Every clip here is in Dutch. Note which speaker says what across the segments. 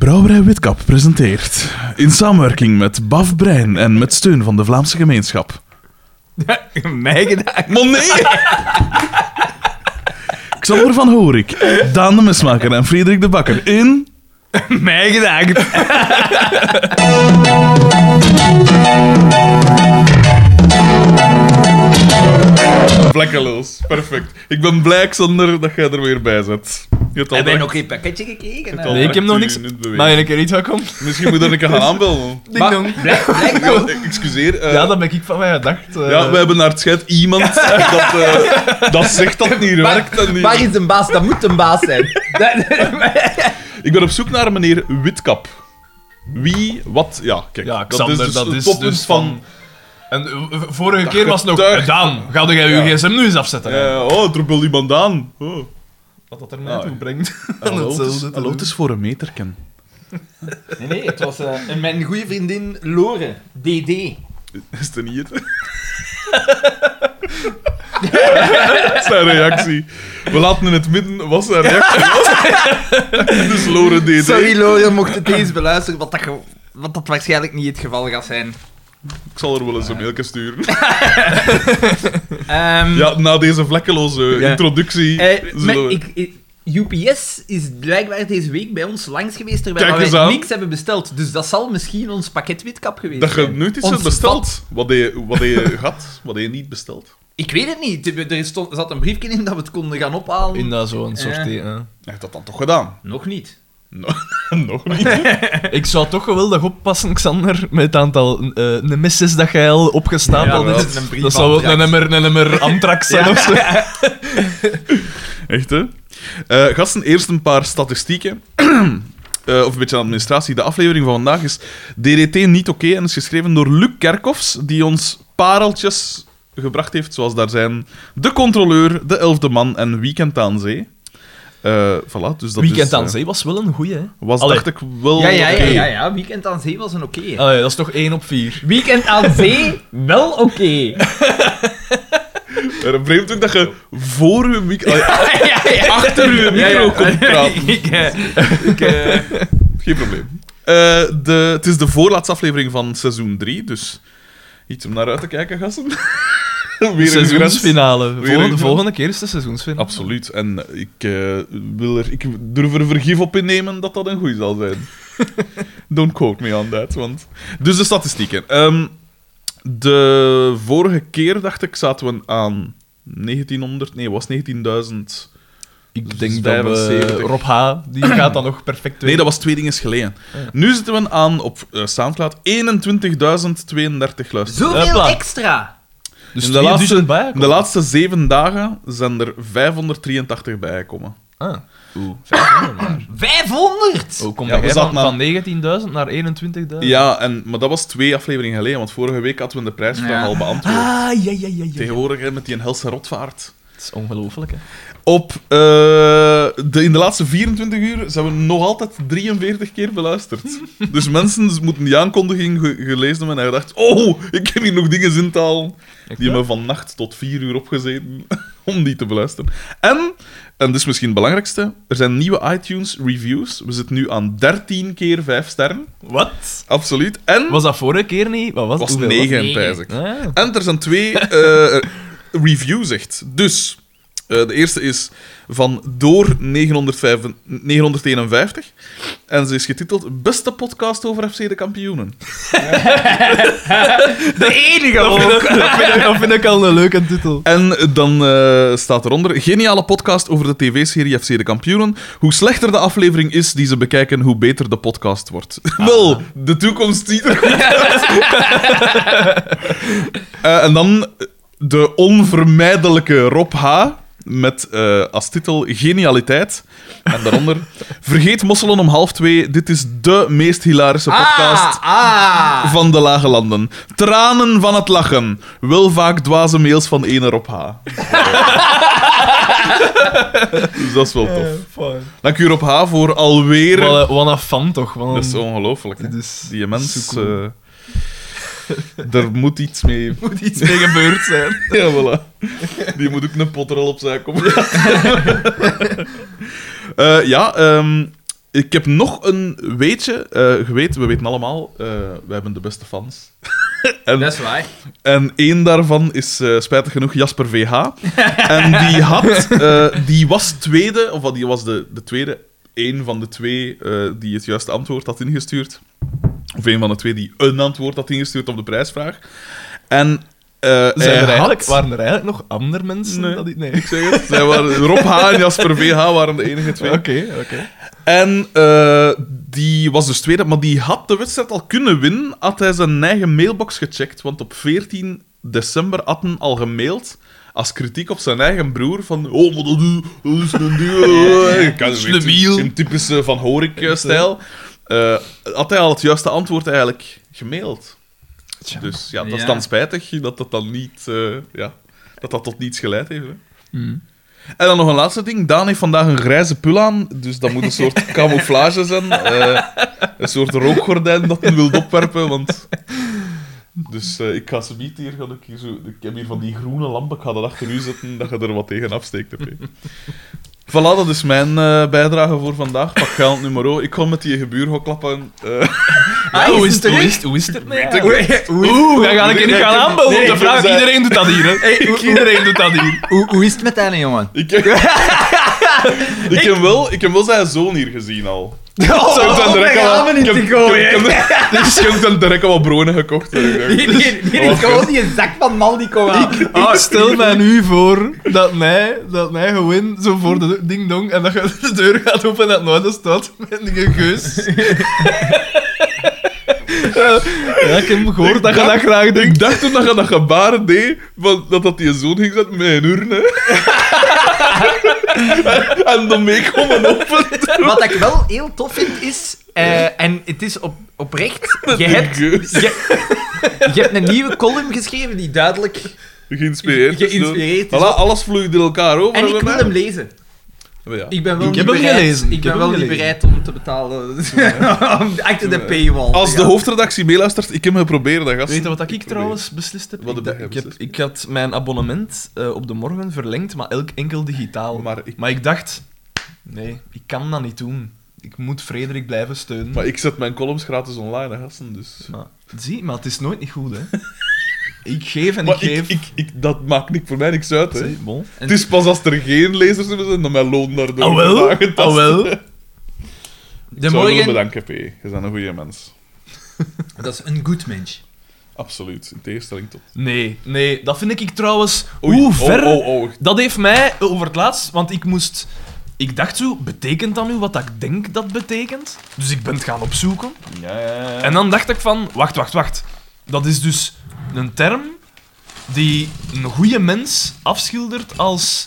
Speaker 1: Brouwerij Witkap presenteert, in samenwerking met Baf Brein en met steun van de Vlaamse gemeenschap.
Speaker 2: Mij gedaan.
Speaker 1: Maar nee! Xander van Horik, Daan de Mesmaker en Frederik de Bakker in...
Speaker 2: Mij gedaan.
Speaker 1: Plekkeloos, perfect. Ik ben blij, Xander, dat jij er weer bij zit. Je hebt al direct-
Speaker 3: Hebben wij nog geen pakketje gekeken?
Speaker 1: al
Speaker 3: hè?
Speaker 2: Nee, ik heb nog
Speaker 1: uur
Speaker 2: niks.
Speaker 1: niet bewezen.
Speaker 2: Maar in een keer iets wat komt.
Speaker 1: Misschien moet ik een keer gaan aanbellen.
Speaker 2: Ding dong.
Speaker 1: Ja, Excuseer. eh,
Speaker 2: Ja, dat ben ik van mij gedacht. eh.
Speaker 1: Ja, we hebben naar het schijt iemand dat, eh, dat zegt dat het niet werkt. en niet-
Speaker 3: Waar is een baas? Dat moet een baas zijn.
Speaker 1: Ik ben op zoek naar meneer Witkap. Wie, wat, ja, kijk.
Speaker 2: Ja, Xander, dat is dus,
Speaker 1: het toppunt van...
Speaker 2: En eh, v- vorige keer was nog...
Speaker 1: getuigt.
Speaker 2: Daan, ga jij je
Speaker 1: Ja.
Speaker 2: gsm nu eens afzetten?
Speaker 1: eh, oh, er belt iemand aan. Oh.
Speaker 2: Wat dat er
Speaker 1: Ah,
Speaker 2: mij toe
Speaker 1: ja.
Speaker 2: brengt.
Speaker 1: Hallo, het is-
Speaker 2: Hetzelfde te
Speaker 1: hallo,
Speaker 2: doen.
Speaker 1: het is voor een meterken.
Speaker 3: Nee, nee, het was eh, mijn goede vriendin Lore, DD.
Speaker 1: Is het niet het? zijn reactie. We laten in het midden wat zijn reactie was. dus Lore deed het.
Speaker 3: Sorry Lore, mocht het eens beluisteren, wat dat, ge- wat dat waarschijnlijk niet het geval gaat zijn.
Speaker 1: Ik zal er wel eens een mailje sturen.
Speaker 3: Ehm,
Speaker 1: Ja, na deze vlekkeloze introductie... dus
Speaker 3: eh,
Speaker 1: zullen
Speaker 3: maar
Speaker 1: we-
Speaker 3: ik, ik- UPS is blijkbaar deze week bij ons langs geweest, terwijl
Speaker 1: Kijk
Speaker 3: wij
Speaker 1: eens aan.
Speaker 3: niks hebben besteld. Dus dat zal misschien ons pakket witkap geweest
Speaker 1: Dat je
Speaker 2: eh,
Speaker 3: zijn.
Speaker 1: nooit iets
Speaker 3: Ons
Speaker 1: hebt besteld. Wat je, wat je had, wat je niet besteld.
Speaker 3: Ik weet het niet. Er stond, zat een briefje in dat we het konden gaan ophalen.
Speaker 2: In dat zo'n soort...
Speaker 3: Ja.
Speaker 2: thee, hè.
Speaker 1: Hij heeft dat dan toch gedaan?
Speaker 3: Nog niet.
Speaker 1: No- Nog niet.
Speaker 2: Ik zou toch geweldig oppassen, Xander, met het aantal eh, nemesis dat jij al opgestapeld
Speaker 1: Ja,
Speaker 2: hebt.
Speaker 1: dat
Speaker 3: is een brief
Speaker 2: Dat zou wel een
Speaker 3: Antrax.
Speaker 2: nummer, een nummer Amtrax zijn of zo.
Speaker 1: Echt, hè? Eh, gasten, eerst een paar statistieken. Eh, of een beetje administratie. De aflevering van vandaag is DDT niet oké en is geschreven door Luc Kerkhoffs, die ons pareltjes gebracht heeft, zoals daar zijn De Controleur, De Elfde Man en Weekend aan Zee. Eh, voilà, dus dat
Speaker 2: Weekend
Speaker 1: is,
Speaker 2: aan
Speaker 1: eh,
Speaker 2: Zee was wel een goeie, hè?
Speaker 1: Was,
Speaker 2: Allee.
Speaker 1: dacht ik, wel
Speaker 3: Ja, ja, ja,
Speaker 1: oké.
Speaker 3: ja, ja. Weekend aan zee was een oké.
Speaker 2: Allee, dat is toch 1 op 4.
Speaker 3: Weekend aan zee, wel oké.
Speaker 1: Eh, Vreemd ook dat je voor uw micro... Allee,
Speaker 3: ja, ja.
Speaker 1: achter uw micro komt praten.
Speaker 3: Ik, eh,
Speaker 1: Geen probleem. Eh, de, het is de voorlaatste aflevering van seizoen 3, dus iets om naar uit te kijken, gasten. Weer een grens.
Speaker 2: Seizoensfinale.
Speaker 1: een
Speaker 2: Volgende,
Speaker 1: grens.
Speaker 2: volgende keer is de seizoensfinale.
Speaker 1: Absoluut. En ik, eh, wil er, ik durf er vergif op innemen dat dat een goeie zal zijn. Don't quote me on that. Want... Dus de statistieken. Ehm, de vorige keer, dacht ik, zaten we aan 1900... Nee, was 19.000...
Speaker 2: Ik denk dat we
Speaker 1: 75.
Speaker 2: Rob H. die gaat dan nog perfect
Speaker 1: Dus Nee, dat was twee dingen geleden.
Speaker 2: Ah,
Speaker 1: Nu zitten we aan, op eh, Soundcloud, 21.032 luisteraars.
Speaker 3: Zoveel
Speaker 2: Hopla.
Speaker 3: extra.
Speaker 2: Dus
Speaker 1: in de
Speaker 2: twee
Speaker 1: laatste-
Speaker 2: duizend bij.
Speaker 1: In de laatste zeven dagen zijn er 583 bijgekomen.
Speaker 2: Ah.
Speaker 1: Oeh.
Speaker 3: 500!
Speaker 2: Hoe komt
Speaker 1: Ja,
Speaker 2: dat
Speaker 1: we
Speaker 2: jij van,
Speaker 1: zaten aan-
Speaker 2: van 19.000 naar 21.000?
Speaker 1: Ja, en, maar dat was twee afleveringen geleden, want vorige week hadden we de prijsvraag
Speaker 3: Ja.
Speaker 1: al beantwoord.
Speaker 2: Ah, ja, ja, ja. ja.
Speaker 1: Tegenwoordig hè, met die helse rotvaart.
Speaker 2: Het is ongelooflijk, hè.
Speaker 1: Op, eh, de, in de laatste 24 uur zijn we nog altijd 43 keer beluisterd. dus mensen moeten die aankondiging ge- gelezen hebben en gedacht: Oh, ik heb hier nog dingen in taal. Die
Speaker 2: Echt waar?
Speaker 1: hebben van nacht tot vier uur opgezeten om die te beluisteren. En, en dit is misschien het belangrijkste, er zijn nieuwe iTunes-reviews. We zitten nu aan 13 keer 5 sterren.
Speaker 2: Wat?
Speaker 1: Absoluut. En
Speaker 2: Was dat vorige keer niet? Wat was,
Speaker 1: was
Speaker 2: het?
Speaker 1: 9,
Speaker 3: Negen.
Speaker 1: pijs ik.
Speaker 2: Ah.
Speaker 1: En er zijn twee eh, reviews, echt. Dus, eh, de eerste is van Door 905 951. En ze is getiteld Beste podcast over FC de kampioenen.
Speaker 3: De enige
Speaker 2: Dat vind, ik, dat, vind ik, dat vind ik al een leuke titel.
Speaker 1: En dan eh, staat eronder: geniale podcast over de tv-serie FC de Kampioenen. Hoe slechter de aflevering is die ze bekijken, hoe beter de podcast wordt. Wel, de toekomst ziet er goed uit. Eh, en dan de onvermijdelijke Rob H. Met eh, als titel Genialiteit. En daaronder: Vergeet Mosselen om half twee. Dit is de meest hilarische podcast
Speaker 3: Ah, ah.
Speaker 1: van de lage landen. Tranen van het lachen. Wel vaak dwaze mails van ene op H. dus dat is wel tof. Dank u op H voor alweer...
Speaker 2: Wat een- wat een fan toch? Wat een- dus-
Speaker 1: Dat is ongelooflijk. hè.
Speaker 2: Dit is-
Speaker 1: Die mens...
Speaker 2: zo cool.
Speaker 1: eh, er moet iets mee...
Speaker 2: moet iets mee gebeurd zijn.
Speaker 1: Ja, voilà. Die moet ook een potrol opzij komen. Eh, ja, ehm, Ik heb nog een weetje. eh je weet, we weten allemaal, eh we hebben de beste fans. en,
Speaker 3: Dat is waar.
Speaker 1: en één daarvan is eh, spijtig genoeg Jasper VH. en die had, eh, die was tweede, of wat, die was de, de tweede, één van de twee eh, die het juiste antwoord had ingestuurd. Of één van de twee die een antwoord had ingestuurd op de prijsvraag. En eh
Speaker 2: Zijn
Speaker 1: hij
Speaker 2: er eigenlijk,
Speaker 1: had-
Speaker 2: waren er eigenlijk nog andere mensen?
Speaker 1: Nee.
Speaker 2: dat die- nee.
Speaker 1: Ik zeg het. Zij waren, Rob H. en Jasper VH waren de enige twee.
Speaker 2: Oké, oké.
Speaker 1: En eh, die was dus tweede, maar die had de wedstrijd al kunnen winnen, had hij zijn eigen mailbox gecheckt. Want op 14 december had hij al gemaild, als kritiek op zijn eigen broer, van oh, maar dat is- dat is een
Speaker 2: een
Speaker 1: deal.
Speaker 2: wiel.
Speaker 1: In typische Van Horik-stijl. Eh, had hij al het juiste antwoord eigenlijk gemaild.
Speaker 2: Tja.
Speaker 1: Dus ja, dat is
Speaker 3: Ja.
Speaker 1: dan spijtig dat dat dan niet... eh, ja, dat dat tot niets geleid heeft, hè.
Speaker 2: Hmm.
Speaker 1: En dan nog een laatste ding. Daan heeft vandaag een grijze pul aan, dus dat moet een soort camouflage zijn. eh, een soort rookgordijn dat hij wil opwerpen, want... Dus eh, ik ga ze niet hier, ga ik, hier zo, ik heb hier van die groene lamp, ik ga dat achter u zetten, dat je er wat tegen afsteekt. Heb je. Voilà, dat is mijn eh, bijdrage voor vandaag. Pak geld nummer Ik ga met die gebuur gaan klappen. Eh,
Speaker 3: Ah,
Speaker 2: hoe,
Speaker 3: is
Speaker 2: is
Speaker 3: het
Speaker 2: het, hoe,
Speaker 3: terug?
Speaker 2: is, het- hoe is het ermee?
Speaker 1: Weet ik
Speaker 2: Oeh, dan ga ik er niet gaan aanbellen
Speaker 3: Nee,
Speaker 2: op de
Speaker 3: ik
Speaker 2: vraag.
Speaker 1: zei-
Speaker 2: Iedereen doet dat hier, hè. Iedereen doet dat hier.
Speaker 3: Hoe, hoe is het met hen, jongen?
Speaker 1: ik, heb, ik, heb wel, ik heb wel zijn zoon hier gezien al. Ik
Speaker 2: Oh,
Speaker 1: heb dan direct al-
Speaker 3: gaan we niet
Speaker 1: ik heb-
Speaker 3: te gooien.
Speaker 1: ik heb- ik heb- Dus ik heb dan direct al wat bronen gekocht. hè. Ik dacht,
Speaker 3: Nee, nee, nee,
Speaker 1: Oh,
Speaker 3: ik kan wel die een zak van Maldi komen halen.
Speaker 2: Ah, stel mij nu voor dat mij, dat mij gewoon zo voor de ding-dong en dat je de deur gaat open en dat nooit staat met een geus. ja, ik heb gehoord dat je dat graag denkt.
Speaker 1: Ik dacht toen dat je dat gebaar deed, van, dat dat die zoon ging zetten met een urne. en dan meekomen open.
Speaker 3: Wat ik wel heel tof vind is, eh, en het is op, oprecht, je hebt,
Speaker 1: Geus.
Speaker 3: je, je hebt een nieuwe column geschreven die duidelijk.
Speaker 1: Geïnspireerd. is
Speaker 3: Geïnspireerd
Speaker 1: door-
Speaker 3: is
Speaker 1: Voilà, alles vloeit in elkaar over.
Speaker 3: En ik
Speaker 1: bij
Speaker 3: wil
Speaker 1: mij.
Speaker 3: hem lezen.
Speaker 1: Maar ja.
Speaker 3: Ik ben wel
Speaker 2: Ik
Speaker 3: niet
Speaker 2: heb hem
Speaker 3: bereid-
Speaker 2: gelezen.
Speaker 3: Ik
Speaker 2: Ik
Speaker 3: ben
Speaker 2: heb
Speaker 3: wel
Speaker 2: hem
Speaker 3: niet
Speaker 2: gelezen.
Speaker 3: bereid om te betalen. Om Achter de paywall.
Speaker 1: Als
Speaker 3: te
Speaker 1: de
Speaker 3: gaan.
Speaker 1: hoofdredactie meeluistert, ik heb hem geprobeerd, dat gast.
Speaker 2: Weet je wat ik trouwens beslist heb?
Speaker 1: Wat
Speaker 2: ik,
Speaker 1: heb
Speaker 2: da-
Speaker 1: jij
Speaker 2: ik, heb
Speaker 1: beslist?
Speaker 2: ik had mijn abonnement eh, op de morgen verlengd, maar elk enkel digitaal. Maar
Speaker 1: Maar ik,
Speaker 2: ik, dacht, nee, ik kan dat niet doen. Ik moet Frederik blijven steunen.
Speaker 1: maar ik zet mijn columns gratis online, hè, gasten, dus...
Speaker 2: Maar, Ah. zie, maar het is nooit niet goed, hè. ik geef en
Speaker 1: Maar
Speaker 2: ik geef.
Speaker 1: ik, ik- dat maakt niet voor mij niks uit, hè.
Speaker 2: Zie, bon.
Speaker 1: Het is pas als er geen lezers hebben zijn, dat mijn loon daardoor
Speaker 2: Ah wel,
Speaker 1: wordt aangetast.
Speaker 2: ah wel.
Speaker 3: de
Speaker 1: Zou je willen
Speaker 3: morgen.
Speaker 1: bedanken, P. Je bent een goede mens.
Speaker 3: Dat is een goed mens.
Speaker 1: Absoluut. In tegenstelling tot...
Speaker 2: Nee, nee, dat vind ik trouwens...
Speaker 1: Oei,
Speaker 2: Hoe ver...
Speaker 1: Oh, oh, oh.
Speaker 2: Dat heeft mij over het laatst... Want ik moest... Ik dacht zo, betekent dat nu wat dat ik denk dat betekent? Dus ik ben het gaan opzoeken.
Speaker 1: Ja, ja, ja.
Speaker 2: En dan dacht ik van, wacht, wacht, wacht. Dat is dus een term die een goede mens afschildert als,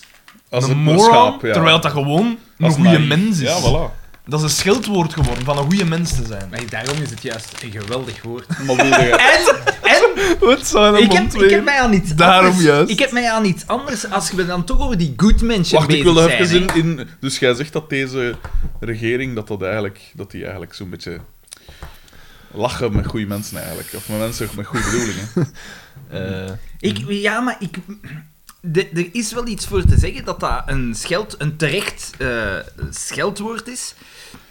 Speaker 1: Als
Speaker 2: een
Speaker 1: een
Speaker 2: moron,
Speaker 1: schaap, ja.
Speaker 2: terwijl dat gewoon een
Speaker 1: Als
Speaker 2: goede
Speaker 1: naïef.
Speaker 2: mens is.
Speaker 1: Ja, voilà.
Speaker 2: Dat is een schildwoord geworden van een goede mens te zijn.
Speaker 3: Maar daarom is het juist een geweldig woord.
Speaker 1: Maar wilde jij...
Speaker 3: En, en
Speaker 2: Wat zou
Speaker 3: ik, heb, ik heb mij aan iets
Speaker 2: Daarom
Speaker 3: anders...
Speaker 2: juist.
Speaker 3: Ik heb mij aan iets anders... Als we dan toch over die good mensen
Speaker 1: Wacht, ik
Speaker 3: bezig
Speaker 1: wil daar
Speaker 3: zijn,
Speaker 1: even
Speaker 3: hè.
Speaker 1: in, in... Dus jij zegt dat deze regering, dat, dat, eigenlijk, dat die eigenlijk zo'n beetje... Lachen met goede mensen eigenlijk. Of met mensen met goede bedoelingen.
Speaker 3: Eh, Ik, ja, maar ik... de- er is wel iets voor te zeggen dat dat een, scheld, een terecht eh, scheldwoord is.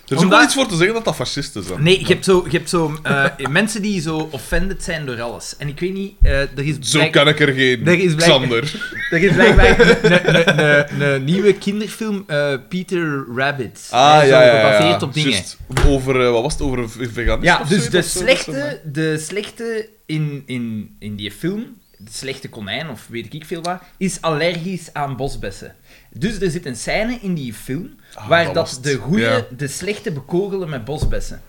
Speaker 1: Er is ook
Speaker 3: Omdat-
Speaker 1: wel iets voor te zeggen dat dat fascisten zijn.
Speaker 3: Nee, je hebt zo, je hebt zo eh, mensen die zo offended zijn door alles. En ik weet niet, eh, er is
Speaker 1: Zo
Speaker 3: blijk-
Speaker 1: kan ik er geen,
Speaker 3: Er is blijk-
Speaker 1: Xander.
Speaker 3: Er is blijkbaar een- een- een- een nieuwe kinderfilm, eh, Peter Rabbit.
Speaker 1: Ah,
Speaker 3: Zo
Speaker 1: ja, ja, ja.
Speaker 3: Gebaseerd op dingen.
Speaker 1: Juist. over, eh, wat was het? Over een veganist
Speaker 3: Ja,
Speaker 1: of
Speaker 3: dus
Speaker 1: zoiets,
Speaker 3: de
Speaker 1: of zo, dat is zo, maar-
Speaker 3: slechte, de slechte in, in, in die film, de slechte konijn of weet ik veel wat, is allergisch aan bosbessen. Dus er zit een scène in die film
Speaker 1: Ah,
Speaker 3: waar
Speaker 1: dat
Speaker 3: dat
Speaker 1: was het.
Speaker 3: de goede
Speaker 1: Ja.
Speaker 3: de slechte bekogelen met bosbessen.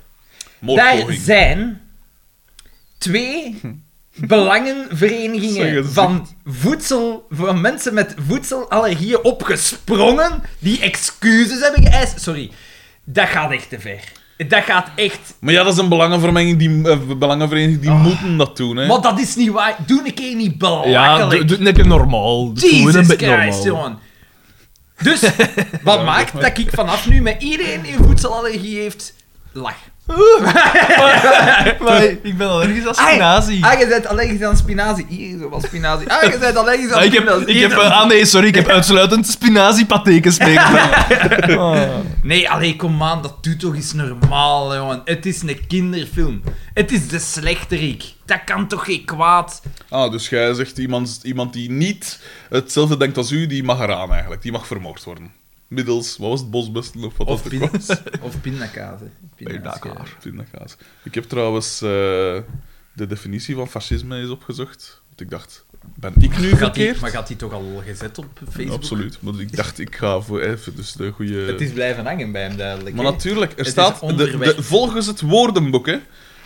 Speaker 1: Mooi
Speaker 3: Daar
Speaker 1: poging.
Speaker 3: zijn twee
Speaker 1: Zeg
Speaker 3: belangenverenigingen
Speaker 1: het.
Speaker 3: van, voedsel, van mensen met voedselallergieën opgesprongen die excuses hebben geëist. Sorry, dat gaat echt te ver. Dat gaat echt
Speaker 1: Maar ja, dat is een belangenvermenging, die, eh, belangenvereniging,
Speaker 3: Ah.
Speaker 1: die moeten dat doen, hè.
Speaker 3: Maar dat is niet waar. Doe een keer niet
Speaker 2: Ja, doe
Speaker 3: belachelijk.
Speaker 2: doe het een keer normaal. Doe gewoon een
Speaker 3: Oh, Jesus
Speaker 2: beetje
Speaker 3: Christ,
Speaker 2: normaal.
Speaker 3: jongen. Dus, wat maakt dat ik vanaf nu met iedereen die een voedselallergie heeft, lach?
Speaker 2: Maar ik ben allergisch als
Speaker 3: Ah,
Speaker 2: spinazie.
Speaker 3: Ah, je bent allergisch aan spinazie. Hier, zo wat spinazie. Ah, je bent allergisch aan
Speaker 2: Ah, ik heb,
Speaker 3: spinazie.
Speaker 2: ik
Speaker 3: Hier,
Speaker 2: heb, eh, ah nee, sorry, ik heb uitsluitend spinaziepatekens meegemaakt. Ah.
Speaker 3: Nee, allee, kom aan, dat doet toch eens normaal, jongen. Het is een kinderfilm. Het is de slechterik. Dat kan toch geen kwaad?
Speaker 1: Ah, dus jij zegt iemand, iemand die niet hetzelfde denkt als u, die mag eraan eigenlijk. Die mag vermoord worden. Middels, wat was het, bosbesten of wat
Speaker 3: Of,
Speaker 1: dat
Speaker 3: pin
Speaker 1: ook was?
Speaker 3: of pindakaas, hè. Pindakaas, ja.
Speaker 1: Pindakaas. Ik heb trouwens eh, de definitie van fascisme eens opgezocht. Want ik dacht, ben ik nu
Speaker 3: Gaat die,
Speaker 1: verkeerd?
Speaker 3: maar gaat die toch al gezet op Facebook?
Speaker 1: Absoluut. Maar ik dacht, ik ga voor even dus de
Speaker 3: Het
Speaker 1: goede...
Speaker 3: is blijven hangen bij hem, duidelijk.
Speaker 1: Maar
Speaker 3: hè.
Speaker 1: natuurlijk, er
Speaker 3: is
Speaker 1: staat... De,
Speaker 3: onderweg.
Speaker 1: de- volgens het woordenboek, hè.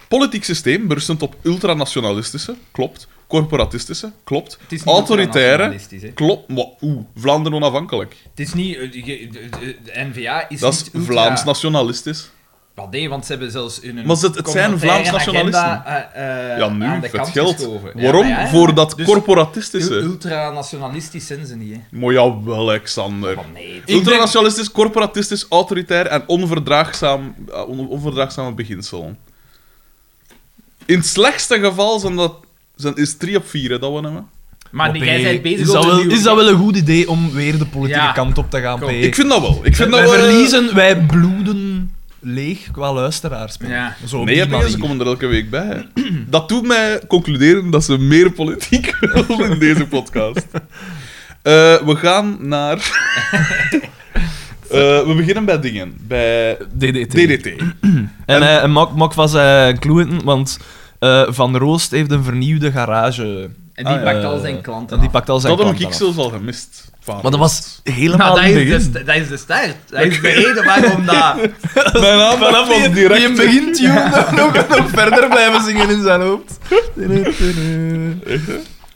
Speaker 1: Politiek systeem berustend op ultranationalistische, klopt. Corporatistische, klopt.
Speaker 3: Het is niet
Speaker 1: Autoritaire,
Speaker 3: nationalistisch, hè.
Speaker 1: klopt. Maar oeh, Vlaanderen onafhankelijk.
Speaker 3: Het is niet... eh, je- De, de- de N-VA is
Speaker 1: Dat
Speaker 3: niet
Speaker 1: is
Speaker 3: ultra-
Speaker 1: Vlaams-nationalistisch.
Speaker 3: Wel, nee, want ze hebben zelfs hun
Speaker 1: Maar ze- het zijn
Speaker 3: communautaire
Speaker 1: Vlaams
Speaker 3: agenda,
Speaker 1: nationalisten.
Speaker 3: eh, eh,
Speaker 1: Ja,
Speaker 3: aan
Speaker 1: nu,
Speaker 3: de
Speaker 1: het
Speaker 3: kant
Speaker 1: geld.
Speaker 3: geschoven. Ja,
Speaker 1: Waarom?
Speaker 3: maar ja,
Speaker 1: Voor dat
Speaker 3: dus
Speaker 1: corporatistische.
Speaker 3: ul- Ultranationalistisch zijn ze niet, hè.
Speaker 1: Maar jawel, Alexander.
Speaker 3: Maar nee,
Speaker 2: denk-
Speaker 1: Ultranationalistisch, corporatistisch, autoritair en onverdraagzaam, eh, on- onverdraagzame beginselen. In het slechtste geval zijn dat, zijn, is 3 op 4 dat we hebben.
Speaker 3: Maar
Speaker 2: Op,
Speaker 3: jij
Speaker 2: eh,
Speaker 3: bent bezig
Speaker 2: is dat,
Speaker 3: over
Speaker 2: wel,
Speaker 3: uw-
Speaker 2: is dat wel een goed idee om weer de politieke
Speaker 3: Ja.
Speaker 2: kant op te gaan,
Speaker 3: Kom.
Speaker 2: P?
Speaker 1: Ik vind dat wel. Ik vind dat
Speaker 2: wij
Speaker 1: wel, eh,
Speaker 2: verliezen, wij bloeden leeg qua luisteraars. P.
Speaker 3: Ja.
Speaker 2: Zo op
Speaker 1: Nee,
Speaker 2: die
Speaker 1: heb je, ze
Speaker 2: manier.
Speaker 1: komen er elke week bij. hè. Dat doet mij concluderen dat ze meer politiek willen in deze podcast. Eh, we gaan naar... Eh, we beginnen bij dingen. Bij
Speaker 2: DDT.
Speaker 1: DDT.
Speaker 2: En eh, en Mok, Mok was eh Kloeten, want eh, Van Roost heeft een vernieuwde garage.
Speaker 3: En die
Speaker 1: Ah, ja.
Speaker 3: pakt al zijn klanten
Speaker 2: En die
Speaker 3: af.
Speaker 2: pakt al zijn
Speaker 1: Dat heb
Speaker 2: klanten
Speaker 1: ik
Speaker 2: af.
Speaker 1: zelfs al gemist. Van
Speaker 2: Maar dat was helemaal
Speaker 3: Nou, dat,
Speaker 2: in
Speaker 3: is
Speaker 2: het begin.
Speaker 3: de, st- dat is de start. Dat is de reden waarom dat...
Speaker 1: Mijn aandacht was direct...
Speaker 2: Die begint Tune nog, nog verder blijven zingen in zijn hoofd.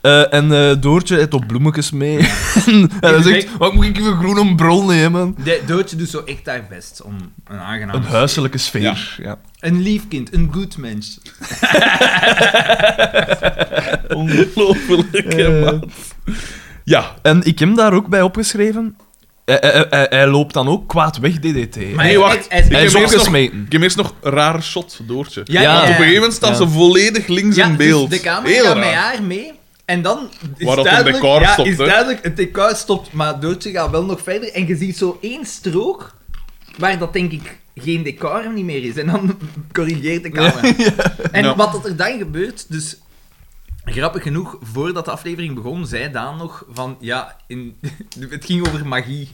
Speaker 2: Eh, en eh, Doortje heeft op bloemetjes mee. en hij zegt, wat moet ik even groen om bron nemen?
Speaker 3: De, Doodje doet zo echt haar best om een aangenaam...
Speaker 2: Een huiselijke sfeer. Ja.
Speaker 3: Een lief kind, een goed mens.
Speaker 1: Ongelooflijk, hè,
Speaker 2: Eh.
Speaker 1: maat. Ja.
Speaker 2: En ik heb hem daar ook bij opgeschreven. Hij, hij- hij- hij loopt dan ook kwaad weg DDT.
Speaker 3: Maar
Speaker 1: Nee,
Speaker 3: hij-
Speaker 1: wacht.
Speaker 3: hij- hij-
Speaker 1: Ik
Speaker 2: hij
Speaker 1: heb eerst
Speaker 2: is
Speaker 1: nog-
Speaker 2: opgesmeten.
Speaker 1: Ik heb eerst nog raar shot, Doortje.
Speaker 3: Ja,
Speaker 2: Ja.
Speaker 3: ja,
Speaker 1: Want
Speaker 3: ja.
Speaker 1: op een gegeven moment staan
Speaker 2: Ja.
Speaker 1: ze volledig links
Speaker 3: Ja,
Speaker 1: in
Speaker 3: dus
Speaker 1: beeld.
Speaker 3: de camera
Speaker 1: Heel
Speaker 3: gaat
Speaker 1: raar.
Speaker 3: met haar mee. En dan is
Speaker 1: Waar dat een
Speaker 3: duidelijk,
Speaker 1: decor
Speaker 3: ja,
Speaker 1: stopt,
Speaker 3: is
Speaker 1: hè.
Speaker 3: duidelijk, het decor stopt, maar Doodje gaat wel nog verder. En je ziet zo één strook waar dat denk ik geen decor niet meer is. En dan corrigeert de camera. En
Speaker 1: Ja.
Speaker 3: wat dat er dan gebeurt, dus grappig genoeg, voordat de aflevering begon, zei Daan nog van ja, in, het ging over magie.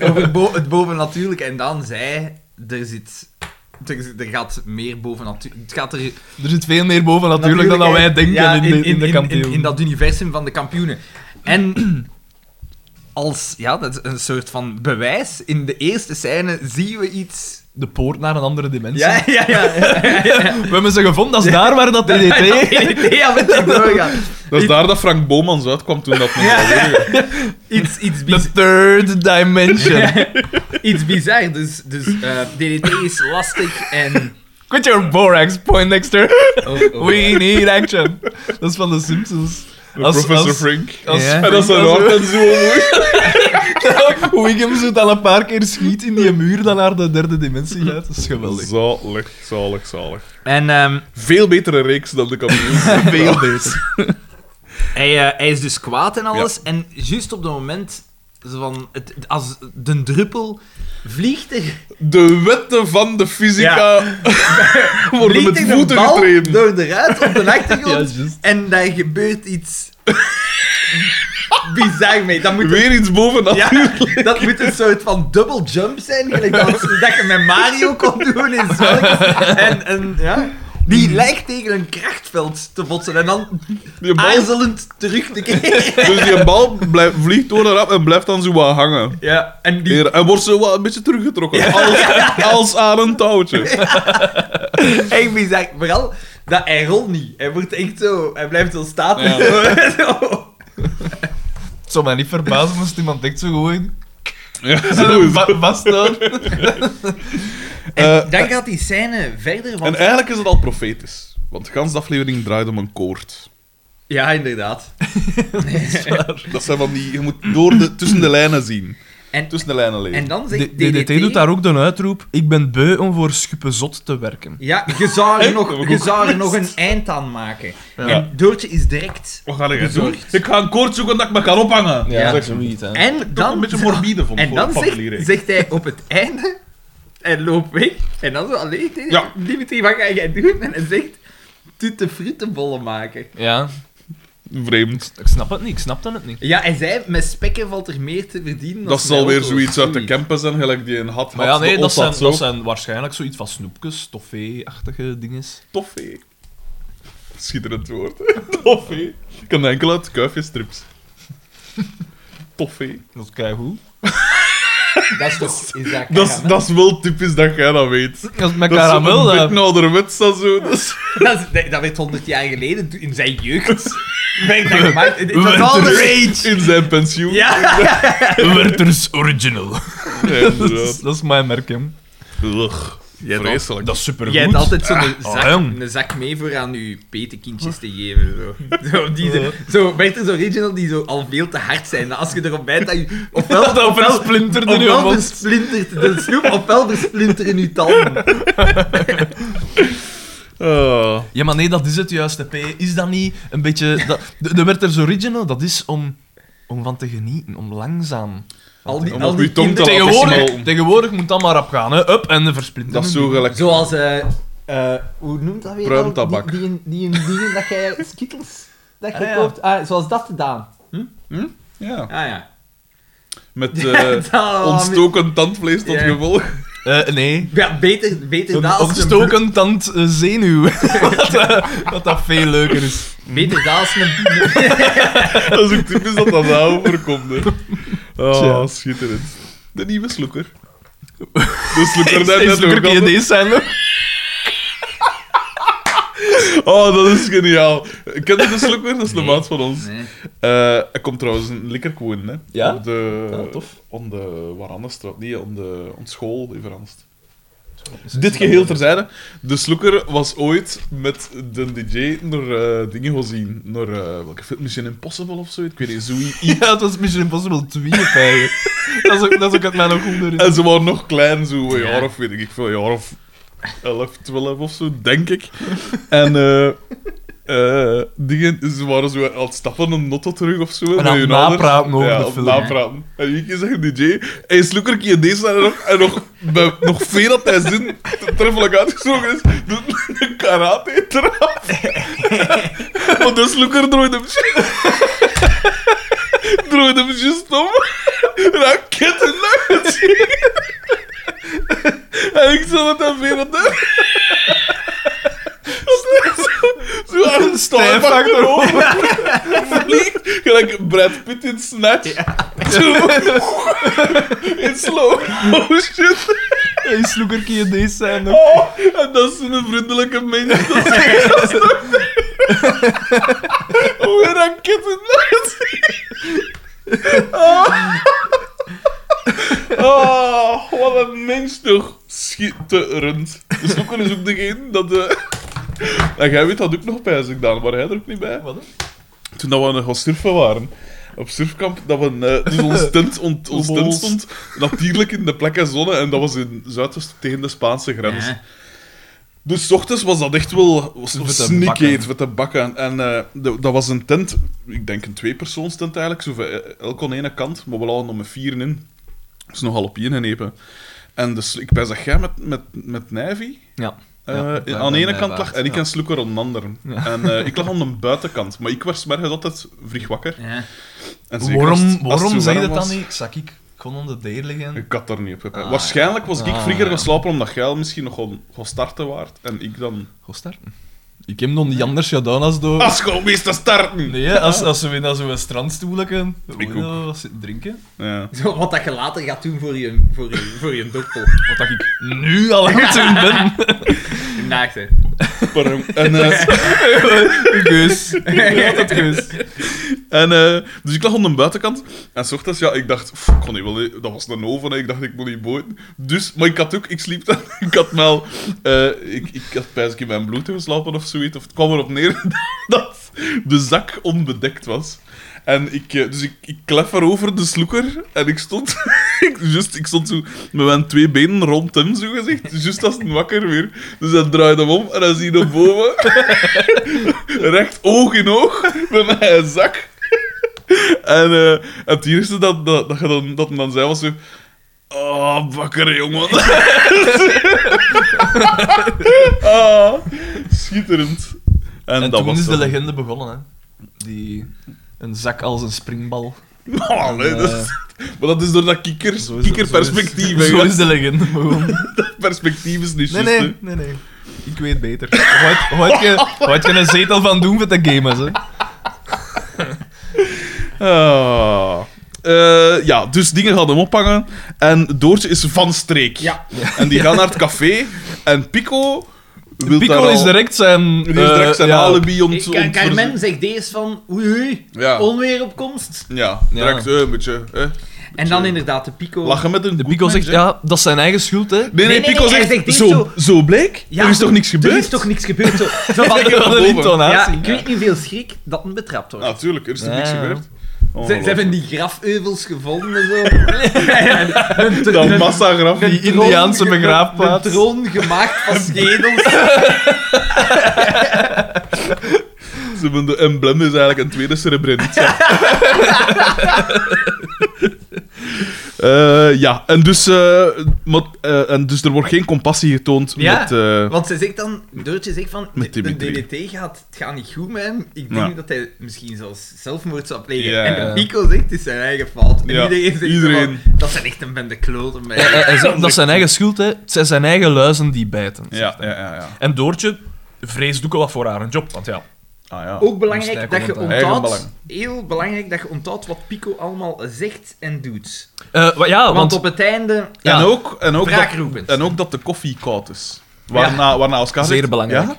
Speaker 3: over bo- het bovennatuurlijke. En Daan zei, er zit. Er, zit- er gaat meer bovennatuurlijk. Het gaat er
Speaker 2: Er zit veel meer boven natuurlijk dan dat wij denken
Speaker 3: eh, ja,
Speaker 2: in, de- in de kampioen.
Speaker 3: In, dat universum van de kampioenen. En als, ja, dat is een soort van bewijs. In de eerste scène zien we iets.
Speaker 2: De poort naar een andere dimensie.
Speaker 3: Ja, ja, ja. ja, ja.
Speaker 2: We hebben ze gevonden, dat is daar waar dat DDT...
Speaker 3: Ja, met die doorgaan.
Speaker 1: Dat is daar dat Frank Bomans uitkwam toen dat nog
Speaker 3: Ja.
Speaker 1: gebeurde.
Speaker 3: Iets, iets, biz-
Speaker 2: The third dimension.
Speaker 3: iets bizar. Dus, dus eh, DDT is lastig en...
Speaker 2: Quit your borax, Poindexter.
Speaker 3: Oh, oh.
Speaker 2: We need action. Dat is van de Simpsons. Als-
Speaker 1: Professor
Speaker 2: als-
Speaker 1: Frank.
Speaker 2: Als
Speaker 3: Ja.
Speaker 1: En dat is een
Speaker 2: als-
Speaker 1: raar en zo mooi.
Speaker 2: Wiggum zo dan een paar keer schiet in die muur dan naar de derde dimensie gaat. Dat is geweldig.
Speaker 1: Zalig, zalig, zalig.
Speaker 3: En ehm,
Speaker 1: Veel betere reeks dan de kampioen.
Speaker 2: Veel beter.
Speaker 3: hij, eh, hij is dus kwaad en alles. En juist op dat moment... zo Van het, als de druppel vliegt er
Speaker 1: De wetten van de fysica worden
Speaker 3: Vliegt
Speaker 1: met
Speaker 3: er de
Speaker 1: voeten
Speaker 3: bal
Speaker 1: getreden.
Speaker 3: door de ruit op de
Speaker 2: Ja,
Speaker 3: achtergrond.
Speaker 2: juist.
Speaker 3: en daar gebeurt iets... bizar mee. Dat moet
Speaker 1: Weer iets bovenaf.
Speaker 3: Ja, dat moet een soort van dubbel jump zijn, gelijk dat, dat je met Mario kon doen in Zelkens. En, en ja, die lijkt tegen een krachtveld te botsen en dan
Speaker 1: Die bal
Speaker 3: aarzelend terug te keren.
Speaker 1: Dus die bal blijft, vliegt door de rap en blijft dan zo wat hangen.
Speaker 3: Ja, en die...
Speaker 1: Hier, En wordt zo wat een beetje teruggetrokken. Als, als aan een touwtje.
Speaker 3: Echt bizar. Vooral dat hij rolt niet. Hij wordt echt zo... Hij blijft zo statisch. Zo.
Speaker 2: Het zou mij niet verbazen moest iemand echt zo gewoon
Speaker 1: Ja, zo is het.
Speaker 2: va- vasthouden.
Speaker 3: En
Speaker 1: Eh,
Speaker 3: dan gaat die scène verder, want...
Speaker 1: En eigenlijk is het al profetisch. Want de ganse aflevering draait om een koord.
Speaker 3: Ja, inderdaad.
Speaker 1: Dat zijn van die... Je moet door de, tussen de lijnen zien.
Speaker 3: En,
Speaker 1: Tussen de lijnen lezen.
Speaker 3: en dan
Speaker 2: D-
Speaker 3: zegt
Speaker 2: DDT doet daar ook de uitroep: Ik ben beu om voor Schuppe zot te werken.
Speaker 3: Ja, je zou er,
Speaker 1: Echt?
Speaker 3: nog,
Speaker 1: Dat heb ik
Speaker 3: je
Speaker 1: ook
Speaker 3: zou er
Speaker 1: gemist.
Speaker 3: nog een eind aan maken.
Speaker 2: Ja.
Speaker 3: En Doortje is direct.
Speaker 1: Wat ga ik doen?
Speaker 3: Bezorgd.
Speaker 1: Ik ga een koord zoeken dat ik me kan ophangen.
Speaker 3: Ja.
Speaker 2: zeg zoiets. hè.
Speaker 3: En
Speaker 1: Dat
Speaker 3: dan,
Speaker 1: een beetje morbide vond ik
Speaker 3: en
Speaker 1: voor
Speaker 3: dan
Speaker 1: een
Speaker 3: zegt,
Speaker 1: familiereeks.
Speaker 3: zegt hij op het einde en loopt weg. En dan zo alleen
Speaker 1: Ja.
Speaker 3: Dimitri, wat ga jij doen? En hij zegt, tutte frietenbollen maken.
Speaker 2: Ja,
Speaker 1: Vreemd.
Speaker 2: ik snap het niet, ik snapte het niet.
Speaker 3: Ja, hij zei, met spekken valt er meer te verdienen
Speaker 1: Dat zal weer zoiets uit de camper zijn, gelijk die een had.
Speaker 2: Maar ja,
Speaker 1: had,
Speaker 2: nee,
Speaker 1: de
Speaker 2: dat
Speaker 1: os had
Speaker 2: zijn, dat
Speaker 1: zo.
Speaker 2: zijn waarschijnlijk zoiets van snoepjes, toffee-achtige dinges.
Speaker 1: Toffee. Schitterend woord. hè. Toffee. Ik kan enkel uit kuifjestrips. Toffee.
Speaker 2: Dat krijg goed.
Speaker 3: Dat is toch... Is dat
Speaker 1: Dat is-
Speaker 3: karamel?
Speaker 1: dat is wel typisch dat jij dat weet.
Speaker 2: Dat is met
Speaker 1: Dat is zo'n
Speaker 2: karamel, eh,
Speaker 1: beetje ouderwets dat zo. Dat is-
Speaker 3: Dat, is- nee, dat werd 100 jaar geleden, toen- in zijn jeugd, werd dat gemaakt. Het was
Speaker 2: Werd
Speaker 3: al
Speaker 2: er-
Speaker 3: de
Speaker 1: In zijn pensioen.
Speaker 3: Ja,
Speaker 2: Werther's Original.
Speaker 1: Ja,
Speaker 2: dat, is,
Speaker 1: inderdaad.
Speaker 2: dat is mijn merk, hem.
Speaker 1: Ugh, Vreselijk.
Speaker 2: Dat is supergoed.
Speaker 3: jij hebt altijd zo'n zak,
Speaker 2: jong.
Speaker 3: een zak mee voor aan je petekindjes te geven. Zo. Zo, die, zo, zo Werther's Original die zo al veel te hard zijn. Als je erop bijt, dat je, ofwel,
Speaker 2: Dat
Speaker 3: ofwel,
Speaker 2: versplintert in je
Speaker 3: ofwel
Speaker 2: mond.
Speaker 3: versplintert de snoep, ofwel versplintert in je tanden.
Speaker 1: Ah.
Speaker 2: Ja, maar nee, dat is het juiste. P. Is dat niet een beetje... Dat, de, de Werther's Original, dat is om, om van te genieten, om langzaam...
Speaker 3: Al die,
Speaker 1: Om
Speaker 3: al
Speaker 1: op
Speaker 3: die
Speaker 1: je tong te
Speaker 3: kinderen-
Speaker 1: laten
Speaker 2: Tegenwoordig,
Speaker 1: smelten.
Speaker 2: tegenwoordig moet dat maar rap gaan, hè. Up en de versplinteren.
Speaker 1: Dat is zo gelijk.
Speaker 3: Zoals, eh, eh, hoe noemt dat weer?
Speaker 1: Pruimtabak.
Speaker 3: al? Die, die, die, die dingen dat jij skittles dat je
Speaker 2: Ah, ja.
Speaker 3: koopt. Ah, zoals dat gedaan.
Speaker 1: Ja.
Speaker 3: Ah ja.
Speaker 1: Met
Speaker 3: Ja,
Speaker 1: eh,
Speaker 3: dat-
Speaker 1: ontstoken tandvlees tot
Speaker 3: Ja.
Speaker 1: gevolg.
Speaker 2: Eh, nee.
Speaker 3: Ja, beter, beter dat
Speaker 2: Een
Speaker 3: als een
Speaker 2: ontstoken tand eh, zenuw. dat, eh, dat dat veel leuker is.
Speaker 3: bloed- Beter dat als een...
Speaker 1: Dat is ook typisch dat dat nou overkomt. Hè.
Speaker 2: Tja.
Speaker 1: Oh, schitterend. De nieuwe sloeker. De sloeker daar
Speaker 2: Steeds
Speaker 1: net
Speaker 2: leuker
Speaker 1: ook
Speaker 2: kun je
Speaker 1: altijd.
Speaker 2: deze zijn, hè.
Speaker 1: Oh, dat is geniaal. Ken je de sloeker? Dat is de maat van ons.
Speaker 3: Nee.
Speaker 1: Eh, er komt trouwens een likkerk wonen, hè.
Speaker 2: Ja?
Speaker 1: Op de...
Speaker 2: Ah, tof.
Speaker 1: Om de Warandestraat. Nee, om de om school in Veranst. Dit geheel terzijde. De sloeker was ooit met de DJ naar eh, dingen gezien. Naar eh, welke film? Mission Impossible of zoiets? Ik weet niet, zoiets.
Speaker 2: Ja, het was Mission Impossible 2 op eigenlijk. dat, is ook, dat is ook het mij nog onder.
Speaker 1: En ze waren nog klein, zo een
Speaker 3: Ja.
Speaker 1: jaar of weet ik veel, een jaar of 11, 12 of zo, denk ik. En eh, eh, dingen, ze waren zo aan het stappen een notto terug of zo.
Speaker 2: aan
Speaker 1: met
Speaker 2: het
Speaker 1: hun ouders.
Speaker 2: napraten over
Speaker 1: ja, aan
Speaker 2: de
Speaker 1: het
Speaker 2: film,
Speaker 1: napraten. En je keer zegt DJ, hey, sloeker, kun je deze en nog, en nog, bij- nog veel dat hij zin treffelijk uitgesproken is, doet een karate trap. Want de sloeker drooit hem drooit hem just om. Raketten uit. En ik zal het aan Vera doen. Zo aan een
Speaker 2: Stijf
Speaker 1: stijf achterover. Vliegt. Gelijk Brad Pitt in Snatch. Zo. In slow motion.
Speaker 2: Hey, sloeker, kun je deze zijn? nog?
Speaker 1: Oh, en dat is een vriendelijke mens. Dat is dat is toch- Hoe een raket in Oh. oh, wat een mens toch. Schitterend. Dus ook is ook degene dat... eh En jij weet dat ook nog, pijs ik dan, maar hij er ook niet bij.
Speaker 2: Wat, hè?
Speaker 1: Toen dat we aan het gaan surfen waren... Op surfkamp, dat we eh, dus ons tent, ont, ons tent
Speaker 2: Oebols.
Speaker 1: stond natuurlijk in de plekken zonne en dat was in Zuidoost tegen de Spaanse grens.
Speaker 3: Ja.
Speaker 1: Dus 's ochtends was dat echt wel was
Speaker 2: Om
Speaker 1: een
Speaker 2: het te
Speaker 1: sneak
Speaker 2: bakken.
Speaker 1: eet met de bakken. En eh, de- dat was een tent, ik denk een tweepersoonstent eigenlijk, zo van, eh, elk aan ene kant, maar we lagen er met vieren in. Dus nogal op één genepen. En dus, ik ben dat jij met, met, met Navy
Speaker 2: Ja.
Speaker 1: eh,
Speaker 2: Ja,
Speaker 1: in-
Speaker 2: bij-
Speaker 1: aan de
Speaker 2: bij
Speaker 1: ene
Speaker 2: mij
Speaker 1: kant
Speaker 2: waard,
Speaker 1: lag en ik
Speaker 2: ja.
Speaker 1: en Sloeker aan de andere. En eh, ik lag aan de buitenkant, maar ik was morgens altijd vrij wakker.
Speaker 3: Ja.
Speaker 2: Dus
Speaker 1: En zeker als het-
Speaker 2: Waarom,
Speaker 1: als het
Speaker 2: waarom
Speaker 1: zo
Speaker 2: zei je
Speaker 1: warm
Speaker 2: dat dan
Speaker 1: was,
Speaker 2: niet? Zak ik gewoon onder de deur liggen?
Speaker 1: Ik had daar niet op gepijt.
Speaker 3: Ah,
Speaker 1: Waarschijnlijk was ik
Speaker 2: Ah,
Speaker 1: vroeger
Speaker 2: ja.
Speaker 1: gaan slapen omdat jij misschien nog gaan, gaan starten waard en ik dan...
Speaker 2: Ga starten. Ik heb nog niet anders gedaan als door...
Speaker 1: Als gewoon wees te starten!
Speaker 2: Nee, hè, als, als ze weer naar zo'n strandstoel gaan,
Speaker 1: Ik
Speaker 2: drinken.
Speaker 1: Ja.
Speaker 3: Zo, wat dat je later gaat doen voor je, voor je, voor je doktel.
Speaker 2: Wat dat ik nu al aan het doen ben.
Speaker 3: Naakt, hè.
Speaker 1: Pardon. En, eh,
Speaker 2: Geus. Ja, dat geus.
Speaker 1: en, eh, dus ik lag aan de buitenkant. En 's ochtends, ja, ik dacht, pff, ik kon niet wel, eh, dat was een oven, hè. ik dacht, ik moet niet boten. Dus, maar ik had ook, ik sliep dan, ik had wel, eh, ik, ik had bijna in mijn bloed geslapen of zoiets. Of het kwam erop neer dat de zak onbedekt was. En ik, eh, dus ik, ik klef erover de sloeker en ik stond, ik, just, ik stond zo met mijn twee benen rond hem, zo gezegd, just als een wakker weer. Dus dan draaide hem om en dan zie je hem boven, recht oog in oog, met mijn zak. En eh, het eerste dat, dat, dat, je dan, dat hem dan zei was zo... Oh, bakker, jongen. ah, schitterend. En,
Speaker 2: En,
Speaker 1: dat
Speaker 2: toen
Speaker 1: was
Speaker 2: is de
Speaker 1: dat.
Speaker 2: legende begonnen, hè. Die... Een zak als een springbal.
Speaker 1: Oh, allee, dat is- maar dat is door dat kikkers,
Speaker 2: Zo is-
Speaker 1: kikkerperspectief.
Speaker 2: Zo is,
Speaker 1: hè,
Speaker 2: zo
Speaker 1: ja.
Speaker 2: is de legende begonnen.
Speaker 1: Perspectief is niet
Speaker 2: Nee,
Speaker 1: juist,
Speaker 2: nee, nee, nee. Ik weet beter. Wat- Wat je- wat je een zetel van doen met de game is, hè.
Speaker 1: hè. Ah. Eh, ja, dus dingen gaan hem ophangen. En Doortje is van streek.
Speaker 3: Ja.
Speaker 1: En die gaan naar het café. En Pico... wil daar
Speaker 2: Pico
Speaker 1: al-
Speaker 2: is direct zijn...
Speaker 1: Die is direct zijn
Speaker 2: eh, ja.
Speaker 1: alibi ont,
Speaker 3: Car-
Speaker 1: ontverzoeken.
Speaker 3: Carmen zegt deze van oei oei,
Speaker 1: Ja.
Speaker 3: onweer op komst.
Speaker 1: Ja, direct eh, een beetje. Hè.
Speaker 3: En dan inderdaad de pico.
Speaker 1: Lachen met een
Speaker 2: Oh. De
Speaker 1: goed
Speaker 2: Pico
Speaker 1: mens,
Speaker 2: zegt,
Speaker 1: hè.
Speaker 2: ja, dat is zijn eigen schuld, hè.
Speaker 1: Nee, nee,
Speaker 3: Nee, nee,
Speaker 1: Pico
Speaker 3: nee, hij
Speaker 1: zegt,
Speaker 3: zegt niet
Speaker 1: zo,
Speaker 3: zo.
Speaker 1: zo bleek?
Speaker 3: Ja,
Speaker 1: er is
Speaker 3: zo-
Speaker 1: toch niks gebeurd?
Speaker 3: Er is toch niks gebeurd? Zo, zo van,
Speaker 2: Wat een
Speaker 3: ja,
Speaker 2: intonatie.
Speaker 3: ik weet niet veel schrik dat hem betrapt wordt.
Speaker 1: Natuurlijk, Ah, er is toch
Speaker 2: Ja,
Speaker 1: niks
Speaker 2: ja.
Speaker 1: gebeurd?
Speaker 3: Ze, ze
Speaker 1: Ongelooflijk.
Speaker 3: hebben die graafeuvels gevonden en zo. en een, tr-
Speaker 1: Dat
Speaker 3: een-
Speaker 1: massagraf.
Speaker 3: een
Speaker 2: Die
Speaker 3: troon-
Speaker 2: Indiaanse
Speaker 3: een-
Speaker 2: begraafplaats.
Speaker 3: Een troon gemaakt van schedels.
Speaker 1: Ze hebben de emblem is eigenlijk een tweede Srebrenica. Eh, ja, en dus, eh, maar, eh, en dus er wordt geen compassie getoond
Speaker 3: Ja.
Speaker 1: met... eh,
Speaker 3: Want ze zegt dan, Doortje zegt van,
Speaker 1: Met
Speaker 3: de
Speaker 1: Dimitri.
Speaker 3: DDT gaat, het gaat niet goed met hem. Ik denk
Speaker 1: Ja.
Speaker 3: dat hij misschien zelfs zelfmoord zou plegen.
Speaker 1: Ja.
Speaker 3: En de Pico zegt, het is zijn eigen fout. En
Speaker 1: Ja,
Speaker 3: iedereen zegt
Speaker 1: iedereen.
Speaker 3: Van, dat zijn echt een bende kloten bij.
Speaker 2: Hij- hij zegt, eh, dat is zijn eigen schuld, hè. Het zijn zijn eigen luizen die bijten.
Speaker 1: ja, ja, ja, ja.
Speaker 2: En Doortje vreest ook wel wat voor haar een job, want ja...
Speaker 1: Ah, ja.
Speaker 3: Ook
Speaker 2: Dus
Speaker 3: belangrijk
Speaker 2: hij
Speaker 3: dat je
Speaker 2: komt
Speaker 1: aan
Speaker 3: onthoudt,
Speaker 1: eigen
Speaker 3: heel belangrijk dat je onthoudt wat Pico allemaal zegt en doet.
Speaker 2: Eh, wa- ja,
Speaker 3: Want,
Speaker 2: want...
Speaker 3: op het einde...
Speaker 2: ja.
Speaker 1: En, ook, en, ook dat,
Speaker 3: Wraakroepend.
Speaker 1: en ook dat de koffie koud is. Waarna, waarna Oscar
Speaker 2: Zeer
Speaker 1: zegt,
Speaker 2: belangrijk.
Speaker 1: Ja?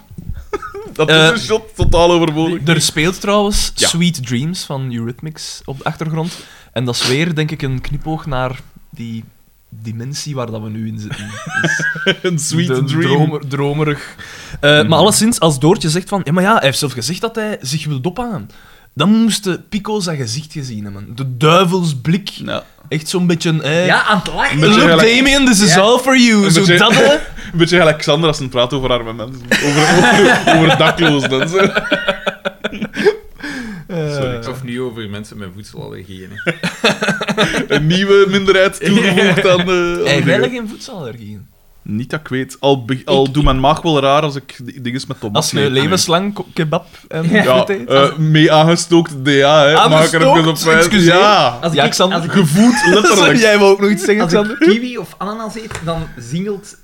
Speaker 1: dat
Speaker 2: Eh,
Speaker 1: is een shot totaal overbodig.
Speaker 2: Er speelt trouwens
Speaker 1: Ja.
Speaker 2: Sweet Dreams van Eurythmics op de achtergrond. En dat is weer, denk ik, een knipoog naar die dimensie waar dat we nu in zitten. Dus
Speaker 1: Een sweet
Speaker 2: de
Speaker 1: dream.
Speaker 2: dromer- dromerig.
Speaker 1: Mhm.
Speaker 2: Eh, Maar alleszins, als Doortje zegt van... Ja, maar ja, hij heeft zelf gezegd dat hij zich wil ophangen. Dan moest de Pico zijn gezicht gezien hebben. De duivelsblik.
Speaker 1: Ja.
Speaker 2: Echt zo'n beetje... eh,
Speaker 3: Ja, aan het lachen.
Speaker 1: Een beetje
Speaker 2: Look,
Speaker 1: gelijk-
Speaker 2: Damien, this is
Speaker 3: Ja.
Speaker 2: all for you.
Speaker 1: Een
Speaker 2: Zo
Speaker 1: beetje-
Speaker 2: dat, hè.
Speaker 1: Een beetje gelijk Xander als ze praat over arme mensen. Over, over, over daklozen en zo.
Speaker 2: Sorry.
Speaker 3: Of nu over mensen met voedselallergieën.
Speaker 1: Een nieuwe minderheid toegevoegd aan de... aan de-
Speaker 2: Hey, wel geen voedselallergieën.
Speaker 1: Niet dat ik weet. Al, be- al doet mijn maag wel raar als ik di- dingen met tomaten
Speaker 2: Als je
Speaker 1: eet, nee.
Speaker 2: levenslang ko- kebab en
Speaker 1: Ja,
Speaker 2: friet eet.
Speaker 1: eh, mee aangestookt DA, hè. Maak er even op
Speaker 2: Aangestookt?
Speaker 1: wijs.
Speaker 2: Excuseer.
Speaker 1: Ja.
Speaker 3: Als
Speaker 2: Ja,
Speaker 3: ik,
Speaker 2: Xander.
Speaker 3: als ik,
Speaker 1: Gevoed,
Speaker 2: Sorry,
Speaker 1: letterlijk.
Speaker 2: jij wou ook nog iets zeggen,
Speaker 3: als ik
Speaker 2: Xander?
Speaker 3: kiwi of ananas eet, dan zingelt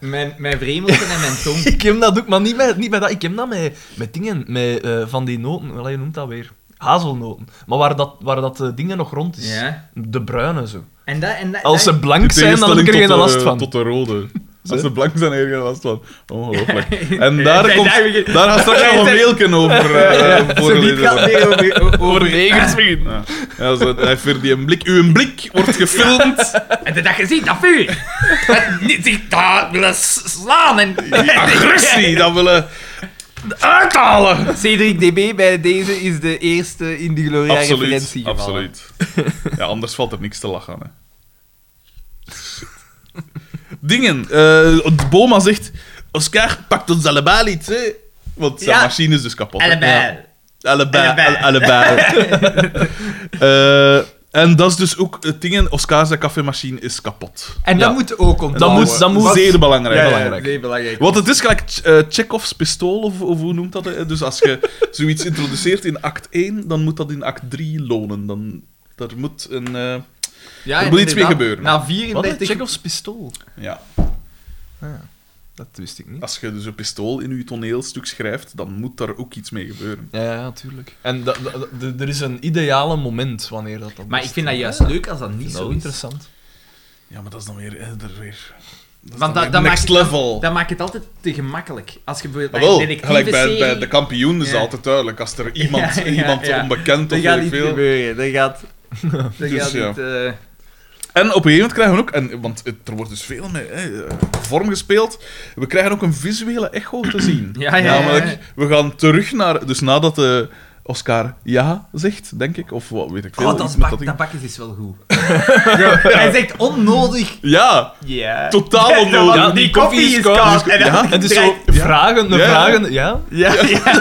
Speaker 3: mijn, mijn vremelten en mijn tong.
Speaker 2: Ik heb dat ook, maar niet met, niet met dat. Ik heb dat met, met dingen, met eh, van die noten. Wel, je noemt dat weer? Hazelnoten. Maar waar dat, waar dat eh, dingen nog rond is.
Speaker 3: Ja.
Speaker 2: De bruine zo.
Speaker 3: En dat, en dat,
Speaker 2: Als ze
Speaker 3: dat-
Speaker 1: In
Speaker 2: blank zijn, dan heb ik er
Speaker 1: tegenstelling
Speaker 2: geen
Speaker 1: tot de-
Speaker 2: last van.
Speaker 1: Tot de rode. Als ze blank zijn, heb je er geen last van. Ongelooflijk. En
Speaker 3: Ja,
Speaker 1: daar,
Speaker 3: zij
Speaker 1: komt,
Speaker 3: daar begin-
Speaker 1: daar gaat straks nog een mailken over. eh
Speaker 3: Zo niet
Speaker 1: voorlezen.
Speaker 3: gaat meer over, over,
Speaker 1: Ja. Ja, zo, hij heeft weer die een blik. Uw blik wordt gefilmd.
Speaker 3: En dat je ziet, dat vuur. En niet zich daar willen s- slaan. En,
Speaker 1: Agressie, dat willen uithalen.
Speaker 3: Cedric DB bij deze is de eerste in de Gloria referentie gevallen.
Speaker 1: Absoluut. Ja, anders valt er niks te lachen. Hè. Dingen. eh, Boma zegt... Oscar, pakt ons allebei iets, hè. Want zijn
Speaker 3: Ja.
Speaker 1: machine is dus kapot. hè.
Speaker 3: Allebei.
Speaker 1: Ja. Allebei.
Speaker 3: Allebei.
Speaker 1: al- Allebei. Eh, en dat is dus ook het ding. hè. Oscar zijn cafémachine is kapot.
Speaker 3: En dat
Speaker 2: Ja.
Speaker 3: moet ook onthouden.
Speaker 2: Dat moet- dat moet-
Speaker 1: Zeer belangrijk.
Speaker 3: Ja, ja,
Speaker 2: belangrijk.
Speaker 3: zeer belangrijk.
Speaker 1: Want het is gelijk eh Chekhov's pistool, of, of hoe noemt dat? hè? Dus als je zoiets introduceert in act 1, dan moet dat in act 3 lonen. Dan, daar moet een... eh,
Speaker 3: Ja,
Speaker 1: Er
Speaker 3: en
Speaker 1: moet iets mee
Speaker 3: inderdaad,
Speaker 1: gebeuren.
Speaker 3: Na
Speaker 2: Wat?
Speaker 3: 34...
Speaker 2: Chekhov's pistool.
Speaker 1: ja.
Speaker 2: Dat wist ik niet.
Speaker 1: Als je dus een pistool in je toneelstuk schrijft, dan moet daar ook iets mee gebeuren.
Speaker 2: Ja, ja, natuurlijk. En dat- dat- dat- er is een ideale moment wanneer dat dan
Speaker 3: Maar
Speaker 2: is.
Speaker 3: ik vind dat juist
Speaker 2: Ja,
Speaker 3: leuk als dat
Speaker 2: ik
Speaker 3: niet
Speaker 2: vind
Speaker 3: zo
Speaker 2: dat
Speaker 3: is.
Speaker 2: wel interessant.
Speaker 1: Ja, maar dat is dan weer... eh, er weer dat is
Speaker 3: Want
Speaker 1: dan
Speaker 3: dat,
Speaker 1: weer
Speaker 3: dat,
Speaker 1: next
Speaker 3: maakt,
Speaker 1: level.
Speaker 3: dat maakt het altijd te gemakkelijk. Als je
Speaker 1: Ah,
Speaker 3: bijvoorbeeld
Speaker 1: wel,
Speaker 3: bij een
Speaker 1: gelijk bij, bij de
Speaker 3: detective-serie...
Speaker 1: kampioen is
Speaker 3: Ja.
Speaker 1: altijd duidelijk. Als er iemand,
Speaker 3: Ja, ja,
Speaker 1: iemand
Speaker 3: ja.
Speaker 1: onbekend of
Speaker 3: Dat
Speaker 1: weet
Speaker 3: gaat
Speaker 1: ik
Speaker 3: niet
Speaker 1: veel...
Speaker 3: gebeuren. Dat gaat... Dat
Speaker 1: Dus
Speaker 3: gaat
Speaker 1: ja.
Speaker 3: niet... eh,
Speaker 1: En op een gegeven moment krijgen we ook, en, want het- er wordt dus veel mee hè, eh, vorm gespeeld, we krijgen ook een visuele echo te zien.
Speaker 3: Ah, Ja, ja, ja, ja.
Speaker 1: Namelijk, we gaan terug naar, dus nadat de, Oscar ja zegt, denk ik. Of wat weet ik veel.
Speaker 3: Oh, dat,
Speaker 1: iets met
Speaker 3: bak,
Speaker 1: ding.
Speaker 3: dat bakjes is wel goed. Ja, Hij zegt onnodig.
Speaker 1: Ja,
Speaker 3: Ja.
Speaker 1: totaal onnodig.
Speaker 2: Ja, die koffie is koud.
Speaker 3: En dan
Speaker 1: Ja,
Speaker 2: En dus zo
Speaker 3: draait-
Speaker 2: vragen, naar
Speaker 1: Ja, ja.
Speaker 2: vragen, ja.
Speaker 3: Ja, ja, ja.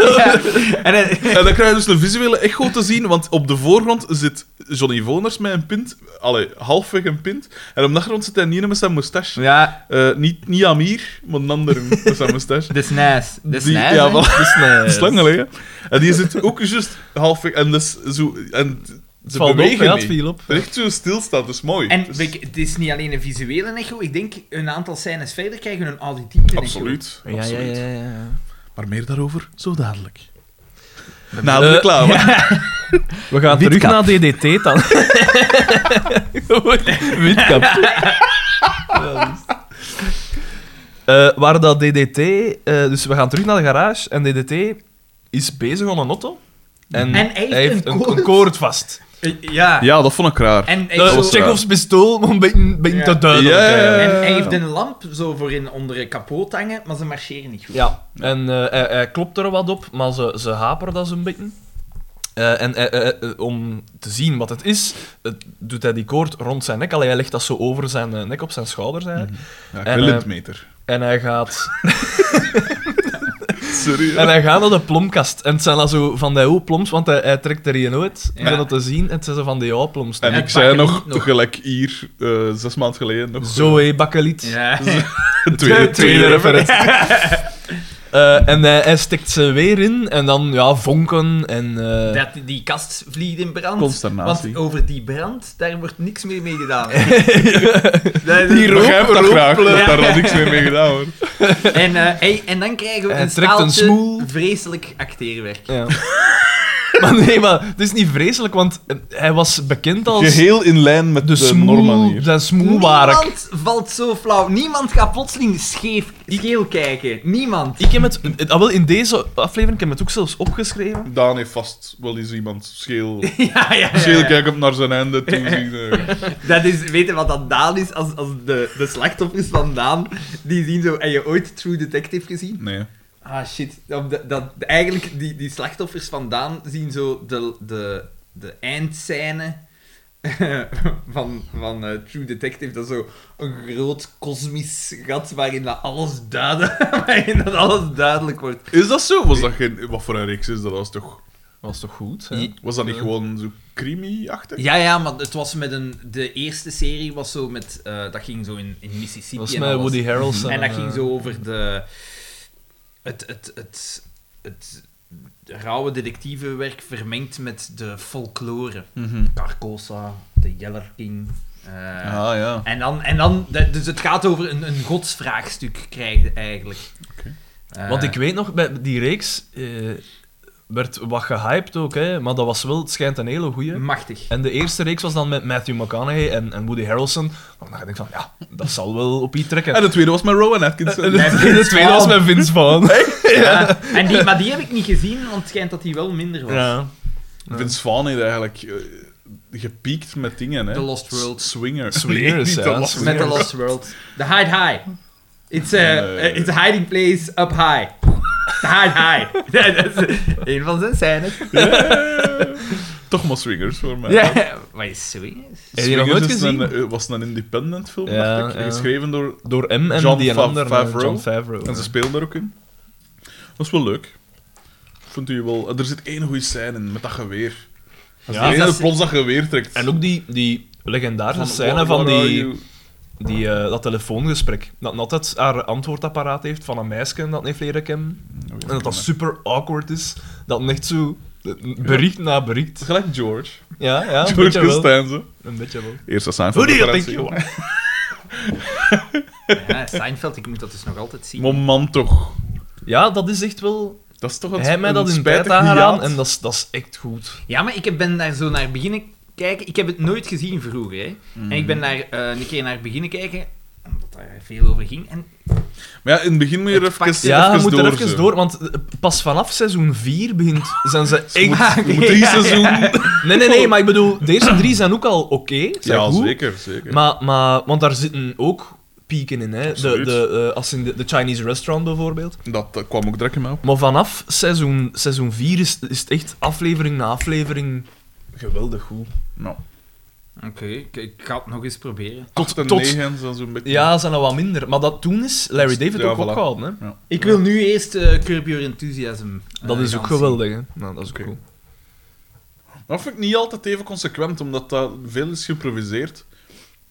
Speaker 3: En hij-
Speaker 1: En dan krijg je dus een visuele echo te zien, want op de voorgrond zit Johnny Voners met een pint. Allee, halfweg een pint. En op de achtergrond zit hij niet met zijn moustache.
Speaker 3: Ja,
Speaker 1: Eh, niet, niet Amir, maar een ander met zijn moustache.
Speaker 3: dat is nice. Dat is
Speaker 1: Die-
Speaker 3: nice.
Speaker 1: ja,
Speaker 3: hè.
Speaker 1: wel,
Speaker 2: Dus nee.
Speaker 1: slang gelegen. En die zit ook juist halfweg... En, dus zo, en
Speaker 2: Het
Speaker 1: ze
Speaker 2: valt op,
Speaker 1: bewegen
Speaker 2: ja, het
Speaker 1: niet.
Speaker 2: viel op.
Speaker 1: Echt zo stilstaat, dat is mooi.
Speaker 3: En
Speaker 1: Dus-
Speaker 3: weet je, het is niet alleen een visuele echo. Ik denk, een aantal scènes verder krijgen we een auditieve echo.
Speaker 1: Absoluut,
Speaker 2: Ja, ja,
Speaker 1: absoluut.
Speaker 2: ja, ja, ja.
Speaker 1: Maar meer daarover zo dadelijk. Eh, Na de reclame.
Speaker 2: We gaan terug
Speaker 3: Witkap.
Speaker 2: naar DDT dan. Witkap. Eh, waar dat DDT... eh, dus we gaan terug naar de garage en DDT is bezig aan een auto. En,
Speaker 3: En hij heeft een koord.
Speaker 2: koord vast.
Speaker 3: Eh, Ja.
Speaker 1: Ja, dat vond ik raar.
Speaker 3: En hij
Speaker 2: Eh,
Speaker 3: zo-
Speaker 1: was raar.
Speaker 2: Chekhovs pistool, maar een beetje, een beetje
Speaker 3: Ja.
Speaker 2: te duidelijk.
Speaker 1: Ja, ja, ja.
Speaker 2: eigenlijk.
Speaker 3: En hij heeft een lamp zo voor in onder een kapot hangen, maar ze marcheren niet goed.
Speaker 2: Ja, en eh, hij, hij klopt er wat op, maar ze, ze haperen dat zo'n beetje. Eh, en eh, eh, eh, om te zien wat het is, eh, doet hij die koord rond zijn nek. Allee, hij legt dat zo over zijn eh, nek op zijn schouders eigenlijk.
Speaker 1: Ja, ik
Speaker 2: en,
Speaker 1: wil
Speaker 2: eh,
Speaker 1: het meter.
Speaker 2: En hij gaat,
Speaker 1: Sorry.
Speaker 2: en hij gaat naar de plomkast. En het zijn dan zo van die oude ploms, want hij, hij trekt er een uit.
Speaker 3: Ja.
Speaker 2: En dat te zien, en het zijn zo van die oude ploms.
Speaker 1: En
Speaker 3: En
Speaker 1: ik
Speaker 3: het
Speaker 1: zei
Speaker 3: pakken
Speaker 1: nog,
Speaker 3: niet nog.
Speaker 1: gelijk hier, eh, zes maanden geleden, nog
Speaker 2: Zo, hé, bakkeliet.
Speaker 3: Ja.
Speaker 1: een tweede, tweede referentie.
Speaker 2: Eh, en hij, hij stikt ze weer in, en dan, ja, vonken en... eh,
Speaker 3: Dat die- die kast vliegt in brand.
Speaker 1: Consternatie.
Speaker 3: Want over die brand, daar wordt niks meer mee gedaan.
Speaker 1: Die
Speaker 3: Die
Speaker 1: begrijp dat graag, dat
Speaker 3: Ja.
Speaker 1: daar al niks meer mee gedaan wordt.
Speaker 3: En, eh, hey, en dan krijgen we
Speaker 2: Hij
Speaker 3: een
Speaker 2: trekt een
Speaker 3: staaltje
Speaker 2: smoel.
Speaker 3: vreselijk acteerwerk.
Speaker 2: Ja. maar nee, maar het is niet vreselijk, want eh, hij was bekend als
Speaker 1: Geheel in lijn met
Speaker 2: de
Speaker 1: de, normen
Speaker 2: smoel,
Speaker 1: hier.
Speaker 2: zijn smoelwark.
Speaker 3: Niemand valt zo flauw. Niemand gaat plotseling scheef, scheel kijken. Niemand.
Speaker 2: Ik heb het, eh, ah, wel in deze aflevering, ik heb het ook zelfs opgeschreven.
Speaker 1: Daan heeft vast wel eens iemand scheel...
Speaker 3: Ja, ja, ja, ja.
Speaker 1: Scheel kijken op naar zijn einde, toen zien... eh,
Speaker 3: Dat is, weet je wat dat Daan is? Als, als de, de slachtoffers van Daan, die zien zo... Heb je ooit True Detective gezien?
Speaker 1: Nee.
Speaker 3: Ah, shit. Dat, dat- dat, eigenlijk, die, die slachtoffers van Daan zien zo de, de, de eindscène van, van eh, True Detective. Dat is zo een groot kosmisch gat waarin dat alles duidelijk, waarin dat alles duidelijk wordt.
Speaker 1: Is dat zo? Was dat geen... Wat voor een reeks is dat? Dat Was, toch,
Speaker 2: Was toch goed? hè?
Speaker 3: Ja.
Speaker 1: was dat niet gewoon zo creamy-achtig?
Speaker 3: Ja, ja, maar het was met een... De eerste serie was zo met... eh, dat ging zo in, in Mississippi
Speaker 2: was
Speaker 3: en
Speaker 2: met
Speaker 3: alles.
Speaker 2: Woody Harrelson.
Speaker 3: En dat ging
Speaker 2: eh,
Speaker 3: zo over de... Het, het, het, het, rauwe detectivewerk vermengd met de folklore.
Speaker 1: Mhm.
Speaker 3: Carcosa, de Yeller King. eh,
Speaker 1: Ah, ja.
Speaker 3: En dan... En dan de- dus het gaat over een, een godsvraagstuk krijg je eigenlijk.
Speaker 1: Oké.
Speaker 3: Eh,
Speaker 2: Want ik weet nog, bij die reeks eh, werd wat gehyped ook, hè, maar dat was wel, het schijnt een hele goeie.
Speaker 3: Machtig.
Speaker 2: En de eerste reeks was dan met Matthew McConaughey en, en Woody Harrelson. Maar dan denk ik van, ja, dat zal wel op iets trekken.
Speaker 1: En de tweede was met Rowan Atkinson.
Speaker 2: En de, de tweede was met Vince Vaughn.
Speaker 3: Ja. En die, maar die heb ik niet gezien, want het schijnt dat die wel minder was.
Speaker 2: Ja.
Speaker 1: Vince Vaughn heeft eigenlijk eh, gepiekt met dingen, hè.
Speaker 3: The Lost World.
Speaker 1: S- Swinger. Nee, niet
Speaker 2: Swingers, ja,
Speaker 1: The Lost
Speaker 2: Swingers.
Speaker 3: Met The
Speaker 1: World.
Speaker 3: Lost World. The Hide High. It's a,
Speaker 1: Eh.
Speaker 3: it's a hiding place up high. The Hide High. Dat is een van zijn scènes.
Speaker 1: Toch maar Swingers voor mij.
Speaker 3: Ja, maar is swingers?
Speaker 2: Heb je die
Speaker 1: Swingers
Speaker 2: nog nooit
Speaker 1: is een,
Speaker 2: gezien?
Speaker 1: eh, was een independent film,
Speaker 2: Ja,
Speaker 1: dacht ik.
Speaker 2: ja.
Speaker 1: Geschreven door...
Speaker 2: Door M en
Speaker 1: John
Speaker 2: die een
Speaker 1: Fa-
Speaker 2: ander, eh,
Speaker 1: Favreau.
Speaker 2: John Favreau.
Speaker 1: En ze
Speaker 2: ja.
Speaker 1: speelden er ook in. Dat is wel leuk. Vond u wel... Er zit één goede scène in, met dat geweer. Als
Speaker 2: Ja.
Speaker 1: de
Speaker 3: Is
Speaker 1: ene
Speaker 3: dat-
Speaker 1: plots dat geweer trekt.
Speaker 2: En ook die, die legendarische
Speaker 1: Van,
Speaker 2: scène
Speaker 1: what-
Speaker 2: van
Speaker 1: what are
Speaker 2: die,
Speaker 1: you?
Speaker 2: die, eh, dat telefoongesprek. Dat Nat het haar antwoordapparaat heeft van een meisje dat heeft leren kennen.
Speaker 1: Oh, ja,
Speaker 2: En dat dat
Speaker 1: ik
Speaker 2: super awkward is. Dat hem echt zo eh, bericht na bericht.
Speaker 1: ken hem. Gelijk George.
Speaker 2: Ja, ja, een
Speaker 1: George
Speaker 2: beetje Oh, wel.
Speaker 1: Costanza.
Speaker 2: Een beetje wel.
Speaker 1: Eerste zijn
Speaker 2: Who do you
Speaker 1: referentie.
Speaker 2: think you
Speaker 3: Ja, Seinfeld, ik moet dat dus nog altijd zien.
Speaker 1: Maar man, toch.
Speaker 2: Ja, dat is echt wel...
Speaker 1: Dat is toch
Speaker 2: Hij
Speaker 1: het
Speaker 2: heeft mij dat in bed aangedaan en dat is, dat is echt goed.
Speaker 3: Ja, maar ik ben daar zo naar beginnen kijken. Ik heb het nooit gezien vroeger. Hè. En ik ben
Speaker 1: Mm.
Speaker 3: daar eh, een keer naar beginnen kijken, omdat daar veel over ging. En
Speaker 1: Maar ja, in het begin moet je er
Speaker 3: Het
Speaker 1: even,
Speaker 3: pakt-
Speaker 1: even,
Speaker 2: Ja, je moet
Speaker 1: door.
Speaker 2: er even
Speaker 1: zo.
Speaker 2: door, want eh, pas vanaf seizoen 4 begint, zijn ze echt...
Speaker 1: Je moet drie seizoenen...
Speaker 2: Nee, nee, nee, maar ik bedoel, deze drie zijn ook al oké. zijn
Speaker 1: Ja,
Speaker 2: goed,
Speaker 1: zeker, zeker.
Speaker 2: Maar, maar, want daar zitten ook pieken in. Hè. De,
Speaker 1: Absoluut.
Speaker 2: de, eh, als in de, de Chinese restaurant bijvoorbeeld.
Speaker 1: Dat, dat kwam ook direct in mij op.
Speaker 2: Maar vanaf seizoen, seizoen 4 is, is het echt aflevering na aflevering geweldig goed.
Speaker 1: Nou,
Speaker 3: Oké, ik, ik ga het nog eens proberen.
Speaker 1: tot, en
Speaker 2: tot-
Speaker 1: negen zijn zo'n beetje...
Speaker 2: Ja, zijn er wat minder. Maar dat toen is Larry David
Speaker 1: Ja,
Speaker 2: ook
Speaker 1: voilà.
Speaker 2: opgehouden. Hè.
Speaker 3: Ik wil nu eerst eh Curb Your Enthusiasm. eh,
Speaker 2: Dat is
Speaker 3: gaan
Speaker 2: ook
Speaker 3: zien.
Speaker 2: geweldig. Hè. Nou, dat is ook
Speaker 1: Oké.
Speaker 2: cool.
Speaker 1: Dat vind ik niet altijd even consequent, omdat dat veel is geïmproviseerd.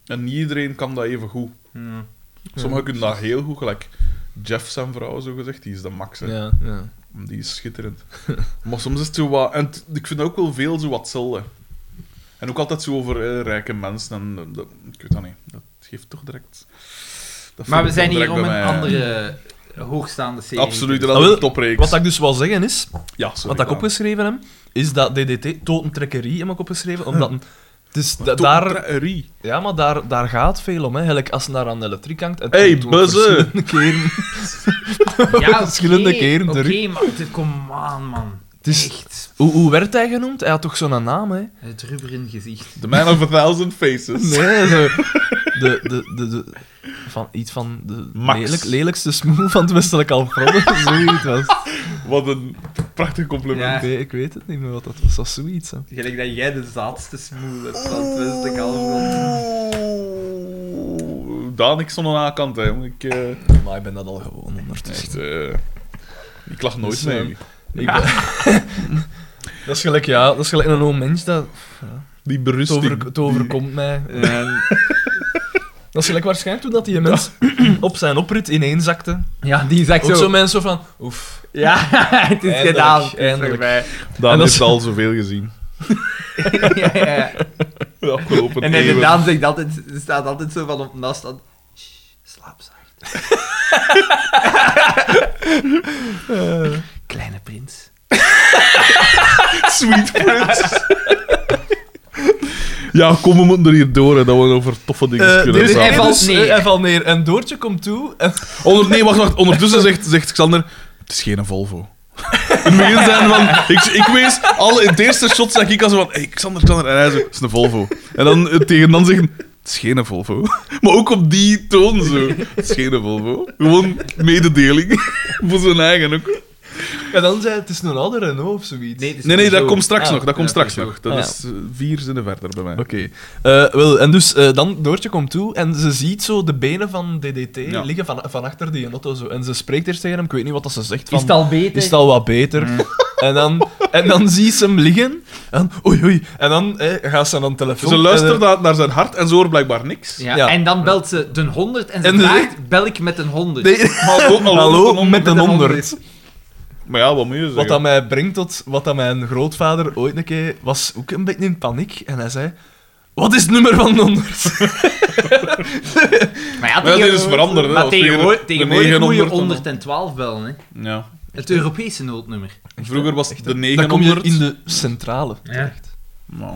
Speaker 1: En niet iedereen kan dat even goed.
Speaker 3: Hmm.
Speaker 1: Sommigen kunnen dat heel goed, gelijk Jeff zijn vrouw, zo gezegd. Die is de max, hè.
Speaker 2: Ja, ja.
Speaker 1: Mm, Die is schitterend. maar soms is het zo wat... En t- ik vind ook wel veel zo wat hetzelfde. En ook altijd zo over eh, rijke mensen. En, eh, dat, ik weet dat niet. Dat geeft toch direct... dat
Speaker 3: Maar
Speaker 1: vind
Speaker 3: we
Speaker 1: ik wel
Speaker 3: zijn hier
Speaker 1: direct
Speaker 3: om
Speaker 1: bij
Speaker 3: een
Speaker 1: mij. eh,
Speaker 3: andere eh, hoogstaande serie.
Speaker 1: Absoluut,
Speaker 3: te-
Speaker 1: dat
Speaker 2: Ah,
Speaker 1: is
Speaker 2: wel,
Speaker 1: een topreeks.
Speaker 2: Wat ik dus wil zeggen is,
Speaker 1: ja, sorry,
Speaker 2: wat ik
Speaker 1: Daan.
Speaker 2: opgeschreven heb, is dat DDT totentrekkerie heb ik opgeschreven, omdat... een- het is da-
Speaker 1: Tot
Speaker 2: daar,
Speaker 1: drie.
Speaker 2: ja, maar daar, daar gaat veel om. Hè. Gelijk als ze daar aan de elektriek hangt... Het
Speaker 1: Hey,
Speaker 2: komt ook
Speaker 1: buzzer.
Speaker 2: verschillende keren.
Speaker 3: Ja,
Speaker 2: Verschillende
Speaker 3: oké,
Speaker 2: keren
Speaker 3: Oké,
Speaker 2: terug.
Speaker 3: maar de- kom aan, man.
Speaker 2: Het is,
Speaker 3: Echt.
Speaker 2: hoe, hoe werd hij genoemd? Hij had toch zo'n naam, hè?
Speaker 3: Het rubber in het gezicht.
Speaker 1: The Man of a Thousand Faces.
Speaker 2: Nee, zo... De, de, de, de- van, iets van de
Speaker 1: Max.
Speaker 2: lelijk- lelijkste smoel van het westelijk Alfredde. Zoiets was.
Speaker 1: Wat een prachtig compliment.
Speaker 3: Ja.
Speaker 2: Ik, weet, ik weet het niet meer wat dat was. Dat was zoiets, hè.
Speaker 3: Gelijk dat jij de zaadste smoel hebt van het westelijk halfrond.
Speaker 1: Oeh. Daan, ik stond aan haar kant, hè. want Ik, eh,
Speaker 2: Maar ik ben dat al gewoon ondertussen.
Speaker 1: echt, eh, ik lach nooit
Speaker 2: Dus,
Speaker 1: mee.
Speaker 2: eh, Ik ben- dat is gelijk, ja. Dat is gelijk een oom mens. Dat,
Speaker 1: die
Speaker 2: het,
Speaker 1: berusting.
Speaker 2: over- het overkomt mij.
Speaker 3: En-
Speaker 2: Dat is gelijk waarschijnlijk toen dat die mens op zijn oprit ineenzakte.
Speaker 3: Ja, die zegt
Speaker 2: Ook
Speaker 3: zo.
Speaker 2: zo mensen van, oef.
Speaker 3: Ja, het is
Speaker 2: Eindelijk,
Speaker 3: gedaan. Het is
Speaker 2: eindelijk.
Speaker 3: voorbij.
Speaker 1: Daan
Speaker 2: En dat
Speaker 1: heeft
Speaker 2: is-
Speaker 1: al zoveel gezien.
Speaker 3: ja, ja, ja.
Speaker 1: De afgelopen
Speaker 3: En
Speaker 1: eeuwen.
Speaker 3: inderdaad zegt altijd, staat altijd zo van op naast dat. Slaap zacht. Kleine prins.
Speaker 1: Sweet Prince. ja, kom, we moeten er hier door, hè, dat we over toffe dingen Dus kunnen
Speaker 3: dit is
Speaker 1: praten.
Speaker 3: hij even- valt neer.
Speaker 2: eh, hij valt neer. En Doortje komt toe. En
Speaker 1: Onder, nee, wacht, wacht. Ondertussen zegt, zegt Xander, het is geen Volvo. In het begin zijn van, ik, ik wees, al in het eerste shot zag ik al zo van, hey, Xander, Xander, en hij zo, het is een Volvo. En dan eh, tegen dan zeggen, het is geen Volvo. Maar ook op die toon zo, het is geen Volvo. Gewoon mededeling, voor zijn eigen ook.
Speaker 2: en dan zei hij, het is een oude Renault of zoiets.
Speaker 3: het is
Speaker 1: Nee, nee, dat
Speaker 3: Peugeot.
Speaker 1: komt straks
Speaker 2: Ah,
Speaker 1: nog, dat komt
Speaker 3: ja,
Speaker 1: straks
Speaker 3: Peugeot.
Speaker 1: nog. Dat
Speaker 2: Ah, ja.
Speaker 1: is eh, vier zinnen verder bij mij.
Speaker 2: Oké. Eh, wel, en dus eh, dan Doortje komt toe en ze ziet zo de benen van DDT
Speaker 1: Ja.
Speaker 2: liggen van, van achter die auto. Zo. En ze spreekt eerst tegen hem, ik weet niet wat dat ze zegt. Van,
Speaker 3: Is het al beter?
Speaker 2: is het al wat beter.
Speaker 1: Mm.
Speaker 2: En, dan, en dan zie ze hem liggen. En, oei, oei. En dan eh, gaat ze aan de telefoon.
Speaker 1: Ze
Speaker 2: En,
Speaker 1: luistert
Speaker 2: eh,
Speaker 1: naar, naar zijn hart en ze hoort blijkbaar niks.
Speaker 3: Ja,
Speaker 2: Ja.
Speaker 3: En dan belt ze de 100 en ze
Speaker 2: En de-
Speaker 3: vraagt: bel ik met een 100?
Speaker 2: nee.
Speaker 1: Hallo, hallo,
Speaker 2: Hallo, met een
Speaker 3: een
Speaker 2: 100.
Speaker 1: Maar ja, wat moet je zeggen?
Speaker 2: Wat dat mij brengt tot wat dat mijn grootvader ooit een keer was ook een beetje in paniek. En hij zei, wat is het nummer van de 100?
Speaker 3: Maar
Speaker 1: Maar ja,
Speaker 3: ja,
Speaker 1: dit
Speaker 3: tegenwoordig-
Speaker 1: is veranderd. hè.
Speaker 3: Maar
Speaker 1: Als je
Speaker 3: tegenwoordig,
Speaker 1: de
Speaker 3: tegenwoordig moet je
Speaker 1: 900 dan-
Speaker 3: 112 bellen. Hè.
Speaker 1: Ja.
Speaker 3: Het Europese noodnummer.
Speaker 1: Vroeger was het de
Speaker 2: Dan kom je
Speaker 1: 900.
Speaker 2: in de centrale
Speaker 3: Ja.
Speaker 2: terecht.
Speaker 1: Nou.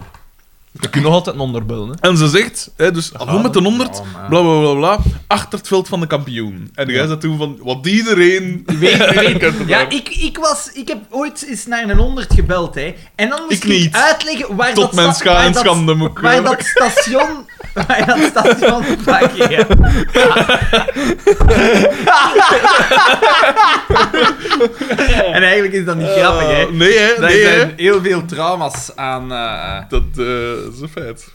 Speaker 2: Je kunt nog altijd een onderbellen, hè.
Speaker 1: En ze zegt, hè, dus
Speaker 2: Ah,
Speaker 1: hallo met de 100,
Speaker 3: Oh, man.
Speaker 1: bla bla bla bla, achter het veld van de kampioen. En jij zei toen van, wat iedereen
Speaker 3: Weet, weet-
Speaker 1: kent het
Speaker 3: ja,
Speaker 1: wel.
Speaker 3: ik, ik, was, ik heb ooit eens naar een 100 gebeld. Hè. En dan moest
Speaker 1: Ik
Speaker 3: ik,
Speaker 1: niet.
Speaker 3: uitleggen waar
Speaker 1: tot
Speaker 3: dat,
Speaker 1: mijn
Speaker 3: sta-
Speaker 1: scha
Speaker 3: waar
Speaker 1: en
Speaker 3: dat-
Speaker 1: schande moet
Speaker 3: waar
Speaker 1: komen.
Speaker 3: dat station... Waar dat station... Fuck, ja. en eigenlijk is dat niet grappig, hè.
Speaker 1: Eh, nee, hè,
Speaker 3: Daar
Speaker 1: nee,
Speaker 3: zijn
Speaker 1: hè.
Speaker 3: heel veel trauma's aan... eh,
Speaker 1: Dat eh, is een feit.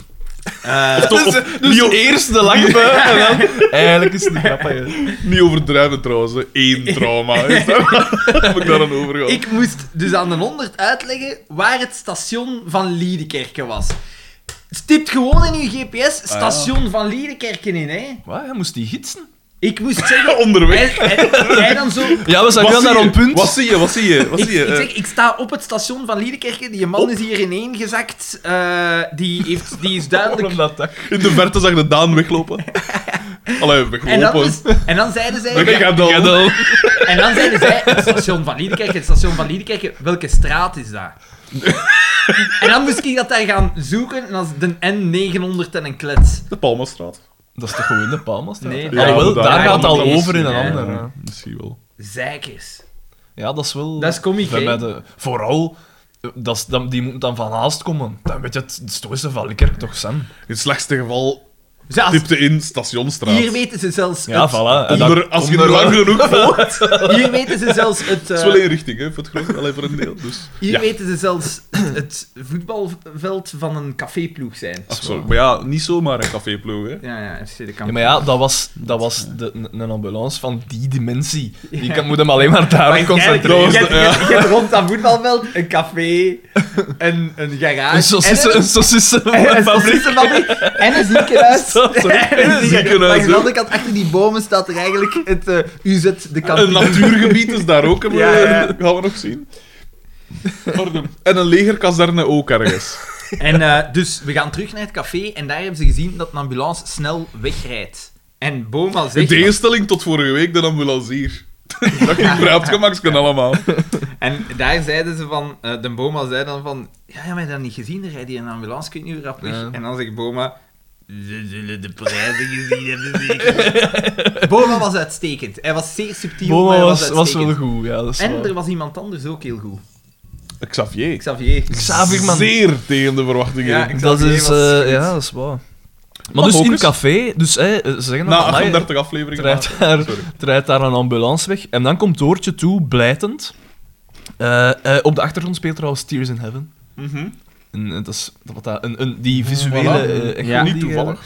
Speaker 3: eh,
Speaker 2: Dus,
Speaker 1: Toch, of- niet, o-
Speaker 2: eerst de lakbui en dan... Eigenlijk is het niet grappig, hè.
Speaker 1: niet overdrijven trouwens, hè. één trauma. Is dat? Heb ik daar aan overgehouden.
Speaker 3: Ik moest dus aan de 100 uitleggen waar het station van Liedekerken was. Stipt gewoon in uw GPS
Speaker 1: Ah,
Speaker 3: station van Liedekerken in, hè.
Speaker 2: Wat? Hij moest die gidsen?
Speaker 3: Ik moest zeggen...
Speaker 1: Onderweg.
Speaker 3: En, en jij dan zo...
Speaker 2: Ja, we
Speaker 1: Wat
Speaker 2: zagen wel
Speaker 1: zie
Speaker 2: naar
Speaker 1: je?
Speaker 2: een punt.
Speaker 1: Wat zie je, wat zie je, wat
Speaker 3: Ik,
Speaker 1: zie je?
Speaker 3: ik,
Speaker 1: eh?
Speaker 3: zeg, ik sta op het station van Liedekerken, die man is hier ineengezakt. eh die, heeft, die is duidelijk...
Speaker 2: Waarom dat dak?
Speaker 1: In de verte zag de Daan weglopen. Allee, weglopen.
Speaker 3: En dan, is- en dan zeiden zij...
Speaker 1: Weg, gaat dan.
Speaker 3: En dan zeiden zij, het station van Liedekerk, het station van Liedekerk, welke straat is dat? en dan moest ik dat daar gaan zoeken, en dat is de N900 en een klets.
Speaker 1: De Palmastraat.
Speaker 2: Dat is toch gewoon de Palmas?
Speaker 3: Nee,
Speaker 2: Nee,
Speaker 3: Ja,
Speaker 2: Alhoewel,
Speaker 1: inderdaad.
Speaker 2: daar
Speaker 3: Ja,
Speaker 2: gaat het al
Speaker 3: die is-
Speaker 2: over in een
Speaker 3: ja.
Speaker 2: ander. hè.
Speaker 1: Ja, misschien wel.
Speaker 3: Zeikers.
Speaker 2: Ja, dat is wel...
Speaker 3: Dat is komiek,
Speaker 2: bij
Speaker 3: hè?
Speaker 2: mij de- Vooral, eh, dat is, dan, die moet dan van haast komen. Dan weet je, het het is toch eens een van Likkerk toch, Sam?
Speaker 1: In het slechtste geval
Speaker 3: Ze- als-
Speaker 1: Tipte in Stationstraat.
Speaker 3: hier weten ze zelfs
Speaker 2: Ja,
Speaker 3: het,
Speaker 2: voilà. En dan-
Speaker 1: Onder, als je er
Speaker 2: onderaan-
Speaker 1: lang genoeg volgt.
Speaker 3: hier weten ze zelfs het,
Speaker 1: Het
Speaker 3: eh,
Speaker 1: is wel één richting, hè, voor het groot, alleen voor een deel. Dus.
Speaker 3: hier
Speaker 1: Ja,
Speaker 3: weten ze zelfs het, het voetbalveld van een caféploeg zijn.
Speaker 1: absoluut. Maar ja, niet zomaar een caféploeg, hè.
Speaker 3: Ja, ja, FC de
Speaker 2: Ja,
Speaker 3: kampioen.
Speaker 2: maar ja, dat was, dat was de, een een ambulance van die dimensie. Je
Speaker 3: Ja.
Speaker 2: kan, moet hem alleen maar
Speaker 3: Maar
Speaker 2: daarop
Speaker 3: kijk,
Speaker 2: concentreren.
Speaker 3: Je
Speaker 1: Ja.
Speaker 3: hebt- je hebt- je hebt rond dat voetbalveld een café, een, een garage.
Speaker 2: Een saucissen-
Speaker 3: en
Speaker 2: een
Speaker 3: een- en
Speaker 2: saucissenfabriek.
Speaker 3: een saucissenfabriek en een ziekenhuis.
Speaker 2: Zo, zo.
Speaker 3: En een
Speaker 1: Ziekenhuis,
Speaker 3: Maar aan de
Speaker 1: hè.
Speaker 3: andere kant, achter die bomen staat er eigenlijk het eh, UZ de
Speaker 1: Een
Speaker 3: kampioen.
Speaker 1: natuurgebied is daar ook, hebben we-
Speaker 3: Ja, ja.
Speaker 1: gaan we nog zien. Pardon. En een legerkazerne ook ergens.
Speaker 3: En eh, dus we gaan terug naar het café en daar hebben ze gezien dat een ambulance snel wegrijdt. En Boma
Speaker 1: In
Speaker 3: zegt...
Speaker 1: tegenstelling tot vorige week, de ambulancier. Dat ging praatgemaks kunnen allemaal.
Speaker 3: En daar zeiden ze van... eh, de Boma zei dan van... Ja, ja, maar dat niet gezien. Dan rijdt hij een ambulance, kun je nu rap weg.
Speaker 2: Ja.
Speaker 3: En dan zegt Boma... Ze zullen de prijzen gezien hebben, zeker." Boma was uitstekend. Hij was zeer subtiel, maar
Speaker 2: Boma
Speaker 3: hij
Speaker 2: was,
Speaker 3: was,
Speaker 2: was wel
Speaker 3: uitstekend.
Speaker 2: goed, ja, dat is
Speaker 3: en
Speaker 2: waar.
Speaker 3: er was iemand anders ook heel goed.
Speaker 1: Xavier.
Speaker 3: Xavier.
Speaker 2: Xavier, man.
Speaker 1: Zeer tegen de verwachtingen.
Speaker 3: Ja,
Speaker 1: in.
Speaker 2: Dat
Speaker 3: Xavier
Speaker 2: is,
Speaker 3: was
Speaker 2: eh,
Speaker 3: goed.
Speaker 2: ja, dat is waar. Maar
Speaker 1: Maar
Speaker 2: dus
Speaker 1: ook
Speaker 2: in het
Speaker 1: eens.
Speaker 2: café, dus, hè, eh, ze zeggen
Speaker 1: Na
Speaker 2: dat amai,
Speaker 1: 38 afleveringen.
Speaker 2: Draait
Speaker 1: maar-
Speaker 2: daar-
Speaker 1: Sorry.
Speaker 2: er rijdt daar een ambulance weg. En dan komt Doortje toe, blijtend. Eh, eh, op de achtergrond speelt trouwens Tears in Heaven.
Speaker 1: Mhm.
Speaker 2: En, eh, dat is, wat dat, een, een, die visuele...
Speaker 1: Voilà.
Speaker 2: eh, echo
Speaker 3: Ja.
Speaker 2: die,
Speaker 1: Niet toevallig.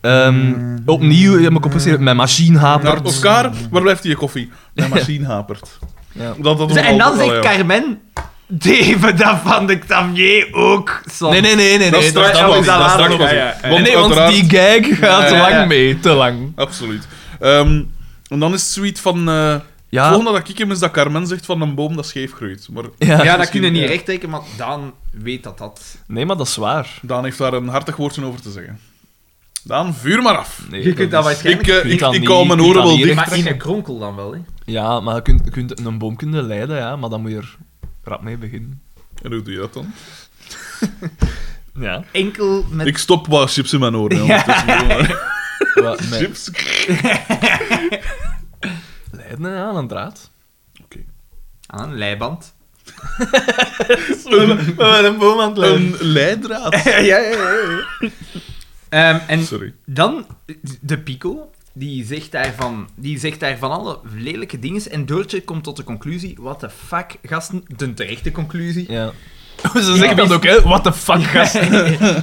Speaker 2: eh, ehm, opnieuw, ja, mijn kop is hier- mijn machine
Speaker 1: Naar
Speaker 2: hapert.
Speaker 1: Oscar, waar blijft die koffie? Mijn machine hapert.
Speaker 2: Ja.
Speaker 1: Dat, dat
Speaker 3: Ze- Dus En dan
Speaker 1: altijd al, Oh,
Speaker 3: zegt
Speaker 1: ja.
Speaker 3: Carmen... Deven dat van de Xavier ook. Sam."
Speaker 2: Nee, nee, nee, nee.
Speaker 1: Dat
Speaker 2: nee
Speaker 1: is straks
Speaker 2: dat
Speaker 1: wel
Speaker 2: was-
Speaker 1: iets, dat is
Speaker 2: dat
Speaker 1: straks
Speaker 2: was-
Speaker 1: wel
Speaker 3: Ja,
Speaker 1: iets.
Speaker 3: ja, ja.
Speaker 2: Nee, nee, want
Speaker 1: uiteraard-
Speaker 2: die gag gaat te
Speaker 3: Ja, ja,
Speaker 2: lang
Speaker 3: ja.
Speaker 2: mee. Te lang.
Speaker 1: Absoluut. Ehm, en dan is het zoiets van... eh, Het
Speaker 2: Ja,
Speaker 1: volgende dat ik hem is dat Carmen zegt van een boom dat scheef groeit. Maar
Speaker 2: ja.
Speaker 3: Ja, dat
Speaker 1: Misschien,
Speaker 3: kunnen niet
Speaker 1: ja.
Speaker 3: recht trekken, maar Daan weet dat dat...
Speaker 2: Nee, maar dat is waar.
Speaker 1: Daan heeft daar een hartig woordje over te zeggen. Daan, vuur maar af.
Speaker 2: Nee,
Speaker 3: Je kunt dat
Speaker 2: is-
Speaker 3: waarschijnlijk-
Speaker 1: Ik, eh,
Speaker 2: Je
Speaker 1: ik,
Speaker 2: kan
Speaker 1: ik
Speaker 2: niet-
Speaker 1: hou mijn
Speaker 2: je
Speaker 1: oren
Speaker 2: kan
Speaker 1: wel
Speaker 2: niet
Speaker 1: dicht.
Speaker 3: Maar in een kronkel dan wel, hè.
Speaker 2: Ja, maar je kunt, je kunt een boom kunnen leiden, ja, maar dan moet je er rap mee beginnen.
Speaker 1: En hoe doe je dat dan?
Speaker 2: Ja.
Speaker 3: Enkel met...
Speaker 1: Ik stop wat chips in mijn oren. Ja. ondertussen.
Speaker 2: Wat, met
Speaker 1: Chips.
Speaker 2: leiden ja, aan een draad.
Speaker 3: Aan Ah, een leiband.
Speaker 1: Een,
Speaker 2: Met een boom aan het
Speaker 1: een leidraad.
Speaker 3: ja, ja, ja. Ehm, en
Speaker 1: Sorry.
Speaker 3: dan de Pico, die zegt, daarvan, die zegt daar van alle lelijke dingen. En Doortje komt tot de conclusie: what the fuck, gasten? De terechte conclusie.
Speaker 2: Ja. Ze zeggen dat ook, hè? What the fuck, gast.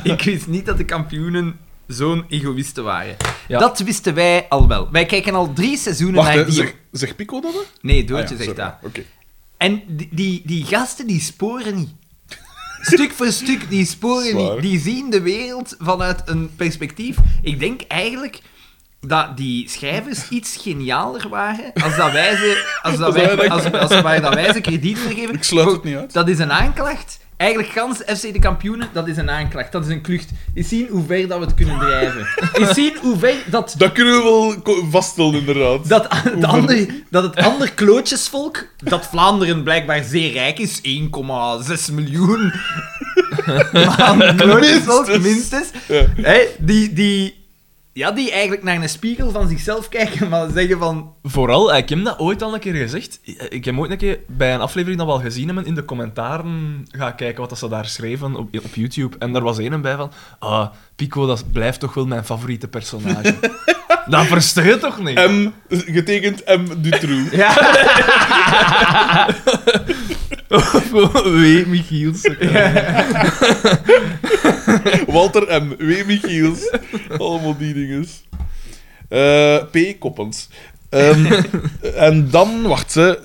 Speaker 3: Ik wist niet dat de kampioenen zo'n egoïsten waren.
Speaker 2: Ja.
Speaker 3: Dat wisten wij al wel. Wij kijken al drie seizoenen
Speaker 1: Wacht,
Speaker 3: naar
Speaker 1: hè,
Speaker 3: die.
Speaker 1: zeg, zeg Pico dat? hè? Ah
Speaker 3: Nee,
Speaker 1: ja,
Speaker 3: Doortje zegt
Speaker 1: sorry.
Speaker 3: dat.
Speaker 1: Oké.
Speaker 3: En die, die, die gasten, die sporen niet. Stuk voor stuk, die sporen
Speaker 1: Zwaar.
Speaker 3: niet. Die zien de wereld vanuit een perspectief. Ik denk eigenlijk dat die schrijvers iets genialer waren als dat wij ze, als dat
Speaker 1: Als wij
Speaker 3: wij,
Speaker 1: denken.
Speaker 3: als, als wij, dat wij ze krediet voor geven.
Speaker 1: Ik sluit het niet uit.
Speaker 3: Dat is een aanklacht. Eigenlijk gans FC de kampioenen, dat is een aanklacht. Dat is een klucht. Is zien hoe ver dat we het kunnen drijven. Is zien hoe ver dat
Speaker 1: Dat kunnen we wel ko- vaststellen, inderdaad.
Speaker 3: dat, het ander, dat het ander klootjesvolk, dat Vlaanderen blijkbaar zeer rijk is, 1,6 miljoen aan klootjesvolk, minstens,
Speaker 1: Ja.
Speaker 3: hè, die, die, ja, die eigenlijk naar een spiegel van zichzelf kijken, maar zeggen van...
Speaker 2: Vooral, ik heb dat ooit al een keer gezegd. Ik heb ooit een keer bij een aflevering dat we al gezien hebben, in de commentaren gaan kijken wat dat ze daar schreven op, op YouTube. En daar was één bij van, ah, Pico, dat blijft toch wel mijn favoriete personage. dat versteer je toch niet?
Speaker 1: M, getekend M. Dutroux.
Speaker 3: Ja,
Speaker 2: Wie, Michiels.
Speaker 1: Walter M. W. Michiels. Allemaal die dingen. Eh, P. Koppens. Ehm, en dan, wacht ze.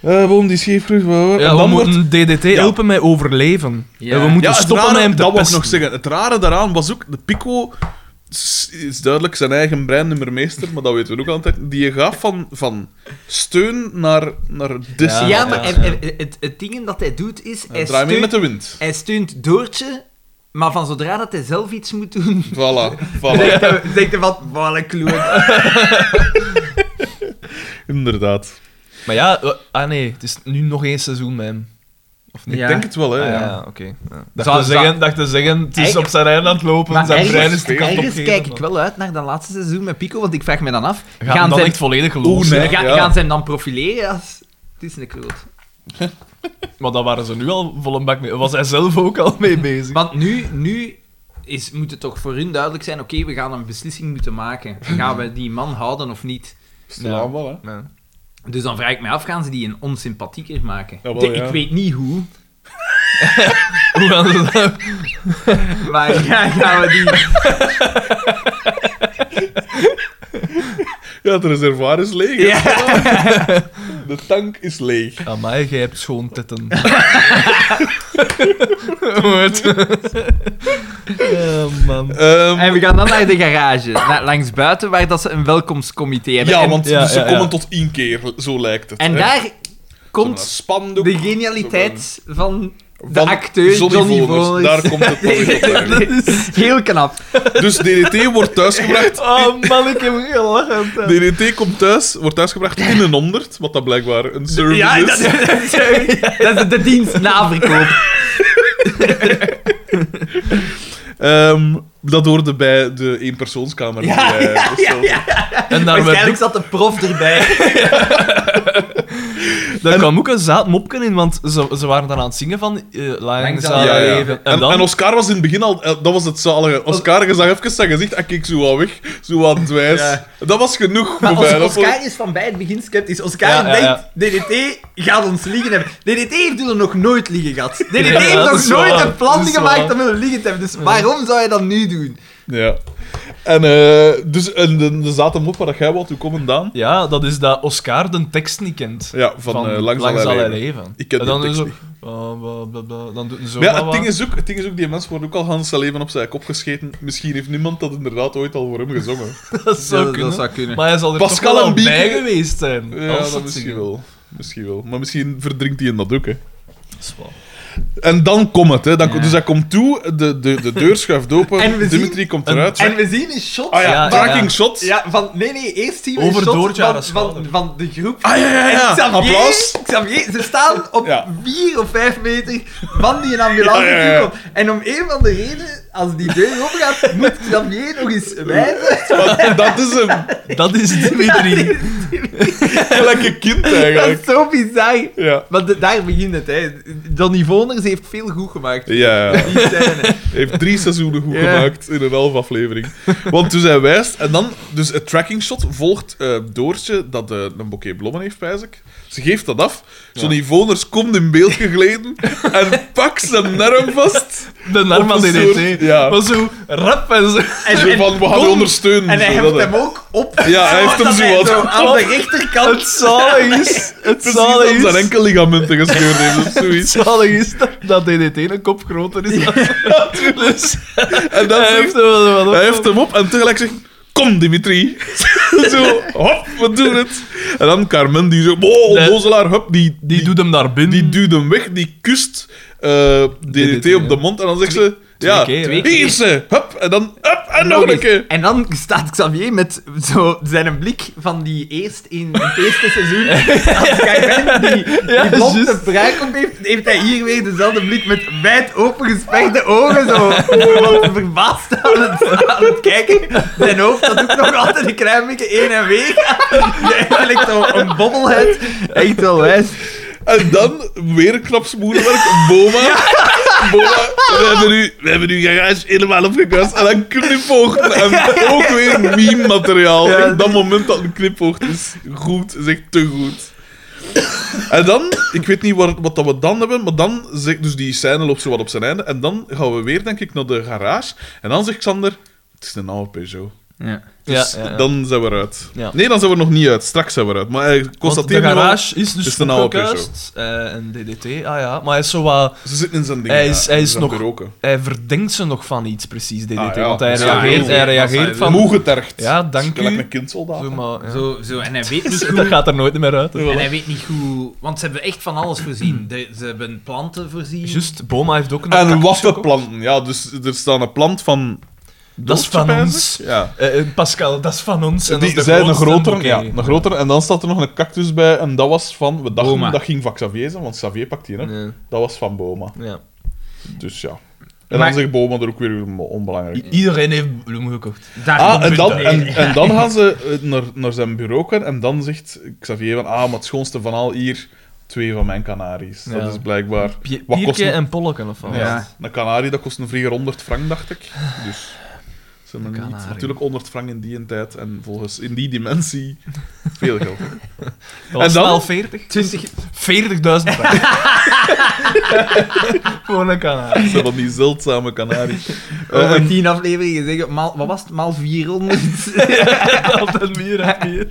Speaker 1: Eh boom die scheefgroeit.
Speaker 2: Ja,
Speaker 1: en
Speaker 2: we
Speaker 1: dan wordt.
Speaker 2: moeten DDT helpen met overleven.
Speaker 3: Ja.
Speaker 2: En we moeten
Speaker 1: Ja, het
Speaker 2: stoppen met
Speaker 1: rare,
Speaker 2: hem te
Speaker 1: dat wou ik
Speaker 2: pesten.
Speaker 1: nog zeggen. Het rare daaraan was ook. De Pico s- is duidelijk zijn eigen breinummermeester, maar dat weten we ook altijd. Die gaf van, van steun naar, naar
Speaker 2: Ja,
Speaker 1: dissen.
Speaker 3: ja maar
Speaker 2: ja,
Speaker 3: hij-
Speaker 2: ja.
Speaker 3: hij- het, het ding dat hij doet is, hij
Speaker 1: draai mee met
Speaker 3: steunt,
Speaker 1: de wind.
Speaker 3: hij steunt Doortje, maar van zodra dat hij zelf iets moet doen,
Speaker 1: Voilà, voilà.
Speaker 3: denkt hij- denkt hij van, wat een kloot.
Speaker 1: Inderdaad.
Speaker 2: Maar ja, eh, ah nee, het is nu nog één seizoen met hem. Of niet?
Speaker 1: Ik
Speaker 3: Ja.
Speaker 1: denk het wel, hè.
Speaker 2: Ah,
Speaker 1: ja.
Speaker 2: ja, oké. ja. Dacht,
Speaker 3: Zou-
Speaker 2: te
Speaker 3: zou-
Speaker 2: zeggen, dacht te zeggen, het is
Speaker 3: Eigen-
Speaker 2: op zijn eind aan het lopen,
Speaker 3: Maar
Speaker 2: zijn
Speaker 3: ergens-
Speaker 2: brein is de kant op
Speaker 3: ergens
Speaker 2: gegeven.
Speaker 3: kijk ik wel uit naar dat laatste seizoen met Pico, want ik vraag me dan af...
Speaker 2: Gaat hem dan
Speaker 3: zij-
Speaker 2: echt volledig
Speaker 1: Oeh,
Speaker 2: geloven.
Speaker 1: nee.
Speaker 3: ga,
Speaker 1: ja.
Speaker 3: Gaan ze hem dan profileren als... Het is een kloot.
Speaker 2: Maar daar waren ze nu al vol een bak mee. Was hij zelf ook al mee bezig?
Speaker 3: Want nu, nu is, moet het toch voor hun duidelijk zijn, oké, we gaan een beslissing moeten maken. Gaan we die man houden of niet?
Speaker 1: Stil aanval, hè.
Speaker 2: Nee.
Speaker 3: Dus dan vraag ik me af, gaan ze die een onsympathieker maken?
Speaker 1: Jawel,
Speaker 3: De-
Speaker 1: ja.
Speaker 3: Ik weet niet hoe,
Speaker 2: Hoe gaan ze dat?
Speaker 3: maar ja, gaan we die...
Speaker 1: Ja, het reservoir is leeg. hè.
Speaker 3: Ja.
Speaker 1: De tank is leeg.
Speaker 2: Amai, jij hebt schoon titten. Wat? Eh, man.
Speaker 1: Ehm,
Speaker 3: En we gaan dan naar de garage, na- langs buiten, waar dat ze een welkomstcomité hebben.
Speaker 1: ja,
Speaker 3: En-
Speaker 1: want
Speaker 2: ja,
Speaker 1: dus ze
Speaker 2: ja, ja.
Speaker 1: komen tot één keer, zo lijkt het.
Speaker 3: en
Speaker 1: hè.
Speaker 3: daar
Speaker 1: Zo'n
Speaker 3: komt
Speaker 1: spandoek,
Speaker 3: de genialiteit van
Speaker 1: zo'n-
Speaker 3: de
Speaker 1: van
Speaker 3: acteur Johnny, Voners.
Speaker 1: Daar komt het probleem op uit.
Speaker 3: Dat is heel knap.
Speaker 1: Dus DDT wordt thuisgebracht.
Speaker 2: Oh man, ik heb gelachen.
Speaker 1: DDT komt thuis, wordt thuisgebracht in een 100, wat dat blijkbaar een service
Speaker 3: Ja,
Speaker 1: is.
Speaker 3: dat, is- dat is de dienst na verkoop.
Speaker 1: Ehm, dat hoorde bij de eenpersoonskamer. die eh, wij bestelden.
Speaker 2: En daar werd
Speaker 3: Waarschijnlijk zat de prof erbij.
Speaker 2: Daar kwam ook een zaad mopken in, want ze, ze waren dan aan het zingen van eh Langs
Speaker 3: aan
Speaker 2: aan
Speaker 1: Ja, ja.
Speaker 2: leven.
Speaker 1: En,
Speaker 2: En dan...
Speaker 1: en Oscar was in het begin al... eh, Dat was het zalige. Oscar gezag even zijn gezicht en keek zo wat weg, zo wat aan het wijs.
Speaker 2: Ja.
Speaker 1: Dat was genoeg
Speaker 3: Maar
Speaker 1: voor mij. Dat vond ik-
Speaker 3: Oscar is van bij het begin sceptisch. Oscar
Speaker 2: Ja, ja, ja.
Speaker 3: denkt, DDT gaat ons liegen hebben. DDT heeft er nog nooit liegen gehad. DDT
Speaker 2: Ja,
Speaker 3: heeft
Speaker 2: dat
Speaker 3: nog
Speaker 2: is
Speaker 3: nooit
Speaker 2: waar.
Speaker 3: een plan
Speaker 2: Dat is
Speaker 3: gemaakt
Speaker 2: waar.
Speaker 3: om een liegen te hebben. Dus waarom zou je dat nu doen?
Speaker 1: Ja. En eh, dus en de, de zaten mop waar dat jij wat toe komen, Daan.
Speaker 2: Ja, dat is dat Oscar de tekst niet kent.
Speaker 1: Ja, van, eh, Langs Allerlei
Speaker 2: Allerlei
Speaker 1: Leven.
Speaker 2: leven.
Speaker 1: Ik ken
Speaker 2: en dan
Speaker 1: die
Speaker 2: doen
Speaker 1: tekst
Speaker 2: ze zo- eh, bla, bla, bla, Dan doen ze zo
Speaker 1: Maar ja,
Speaker 2: wat-
Speaker 1: het ding, is ook, het ding is ook, die mensen worden ook al Hans zijn leven op zijn kop gescheten. Misschien heeft niemand dat inderdaad ooit al voor hem gezongen.
Speaker 2: dat zou
Speaker 3: Ja,
Speaker 2: kunnen.
Speaker 3: kunnen.
Speaker 2: Maar hij zal er
Speaker 1: Pascal
Speaker 2: toch wel
Speaker 1: en
Speaker 2: al
Speaker 1: Bieke.
Speaker 2: bij geweest zijn.
Speaker 1: Ja,
Speaker 2: als
Speaker 1: dat misschien wel. Misschien wel. Maar misschien verdrinkt hij in dat ook, hè.
Speaker 2: Dat is wel-
Speaker 1: En dan komt het, hè. Dan,
Speaker 3: Ja.
Speaker 1: Dus hij komt toe, de, de, de deur schuift open,
Speaker 3: En we zien
Speaker 1: Dimitri komt
Speaker 2: een-
Speaker 1: eruit.
Speaker 3: En we zien een shot
Speaker 1: Ah ja,
Speaker 2: Oh Ja,
Speaker 1: tracking
Speaker 2: ja, ja.
Speaker 1: shots.
Speaker 3: Ja, van... Nee, nee, eerst zien we
Speaker 2: Over
Speaker 3: een shot
Speaker 2: Doortje
Speaker 3: van,
Speaker 2: haar
Speaker 3: van,
Speaker 2: schouder.
Speaker 3: van de groep.
Speaker 1: Ah ja, ja, ja.
Speaker 3: En Xavier,
Speaker 1: Applaus.
Speaker 3: Xavier, ze staan op
Speaker 1: Ja.
Speaker 3: vier of vijf meter van die een ambulance
Speaker 1: Ja, ja, ja.
Speaker 3: toekomt. En om een van de redenen, als die deur open gaat, moet Xavier nog eens wijzen.
Speaker 1: Want dat is een
Speaker 2: Dat is Dimitri.
Speaker 1: gelijke kind,
Speaker 3: Dat is
Speaker 1: eigenlijk.
Speaker 3: zo bizar.
Speaker 1: Ja.
Speaker 3: Want de- daar begint het, hè. Johnny Voners heeft veel goed gemaakt.
Speaker 1: Ja, ja.
Speaker 3: Die scène.
Speaker 1: heeft drie seizoenen goed
Speaker 3: Ja.
Speaker 1: gemaakt in een half aflevering. Want dus hij wijst, en dan, dus het tracking shot volgt eh, Doortje, dat eh, een bouquet blommen heeft, wijs ik. Ze geeft dat af. Zo'n Ivoners komt in beeld gegleden en pakt zijn arm vast.
Speaker 2: De
Speaker 1: Op
Speaker 2: arm van
Speaker 1: een soort-
Speaker 2: DDT.
Speaker 1: ja.
Speaker 2: Maar zo rap en zo.
Speaker 3: En,
Speaker 1: Zo
Speaker 3: en-
Speaker 1: van, we gaan je
Speaker 3: kom.
Speaker 1: ondersteunen.
Speaker 3: en hij
Speaker 1: zo,
Speaker 3: heeft
Speaker 1: dat,
Speaker 3: hem
Speaker 1: hè.
Speaker 3: ook op.
Speaker 1: Ja, hij heeft hem
Speaker 3: dat
Speaker 1: zo wat
Speaker 3: aan de rechterkant.
Speaker 2: Het zalig is... Het
Speaker 1: Precies aan
Speaker 2: zalig is...
Speaker 1: zijn enkelligamenten gescheurd heeft of
Speaker 2: Het
Speaker 1: zoiets.
Speaker 2: zalig is dat, dat DDT een kop groter is dan... dus
Speaker 1: En dan
Speaker 2: hij
Speaker 1: zegt,
Speaker 2: heeft er wel wat op.
Speaker 1: hij heeft hem op en tegelijk zegt... Kom, Dimitri. zo, hop, we doen het. En dan Carmen, die zo... Oh,
Speaker 2: Nee.
Speaker 1: onnozelaar, hop, die,
Speaker 2: Die doet hem daar binnen.
Speaker 1: Die duwt hem weg, die kust eh, DDT
Speaker 2: DDT,
Speaker 1: op de
Speaker 2: ja.
Speaker 1: mond en dan zegt ze... Ja,
Speaker 2: keer, hè?
Speaker 1: hier is ze. Hup, en dan hup, en nog, een
Speaker 3: eens.
Speaker 1: keer.
Speaker 3: En dan staat Xavier met zo zijn blik van die eerst in het eerste seizoen. Als Carmen die, die
Speaker 2: Ja,
Speaker 3: blonde
Speaker 2: juist.
Speaker 3: pruik op heeft, heeft hij hier weer dezelfde blik met wijd opengesperde ogen. Zo wat verbaasd aan het, aan het kijken. Zijn hoofd dat doet nog altijd een klein beetje heen en weer. Hij lijkt zo een bobbelhead. Echt wel wijs.
Speaker 1: En dan weer knapsmoerenwerk. Boma. Boma, we hebben, nu, we hebben nu garage helemaal opgekast. En dan knipoogten. En ook weer meme-materiaal.
Speaker 3: Ja,
Speaker 1: Echt dat moment dat een knipoogt is goed. Is echt te goed. En dan, ik weet niet wat, wat dat we dan hebben, maar dan zegt... Dus die scène loopt zo wat op zijn einde. En dan gaan we weer, denk ik, naar de garage. En dan zegt Xander... Het is een oude Peugeot.
Speaker 3: Ja.
Speaker 1: Dus
Speaker 2: Ja, ja, ja.
Speaker 1: dan zijn we eruit.
Speaker 2: Ja.
Speaker 1: Nee, dan zijn we nog niet uit. Straks zijn we eruit. Maar hij
Speaker 2: Want
Speaker 1: constateert
Speaker 2: de
Speaker 1: nu wel-
Speaker 2: garage is dus
Speaker 1: is een oude
Speaker 2: gekust. Eh, en DDT, ah ja. Maar hij is zo wat...
Speaker 1: Ze zitten in zijn ding.
Speaker 2: Hij is-
Speaker 1: ja.
Speaker 2: hij is
Speaker 1: Ze zijn
Speaker 2: nog-
Speaker 1: aan het roken.
Speaker 2: Hij verdenkt ze nog van iets, precies, DDT.
Speaker 1: Ah, ja.
Speaker 2: Want hij
Speaker 1: Ja,
Speaker 2: reageert,
Speaker 1: heel
Speaker 2: hij
Speaker 3: goed.
Speaker 2: reageert
Speaker 3: Dat
Speaker 2: van...
Speaker 1: Moe getergd.
Speaker 2: Ja, dank
Speaker 1: Gelijk
Speaker 2: u.
Speaker 1: een kindsoldaat.
Speaker 2: Zo, maar, ja. Dus
Speaker 3: Zo, zo, en hij weet dus-
Speaker 2: Dat gaat er nooit meer uit. hè.
Speaker 3: En hij weet niet hoe... Want ze hebben echt van alles voorzien. De- ze hebben planten voorzien.
Speaker 2: Juist, Boma heeft ook een
Speaker 1: En
Speaker 2: kaktus gekocht.
Speaker 1: waffenplanten. Ja, dus er staat een plant van...
Speaker 2: Dat is van
Speaker 1: doodse,
Speaker 2: ons.
Speaker 1: pijs ik. Ja.
Speaker 2: Eh, eh, Pascal, dat is van ons. En
Speaker 1: Die
Speaker 2: dat is de
Speaker 1: zijn een
Speaker 2: grootste,
Speaker 1: grotere,
Speaker 2: oké.
Speaker 1: ja, een grotere. En dan staat er nog een cactus bij. En dat was van... We dachten,
Speaker 3: Boma.
Speaker 1: dat ging van Xavier zijn, want Xavier pakt die, hè.
Speaker 2: Nee,
Speaker 1: Dat was van Boma.
Speaker 2: ja.
Speaker 1: Dus ja. En
Speaker 3: Maar-
Speaker 1: dan zegt Boma er ook weer on- onbelangrijk.
Speaker 2: I- Iedereen heeft bloemen gekocht.
Speaker 3: Daar
Speaker 1: Ah,
Speaker 3: komt
Speaker 1: en
Speaker 3: het
Speaker 1: dan,
Speaker 3: neer.
Speaker 1: en, en dan gaan ze eh, naar, naar zijn bureau gaan en dan zegt Xavier van, ah, maar het schoonste van al hier, twee van mijn kanaries.
Speaker 2: Ja.
Speaker 1: Dat is blijkbaar...
Speaker 2: Pie-
Speaker 1: Wat kost
Speaker 2: Pierke
Speaker 1: een-
Speaker 2: en Polleken of wat?
Speaker 1: Ja.
Speaker 3: Ja.
Speaker 1: Een kanarie, dat kost een 400 frank, dacht ik. Dus... Ze hebben
Speaker 2: Een
Speaker 1: niet,
Speaker 2: kanarie.
Speaker 1: natuurlijk 100 frank in die tijd en volgens in die dimensie veel geld.
Speaker 2: Dat was
Speaker 1: En dan?
Speaker 2: wel 40.
Speaker 3: 20,
Speaker 2: 40.000 frank. Voor een kanaal.
Speaker 1: Zo van die zeldzame kanarie. Eh,
Speaker 3: over
Speaker 1: en-
Speaker 3: 10 afleveringen zeggen, maal, wat was het, maal 400?
Speaker 2: Altijd meer en meer.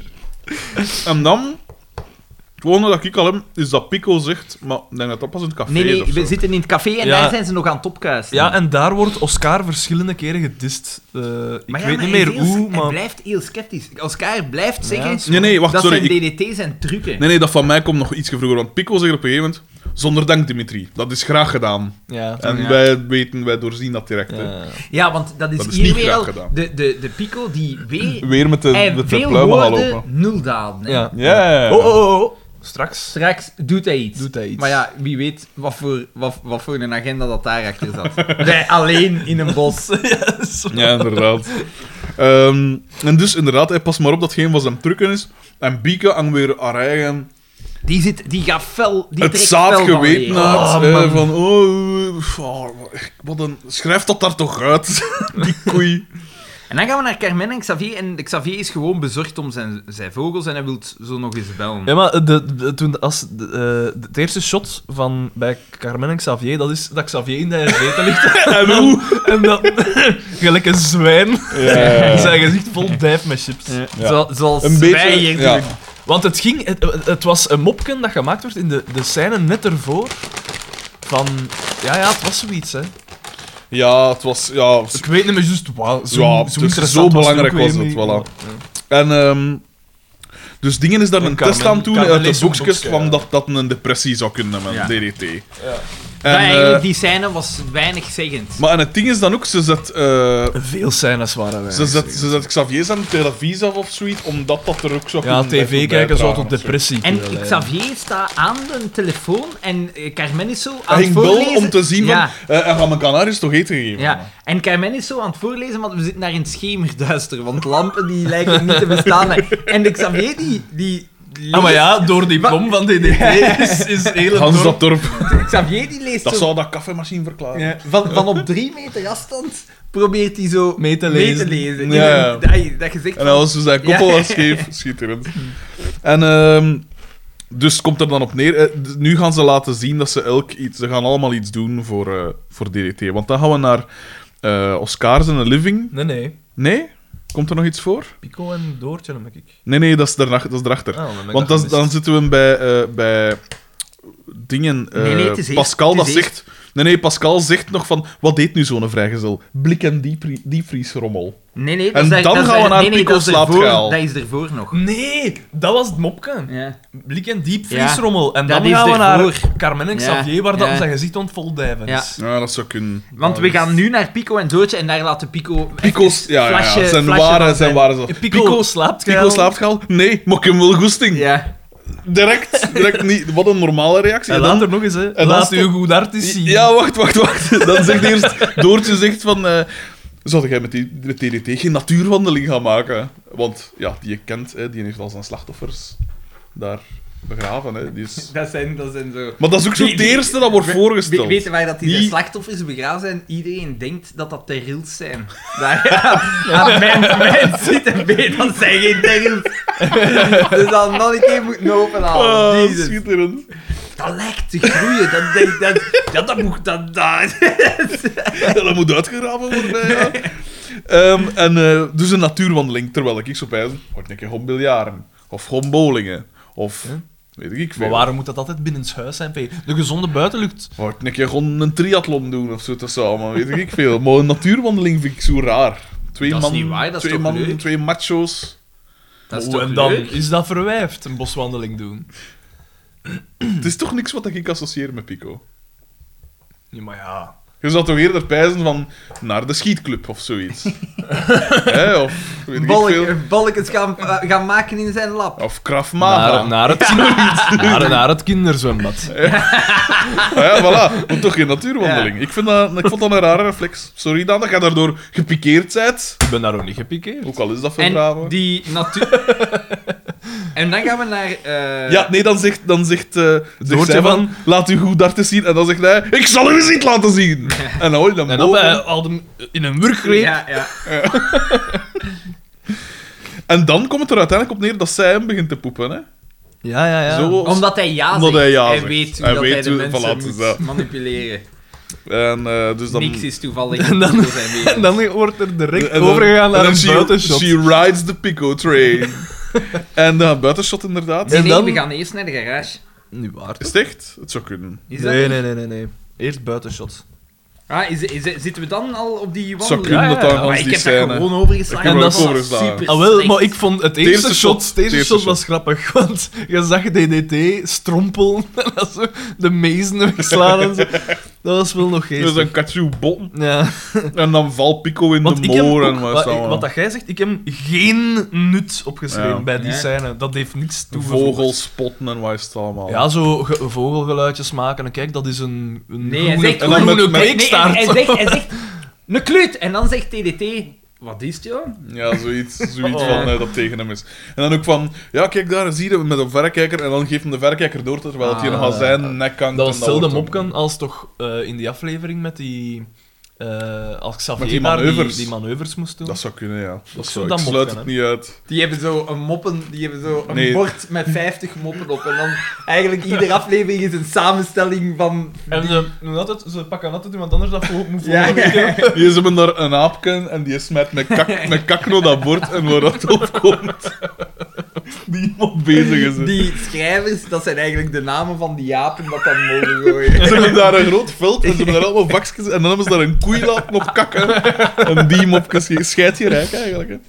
Speaker 1: En dan, het volgende dat ik al heb, is dat Pico zegt, maar ik denk dat dat pas in het café
Speaker 3: Nee,
Speaker 1: is
Speaker 3: nee,
Speaker 1: of zo.
Speaker 3: we zitten in het café en
Speaker 2: Ja.
Speaker 3: daar zijn ze nog aan het opkuisen.
Speaker 2: Ja, en daar wordt Oscar verschillende keren gedist. Eh, ik
Speaker 3: Maar ja,
Speaker 2: weet
Speaker 3: maar
Speaker 2: niet
Speaker 3: hij
Speaker 2: meer
Speaker 3: is heel-
Speaker 2: hoe,
Speaker 3: Hij
Speaker 2: maar...
Speaker 3: blijft heel sceptisch. Oscar blijft zeggen
Speaker 2: dat is
Speaker 1: Nee, nee, wacht,
Speaker 3: dat
Speaker 1: sorry.
Speaker 3: zijn
Speaker 1: ik-
Speaker 3: DDT zijn trucken.
Speaker 1: Nee, nee, dat van mij komt nog iets vroeger, want Pico zegt op een gegeven moment, zonder dank Dimitri, dat is graag gedaan.
Speaker 2: Ja.
Speaker 1: En
Speaker 3: Ja.
Speaker 1: wij weten, wij doorzien dat direct. hè.
Speaker 2: Ja.
Speaker 3: Ja, want dat is,
Speaker 1: Dat is
Speaker 3: hier
Speaker 1: niet
Speaker 3: weer
Speaker 1: graag
Speaker 3: al
Speaker 1: gedaan.
Speaker 3: de, de, de Pico die weer...
Speaker 1: Weer met de,
Speaker 3: Hij
Speaker 1: met de
Speaker 3: veel
Speaker 1: pluimen gaan
Speaker 3: woorden,
Speaker 1: lopen.
Speaker 3: nul daden. hè.
Speaker 2: Ja.
Speaker 1: Ja, ja, ja.
Speaker 2: Oh, oh, oh, oh. Straks
Speaker 3: Straks doet hij iets.
Speaker 2: doet hij iets.
Speaker 3: Maar ja, wie weet wat voor, wat, wat voor een agenda dat daarachter zat. Wij alleen in een bos.
Speaker 1: Ja, inderdaad. Ehm, en dus inderdaad, hij past maar op dat geen van zijn trucken is. En Bieke hangt weer haar eigen
Speaker 3: Die, zit, die gaat fel... Die
Speaker 1: het
Speaker 3: trekt
Speaker 1: zaad
Speaker 3: fel van
Speaker 1: geweten
Speaker 3: leer.
Speaker 1: had.
Speaker 2: Oh,
Speaker 1: eh,
Speaker 2: man.
Speaker 1: van, oh, eh, oh, wat een... Schrijf dat daar toch uit, die koei.
Speaker 3: En dan gaan we naar Carmen en Xavier. En Xavier is gewoon bezorgd om zijn, zijn vogels en hij wil zo nog eens bellen.
Speaker 2: Ja, maar de, de- toen, als, de, eh, het eerste shot van, bij Carmen en Xavier, dat is dat Xavier in de zetel ligt. en hoe? En dat... gelijk een zwijn. Zijn gezicht vol dijf met chips.
Speaker 3: Zo- zoals
Speaker 1: Een
Speaker 3: wij
Speaker 1: beetje...
Speaker 3: hier
Speaker 1: Ja.
Speaker 3: doen.
Speaker 2: Want het, ging, het, het was een mopken dat gemaakt werd in de, de scène net ervoor. Van... Ja, ja, het was zoiets, hè.
Speaker 1: ja, het was... Ja,
Speaker 2: Ik weet niet meer juist waar. Zo,
Speaker 1: Ja, dus
Speaker 2: zo, interessant
Speaker 1: zo belangrijk
Speaker 2: ook
Speaker 1: was
Speaker 2: weer
Speaker 1: het,
Speaker 2: niet.
Speaker 1: voilà. En, ehm, dus Dingen is daar
Speaker 2: En
Speaker 1: een
Speaker 2: Carmen-
Speaker 1: test aan toe eh,
Speaker 2: Carmen
Speaker 1: uit de
Speaker 2: leest een
Speaker 1: boekjes
Speaker 2: boekje,
Speaker 1: kwam
Speaker 2: ja.
Speaker 1: dat dat een depressie zou kunnen hebben,
Speaker 3: Ja.
Speaker 1: DDT.
Speaker 3: Maar
Speaker 1: En,
Speaker 3: eigenlijk,
Speaker 1: eh,
Speaker 3: die scène was weinig zeggend.
Speaker 1: maar en het ding is dan ook, ze zet, eh,
Speaker 2: Veel scènes waren wij.
Speaker 1: ze zet, ze zet Xavier zijn televisie af of zoiets, omdat dat er ook zou
Speaker 2: Ja,
Speaker 1: kunnen bij- toe
Speaker 2: tv-kijken zou
Speaker 1: bijdragen
Speaker 2: tot
Speaker 1: of zo.
Speaker 2: depressie
Speaker 3: En
Speaker 2: kunnen leiden.
Speaker 3: Xavier staat aan de telefoon en eh, Carmen is zo aan
Speaker 1: Hij
Speaker 3: het
Speaker 1: ging bel
Speaker 3: voorlezen.
Speaker 1: om te zien,
Speaker 3: ja,
Speaker 1: van, eh, en gaan mijn kanaries toch eten geven?
Speaker 3: ja. En Carmen is zo aan het voorlezen, want we zitten naar een schemerduister, want lampen die lijken niet te bestaan. En de Xavier die... die
Speaker 2: Ah, maar ja, door die plom van DDT is, is heel het
Speaker 1: Hans dat
Speaker 2: dorp-
Speaker 1: dorp,
Speaker 3: Xavier die leest
Speaker 1: dat
Speaker 3: zo...
Speaker 1: zou dat kaffiemachine verklaren.
Speaker 3: Ja, van, van op drie meter afstand probeert hij zo
Speaker 2: Mee te lezen.
Speaker 3: lezen.
Speaker 1: Ja.
Speaker 3: In een- ai, dat gezicht
Speaker 1: En als dus zijn koppel
Speaker 3: Ja.
Speaker 1: was scheef, schitterend. En ehm, dus het komt er dan op neer. eh, d- Nu gaan ze laten zien dat ze elk iets... Ze gaan allemaal iets doen voor, eh, voor DDT. Want dan gaan we naar eh Oscars en Living.
Speaker 2: Nee, nee.
Speaker 1: Nee? Komt er nog iets voor?
Speaker 2: Pico en Doortje, dan ben ik.
Speaker 1: Nee, nee, dat is, daarna, dat is erachter.
Speaker 3: Oh.
Speaker 2: Ah, dan ben ik
Speaker 1: Want
Speaker 2: dat
Speaker 1: dat is- dan
Speaker 2: gemist.
Speaker 1: zitten we bij... eh, bij dingen. eh,
Speaker 3: Nee, nee, het is eerst-
Speaker 1: Pascal
Speaker 3: het
Speaker 1: dat
Speaker 3: is
Speaker 1: zegt... Nee, nee, Pascal zegt nog van... Wat deed nu zo'n vrijgezel? Blik en diepvrie- diepvriesrommel.
Speaker 3: Nee, nee,
Speaker 1: En
Speaker 3: dat is,
Speaker 1: dan
Speaker 3: dat is-
Speaker 1: gaan we naar
Speaker 3: nee, nee,
Speaker 1: Pico
Speaker 3: dat is ervoor-
Speaker 1: Slaapgeil.
Speaker 3: Dat is ervoor nog.
Speaker 2: Nee, dat was het mopke.
Speaker 3: Ja.
Speaker 2: Blik en diep, vriesrommel. En
Speaker 3: dat
Speaker 2: dan
Speaker 3: is
Speaker 2: gaan we
Speaker 3: ervoor.
Speaker 2: naar Carmen en
Speaker 3: Ja,
Speaker 2: Xavier, waar dat
Speaker 3: ja.
Speaker 2: zijn gezicht aan het voldijven is.
Speaker 1: Ja, dat zou kunnen.
Speaker 3: Want we gaan nu naar Pico en Doortje en daar laten Pico...
Speaker 1: dus- Pico's, ja, ja, ja.
Speaker 3: Flasje-
Speaker 1: zijn
Speaker 3: flasje
Speaker 1: ware,
Speaker 3: van
Speaker 1: zijn ware zelf.
Speaker 2: Eh, Pico, slaapt
Speaker 1: Pico
Speaker 2: geil.
Speaker 1: slaapt gehaald? Nee, maar ik heb wel goesting.
Speaker 3: Ja.
Speaker 1: Direct, direct niet. Wat een normale reactie.
Speaker 2: En
Speaker 1: En dan-
Speaker 2: later nog eens, hè.
Speaker 1: dan
Speaker 2: Laat
Speaker 1: stop-
Speaker 2: uw goed hart eens zien.
Speaker 1: ja, wacht, wacht, wacht. Dan zegt eerst, Doortje zegt van... eh zou jij met, die, met TDT geen natuurwandeling gaan maken? Want ja, die je kent, hè, die heeft al zijn slachtoffers daar begraven. Hè. Die is...
Speaker 3: Dat zijn, dat zijn zo...
Speaker 1: Maar dat is ook zo
Speaker 3: Die-
Speaker 1: het
Speaker 3: die-
Speaker 1: eerste dat wordt
Speaker 3: We-
Speaker 1: voorgesteld.
Speaker 3: we- Weet je waar dat die zijn
Speaker 1: Die-
Speaker 3: slachtoffers begraven zijn? Iedereen denkt dat dat terrils zijn. Daar, ja, mijn, mijn zit erbij, dat zijn geen terrils. dus dan nog een keer moeten
Speaker 1: Ah,
Speaker 3: openhalen. Jezus.
Speaker 1: schitterend.
Speaker 3: Dat lijkt te groeien. Dat, dat, dat, dat, dat moet... Dat, dat.
Speaker 1: Ja, dat moet uitgegraven worden. hè, Ja. Ehm, en, eh, dus een natuurwandeling, terwijl ik zo bij word ik gewoon biljaren. Of gewoon bowlingen. Of
Speaker 2: Ja.
Speaker 1: weet ik veel.
Speaker 2: Maar waarom moet dat altijd binnenshuis zijn, P? De gezonde buitenlucht.
Speaker 1: Word ik gewoon een triathlon doen of zo tezamen, weet ik veel. Maar een natuurwandeling vind ik zo raar. Twee
Speaker 3: Dat is
Speaker 1: man,
Speaker 3: niet waar, dat is
Speaker 1: twee,
Speaker 3: toch
Speaker 1: man
Speaker 3: leuk?
Speaker 1: twee macho's.
Speaker 3: Dat is
Speaker 2: Oh,
Speaker 3: toch
Speaker 2: en dan
Speaker 3: leuk?
Speaker 2: is dat verwijfd, een boswandeling doen.
Speaker 1: Het is toch niks wat ik associeer met Pico.
Speaker 2: Ja, maar ja.
Speaker 1: Je zou toch eerder pijzen van naar de schietclub of zoiets. Hè, of weet ik veel.
Speaker 3: Balk, balkens gaan, eh, gaan maken in zijn lab.
Speaker 1: Of Krav Maga.
Speaker 2: Naar, naar, het, naar, naar het kinderzwembad.
Speaker 1: Ah ja, voilà. Maar toch geen natuurwandeling. Ik, vind dat, ik vond dat een rare reflex. Sorry dan dat je daardoor gepikeerd bent.
Speaker 2: Ik ben daar ook niet gepikeerd.
Speaker 1: Ook al is dat
Speaker 3: En
Speaker 1: verdraven.
Speaker 3: die natuur... En dan gaan we naar... eh,
Speaker 1: Ja, nee, dan zegt, dan zegt, eh zegt
Speaker 2: Doortje
Speaker 1: zij van, laat u goed darten zien. En dan zegt hij, ik zal u eens niet laten zien. En dan hoor je dan
Speaker 2: En dan eh,
Speaker 1: boven.
Speaker 2: bij, had hem in een wurggreep.
Speaker 3: Ja, ja.
Speaker 1: En dan komt het er uiteindelijk op neer dat zij hem begint te poepen. Hè?
Speaker 2: Ja, ja, ja.
Speaker 1: Zo,
Speaker 3: Omdat hij ja zegt.
Speaker 1: Omdat hij ja zegt.
Speaker 3: weet hoe
Speaker 1: Hij
Speaker 3: dat
Speaker 1: weet
Speaker 3: hij de
Speaker 1: hoe-
Speaker 3: mensen
Speaker 1: voilà, het is
Speaker 3: moet
Speaker 1: dat.
Speaker 3: manipuleren.
Speaker 1: En eh, dus dan...
Speaker 3: Niks is toevallig.
Speaker 2: En dan-
Speaker 3: in zijn leven.
Speaker 2: En dan wordt er direct
Speaker 1: en dan-
Speaker 2: overgegaan naar
Speaker 1: en dan
Speaker 2: een
Speaker 1: she-
Speaker 2: buitenshot.
Speaker 1: She rides the pico train. en dan een buitenshot inderdaad.
Speaker 3: Nee,
Speaker 2: En
Speaker 3: nee,
Speaker 2: dan-
Speaker 3: we gaan eerst naar de garage.
Speaker 2: Nu waard.
Speaker 1: Is het echt? Het zou kunnen.
Speaker 3: Is dat
Speaker 2: nee,
Speaker 3: niet?
Speaker 2: nee, nee, nee, nee. Eerst buitenshot.
Speaker 3: Ah, is, is, zitten we dan al op die
Speaker 1: Het zou
Speaker 3: wandeling?
Speaker 1: kunnen dat
Speaker 2: Ja, ja,
Speaker 1: daar
Speaker 2: ja.
Speaker 1: Hans
Speaker 3: maar Ah, ik
Speaker 1: die
Speaker 3: heb
Speaker 1: scène...
Speaker 3: daar gewoon overgeslagen.
Speaker 2: Ik heb
Speaker 3: dat
Speaker 2: hem ook
Speaker 3: was
Speaker 1: overgeslagen.
Speaker 3: super
Speaker 2: Ah, wel,
Speaker 3: slecht.
Speaker 2: maar ik vond het
Speaker 1: eerste
Speaker 2: eerste shot,
Speaker 1: shot,
Speaker 2: het eerste
Speaker 1: het eerste
Speaker 2: shot was grappig, want je zag DDT strompelen en dan zo de mezen wegslaan en zo. Dat was wel nog
Speaker 1: Dus
Speaker 2: geestig.
Speaker 1: dan katsu bon.
Speaker 2: Ja.
Speaker 1: En dan valt Pico in
Speaker 2: Want
Speaker 1: de
Speaker 2: ik heb
Speaker 1: moor. En
Speaker 2: ook,
Speaker 1: wat
Speaker 2: wat,
Speaker 1: is dat
Speaker 2: wat
Speaker 1: allemaal?
Speaker 2: dat jij zegt, ik heb geen nut opgeschreven
Speaker 1: Ja.
Speaker 2: bij die
Speaker 3: Nee.
Speaker 2: scène. Dat heeft niks toegevoegd.
Speaker 1: Vogels spotten en wat is het allemaal.
Speaker 2: Ja, zo ge- vogelgeluidjes maken. En kijk, dat is een, een
Speaker 3: Nee, hij
Speaker 2: groene,
Speaker 3: zegt
Speaker 2: een groene
Speaker 1: gewoon- Nee, nee,
Speaker 2: kweekstaart.
Speaker 3: hij, zegt, hij zegt, een kluut. En dan zegt TDT, wat is het, joh?
Speaker 1: Ja, zoiets, zoiets
Speaker 2: Oh.
Speaker 1: van eh, dat tegen hem is. En dan ook van, ja, kijk daar, zie je met een verrekijker. En dan geeft hem de verrekijker door, terwijl het hier
Speaker 2: Ah,
Speaker 1: nog aan zijn
Speaker 2: ja.
Speaker 1: nek hangt.
Speaker 2: Dat was
Speaker 1: en
Speaker 2: hetzelfde
Speaker 1: wordt hem-
Speaker 2: mopken als toch eh, in die aflevering met die... eh als Xavier
Speaker 1: Met die
Speaker 2: daar
Speaker 1: manoeuvres.
Speaker 2: Die, die manoeuvres moest doen.
Speaker 1: Dat zou kunnen, ja.
Speaker 2: Ook
Speaker 1: Dat
Speaker 2: zo
Speaker 1: zou, ik
Speaker 2: dat
Speaker 1: sluit
Speaker 2: mopken,
Speaker 1: het
Speaker 2: hè.
Speaker 1: niet uit.
Speaker 3: Die hebben zo een moppen, die hebben zo een
Speaker 1: Nee.
Speaker 3: bord met 50 moppen op. En dan eigenlijk iedere aflevering is een samenstelling van...
Speaker 2: En ze, doen altijd, ze pakken altijd iemand anders dat voor, moet
Speaker 3: Ja,
Speaker 2: volgen.
Speaker 3: ja.
Speaker 1: Hier is hem daar een aapken en die smet met kak, met kak naar dat bord en waar dat op komt. Die iemand bezig is. hè.
Speaker 3: Die schrijvers, dat zijn eigenlijk de namen van die apen dat dan mogen gooien.
Speaker 1: Ze hebben daar een groot veld en ze hebben daar allemaal vakjes en dan hebben ze daar een koei laten op kakken. En die mopjes scheidt je rijk eigenlijk. Hè.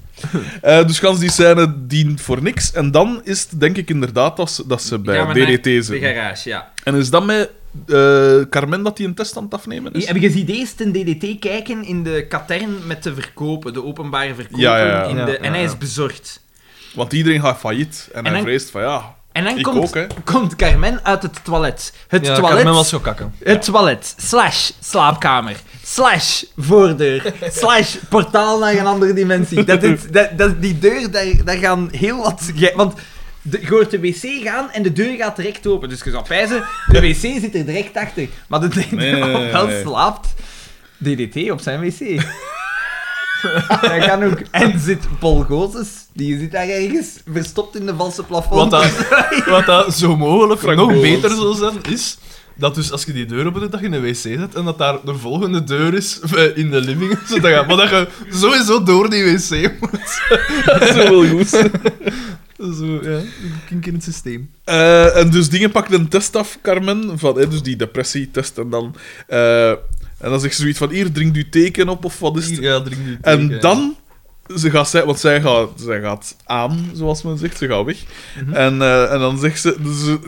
Speaker 1: Eh, dus gans die scène dient voor niks. En dan is het denk ik inderdaad dat ze, dat ze bij
Speaker 3: Gaan we naar
Speaker 1: DDT
Speaker 3: De
Speaker 1: zitten.
Speaker 3: garage, ja.
Speaker 1: En is dat met eh, Carmen dat die een test aan het afnemen is?
Speaker 3: Heb je gezien deze ten DDT kijken in de katern met de verkopen, de openbare verkopen?
Speaker 1: Ja, ja, ja.
Speaker 3: In de,
Speaker 2: Ja,
Speaker 3: en
Speaker 1: ja,
Speaker 3: hij
Speaker 1: ja.
Speaker 3: is bezorgd.
Speaker 1: Want iedereen gaat failliet. En, hij
Speaker 3: dan-
Speaker 1: vreest van ja,
Speaker 3: En dan
Speaker 1: ik
Speaker 3: komt,
Speaker 1: ook hè.
Speaker 3: komt Carmen uit het toilet. Het
Speaker 2: Ja,
Speaker 3: toilet.
Speaker 2: Carmen was zo kakken.
Speaker 3: Het toilet, slash slaapkamer, slash voordeur, slash portaal naar een andere dimensie. Dat is, dat, dat, die deur, daar, daar gaan heel wat... ge- Want de, je hoort de wc gaan en de deur gaat direct open. Dus je zou pijzen, de wc zit er direct achter. Maar de deur
Speaker 1: Nee, nee, nee,
Speaker 3: wel
Speaker 1: nee.
Speaker 3: slaapt DDT op zijn wc. dat kan ook. En zit Paul Gozes, die zit daar ergens verstopt in de valse
Speaker 2: Wat
Speaker 3: plafond.
Speaker 2: dat, wat dat zo mogelijk
Speaker 1: Frank
Speaker 2: nog
Speaker 1: Boos.
Speaker 2: beter zou zijn, is dat dus als je die deur opent, dat je in de wc zit en dat daar de volgende deur is eh, in de living. Zodat je, maar dat je sowieso door die wc moet.
Speaker 1: Dat is wel goed.
Speaker 2: Zo, ja, een kink in het systeem.
Speaker 1: Eh, en dus dingen pakken een test af, Carmen. Van, eh, dus die depressietest. En dan, eh, en dan zegt ze zoiets van: hier, drink u teken op of wat is het?
Speaker 2: Ja, drink nu thee, ja.
Speaker 1: En dan, ze gaat, zij- want zij gaat, zij gaat aan, zoals men zegt, ze gaat weg. en, eh, en dan zegt ze, ze,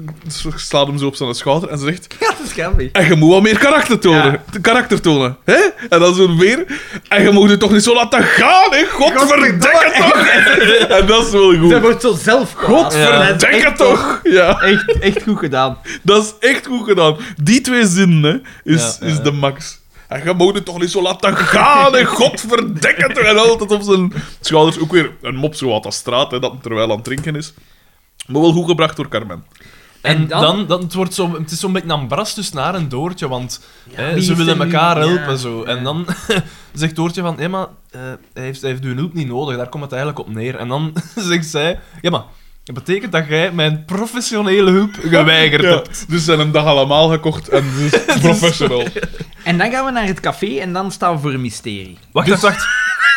Speaker 1: ze slaat hem zo op zijn schouder en ze zegt:
Speaker 3: Ja, dat is grappig.
Speaker 1: En je moet wat meer karakter tonen. Karakter tonen. Hè? En dan zo weer: En je moet het toch niet zo laten gaan, hè? Godverdekken toch! en dat is wel
Speaker 3: Zij
Speaker 1: goed.
Speaker 3: wordt zo zelf kwaad.
Speaker 1: Godverdekken
Speaker 3: Echt
Speaker 1: toch! Ja.
Speaker 3: Echt, echt goed gedaan.
Speaker 1: Dat is echt goed gedaan. Die twee zinnen hè, is,
Speaker 2: Ja, ja,
Speaker 1: is
Speaker 2: ja.
Speaker 1: de max. En je mag het toch niet zo laten gaan, hè. godverdekken. En altijd op zijn schouders ook weer een mop zo uit de straat, hè, dat hem terwijl aan het drinken is. Maar wel goed gebracht door Carmen.
Speaker 2: En,
Speaker 3: En
Speaker 2: dan,
Speaker 3: dan-
Speaker 2: dan, het, wordt zo, het is zo'n beetje dus een bras tussen haar en Doortje, want hè,
Speaker 3: wie
Speaker 2: ze
Speaker 3: is
Speaker 2: willen
Speaker 3: er nu?
Speaker 2: elkaar
Speaker 3: Ja,
Speaker 2: helpen. zo. En
Speaker 3: ja.
Speaker 2: dan zegt Doortje van, hé, maar eh, hij, heeft, hij heeft uw hulp niet nodig, daar komt het eigenlijk op neer. En dan zegt zij, ja maar, dat betekent dat jij mijn professionele hulp geweigerd
Speaker 1: Ja,
Speaker 2: hebt.
Speaker 1: dus ze zijn hem dag allemaal gekocht en ze is professional.
Speaker 3: En dan gaan we naar het café en dan staan we voor een mysterie.
Speaker 2: Wacht, wacht, wacht.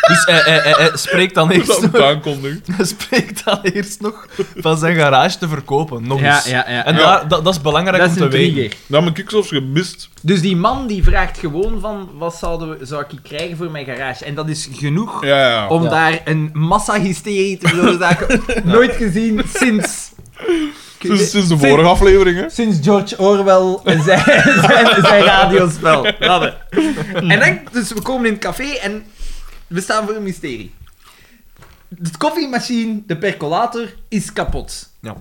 Speaker 2: Dus hij, hij, hij- hij spreekt dan
Speaker 1: Dus dat
Speaker 2: eerst
Speaker 1: moet
Speaker 2: nog,
Speaker 1: aankondigen.
Speaker 2: hij spreekt dan eerst nog van zijn garage te verkopen, nog eens.
Speaker 3: ja.
Speaker 2: En daar, dat, dat is belangrijk
Speaker 3: dat
Speaker 2: om
Speaker 3: is
Speaker 2: te
Speaker 3: een
Speaker 2: weten.
Speaker 3: trigger.
Speaker 1: Dat heb ik zelfs gemist.
Speaker 3: Dus die man die vraagt gewoon van, wat zouden we, zou ik krijgen voor mijn garage? En dat is genoeg
Speaker 1: Ja, ja.
Speaker 3: om
Speaker 2: Ja.
Speaker 3: daar een massahysterie te veroorzaken. Nooit gezien sinds...
Speaker 1: Dus sinds de vorige aflevering, hè.
Speaker 3: Sinds George Orwell en zijn, zijn, zijn radiospel. Laten. En dan, dus we komen in het café en we staan voor een mysterie. De koffiemachine, de percolator, is kapot.
Speaker 2: Ja.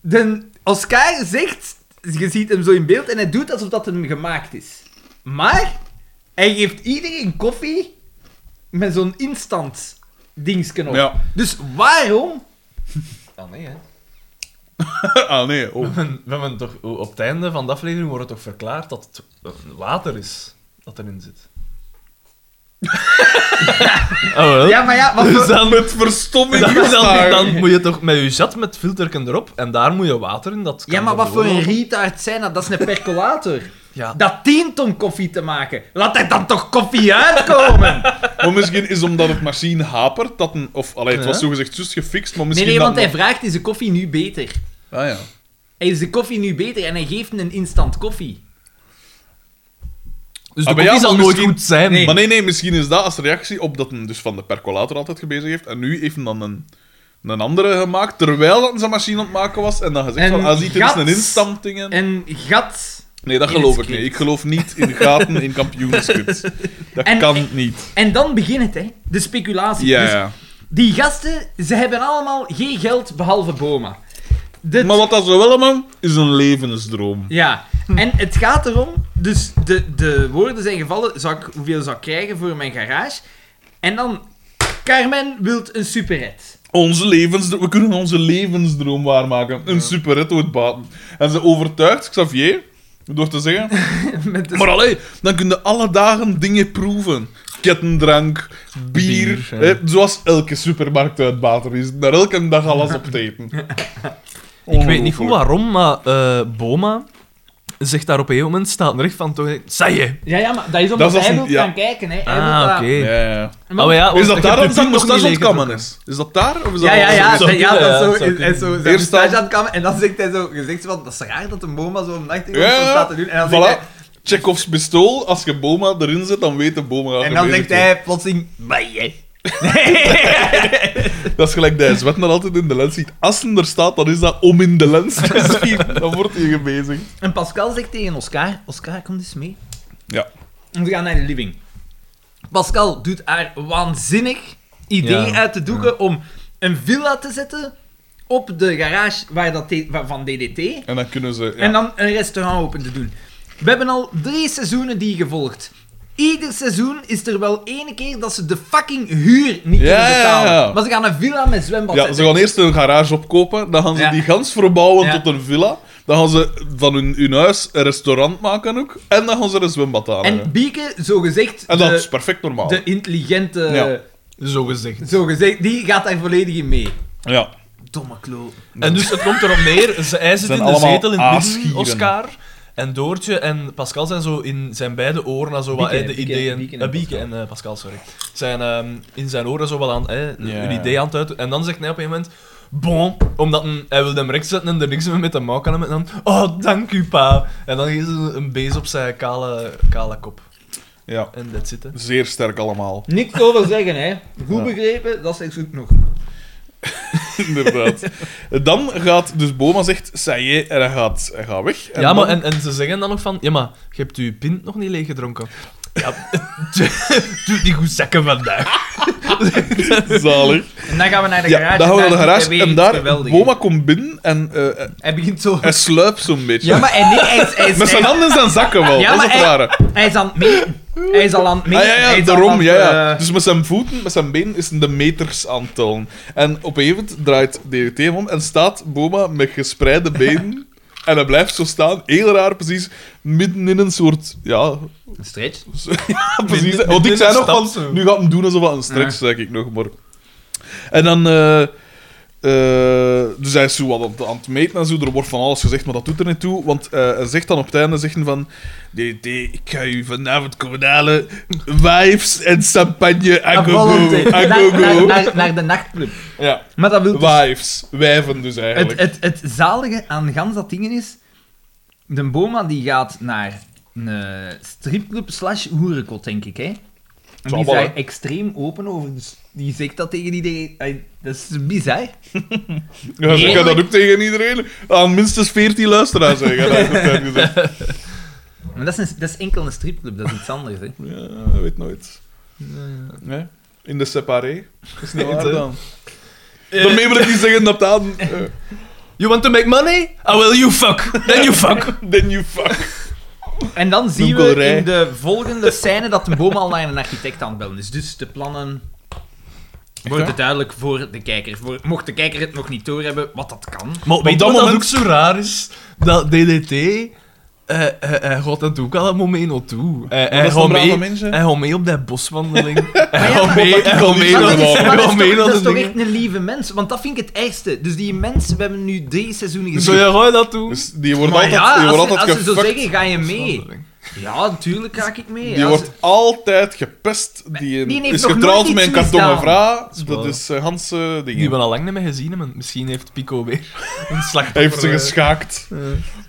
Speaker 3: De Oscar zegt, je ziet hem zo in beeld, en hij doet alsof dat hem gemaakt is. Maar hij geeft iedereen koffie met zo'n instant dingsken op.
Speaker 1: Ja.
Speaker 3: Dus waarom
Speaker 2: Ah nee, hè.
Speaker 1: ah, nee.
Speaker 2: We
Speaker 1: Oh.
Speaker 2: hebben, we hebben toch, op het einde van de aflevering wordt het toch verklaard dat het water is dat erin zit. oh, wel?
Speaker 3: Ja, maar ja, wat
Speaker 2: Dus
Speaker 3: voor-
Speaker 2: dan,
Speaker 1: Met verstomming
Speaker 2: dan,
Speaker 1: gestaan.
Speaker 2: dan, dan moet je toch met je zat met filterken erop en daar moet je water in. Dat kan
Speaker 3: ja, maar
Speaker 2: dan
Speaker 3: wat voor een
Speaker 2: gewoon-
Speaker 3: retard zijn dat? Dat is een percolator.
Speaker 2: Ja,
Speaker 3: Dat dient om koffie te maken. Laat er dan toch koffie uitkomen?
Speaker 1: Maar misschien is omdat het machine hapert, dat een... Of, allee, het was
Speaker 2: Ja.
Speaker 1: zogezegd juist gefixt, maar
Speaker 3: Nee,
Speaker 1: misschien...
Speaker 3: nee, want hij
Speaker 1: dat...
Speaker 3: vraagt, is de koffie nu beter?
Speaker 1: Ah, ja.
Speaker 2: Dus
Speaker 3: Hij is de koffie nu beter en hij geeft hem een instant koffie.
Speaker 2: dus de
Speaker 1: Ah, maar
Speaker 2: koffie
Speaker 1: ja,
Speaker 2: zal
Speaker 1: maar
Speaker 2: nooit
Speaker 1: misschien-
Speaker 2: goed zijn.
Speaker 3: Nee.
Speaker 1: Maar nee, nee, misschien is dat als reactie op dat hem dus van de percolator altijd gebezigd heeft. En nu heeft hem dan een, een andere gemaakt, terwijl dat zijn machine aan het maken was. En dan gezegd
Speaker 3: En
Speaker 1: van, ah, ziet, dit is
Speaker 3: gat.
Speaker 1: een instampting. en-
Speaker 3: Een gat.
Speaker 1: Nee, dat
Speaker 3: in het
Speaker 1: geloof ik
Speaker 3: script.
Speaker 1: niet. Ik geloof niet in gaten in kampioenscripts. Dat
Speaker 3: En-
Speaker 1: kan niet.
Speaker 3: En dan begint het, hè. De speculatie.
Speaker 1: Ja,
Speaker 3: Dus
Speaker 1: ja.
Speaker 3: die gasten, ze hebben allemaal geen geld behalve Boma. De
Speaker 1: Maar wat dat zo wel allemaal is een levensdroom.
Speaker 3: Ja, en het gaat erom, dus de, de woorden zijn gevallen, zou ik, hoeveel zou ik krijgen voor mijn garage? En dan, Carmen wilt een superet.
Speaker 1: Onze levensdroom. We kunnen onze levensdroom waarmaken. Een superretto het baten. En ze overtuigt Xavier door te zeggen...
Speaker 3: Met de-
Speaker 1: Maar allee, dan kun je alle dagen dingen proeven. Kettendrank, bier,
Speaker 2: Bier, ja.
Speaker 1: hè, zoals elke supermarkt uit Bater is. Daar elke dag alles op te eten.
Speaker 2: Ik
Speaker 1: Oh.
Speaker 2: weet niet goed waarom, maar eh, Boma zegt daar op een gegeven moment, staat recht van toch... Zij je!
Speaker 3: Ja, ja, maar dat is omdat
Speaker 1: Dat is als
Speaker 3: hij wil
Speaker 1: een- ja.
Speaker 3: gaan kijken, hè. Hij wil
Speaker 2: Ah,
Speaker 3: dat-
Speaker 2: oké.
Speaker 1: Ja, ja.
Speaker 3: Maar-
Speaker 2: Oh, ja,
Speaker 1: Is
Speaker 2: want
Speaker 1: dat
Speaker 2: ik
Speaker 1: daar
Speaker 2: heb
Speaker 1: dat
Speaker 2: de
Speaker 1: zijn
Speaker 2: punt nog
Speaker 1: moustache
Speaker 2: niet
Speaker 1: ontkammen
Speaker 2: leeggetrokken.
Speaker 1: is? Is dat daar? Of is dat
Speaker 3: Ja, ja, ja,
Speaker 2: zou
Speaker 3: ja,
Speaker 1: Zo-
Speaker 2: kunnen,
Speaker 3: dat
Speaker 2: ja,
Speaker 3: zo,
Speaker 2: dat zou
Speaker 3: en- en zo, zo
Speaker 1: Eerst
Speaker 3: stage
Speaker 1: dan-
Speaker 3: aan het kamen, en dan zegt hij zo, gezegd zo, van, dat is raar dat een boma zo nachtig
Speaker 1: Ja, ja.
Speaker 3: staat te doen, en dan
Speaker 1: Voilà.
Speaker 3: zegt hij,
Speaker 1: Chekhovs pistool, als je Boma erin zet, dan weet de Boma...
Speaker 3: en dan
Speaker 1: denkt
Speaker 3: zegt hij plotseling, "Maar jij."
Speaker 1: Dat is gelijk dat hij zwet nog altijd in de lens ziet. Als hij er staat, dan is dat om in de lens te zien. Dan wordt hij gebezigd.
Speaker 3: En Pascal zegt tegen Oscar, Oscar, kom eens mee.
Speaker 1: Ja.
Speaker 3: En we gaan naar de living. Pascal doet haar waanzinnig idee
Speaker 2: Ja,
Speaker 3: uit de doeken om een villa te zetten op de garage waar dat de- wa- van DDT.
Speaker 1: En dan kunnen ze... Ja.
Speaker 3: En dan een restaurant open te doen. We hebben al drie seizoenen die gevolgd. Ieder seizoen is er wel ene keer dat ze de fucking huur niet
Speaker 1: Ja,
Speaker 3: kunnen betalen.
Speaker 1: ja, ja.
Speaker 3: Maar ze gaan een villa met zwembad
Speaker 1: Ja, ze
Speaker 3: zetten.
Speaker 1: gaan eerst een garage opkopen, dan gaan ze
Speaker 3: Ja.
Speaker 1: die gans verbouwen
Speaker 3: Ja.
Speaker 1: tot een villa, dan gaan ze van hun, hun huis een restaurant maken ook, en dan gaan ze er een zwembad aan
Speaker 3: En
Speaker 1: En,
Speaker 3: Bieke, zogezegd,
Speaker 1: en dat
Speaker 3: de,
Speaker 1: is perfect normaal.
Speaker 3: de intelligente...
Speaker 1: Ja.
Speaker 2: Zo gezegd.
Speaker 3: Zogezegd, die gaat daar volledig in mee.
Speaker 1: Ja.
Speaker 3: Domme klo.
Speaker 2: En dus het komt erop neer, ze, hij zit
Speaker 1: Zijn
Speaker 2: in de
Speaker 1: allemaal
Speaker 2: zetel in het midden,
Speaker 1: aasgieren.
Speaker 2: Oscar. En Doortje en Pascal zijn zo in zijn beide oren aan zo wat
Speaker 3: Bieke,
Speaker 2: eh, de
Speaker 3: Bieke,
Speaker 2: ideeën...
Speaker 3: Bieke en
Speaker 2: eh, Bieke en eh, Pascal, sorry. Zijn ehm, in zijn oren zo wat aan eh,
Speaker 1: Ja.
Speaker 2: hun idee aan het uiten. En dan zegt hij op een moment... Bon, omdat een- hij wilde hem rechts zetten en er niks meer mee te maken had. En dan... Oh, dank u, pa. En dan geeft ze een bees op zijn kale, kale kop.
Speaker 1: ja,
Speaker 2: En dat zit, hè.
Speaker 1: zeer sterk allemaal.
Speaker 3: Niks over zeggen, hè. Goed
Speaker 1: Ja.
Speaker 3: begrepen, dat is goed nog.
Speaker 1: Inderdaad. Dan gaat, dus Boma zegt, Saye, en hij gaat, hij gaat weg. En
Speaker 2: ja, maar
Speaker 1: dan-
Speaker 2: en, en ze zeggen dan nog van... Ja, maar je hebt je pint nog niet leeggedronken. Ja, doe die goed zakken vandaag.
Speaker 1: Zalig.
Speaker 3: En dan gaan we naar de garage.
Speaker 1: Ja, dan gaan we naar de
Speaker 3: doet hij
Speaker 1: garage,
Speaker 3: weer
Speaker 1: en
Speaker 3: iets
Speaker 1: daar,
Speaker 3: geweldigs.
Speaker 1: Boma komt binnen en eh,
Speaker 3: Hij begint zo...
Speaker 1: hij sluipt zo'n beetje.
Speaker 3: Ja, maar hij, nee, hij, is- hij, is-
Speaker 1: Met zijn
Speaker 3: hij,
Speaker 1: handen en zijn zakken wel,
Speaker 3: Ja,
Speaker 1: dat is
Speaker 3: maar
Speaker 1: het
Speaker 3: hij-
Speaker 1: rare.
Speaker 3: hij is aan het meten. Hij is al aan het meten.
Speaker 1: Ah, ja,
Speaker 3: hij
Speaker 1: ja,
Speaker 3: is al aan
Speaker 1: daarom.
Speaker 3: het,
Speaker 1: Ja, ja.
Speaker 3: eh,
Speaker 1: Dus met zijn voeten, met zijn been, is hij de meters aan het tellen. En op een gegeven moment draait DDT hem om en staat Boma met gespreide benen. En hij blijft zo staan, heel raar, precies, midden in een soort... Ja,
Speaker 3: een stretch.
Speaker 1: precies.
Speaker 2: Midden-
Speaker 1: Want
Speaker 2: midden
Speaker 1: ik
Speaker 2: in
Speaker 1: zei
Speaker 2: een
Speaker 1: nog
Speaker 2: stad,
Speaker 1: van,
Speaker 2: zo.
Speaker 1: nu gaat hem doen alsof het een stretch, zeg ik nog, maar... En dan... eh, eh, dus hij is zo wat aan, het- aan het meten en zo, er wordt van alles gezegd, maar dat doet er niet toe, want eh, hij zegt dan op het einde zeggen van DDT, ik ga u vanavond komen halen, vibes en champagne,
Speaker 3: Een
Speaker 1: agogo,
Speaker 3: volonté. Naar, naar,
Speaker 1: agogo.
Speaker 3: naar, naar de nachtclub.
Speaker 1: Ja,
Speaker 3: Maar dat wil dus...
Speaker 1: wives, wijven dus
Speaker 3: Het,
Speaker 1: eigenlijk.
Speaker 3: het, het zalige aan gans dat dingen is... De boma die gaat naar een eh, stripclub slash hoerenkot, denk ik, hè. En
Speaker 1: Zal
Speaker 3: die is
Speaker 1: wel,
Speaker 3: daar
Speaker 1: hè.
Speaker 3: extreem open over, dus die zegt dat tegen iedereen. Ay, Dat is bizar.
Speaker 1: Ja, ze
Speaker 3: Nee.
Speaker 1: kan dat ook tegen iedereen, aan minstens 14 luisteraars zeggen. dat heeft hij gezegd.
Speaker 3: Maar dat is, een- dat is enkel een stripclub, dat is iets anders. Hè.
Speaker 1: Ja, weet nooit. Nee? In de separé. Is niet waar
Speaker 2: hè?
Speaker 1: dan. Daarmee wil ik niet zeggen dat dat... eh,
Speaker 2: You want to make money? Ah, well, you fuck. Then you fuck.
Speaker 1: then you fuck.
Speaker 3: En dan zien we
Speaker 1: Noekelrij.
Speaker 3: in de volgende scène dat de boom al naar een architect aan het bellen is. Dus de plannen Wordt het duidelijk voor de kijker. Voor, mocht de kijker het nog niet doorhebben, wat dat kan.
Speaker 2: Maar
Speaker 1: dat
Speaker 2: weet je wat dat
Speaker 1: moment-
Speaker 2: ook zo raar is? Dat DDT... eh, eh, hij gaat dat ook allemaal mee naartoe. Hij-
Speaker 1: dat
Speaker 2: Hij
Speaker 1: is dan
Speaker 2: gaat
Speaker 1: braaf
Speaker 2: mee-
Speaker 1: van mensen.
Speaker 2: hij gaat mee op die boswandeling. Hij
Speaker 3: ja,
Speaker 2: gaat mee-
Speaker 1: maar
Speaker 2: hij
Speaker 1: dat
Speaker 2: gaat
Speaker 1: is-
Speaker 2: mee
Speaker 1: dat
Speaker 2: naar
Speaker 1: is-
Speaker 2: de-
Speaker 1: dat is-
Speaker 2: hij
Speaker 3: dat
Speaker 2: gaat
Speaker 3: is,
Speaker 2: mee
Speaker 3: toch,
Speaker 2: naar
Speaker 3: dat
Speaker 2: de
Speaker 3: is toch
Speaker 2: dingen.
Speaker 3: echt een lieve mens? Want dat vind ik het ergste. Dus die mens, we hebben nu drie seizoenen gezien.
Speaker 2: Zou jij dat doen?
Speaker 1: Dus die wordt
Speaker 3: Maar
Speaker 1: altijd,
Speaker 3: ja,
Speaker 1: die
Speaker 3: als,
Speaker 1: wordt
Speaker 3: ze-
Speaker 1: altijd
Speaker 3: als ze zo
Speaker 1: gefuckt.
Speaker 3: zeggen, ga je mee? Ja, natuurlijk ga ik mee.
Speaker 1: Die
Speaker 3: Ja,
Speaker 1: wordt
Speaker 3: ze-
Speaker 1: altijd gepest. Die,
Speaker 3: die heeft
Speaker 1: is
Speaker 3: nog nooit
Speaker 1: getrouwd
Speaker 3: iets
Speaker 1: met een kartongen
Speaker 3: misdaan.
Speaker 1: vrouw. Dat
Speaker 2: waar.
Speaker 1: is eh, Hans eh, dingen.
Speaker 2: Die we al lang niet meer gezien hebben. Misschien heeft Pico weer een slachtoffer.
Speaker 1: Hij heeft ze
Speaker 2: eh,
Speaker 1: geschaakt.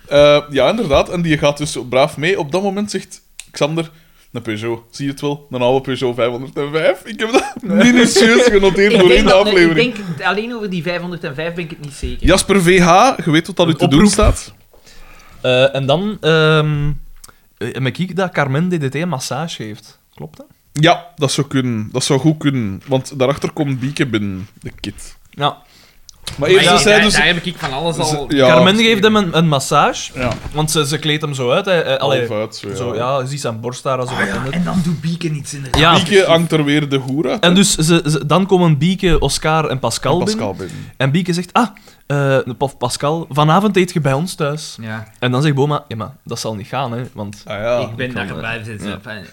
Speaker 2: eh.
Speaker 1: Eh, ja, inderdaad. En die gaat dus zo braaf mee. Op dat moment zegt Xander... Een Peugeot, zie je het wel? Een oude Peugeot 505. Ik heb dat minutieus genoteerd
Speaker 3: Ik
Speaker 1: door in
Speaker 3: denk,
Speaker 1: de
Speaker 3: dat, ik
Speaker 1: aflevering.
Speaker 3: denk alleen over die 505 ben ik het niet zeker.
Speaker 1: Jasper VH, je weet wat dat u
Speaker 2: Een
Speaker 1: te doen
Speaker 2: oproep.
Speaker 1: staat.
Speaker 2: Eh, en dan ehm eh, merk ik dat Carmen DDT een massage heeft. Klopt dat?
Speaker 1: Ja, dat zou, kunnen. dat zou goed kunnen. Want daarachter komt Bieke binnen, de kid.
Speaker 2: Ja.
Speaker 1: Maar
Speaker 3: Maar
Speaker 1: eerst
Speaker 3: ja,
Speaker 1: is hij
Speaker 3: daar,
Speaker 1: dus...
Speaker 3: daar heb ik van alles al.
Speaker 1: ze- ja,
Speaker 2: Carmen geeft hem een, een massage,
Speaker 1: Ja,
Speaker 2: want ze, ze kleedt hem zo uit. Hij, eh, allee,
Speaker 1: half uit, zo, ja.
Speaker 2: zo, ja, je ziet zijn borst daar. Als
Speaker 3: Ah ja, en dan doet Beacon iets inderdaad.
Speaker 2: Ja.
Speaker 1: Bieke hangt er weer de hoer uit.
Speaker 2: En dus ze, ze- dan komen Bieke, Oscar en Pascal,
Speaker 1: En
Speaker 2: binnen.
Speaker 1: Pascal binnen.
Speaker 2: En Bieke zegt, ah, eh, Paf Pascal, vanavond eet je bij ons thuis.
Speaker 3: Ja,
Speaker 2: En dan zegt Boma, ja maar, dat zal niet gaan, hè, want...
Speaker 1: Ah ja.
Speaker 3: ik eh, ben
Speaker 2: ik
Speaker 3: daar
Speaker 2: kan,
Speaker 3: bij zitten.
Speaker 2: ja.
Speaker 3: fijn.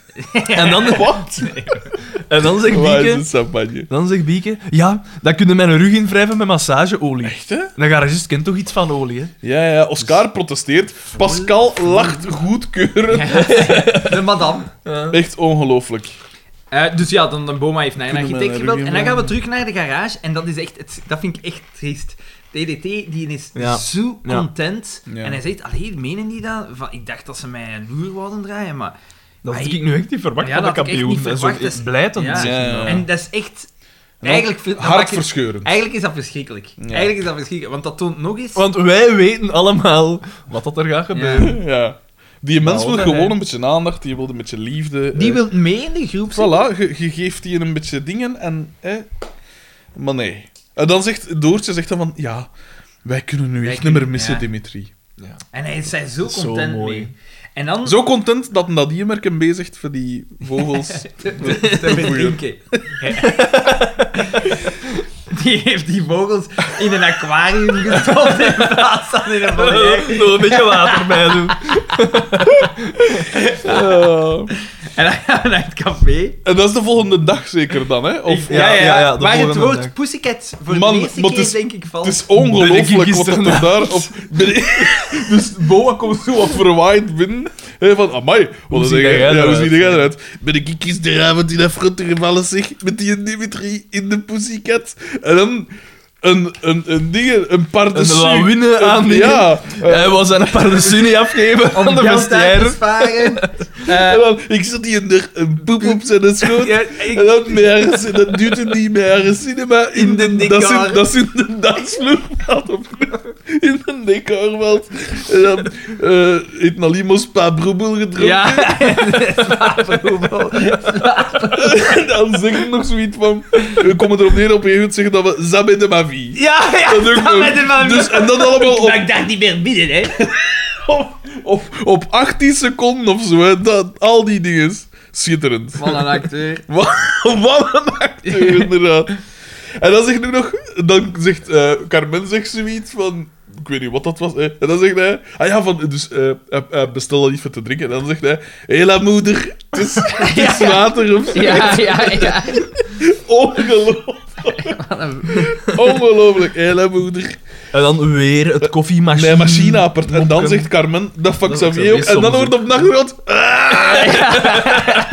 Speaker 2: En dan,
Speaker 1: Wat?
Speaker 2: en dan zegt
Speaker 1: Waar is
Speaker 2: Bieke,
Speaker 1: het champagne?
Speaker 2: dan zegt Bieke, ja, dan kunnen mijn rug invrijven met massageolie.
Speaker 1: Echt, hè?
Speaker 2: Een garagist kent toch iets van olie, hè?
Speaker 1: Ja, ja, Oscar protesteert. Pascal lacht goedkeurend.
Speaker 3: De madame.
Speaker 1: Echt ongelooflijk.
Speaker 3: Eh, dus ja, dan, dan Boma heeft naar een
Speaker 1: Kunnen we
Speaker 3: architect
Speaker 1: naar
Speaker 3: gebeld.
Speaker 1: Ruggen
Speaker 3: En dan gaan we
Speaker 1: bellen?
Speaker 3: terug naar de garage. En dat is echt, het, dat vind ik echt triest. DDT, die is
Speaker 2: Ja.
Speaker 3: zo
Speaker 2: Ja.
Speaker 3: content.
Speaker 1: Ja.
Speaker 3: En hij zegt, allee, menen die dat? Van, ik dacht dat ze mij een loer wouden draaien, maar...
Speaker 2: Dat
Speaker 3: Maar
Speaker 2: had
Speaker 3: je-
Speaker 2: ik nu echt niet verwacht
Speaker 3: Ja,
Speaker 2: van de
Speaker 3: dat had ik echt
Speaker 2: kampioen.
Speaker 3: niet
Speaker 2: En zo eh,
Speaker 3: verwacht, dus-
Speaker 2: echt blij dat
Speaker 3: Ja.
Speaker 2: het zegt.
Speaker 1: Ja.
Speaker 3: En dat is echt...
Speaker 1: En
Speaker 3: Eigenlijk, vind- dat maakt het-
Speaker 1: Hartverscheurend.
Speaker 3: eigenlijk is dat verschrikkelijk. Eigenlijk is dat verschrikkelijk, want dat toont nog eens...
Speaker 2: Want wij weten allemaal wat dat er gaat gebeuren.
Speaker 1: Ja. Die mens
Speaker 2: Nou,
Speaker 1: wil
Speaker 2: dat
Speaker 1: gewoon
Speaker 2: hij-
Speaker 1: een beetje aandacht, die wil een beetje liefde.
Speaker 3: Die
Speaker 1: eh.
Speaker 3: wil mee in de groep zitten.
Speaker 1: Voilà, je, je geeft die een beetje dingen en... Eh. Maar nee. En dan zegt Doortje zegt dan van... Ja, wij kunnen nu
Speaker 3: Wij
Speaker 1: echt
Speaker 3: kunnen-
Speaker 1: niet meer missen,
Speaker 3: ja.
Speaker 1: Dimitri.
Speaker 3: En hij is daar zo
Speaker 2: is zo
Speaker 3: content
Speaker 2: mooi.
Speaker 3: mee. En dan...
Speaker 1: Zo content dat dat hier merk hem bezigt voor die vogels.
Speaker 3: te, te, te bedenken. Die heeft die vogels in een aquarium gestopt in plaats van in een volière.
Speaker 2: Nog een beetje water bij doen.
Speaker 1: Eh,
Speaker 3: En dan gaan we naar het café.
Speaker 1: en dat is de volgende dag zeker dan, hè? Of,
Speaker 2: Ja, ja, ja, de
Speaker 3: maar het
Speaker 2: volgende
Speaker 3: woord
Speaker 2: dag.
Speaker 3: pussycat voor
Speaker 1: Man,
Speaker 3: de eerste
Speaker 1: maar
Speaker 3: keer,
Speaker 1: het is-
Speaker 3: denk ik, valt.
Speaker 1: Het is ongelooflijk wat
Speaker 2: gisteren
Speaker 1: dat er daar... Op, ben ik- dus Boa komt zo wat verwaaid binnen. Hè, van, amai, wat
Speaker 2: zie
Speaker 1: zeg jij?
Speaker 2: jij
Speaker 1: Ja, hoe
Speaker 2: eruit?
Speaker 1: zie jij eruit? Ben ik gisteravond in Afrote gevallen, zeg? Met die Dimitri in de pussycat. En dan een, een, een ding, een par de
Speaker 2: Een
Speaker 1: su.
Speaker 2: lawine
Speaker 1: Een-
Speaker 2: aan dingen.
Speaker 1: Ja.
Speaker 2: Hij was aan een paar de Sunny afgeven aan de
Speaker 3: geld uit te
Speaker 2: vestiaire.
Speaker 3: sparen.
Speaker 1: En dan, ik zat hier er een poep op zijn schoot.
Speaker 3: Ja,
Speaker 1: En
Speaker 3: ik-
Speaker 1: dan met haar, dat duwt het niet met haar cinema in,
Speaker 3: In de
Speaker 1: Dat is
Speaker 3: decor.
Speaker 1: in, dat is in de dansvloerveld opgenomen. In de decorveld. En dan eh heeft Nalimo spa broebel gedronken.
Speaker 3: ja, slaapvogel.
Speaker 1: En dan zeggen nog zoiets van... We komen erop neer op een goed zeggen dat we Zabé de ma vie.
Speaker 3: Ja, ja,
Speaker 1: Dat doe ik
Speaker 3: dat
Speaker 1: nog.
Speaker 3: met de man.
Speaker 1: Dus, en dat allemaal
Speaker 3: Maar
Speaker 1: op,
Speaker 3: ik dacht niet meer binnen, hè.
Speaker 1: op, op, op 18 seconden of zo. hè. Dat, al die dingen. Schitterend.
Speaker 3: Van een acteur.
Speaker 1: Wat, wat een acteur, inderdaad. En dan zegt hij nog... Dan zegt eh, Carmen zegt zoiets van... Ik weet niet wat dat was. eh. En dan zegt hij... Ah ja, van... Dus eh, eh, eh, bestel dan iets wat te drinken. En dan zegt hij... Hela moeder, het is, het is water of zo.
Speaker 3: Ja, ja, ja.
Speaker 1: Ongelooflijk. Ongelooflijk. Hela moeder.
Speaker 2: En dan weer het koffiemachine.
Speaker 3: Mm.
Speaker 1: Nee, machineappert. En dan
Speaker 2: mokken.
Speaker 1: zegt Carmen... Dat fuck
Speaker 2: Dat
Speaker 1: Xavier op.
Speaker 2: is
Speaker 1: En dan
Speaker 2: soms
Speaker 1: wordt op nachtrad... Ah,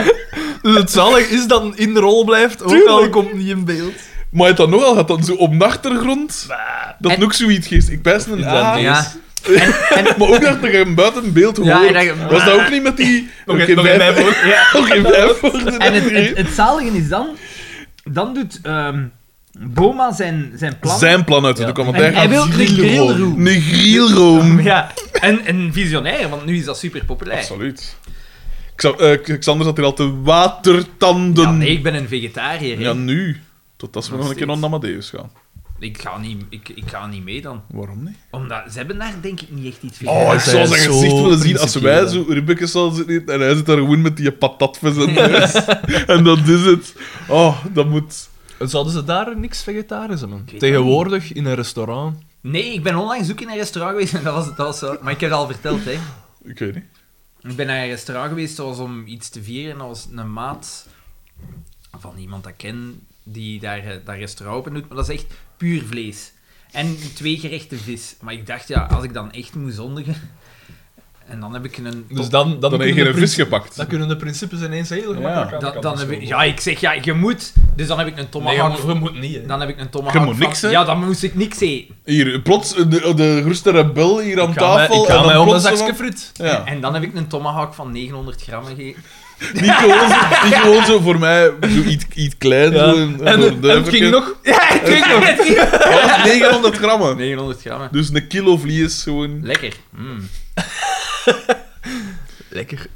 Speaker 2: Dus het zalig is dat het in de rol blijft, ook al
Speaker 1: Tuurlijk.
Speaker 2: komt het niet in beeld.
Speaker 1: maar het dan nogal gaat dan zo op nachtergrond... Dat
Speaker 3: En-
Speaker 1: nog zoiets geest. Ik pijs een...
Speaker 2: Ja,
Speaker 1: Ah,
Speaker 2: nee.
Speaker 3: Ja.
Speaker 1: Maar ook dat je hem buiten beeld hoort.
Speaker 3: Ja, en dat je-
Speaker 1: Was dat ook niet met die...
Speaker 2: Nog
Speaker 1: Oké,
Speaker 2: in- nog in
Speaker 1: vijf-
Speaker 2: mijn woord.
Speaker 1: Nog in vijf woorden.
Speaker 3: En het, het, het zalige is dan... Dan doet ehm, Boma zijn, zijn plan...
Speaker 1: Zijn plan uit te
Speaker 2: Ja.
Speaker 1: doen, want
Speaker 3: En
Speaker 1: hij
Speaker 3: hij wil
Speaker 1: gaat
Speaker 3: een
Speaker 1: grillroom.
Speaker 3: grillroom.
Speaker 1: Een grillroom.
Speaker 3: Ja, en, en visionair, want nu is dat super populair.
Speaker 1: Absoluut. Xa- eh, K- Xander zat hier al te watertanden.
Speaker 3: Ja, nee, ik ben een vegetariër. hè.
Speaker 1: Ja, nu. Totdat we
Speaker 3: Nog
Speaker 1: nog een keer naar
Speaker 3: steeds.
Speaker 1: Amadeus gaan.
Speaker 3: Ik, ga niet, ik, ik ga niet mee dan.
Speaker 1: Waarom niet?
Speaker 3: Omdat ze hebben daar denk ik niet echt iets
Speaker 1: Oh,
Speaker 3: vegetarisch.
Speaker 1: ik
Speaker 2: dat
Speaker 1: zou
Speaker 2: is
Speaker 1: zijn
Speaker 2: zo
Speaker 1: gezicht willen zien als wij zo
Speaker 2: principieel.
Speaker 1: Rebecca's zal zitten eten en hij zit daar gewoon met die patatvis en En dat is het. Oh, dat moet...
Speaker 2: Zouden ze daar niks vegetarisch hebben? Tegenwoordig in een restaurant.
Speaker 3: Nee, ik ben onlangs ook in een restaurant geweest en dat was het al zo. Maar ik heb het al verteld, hè.
Speaker 1: Ik weet niet.
Speaker 3: Ik ben naar een restaurant geweest zoals om iets te vieren. En dat was een maat van iemand dat ik ken, die daar eh, dat restaurant open doet. Maar dat is echt puur vlees. En twee gerechten vis. Maar ik dacht, ja, als ik dan echt moet zondigen... En dan heb ik een...
Speaker 2: Dus dan, dan,
Speaker 1: Dan heb
Speaker 2: kunnen
Speaker 1: je
Speaker 2: de
Speaker 1: geen vis
Speaker 2: princi-
Speaker 1: gepakt.
Speaker 2: Dan kunnen de principes ineens heel gemakkelijk aan de
Speaker 3: dan,
Speaker 2: kant
Speaker 3: dan heb ik,
Speaker 2: geschoven
Speaker 3: ja, ik zeg, ja, je moet. Dus dan heb ik een
Speaker 2: worden. dus Nee,
Speaker 3: tomahawk...
Speaker 2: je moet- je moet niet, hè.
Speaker 3: dan heb ik een tomahawk
Speaker 1: moet
Speaker 3: van-
Speaker 1: niks, hè?
Speaker 3: Ja, dan moest ik niks eten.
Speaker 1: Hier, plots eh, de, de geruste rebel hier aan
Speaker 2: Ik ga mij-
Speaker 1: tafel.
Speaker 2: Ik ga
Speaker 1: en
Speaker 2: mij
Speaker 1: dan
Speaker 2: om een
Speaker 1: plots zo
Speaker 2: zakje
Speaker 1: van-
Speaker 2: friet.
Speaker 1: Ja.
Speaker 3: En dan heb ik een tomahawk van 900 gram gegeten.
Speaker 1: Niet gewoon, zo- niet gewoon zo voor mij, zo iets, iets klein.
Speaker 2: Ja.
Speaker 1: zo een-
Speaker 2: En, en
Speaker 1: zo'n
Speaker 2: het
Speaker 1: duiveltje.
Speaker 2: ging nog...
Speaker 3: Ja, ik weet nog. het niet.
Speaker 1: Ja, 900 grammen.
Speaker 3: 900 gram, hè.
Speaker 1: Dus een kilo vlees gewoon.
Speaker 3: Lekker. Mm.
Speaker 2: Lekker.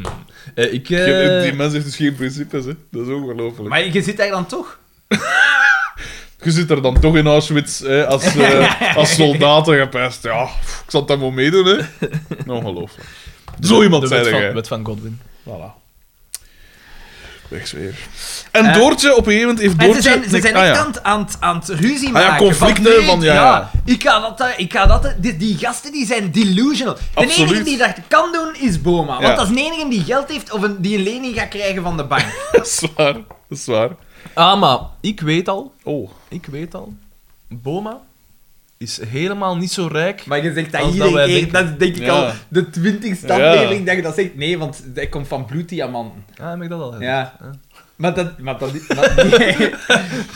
Speaker 2: Eh, ik... eh,
Speaker 1: Je- Die mens heeft dus geen principes, hè. Dat is ongelooflijk.
Speaker 3: Maar je zit daar dan toch?
Speaker 1: Je zit er dan toch in Auschwitz hè, als, eh als soldaten gepest. Ja, pff, ik zal dat wel meedoen, hè. Ongelooflijk. Zo iemand
Speaker 2: de
Speaker 1: zijn
Speaker 2: wet van,
Speaker 1: jij.
Speaker 2: wet van Godwin.
Speaker 1: Voilà. Wegsfeer. En
Speaker 3: Eh,
Speaker 1: Doortje, op een gegeven moment heeft
Speaker 3: En ze
Speaker 1: Doortje...
Speaker 3: zijn, ze
Speaker 1: Nee,
Speaker 3: zijn
Speaker 1: ah,
Speaker 3: echt
Speaker 1: ja.
Speaker 3: aan, het- aan, het- aan het ruzie
Speaker 1: Ah ja,
Speaker 3: maken.
Speaker 1: conflicten
Speaker 3: nee,
Speaker 1: van, ja, ja.
Speaker 3: Ik ga dat, eh, ik ga dat... eh, Die, die gasten die zijn delusional. De
Speaker 1: Absoluut.
Speaker 3: enige die dat kan doen is Boma.
Speaker 1: Ja.
Speaker 3: Want dat is de enige die geld heeft of een, die een lening gaat krijgen van de bank.
Speaker 1: Dat is waar. Dat is waar.
Speaker 2: Ah, maar ik weet al...
Speaker 1: Oh.
Speaker 2: Ik weet al... Boma is helemaal niet zo rijk.
Speaker 3: Maar je zegt dat
Speaker 2: Als dat
Speaker 3: iedereen
Speaker 2: wij
Speaker 3: eet,
Speaker 2: denken.
Speaker 3: dat is denk ik
Speaker 1: Ja.
Speaker 3: al de twintigste
Speaker 1: Ja.
Speaker 3: aflevering dat je dat zegt. Nee, want hij komt van bloeddiamanten.
Speaker 2: Ah, heb ik dat al gezegd?
Speaker 3: Ja. Maar, dat, maar, dat, maar die,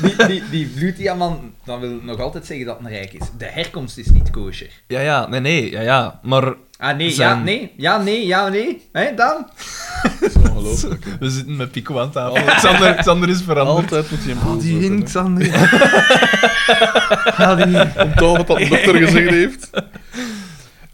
Speaker 3: die, die, die bloeddiamanten, dan wil nog altijd zeggen dat het een rijk is. De herkomst is niet kosher.
Speaker 2: Ja, ja. Nee, nee. Ja, ja. Maar
Speaker 3: Ah, nee, ja,
Speaker 2: Zijn-
Speaker 3: nee, ja, nee, ja, nee. Hé, dan?
Speaker 1: Dat is ongelooflijk.
Speaker 2: we zitten met Pico aan tafel. Xander, Xander is veranderd.
Speaker 1: Altijd moet je
Speaker 2: Ah,
Speaker 1: een boel zetten, hè.
Speaker 3: Xander. Haal die
Speaker 1: Onthoud wat dat de dokter gezegd heeft.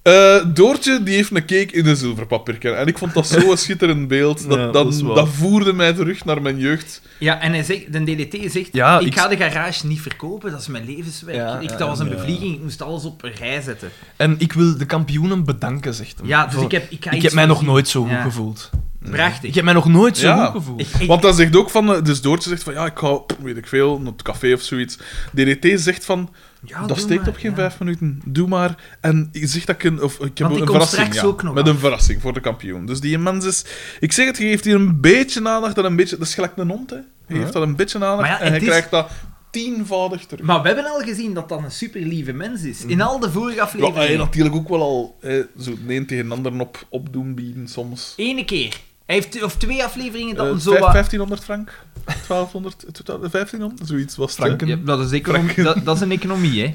Speaker 1: Eh, Doortje die heeft een cake in een zilverpapierken. En ik vond dat zo'n schitterend beeld. Dat,
Speaker 2: Ja,
Speaker 1: dat,
Speaker 2: dat is waar.
Speaker 1: dat voerde mij terug naar mijn jeugd.
Speaker 3: Ja, en hij zegt, de DDT zegt,
Speaker 2: Ja,
Speaker 3: ik,
Speaker 2: ik-
Speaker 3: ga de garage niet verkopen, dat is mijn levenswerk.
Speaker 2: Ja,
Speaker 3: ik, dat
Speaker 2: ja,
Speaker 3: was een
Speaker 1: ja.
Speaker 3: bevlieging, ik moest alles op een rij zetten.
Speaker 2: En ik wil de kampioenen bedanken, zegt hem.
Speaker 3: Ja, dus
Speaker 2: Voor-
Speaker 3: ik heb, ik ga
Speaker 2: ik
Speaker 3: iets
Speaker 2: heb mij nog
Speaker 3: voorzien.
Speaker 2: nooit zo goed
Speaker 3: Ja.
Speaker 2: gevoeld.
Speaker 3: Prachtig.
Speaker 2: Ik heb mij nog nooit zo
Speaker 1: Ja.
Speaker 2: goed gevoeld.
Speaker 3: Ik- ik-
Speaker 1: Want dat zegt ook van... eh, Dus Doortje zegt van, ja, ik ga, weet ik veel, naar het café of zoiets. DDT zegt van,
Speaker 3: ja,
Speaker 1: dat
Speaker 3: Ah, doe
Speaker 1: steekt
Speaker 3: maar,
Speaker 1: op geen
Speaker 3: ja.
Speaker 1: vijf minuten. Doe maar. En je zegt dat ik een... Of, ik heb
Speaker 3: Want die
Speaker 1: een
Speaker 3: komt
Speaker 1: verrassing,
Speaker 3: straks
Speaker 1: ja.
Speaker 3: ook nog
Speaker 1: Met
Speaker 3: af.
Speaker 1: een verrassing voor de kampioen. Dus die mens is... Ik zeg het, je geeft hier een beetje aandacht en een beetje... Dat is gelijk een hond, hè. Je geeft dat een beetje aandacht
Speaker 3: Maar ja,
Speaker 1: en je
Speaker 3: het is-
Speaker 1: krijgt dat tienvoudig terug.
Speaker 3: Maar we hebben al gezien dat dat een super lieve mens is.
Speaker 2: Mhm.
Speaker 3: In al de vorige
Speaker 1: Ja,
Speaker 2: ah,
Speaker 1: hij
Speaker 3: afleveringen.
Speaker 1: natuurlijk ook wel al hè, zo de een tegen de ander op, opdoen bieden soms.
Speaker 3: Ene keer. Hij heeft, of twee afleveringen dat
Speaker 1: Eh,
Speaker 3: hem zo
Speaker 1: vijf-
Speaker 3: wat-
Speaker 1: 1500 frank? 1200? eh, 12- 1500? Zoiets was het. hè.
Speaker 2: Franken.
Speaker 3: Ja, dat, is economie, dat, dat is een economie, hè.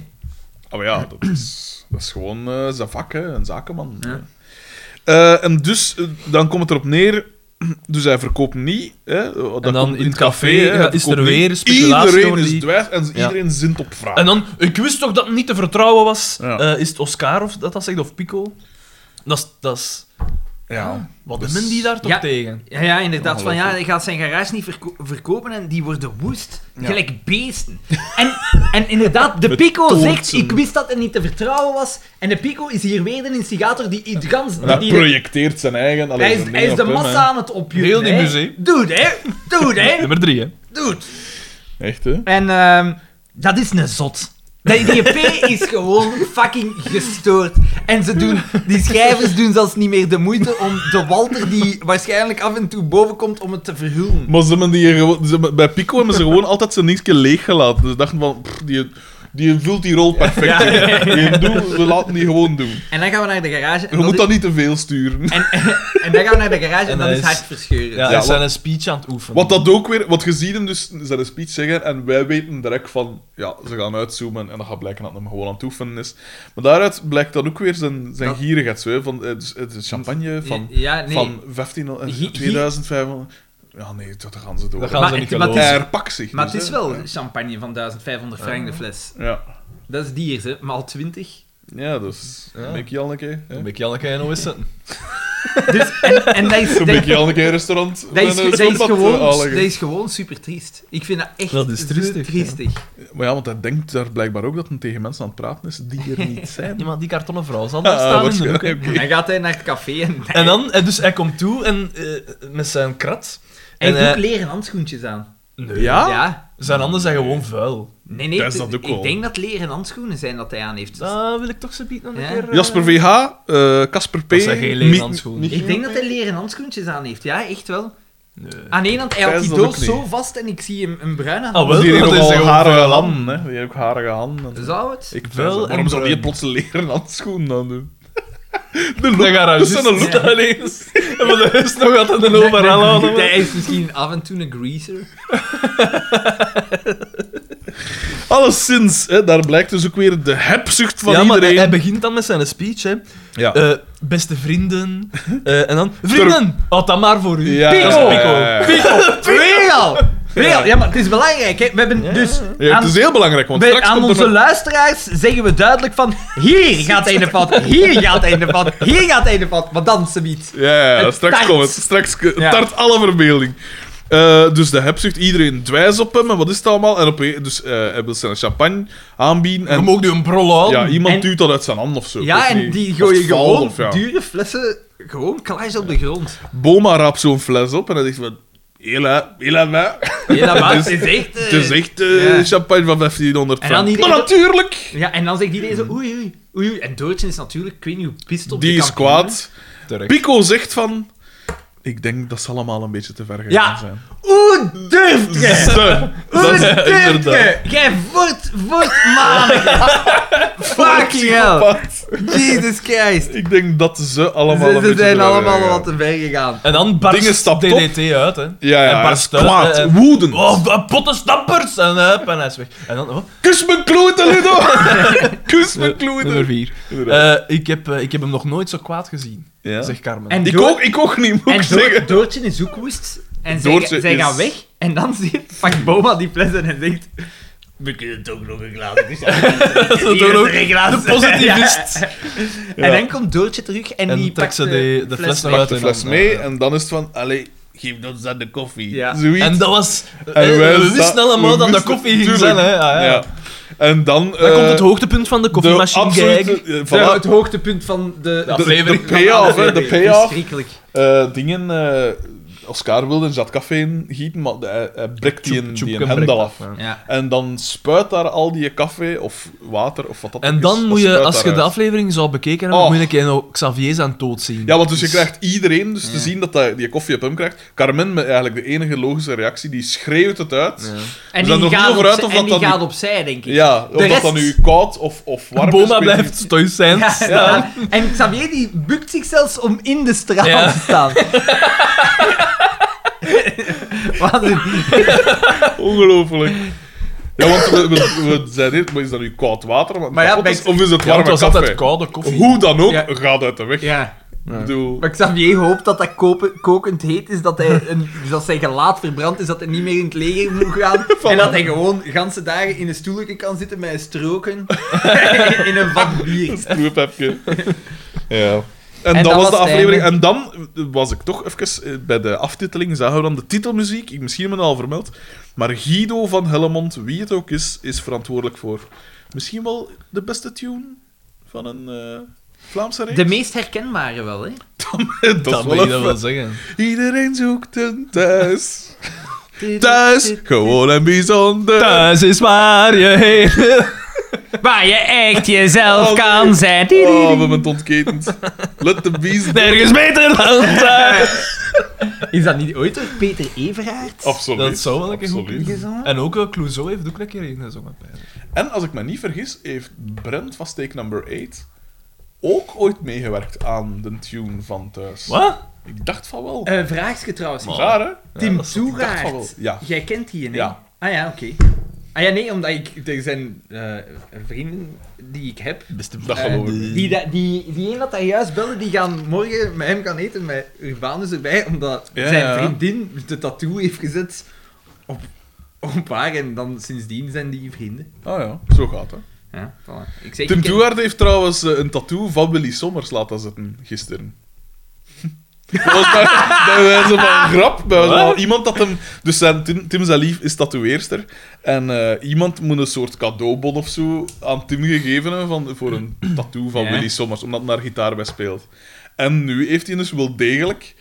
Speaker 1: Ah, maar ja, dat is, dat is gewoon eh, zijn vak, hè, een zakenman.
Speaker 3: Ja.
Speaker 1: Eh, en dus, eh, dan komt het erop neer. Dus hij verkoopt niet. Hè, dat
Speaker 2: En dan
Speaker 1: komt
Speaker 2: in het café,
Speaker 1: hè, hij
Speaker 2: ja, is er
Speaker 1: verkoopt
Speaker 2: weer
Speaker 1: niet.
Speaker 2: speculatie
Speaker 1: Iedereen
Speaker 2: over
Speaker 1: is
Speaker 2: die-
Speaker 1: dwijs en
Speaker 2: Ja.
Speaker 1: iedereen zint op vraag.
Speaker 2: En dan, ik wist toch dat het niet te vertrouwen was.
Speaker 1: Ja.
Speaker 2: Eh, is het Oscarov dat dat zegt, of Pico? Dat is... Dat is
Speaker 1: ja,
Speaker 2: Ah, wat
Speaker 1: Dus-
Speaker 2: de men die daar toch
Speaker 3: Ja.
Speaker 2: tegen?
Speaker 3: Ja, ja inderdaad. Van, ja, hij
Speaker 1: Ongelooflijk.
Speaker 3: gaat zijn garage niet verko- verkopen en die worden woest.
Speaker 1: Ja.
Speaker 3: Gelijk beesten. En, en inderdaad, de
Speaker 1: Met
Speaker 3: Pico zegt,
Speaker 1: toortsen.
Speaker 3: ik wist dat het niet te vertrouwen was. En de Pico is hier weer de instigator die het gans...
Speaker 1: En hij
Speaker 3: die-
Speaker 1: projecteert zijn eigen... allee,
Speaker 3: hij is,
Speaker 1: zijn
Speaker 3: hij
Speaker 1: ding
Speaker 3: is de
Speaker 1: op hem, hè.
Speaker 3: massa aan het opjutten.
Speaker 2: Heel die
Speaker 3: hè.
Speaker 2: muziek.
Speaker 3: Dude, hè. Dude, hè.
Speaker 2: Nummer drie, hè.
Speaker 3: Dude.
Speaker 1: Echt, hè?
Speaker 3: En ehm, dat is een zot. Die DP is gewoon fucking gestoord. En ze doen, die schrijvers doen zelfs niet meer de moeite om de Walter, die waarschijnlijk af en toe boven komt, om het te verhullen.
Speaker 1: Maar ze hebben die hier gewoon- ze hebben- bij Pico hebben ze gewoon altijd zijn dingetje leeggelaten. Dus ze dachten van, pff, die, die vult die rol perfect. in. Die doet- we laten die gewoon doen.
Speaker 3: En dan gaan we naar de garage.
Speaker 1: Je
Speaker 3: En,
Speaker 1: moet
Speaker 3: is-
Speaker 1: dat niet te veel sturen.
Speaker 3: en, en dan gaan we naar de garage en,
Speaker 2: En
Speaker 3: dat
Speaker 2: hij
Speaker 3: is
Speaker 2: is-
Speaker 3: hartverscheurend.
Speaker 2: Ja,
Speaker 3: Ja.
Speaker 2: hij is
Speaker 1: wat-
Speaker 2: zijn speech aan het oefenen.
Speaker 1: Wat dat ook weer, want je ziet hem dus zijn speech zeggen en wij weten direct van, ja, ze gaan uitzoomen en dan gaat blijken dat hem gewoon aan het oefenen is. Maar daaruit blijkt dan ook weer zijn, zijn
Speaker 3: Dat-
Speaker 1: gierigheid zo, hè, van eh, dus het is champagne van,
Speaker 3: Ja, nee.
Speaker 1: van 15, eh,
Speaker 3: Gi- gi-
Speaker 1: 2500. Ja, nee, dat gaan ze door.
Speaker 2: Dat gaan
Speaker 3: Maar
Speaker 2: ze
Speaker 3: het-
Speaker 2: niet
Speaker 3: maar het
Speaker 2: geloven.
Speaker 1: Hij herpakt zich.
Speaker 3: Maar
Speaker 1: dus,
Speaker 3: het is
Speaker 1: hè.
Speaker 3: wel champagne van 1500 frank de fles.
Speaker 1: Ja,
Speaker 3: Dat is dier, hè. Maar al 20.
Speaker 1: ja dus.
Speaker 2: Ja.
Speaker 1: Een beetje Janneke. hè.
Speaker 2: Dan ben ik Janneke en OS zetten.
Speaker 3: Dus, en, en dat is...
Speaker 1: Een
Speaker 3: dat-
Speaker 1: beetje Janneke restaurant.
Speaker 3: Dat is,
Speaker 1: met een
Speaker 3: dat, is
Speaker 1: zwembad,
Speaker 3: gewoon,
Speaker 1: eh,
Speaker 3: dat
Speaker 1: aanleggen.
Speaker 3: is gewoon super triest. Ik vind dat echt
Speaker 2: Dat is
Speaker 3: zo
Speaker 2: triestig, ja.
Speaker 3: triestig.
Speaker 1: Maar ja, want hij denkt daar blijkbaar ook dat hij tegen mensen aan het praten is die er niet zijn.
Speaker 2: Ja, maar die kartonnen vrouw zal daar
Speaker 1: Ah,
Speaker 2: staan in de hoek,
Speaker 1: waarschijnlijk.
Speaker 2: hè.
Speaker 1: Oké.
Speaker 3: Dan gaat hij naar het café en,
Speaker 2: En dan, eh, dus hij komt toe en, eh, met zijn krat.
Speaker 3: hij
Speaker 2: en,
Speaker 3: doet
Speaker 2: eh,
Speaker 3: leren handschoentjes aan.
Speaker 2: nee.
Speaker 1: Ja?
Speaker 3: Ja.
Speaker 2: Zijn handen zijn gewoon vuil.
Speaker 3: Nee, nee,
Speaker 1: Dat is
Speaker 3: het-
Speaker 1: dat ook
Speaker 3: ik
Speaker 1: wel.
Speaker 3: denk dat leren handschoenen zijn dat hij aan heeft.
Speaker 1: Ah.
Speaker 2: Dat wil ik toch zo bieden nog een
Speaker 3: Ja.
Speaker 2: keer... eh,
Speaker 1: Jasper VH, eh, Casper P.
Speaker 2: Dat zijn geen leren
Speaker 1: Mi-
Speaker 2: handschoenen.
Speaker 1: Mi-
Speaker 3: ik denk dat hij leren handschoentjes aan heeft, ja, echt wel.
Speaker 2: Nee.
Speaker 3: Aan één hand, hij had
Speaker 1: Pijs
Speaker 3: die
Speaker 1: dat ook
Speaker 3: doos
Speaker 1: niet.
Speaker 3: zo vast en ik zie hem een bruine hand.
Speaker 2: Ah, wel.
Speaker 1: Dus die heeft
Speaker 2: Dat is
Speaker 1: nogal
Speaker 2: gewoon
Speaker 1: harige
Speaker 2: vuil.
Speaker 1: handen, hè. Die heeft ook harige handen.
Speaker 3: Zou het?
Speaker 1: Ik
Speaker 2: Vuil
Speaker 1: vuil
Speaker 2: en
Speaker 1: Waarom zou die
Speaker 2: bruin.
Speaker 1: plots leren handschoenen dan doen? De look.
Speaker 2: De garagist.
Speaker 1: Dat is een look.
Speaker 3: Ja.
Speaker 2: ineens. En van de rest nog altijd een overal aan.
Speaker 3: Hij is misschien af en toe een greaser.
Speaker 1: Alleszins, hè, daar blijkt dus ook weer de hebzucht van
Speaker 2: ja, maar hij,
Speaker 1: iedereen.
Speaker 2: hij begint dan met zijn speech, hè.
Speaker 1: Ja.
Speaker 2: Eh, beste vrienden. eh, en dan... Vrienden! Houd dat maar voor u.
Speaker 1: Ja,
Speaker 2: Pico!
Speaker 1: dat is-
Speaker 2: Pico.
Speaker 1: ja, ja, ja.
Speaker 3: Weer al! Weer al. Ja, maar het is belangrijk, hè. We hebben dus...
Speaker 1: Ja,
Speaker 3: aan-
Speaker 1: het is heel belangrijk, want
Speaker 3: Bij,
Speaker 1: straks
Speaker 3: aan
Speaker 1: komt
Speaker 3: onze
Speaker 1: er nog-
Speaker 3: luisteraars zeggen we duidelijk van hier gaat hij in de vat, hier gaat hij in de vat, hier gaat hij in de vat, maar dan ze niet.
Speaker 1: Ja, ja, ja,
Speaker 3: Het
Speaker 1: straks
Speaker 3: tart.
Speaker 1: komt het. Straks k-
Speaker 3: Ja.
Speaker 1: tart alle verbeelding. Eh, dus de hebzucht, iedereen dwijs op hem en wat is het allemaal? En op, dus eh, hij wil zijn champagne aanbieden
Speaker 2: Je
Speaker 1: en
Speaker 2: mag nu een prol aan.
Speaker 1: ja, iemand
Speaker 3: En-
Speaker 1: duwt dat uit zijn hand of zo.
Speaker 3: Ja,
Speaker 1: Ik weet
Speaker 3: en
Speaker 1: niet.
Speaker 3: die
Speaker 1: Of
Speaker 3: gooien
Speaker 1: het valt,
Speaker 3: gewoon
Speaker 1: of ja.
Speaker 3: dure flessen gewoon klaars op de grond.
Speaker 1: Boma raapt zo'n fles op en hij zegt van... Hela, hela, mij.
Speaker 3: Ja, maar
Speaker 1: Dus-
Speaker 3: het is echt... eh,
Speaker 1: Het is echt eh,
Speaker 3: Ja.
Speaker 1: champagne van 1500
Speaker 3: En dan
Speaker 1: frank.
Speaker 3: die-
Speaker 1: Maar natuurlijk!
Speaker 3: Ja, en dan zegt iedereen zo oei oei, oei oei. En Doortje is natuurlijk, ik weet niet hoe pist op
Speaker 1: Die
Speaker 3: de
Speaker 1: is
Speaker 3: kampioen.
Speaker 1: kwaad.
Speaker 2: Terecht.
Speaker 1: Pico zegt van... Ik denk dat ze allemaal een beetje te ver gegaan
Speaker 3: Ja.
Speaker 1: zijn.
Speaker 3: Hoe durft je?
Speaker 1: Ze.
Speaker 3: Hoe
Speaker 1: is-
Speaker 3: durft je?
Speaker 1: inderdaad.
Speaker 3: Jij wordt, wordt manig. Fucking hell.
Speaker 1: Wat?
Speaker 3: Jesus Christ.
Speaker 1: Ik denk dat ze allemaal
Speaker 3: Ze,
Speaker 1: een
Speaker 3: ze
Speaker 1: beetje te
Speaker 3: zijn
Speaker 1: ver
Speaker 3: allemaal
Speaker 1: gegaan
Speaker 3: wat eh, te ver gegaan.
Speaker 2: En dan barst
Speaker 1: Dingen stapt op.
Speaker 2: DDT uit, hè.
Speaker 1: Ja, ja,
Speaker 2: En
Speaker 1: hij is
Speaker 2: barst uit,
Speaker 1: kwaad,
Speaker 3: eh,
Speaker 2: hè, en-
Speaker 1: woedend.
Speaker 2: Oh, b- pottenstampers! En, hup, en hij is weg. En dan... Oh,
Speaker 1: Kus mijn kloten, Ludo! Kus mijn
Speaker 2: nummer
Speaker 1: kloten!
Speaker 2: 4. ik, heb, eh, ik heb hem nog nooit zo kwaad gezien,
Speaker 1: Ja.
Speaker 2: zegt Carmen.
Speaker 3: En
Speaker 1: Ik
Speaker 3: Doort-
Speaker 1: ook, ik ook niet, moet
Speaker 3: Eh, En
Speaker 1: ik
Speaker 3: Doort-
Speaker 1: zeggen.
Speaker 3: Doortje is ook woest. En zij,
Speaker 1: Doortje
Speaker 3: zij
Speaker 1: is-
Speaker 3: gaan weg. En dan zie- pakt Boma die fles en hij zegt... We kunnen toch nog een glaas. Dus ja,
Speaker 2: Dat
Speaker 3: hier is
Speaker 2: ook.
Speaker 3: er een glaas.
Speaker 2: De positivist.
Speaker 3: Ja.
Speaker 1: Ja.
Speaker 3: En dan komt Doortje terug en,
Speaker 2: En
Speaker 3: die
Speaker 2: trekt
Speaker 3: pakt
Speaker 2: ze de- de fles nog
Speaker 3: weg.
Speaker 1: Pak
Speaker 2: uit.
Speaker 1: de
Speaker 2: en
Speaker 1: fles
Speaker 2: dan,
Speaker 1: mee
Speaker 2: eh,
Speaker 1: en dan is het van... Allee, geef ons dan de koffie.
Speaker 3: Ja.
Speaker 1: Zoiets.
Speaker 2: En dat was...
Speaker 1: En
Speaker 2: eh,
Speaker 1: wij
Speaker 2: we
Speaker 1: za-
Speaker 2: wisten allemaal
Speaker 1: we
Speaker 2: dat de
Speaker 1: wisten-
Speaker 2: koffie ging
Speaker 1: tuurlijk.
Speaker 2: zijn, hè. Ja, ja.
Speaker 1: Ja. En dan...
Speaker 2: Dan
Speaker 1: eh,
Speaker 2: komt het hoogtepunt van de
Speaker 1: de
Speaker 2: koffiemachine
Speaker 1: absolute,
Speaker 2: gag.
Speaker 1: eh, voilà.
Speaker 3: Ja, het hoogtepunt van de...
Speaker 2: Ja.
Speaker 1: de, de
Speaker 2: aflevering.
Speaker 1: payoff, hè, de payoff.
Speaker 3: Verschrikkelijk.
Speaker 1: Eh, dingen... eh, Oscar wilde een zat café in gieten, maar eh, hij, hij breekt die een,
Speaker 2: Tjoep,
Speaker 1: die
Speaker 2: tjoep,
Speaker 1: een
Speaker 2: en
Speaker 1: hendel
Speaker 2: breekt
Speaker 1: af.
Speaker 2: dat, ja.
Speaker 3: Ja.
Speaker 1: En dan spuit daar al die café of water of wat dat ook
Speaker 2: En
Speaker 1: is,
Speaker 2: dan
Speaker 1: dat
Speaker 2: moet je,
Speaker 1: spuit
Speaker 2: als je
Speaker 1: daaruit.
Speaker 2: de aflevering zou bekeken hebben,
Speaker 1: Oh.
Speaker 2: moet je een keer nog Xavier zijn dood zien.
Speaker 1: Ja, want dus je krijgt iedereen dus te zien dat hij die koffie op hem krijgt. Carmen, met eigenlijk de enige logische reactie, die schreeuwt het uit.
Speaker 2: Ja.
Speaker 3: En
Speaker 1: zijn
Speaker 3: die
Speaker 1: nog niet
Speaker 3: gaat,
Speaker 1: over
Speaker 3: opzij-
Speaker 1: uit of
Speaker 3: en
Speaker 1: dat
Speaker 3: die
Speaker 1: dan
Speaker 3: gaat
Speaker 1: nu-
Speaker 3: opzij, denk ik.
Speaker 1: Ja, of dat
Speaker 3: rest-
Speaker 1: dan nu koud of, of warm is,
Speaker 2: Boma
Speaker 1: weet ik
Speaker 2: blijft
Speaker 1: niet.
Speaker 2: stoïcijns
Speaker 3: Ja,
Speaker 2: staan.
Speaker 3: inderdaad. En Xavier die bukt zich zelfs om in de straal
Speaker 2: Ja.
Speaker 3: te staan. Wat een...
Speaker 1: Ongelooflijk. Ja, want we, we, we zijn hier, maar is dat nu koud water? Maar,
Speaker 3: Maar ja,
Speaker 1: kapot
Speaker 3: bij-
Speaker 1: is, of is het
Speaker 2: Ja, want
Speaker 1: warme
Speaker 2: het was altijd
Speaker 1: koffie?
Speaker 2: koude koffie.
Speaker 1: Hoe dan ook,
Speaker 3: Ja.
Speaker 1: gaat uit de weg.
Speaker 3: Ja.
Speaker 1: Ik bedoel,
Speaker 3: Maar Xavier hoopt dat dat kopen- kokend heet is, dat, hij een, dus dat zijn gelaat verbrand is, dat hij niet meer in het leger moet gaan. en dat hij gewoon ganse dagen in een stoeltje kan zitten met een stroken in een vat bier.
Speaker 1: stroepepje. ja. En, dat
Speaker 3: En dat
Speaker 1: was
Speaker 3: was
Speaker 1: de
Speaker 3: het
Speaker 1: aflevering.
Speaker 3: einde.
Speaker 1: En dan was ik toch even eh, bij de aftiteling, zagen we dan de titelmuziek. Ik, misschien hebben we het al vermeld. Maar Guido van Hellemond, wie het ook is, is verantwoordelijk voor misschien wel de beste tune van een eh, Vlaamse reeks.
Speaker 3: De meest herkenbare wel, hè?
Speaker 1: dat
Speaker 2: Dat
Speaker 1: is wel
Speaker 2: wil je
Speaker 1: een
Speaker 2: dat
Speaker 1: fa-
Speaker 2: wel zeggen.
Speaker 1: Iedereen zoekt een thuis. Thuis, gewoon en bijzonder.
Speaker 2: Thuis is waar je heen...
Speaker 3: Waar je echt jezelf
Speaker 1: Oh,
Speaker 3: kan
Speaker 1: nee.
Speaker 3: zijn.
Speaker 1: Oh, we hebben het ontketend. Let de bees
Speaker 2: Nergens beter dan thuis.
Speaker 3: Is dat niet ooit door Peter Everaert
Speaker 1: Absoluut.
Speaker 2: Dat zou wel een keer goed
Speaker 1: Absoluut.
Speaker 2: kunnen.
Speaker 3: gezongen?
Speaker 2: En ook eh, Clouseau heeft ook een keer in gezongen.
Speaker 1: En als ik me niet vergis, heeft Brent van Steak Number 8 ook ooit meegewerkt aan de tune van Thuis.
Speaker 2: Wat? Eh,
Speaker 1: Ik dacht van wel.
Speaker 3: Een vraagje Eh, trouwens.
Speaker 1: Raar, hè?
Speaker 2: Ja,
Speaker 3: Tim
Speaker 2: dat is wat ik
Speaker 1: dacht van
Speaker 3: Toegaard.
Speaker 1: wel. Ja.
Speaker 3: Jij kent die, hè?
Speaker 1: Ja.
Speaker 3: Ah ja, oké. Ah ja, nee, omdat ik... Er zijn eh, vrienden die ik heb...
Speaker 2: Beste
Speaker 1: Dat geloof ik.
Speaker 3: eh, die, da- die, die een dat hij juist belde, die gaan morgen met hem gaan eten met Urbanus erbij, omdat
Speaker 1: Ja, ja.
Speaker 3: zijn vriendin de tattoo heeft gezet op, op haar en dan sindsdien zijn die vrienden.
Speaker 1: Ah ja, zo gaat het.
Speaker 3: Ja, voilà. Ik zeg,
Speaker 1: Tim
Speaker 3: ik ken-
Speaker 1: Dugaard heeft trouwens eh, een tattoo van Willy Sommers laten zetten gisteren. Dat was bij, bij wijze van grap. Bij wijze van
Speaker 2: Wat?
Speaker 1: iemand dat hem... Dus zijn, Tim, Tim zijn lief is tatoeëerster. En eh, iemand moet een soort cadeaubon of zo aan Tim gegeven hebben van, voor een tattoo van
Speaker 3: Ja.
Speaker 1: Willy Sommers, omdat hij daar gitaar bij speelt. En nu heeft hij dus wel degelijk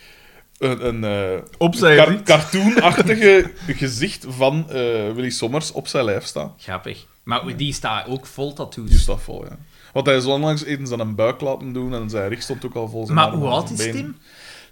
Speaker 1: een, een eh,
Speaker 2: Op zijn
Speaker 1: kar-
Speaker 2: riet.
Speaker 1: cartoonachtige gezicht van eh, Willy Sommers op zijn lijf staan.
Speaker 3: Grappig. Maar die staat ook vol tattoos.
Speaker 1: Die staat vol, ja. Want hij is onlangs eens aan een buik laten doen en zijn rug stond ook al vol. Zijn
Speaker 3: maar
Speaker 1: armen
Speaker 3: hoe
Speaker 1: en
Speaker 3: oud
Speaker 1: zijn
Speaker 3: is
Speaker 1: benen.
Speaker 3: Tim?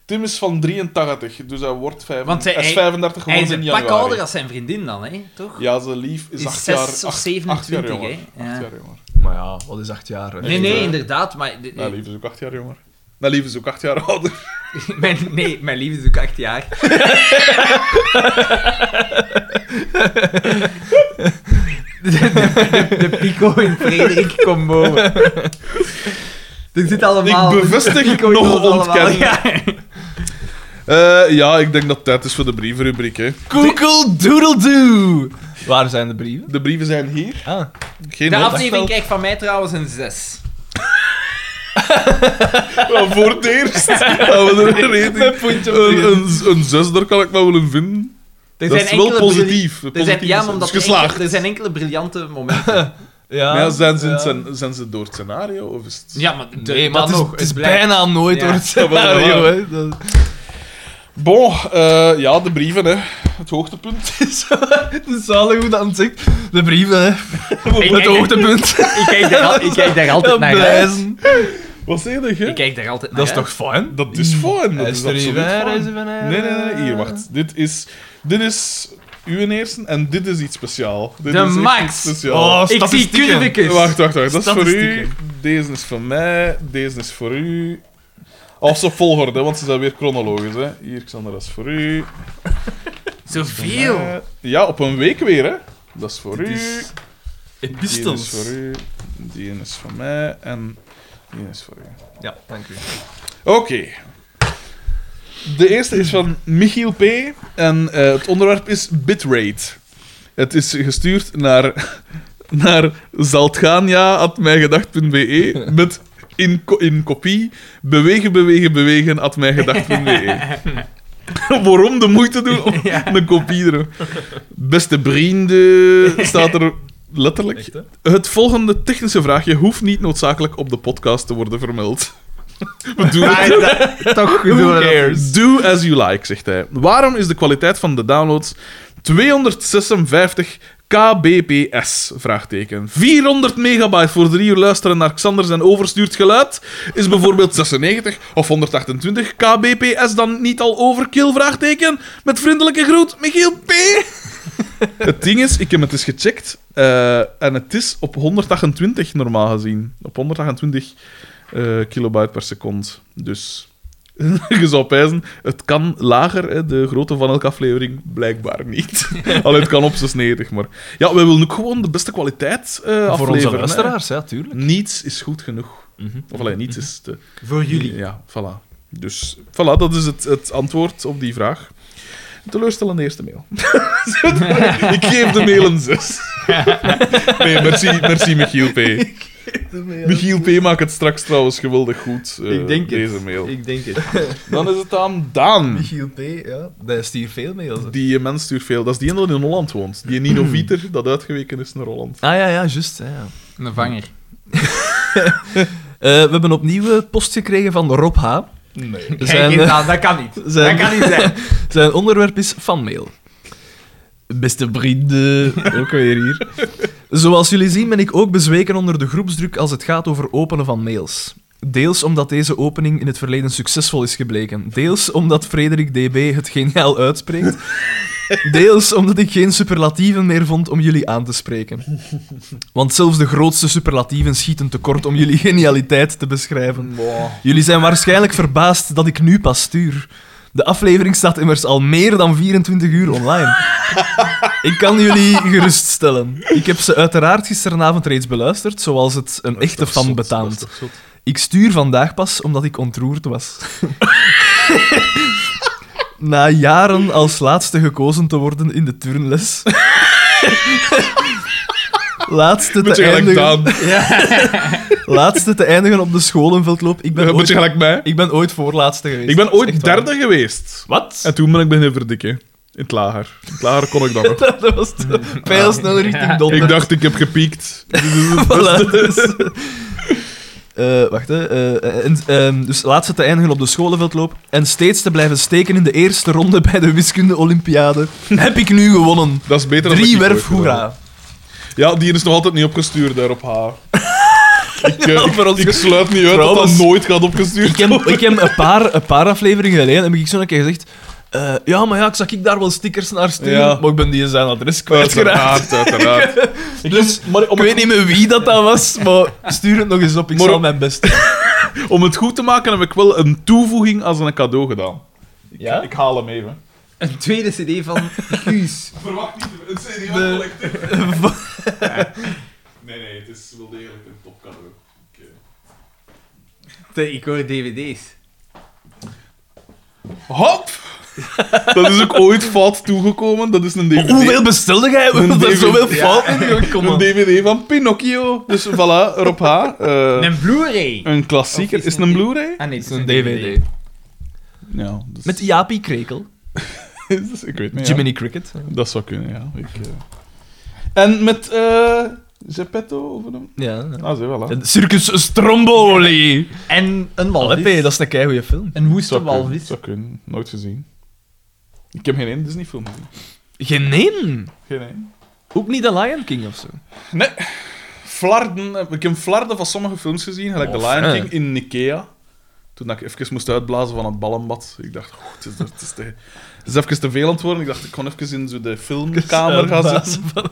Speaker 1: Tim is van 83, dus hij wordt 35.
Speaker 3: Want hij-
Speaker 1: hij is 35
Speaker 3: Hij is
Speaker 1: geworden in
Speaker 3: een pak
Speaker 1: januari.
Speaker 3: ouder als zijn vriendin dan, hè? toch?
Speaker 1: Ja, zijn lief is
Speaker 3: Is
Speaker 1: 8
Speaker 3: zes
Speaker 1: jaar,
Speaker 3: of
Speaker 1: acht- acht
Speaker 3: 27,
Speaker 1: jaar jonger.
Speaker 3: hè? Ja.
Speaker 1: Acht jaar jonger.
Speaker 2: Maar ja, wat is acht jaar? hè?
Speaker 3: nee,
Speaker 1: echt,
Speaker 3: nee,
Speaker 1: hè?
Speaker 3: inderdaad. Maar de-
Speaker 1: Mijn lief is ook 8 jaar jonger. Mijn lief is ook 8 jaar ouder.
Speaker 3: mijn, nee, mijn lief is ook acht jaar. de, de, de- de Pico en Frederik combo. Er zit allemaal...
Speaker 1: Ik bevestig
Speaker 3: de Pico
Speaker 1: nog
Speaker 3: jongens allemaal,
Speaker 1: ontkennen.
Speaker 3: ja.
Speaker 1: Eh, ja, ik denk dat het tijd is voor de brievenrubriek. Hè.
Speaker 2: Google Doodle Doo! Waar zijn de brieven?
Speaker 1: De brieven zijn hier.
Speaker 2: Ah.
Speaker 1: Geen
Speaker 3: De
Speaker 1: nood.
Speaker 3: aflevering krijgt van mij trouwens een 6.
Speaker 1: Ja, voor het eerst. Ja, we doen een rating. Een, een, een zes, daar kan ik nou wel een vinden.
Speaker 3: Er
Speaker 1: dat is wel
Speaker 3: enkele bril-
Speaker 1: positief.
Speaker 3: Er zijn, ja, maar omdat
Speaker 1: is geslaagd.
Speaker 3: Er, enkele, er zijn enkele briljante momenten.
Speaker 2: Ja,
Speaker 1: Maar ja, zijn, ze,
Speaker 2: ja.
Speaker 1: zijn, zijn ze door het scenario? Of is het...
Speaker 3: Ja, maar, de-
Speaker 2: Nee, maar
Speaker 3: dan
Speaker 2: het is,
Speaker 3: nog,
Speaker 2: het is
Speaker 3: blijft-
Speaker 2: bijna nooit
Speaker 3: Ja.
Speaker 2: door het scenario. hè. Dat-
Speaker 1: Bon, eh, ja, de brieven, hè. Het hoogtepunt.
Speaker 2: Het is het is zalig hoe dat aan het zegt. De brieven, hè.
Speaker 3: Ik
Speaker 2: Het
Speaker 3: kijk-
Speaker 2: hoogtepunt.
Speaker 3: Ik kijk daar, al- ik kijk daar altijd naar uit.
Speaker 2: Blijzen.
Speaker 1: Wat zeg je?
Speaker 3: Ik kijk daar altijd naar
Speaker 2: Dat is toch fijn?
Speaker 1: Dat is fijn. Dat is absoluut fijn.
Speaker 2: van
Speaker 1: Nee, nee, nee. Hier, wacht. Dit is... Dit is uw eerste en dit is iets speciaal. Dit
Speaker 3: De
Speaker 1: is echt
Speaker 3: max.
Speaker 1: iets speciaal.
Speaker 2: Oh,
Speaker 3: uit. Ik zie
Speaker 2: Statistieken.
Speaker 3: curvicus.
Speaker 1: Wacht, wacht, wacht. Dat is voor u.
Speaker 2: Statistieken.
Speaker 1: Deze is voor mij. Deze is voor u. Als op volgorde, want ze zijn weer chronologisch. Hè. Hier, Xander, dat is voor u.
Speaker 3: Zoveel.
Speaker 1: Eh, Ja, op een week weer, hè. Dat is voor
Speaker 2: Dit
Speaker 1: u.
Speaker 2: is
Speaker 1: Die is voor
Speaker 2: Epistels.
Speaker 1: u. Die is voor mij. En die is voor u.
Speaker 2: Ja, dank u.
Speaker 1: Oké. De eerste is van Michiel P. En eh, het onderwerp is bitrate. Het is gestuurd naar, naar zaltgania.mijgedacht.be E met in, ko- in kopie bewegen, bewegen, bewegen at mijgedacht.be. E. Waarom de moeite doen om een kopie erop? Beste vrienden, staat er letterlijk.
Speaker 2: Echt, hè?
Speaker 1: Het volgende technische vraagje hoeft niet noodzakelijk op de podcast te worden vermeld. We doen
Speaker 2: Ah,
Speaker 1: het.
Speaker 3: Toch
Speaker 1: Who cares? Do as you like, zegt hij. Waarom is de kwaliteit van de downloads 256 kbps? Vraagteken. 400 megabyte voor drie uur luisteren naar Xander zijn overstuurd geluid is bijvoorbeeld 96 of 128 kbps dan niet al overkill? Vraagteken. Met vriendelijke groet, Michiel P. Het ding is, ik heb het eens gecheckt eh, en het is op 128 normaal gezien. Op 128 eh, kilobyte per seconde. Dus je zou pijzen, het kan lager, hè, de grootte van elke aflevering, blijkbaar niet. Alleen het kan op 96, maar... Ja, wij willen ook gewoon de beste kwaliteit eh
Speaker 2: Voor
Speaker 1: afleveren,
Speaker 2: onze Mhm.
Speaker 1: hè.
Speaker 2: luisteraars, ja, tuurlijk.
Speaker 1: Niets is goed genoeg. Of alleen niets is te...
Speaker 3: Voor jullie.
Speaker 1: Ja, voilà. Dus voilà, dat is het, het antwoord op die vraag. Een Teleurstellende eerste mail. ik geef de mail een 6. nee, merci, merci Michiel P. Michiel P. maakt het straks trouwens geweldig goed, eh,
Speaker 3: Ik denk het.
Speaker 1: deze mail.
Speaker 3: Ik denk het.
Speaker 1: Dan is het aan Daan.
Speaker 2: Michiel P, ja. Dat is hier veel mails. hè.
Speaker 1: Die eh, mens stuurt veel. Dat is die ene dat in Holland woont. Die Nino Vieter, dat uitgeweken is naar Holland.
Speaker 2: Ah ja, ja, juist. Ja, ja.
Speaker 3: Een vanger.
Speaker 2: Eh, we hebben opnieuw eh, post gekregen van Rob H.
Speaker 1: Nee.
Speaker 2: Zijn,
Speaker 3: Kijk,
Speaker 2: eh,
Speaker 3: nou, dat kan niet.
Speaker 2: zijn-
Speaker 3: Dat kan niet zijn.
Speaker 2: Zijn onderwerp is fanmail. Beste vrienden, ook weer hier. Zoals jullie zien ben ik ook bezweken onder de groepsdruk als het gaat over openen van mails. Deels omdat deze opening in het verleden succesvol is gebleken. Deels omdat Frederik DB het geniaal uitspreekt. Deels omdat ik geen superlatieven meer vond om jullie aan te spreken. Want zelfs de grootste superlatieven schieten tekort om jullie genialiteit te beschrijven. Jullie zijn waarschijnlijk verbaasd dat ik nu pas stuur. De aflevering staat immers al meer dan 24 uur online. Ik kan jullie geruststellen. Ik heb ze uiteraard gisteravond reeds beluisterd, zoals het een echte fan betaamt. Ik stuur vandaag pas omdat ik ontroerd was. Na jaren als laatste gekozen te worden in de turnles. laatste
Speaker 1: Beetje
Speaker 2: te,
Speaker 1: gelijk
Speaker 2: eindigen,
Speaker 1: Daan.
Speaker 2: laatste te eindigen op de scholenveldloop. Ik ben,
Speaker 1: Eh,
Speaker 2: ooit,
Speaker 1: Beetje gelijk mij.
Speaker 2: ik ben ooit voorlaatste geweest.
Speaker 1: Ik ben
Speaker 2: Dat
Speaker 1: ooit
Speaker 2: is echt waar.
Speaker 1: derde geweest.
Speaker 2: Wat?
Speaker 1: En toen ben ik beginnen verdikken. In het lager. In het lager kon ik dat nog.
Speaker 2: dat was de pijl snel richting donder.
Speaker 1: Ik dacht, ik heb gepiekt.
Speaker 2: Voilà, dus. eh, wacht, hè. eh, en, ehm, dus laatste te eindigen op de scholenveldloop en steeds te blijven steken in de eerste ronde bij de wiskunde-olympiade. Heb ik nu gewonnen.
Speaker 1: Dat is beter dan
Speaker 2: Drie
Speaker 1: dat ik
Speaker 2: werf
Speaker 1: ooit gedaan
Speaker 2: hoera.
Speaker 1: heb. Ja, die is nog altijd niet opgestuurd daar op haar. ik, eh,
Speaker 2: voor ons
Speaker 1: ik, ik sluit niet uit dat
Speaker 2: Trouwens-
Speaker 1: dat nooit gaat opgestuurd
Speaker 2: Ik heb, ik heb een, paar, een paar afleveringen geleden heb ik zo een keer gezegd... eh, ja, maar ja, ik zag ik daar wel stickers naar sturen,
Speaker 1: Ja.
Speaker 2: maar ik ben die zijn adres
Speaker 1: Uiteraard,
Speaker 2: kwijtgeraakt.
Speaker 1: uiteraard. Ik
Speaker 2: Dus,
Speaker 1: heb- maar om,
Speaker 2: Ik weet
Speaker 1: het,
Speaker 2: niet meer wie dat dan was, maar stuur het nog eens op. Ik
Speaker 1: Maar-
Speaker 2: zal mijn best doen.
Speaker 1: om het goed te maken heb ik wel een toevoeging als een cadeau gedaan.
Speaker 2: Ja?
Speaker 1: Ik haal hem even.
Speaker 3: Een tweede cd van Guus.
Speaker 1: Verwacht niet, het is niet
Speaker 2: De-
Speaker 1: Nee, nee, het is wel degelijk een topcadeau.
Speaker 3: De- Ik hoor dvd's.
Speaker 1: Hop! Dat is ook ooit fout toegekomen. Dat is een DVD.
Speaker 2: Hoeveel bestelde jij? We
Speaker 1: Een
Speaker 2: hebben er
Speaker 1: DVD.
Speaker 2: zoveel fouten in gekomen.
Speaker 1: Een DVD van Pinocchio. Dus voilà, Rob H. eh,
Speaker 3: Een Blu-ray.
Speaker 1: een klassieker.
Speaker 3: Of
Speaker 1: Is het een Blu-ray?
Speaker 3: Ah nee, het
Speaker 2: Het is een DVD.
Speaker 1: Ja. dus-
Speaker 2: Met Jaapie Krekel.
Speaker 1: dus ik weet niet. ja.
Speaker 2: Jiminy Cricket.
Speaker 1: Dat zou kunnen, ja. Ik, eh. En met eh Geppetto? Of een...
Speaker 2: Ja.
Speaker 1: Ah, zo, voilà.
Speaker 2: En Circus Stromboli.
Speaker 3: En een
Speaker 2: Allee,
Speaker 3: walvis.
Speaker 2: dat is een keigoeie film.
Speaker 3: Een woeste
Speaker 1: Zou kunnen,
Speaker 3: walvis.
Speaker 1: zou kunnen. Nooit gezien. Ik heb geen één Disney-film gezien.
Speaker 2: Geen één.
Speaker 1: Geen één.
Speaker 2: Ook niet The Lion King of zo.
Speaker 1: Nee. Flarden. heb- Ik heb flarden van sommige films gezien, gelijk
Speaker 2: Oh,
Speaker 1: The Lion
Speaker 2: fijn.
Speaker 1: King in Ikea. Toen dat ik even moest uitblazen van het ballenbad. Ik dacht, oh, het, is, het, is te, het is even te veel aan het worden. Ik dacht, ik kon even in zo de filmkamer gaan
Speaker 2: dus-
Speaker 1: zitten.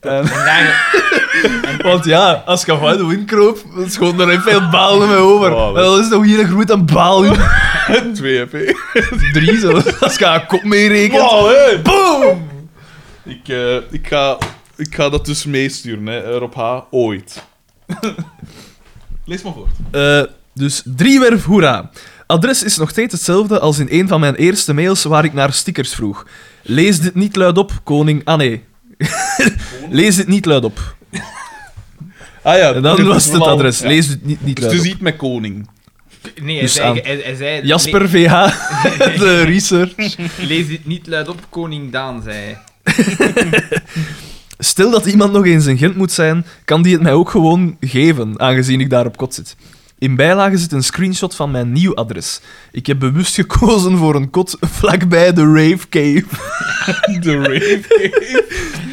Speaker 1: En-
Speaker 3: En daar-
Speaker 2: Want ja, als je van de wind kroop, dan schoot er heel veel baal mee over.
Speaker 1: Oh, dat-
Speaker 2: dat is toch hier een groeit aan baal. in.
Speaker 1: Twee heb ik.
Speaker 2: Drie zo. Als je haar kop meerekent.
Speaker 1: Wow, hè.
Speaker 2: Boom!
Speaker 1: Ik, eh, ik, ga, ik ga dat dus meesturen, hè, Rob H. Ooit. Lees maar voort.
Speaker 2: Eh, dus driewerf hoera. Adres is nog steeds hetzelfde als in een van mijn eerste mails waar ik naar stickers vroeg. Lees dit niet luid op, koning. Ah nee. Lees dit niet luid op.
Speaker 1: Ah ja,
Speaker 2: En dan
Speaker 1: dit
Speaker 2: was
Speaker 1: is
Speaker 2: het het
Speaker 1: wel-
Speaker 2: adres.
Speaker 1: ja.
Speaker 2: Lees dit niet, niet
Speaker 1: Dus het is
Speaker 2: luid op.
Speaker 1: iets met koning.
Speaker 3: Nee, hij
Speaker 2: Dus aan-
Speaker 3: zei... Hij, hij zei
Speaker 2: Jasper VH, de research.
Speaker 3: nee, lees dit niet luid op, koning Daan, zei hij.
Speaker 2: Stel dat iemand nog eens in Gent moet zijn, kan die het mij ook gewoon geven, aangezien ik daar op kot zit. In bijlage zit een screenshot van mijn nieuw adres. Ik heb bewust gekozen voor een kot vlakbij de Rave Cave.
Speaker 1: De rave.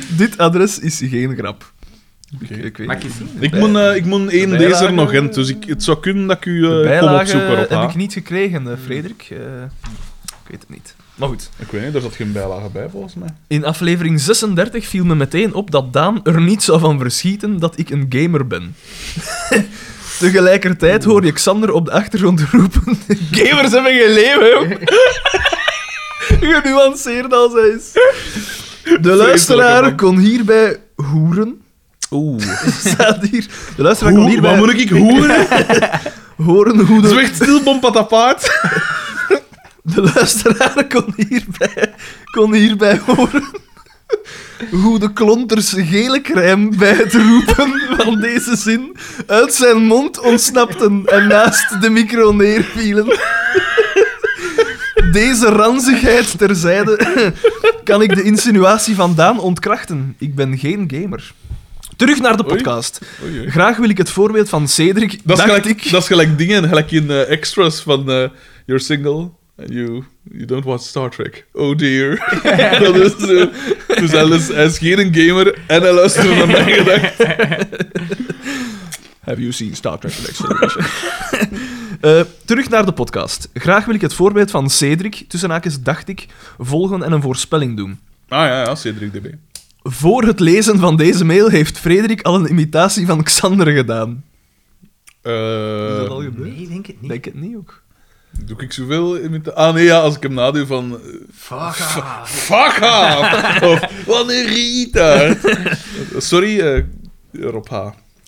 Speaker 2: Dit adres is geen grap. Ik, ik weet
Speaker 3: Mag je
Speaker 2: niet.
Speaker 3: zien?
Speaker 1: Ik moet, eh, ik moet één
Speaker 2: De
Speaker 1: deze
Speaker 2: bijlage-
Speaker 1: er nog in, dus ik, het zou kunnen dat ik u
Speaker 2: De
Speaker 1: eh kom
Speaker 2: bijlage
Speaker 1: opzoeken op
Speaker 2: heb
Speaker 1: haar.
Speaker 2: ik niet gekregen, eh, Frederik. Eh, ik weet het niet. Maar goed.
Speaker 1: Ik weet niet, daar zat geen bijlage bij volgens mij.
Speaker 2: In aflevering 36 viel me meteen op dat Daan er niet zou van verschieten dat ik een gamer ben. Tegelijkertijd hoor je Xander op de achtergrond roepen: Gamers hebben geen leven, jong." Genuanceerd als hij is. De luisteraar
Speaker 1: man.
Speaker 2: kon hierbij hoeren. Oeh. Staat hier. De luisteraar kon
Speaker 1: Hoe, wat
Speaker 2: hierbij
Speaker 1: moet ik hoeren?
Speaker 2: horen hoe de...
Speaker 1: Zwicht stil, bompatapaat.
Speaker 2: De luisteraar kon hierbij, kon hierbij horen hoe de klonters gele crème bij het roepen van deze zin uit zijn mond ontsnapten en naast de micro neervielen. Deze ranzigheid terzijde kan ik de insinuatie van Daan ontkrachten. Ik ben geen gamer. Terug naar de
Speaker 1: Oei.
Speaker 2: podcast. Graag wil ik het voorbeeld van Cedric,
Speaker 1: Dat is,
Speaker 2: dacht
Speaker 1: gelijk,
Speaker 2: ik...
Speaker 1: dat is gelijk dingen, gelijk in eh, extras van eh You're single and you, you don't watch Star Trek. Oh dear. dat is, eh, dus hij is, hij is geen gamer en hij luistert naar mijn gedachten.
Speaker 2: Have you seen Star Trek The Next Generation? Eh, terug naar de podcast. Graag wil ik het voorbeeld van Cedric, tussen haakjes dacht ik, volgen en een voorspelling doen.
Speaker 1: Ah ja, ja, Cedric DB.
Speaker 2: Voor het lezen van deze mail heeft Frederik al een imitatie van Xander gedaan.
Speaker 1: Eh,
Speaker 2: Is dat al gebeurd?
Speaker 3: Nee, ik denk het niet.
Speaker 2: Denk het niet ook.
Speaker 1: doe ik zoveel imita- Ah nee, ja, als ik hem nadoe van... eh,
Speaker 3: Fuck off.
Speaker 1: Fuck off! of, wat een retard. Sorry, eh, Rob H.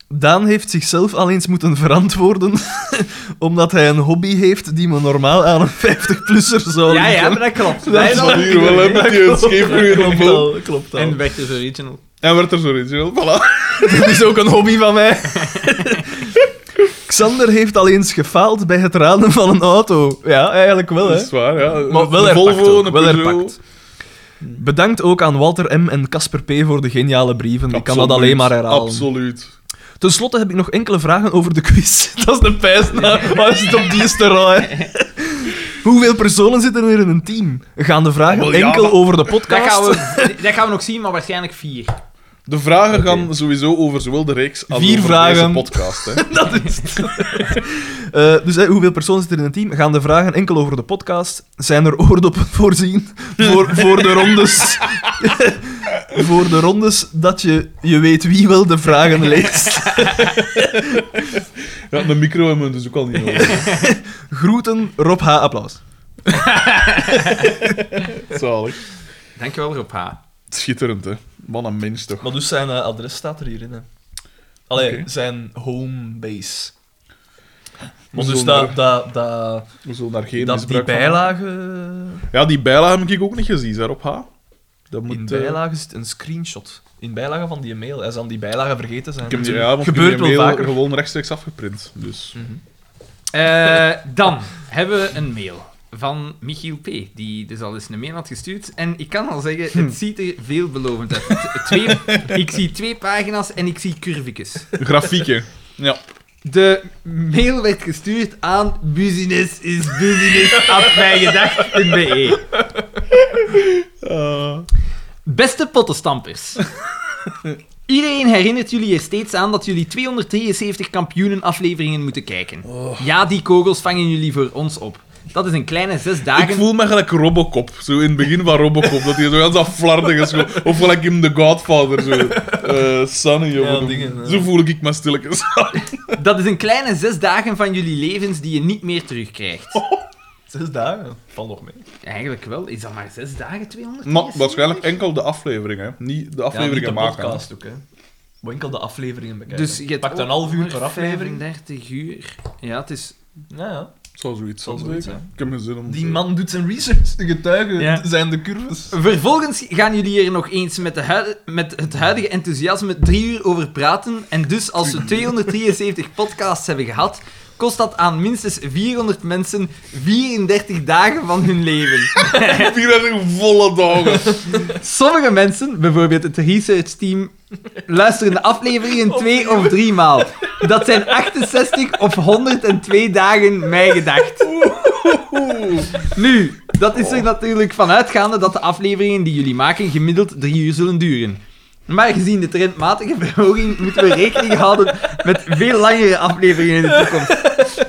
Speaker 2: Daan heeft zichzelf al eens moeten verantwoorden, omdat hij een hobby heeft die me normaal aan een 50-plusser zou
Speaker 3: Ja, ja,
Speaker 2: liggen.
Speaker 3: maar dat klopt.
Speaker 1: Dat
Speaker 3: Wij
Speaker 1: is
Speaker 3: dan-
Speaker 1: al hier wel een beetje een scheefgroeiende
Speaker 2: klopt
Speaker 1: boom.
Speaker 2: al, klopt al.
Speaker 3: En weg is original.
Speaker 1: En werd er zo origineel, voilà.
Speaker 2: Dat is ook een hobby van mij. Xander heeft al eens gefaald bij het raden van een auto. Ja, eigenlijk wel,
Speaker 1: Dat
Speaker 2: hè.
Speaker 1: is waar, ja.
Speaker 2: Maar wel
Speaker 1: Een
Speaker 2: herpakt
Speaker 1: Volvo,
Speaker 2: ook,
Speaker 1: een
Speaker 2: wel
Speaker 1: Peugeot.
Speaker 2: herpakt. Bedankt ook aan Walter M. en Casper P. voor de geniale brieven. Ik kan dat
Speaker 1: Absoluut,
Speaker 2: alleen maar herhalen.
Speaker 1: Absoluut.
Speaker 2: Ten slotte heb ik nog enkele vragen over de quiz. Dat is de pijsnaar. Waar zit op die sterren? Hoeveel personen zitten er in een team? Gaan de vragen
Speaker 1: Wel, ja,
Speaker 2: enkel
Speaker 1: maar-
Speaker 2: over de
Speaker 3: Dat
Speaker 2: podcast?
Speaker 3: gaan, we, dat gaan we nog zien, maar waarschijnlijk vier.
Speaker 1: De vragen
Speaker 2: Oké.
Speaker 1: gaan sowieso over zowel de reeks als
Speaker 2: Vier
Speaker 1: over
Speaker 2: vragen.
Speaker 1: deze podcast. Hè.
Speaker 2: Dat is het. Eh, dus hè, hoeveel personen zitten er in een team? Gaan de vragen enkel over de podcast? Zijn er oordoppen voorzien voor, voor de rondes? voor de rondes dat je, je weet wie wel de vragen leest.
Speaker 1: Ja, een micro hebben we dus ook al niet nodig.
Speaker 2: Groeten, Rob H. Applaus.
Speaker 1: Zalig.
Speaker 3: Dankjewel, Rob H.
Speaker 1: Schitterend, hè. Man en mens, toch.
Speaker 2: Maar dus zijn adres staat er hierin. Hè.
Speaker 1: Allee, Oké.
Speaker 2: zijn homebase.
Speaker 1: We
Speaker 2: dus
Speaker 1: zullen
Speaker 2: dat,
Speaker 1: er-
Speaker 2: dat, dat,
Speaker 1: We zullen daar geen
Speaker 2: dat die
Speaker 1: misbruik van
Speaker 2: bijlage...
Speaker 1: maken. Ja, die bijlage heb ik ook niet gezien, daarop H. Dat moet,
Speaker 2: In
Speaker 1: eh,
Speaker 2: bijlage zit een screenshot. In bijlage van die mail. Hij zal die bijlage vergeten zijn.
Speaker 1: ik heb die, ja, want
Speaker 2: Gebeurt
Speaker 1: ik heb
Speaker 2: wel
Speaker 1: die mail
Speaker 2: vaker. Hm.
Speaker 1: gewoon rechtstreeks afgeprint. Dus.
Speaker 3: Eh, dan hebben we een mail van Michiel P., die dus al eens een mail had gestuurd. En ik kan al zeggen, het ziet er veelbelovend uit. Het- Twee, ik zie twee pagina's en ik zie curvicus.
Speaker 1: Grafieken. Ja.
Speaker 3: De mail werd gestuurd aan business is business at mijgedacht.be.
Speaker 2: Eh,
Speaker 3: Beste pottenstampers. Iedereen herinnert jullie er steeds aan dat jullie 273 kampioenenafleveringen moeten kijken. Ja, die kogels vangen jullie voor ons op. Dat is een kleine zes dagen.
Speaker 1: Ik voel me gelijk Robocop. Zo in het begin van Robocop. dat hij zo heel dat flarden is. gewoon. Of gelijk in The Godfather. Zo. Eh Sunny. of
Speaker 2: Ja,
Speaker 1: wat-
Speaker 2: dingen, ja.
Speaker 1: Zo voel ik me stilletjes.
Speaker 3: Dat is een kleine zes dagen van jullie levens die je niet meer terugkrijgt.
Speaker 2: Zes dagen. Valt nog mee.
Speaker 3: Eigenlijk wel. Is dat maar zes dagen, 200?
Speaker 1: Maar waarschijnlijk enkel de aflevering, hè. Niet de afleveringen
Speaker 2: ja, niet de
Speaker 1: maken.
Speaker 2: podcast ook, hè. Maar enkel de afleveringen bekijken.
Speaker 3: Dus je hebt
Speaker 2: Pakt een half uur per
Speaker 3: 135
Speaker 2: aflevering.
Speaker 3: 30 uur. Ja, het is...
Speaker 2: Ja, ja.
Speaker 1: Het zou zoiets
Speaker 2: Zal
Speaker 1: zijn.
Speaker 2: zoiets
Speaker 1: zeker.
Speaker 2: zijn.
Speaker 1: Ik heb geen zin om...
Speaker 2: Die man doet zijn research. De getuigen
Speaker 3: Ja.
Speaker 2: zijn de curves.
Speaker 3: Vervolgens gaan jullie er nog eens met, de huid- met het huidige enthousiasme drie uur over praten. En dus als we 273 podcasts hebben gehad, kost dat aan minstens 400 mensen 34 dagen van hun leven.
Speaker 1: 34 volle dagen.
Speaker 3: Sommige mensen, bijvoorbeeld het researchteam, luisteren de afleveringen twee of drie maal. Dat zijn 68 of 102 dagen mij gedacht. Nu, dat is er natuurlijk vanuitgaande dat de afleveringen die jullie maken gemiddeld drie uur zullen duren. Maar gezien de trendmatige verhoging moeten we rekening houden met veel langere afleveringen in de toekomst.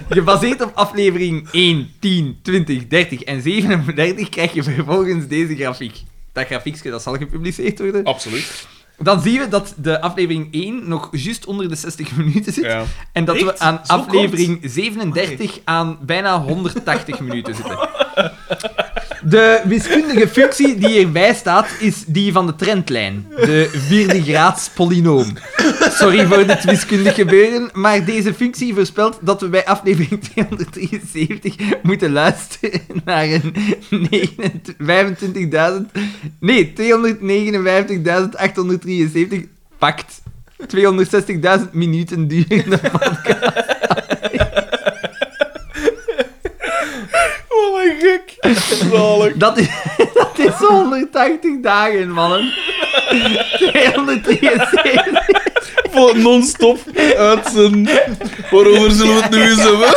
Speaker 3: Gebaseerd op aflevering 1, 10, 20, 30 en 37 krijg je vervolgens deze grafiek. Dat grafiekje dat zal gepubliceerd worden.
Speaker 1: Absoluut.
Speaker 3: Dan zien we dat de aflevering 1 nog juist onder de 60 minuten zit.
Speaker 1: Ja.
Speaker 3: En dat we
Speaker 2: Echt?
Speaker 3: aan
Speaker 2: Zo
Speaker 3: aflevering 37 aan bijna 180 minuten zitten. De wiskundige functie die erbij staat, is die van de trendlijn. De vierde graads polynoom. Sorry voor dit wiskundig gebeuren, maar deze functie voorspelt dat we bij aflevering 273 moeten luisteren naar een 29.000... Nee, 259.873 pakt 260.000 minuten durende
Speaker 2: Oh
Speaker 1: Wat een gek. Zalig.
Speaker 3: Dat is, dat is 180 dagen, mannen. 273.
Speaker 1: Voor non-stop uitzenden. Waarover zullen we het nu eens hebben?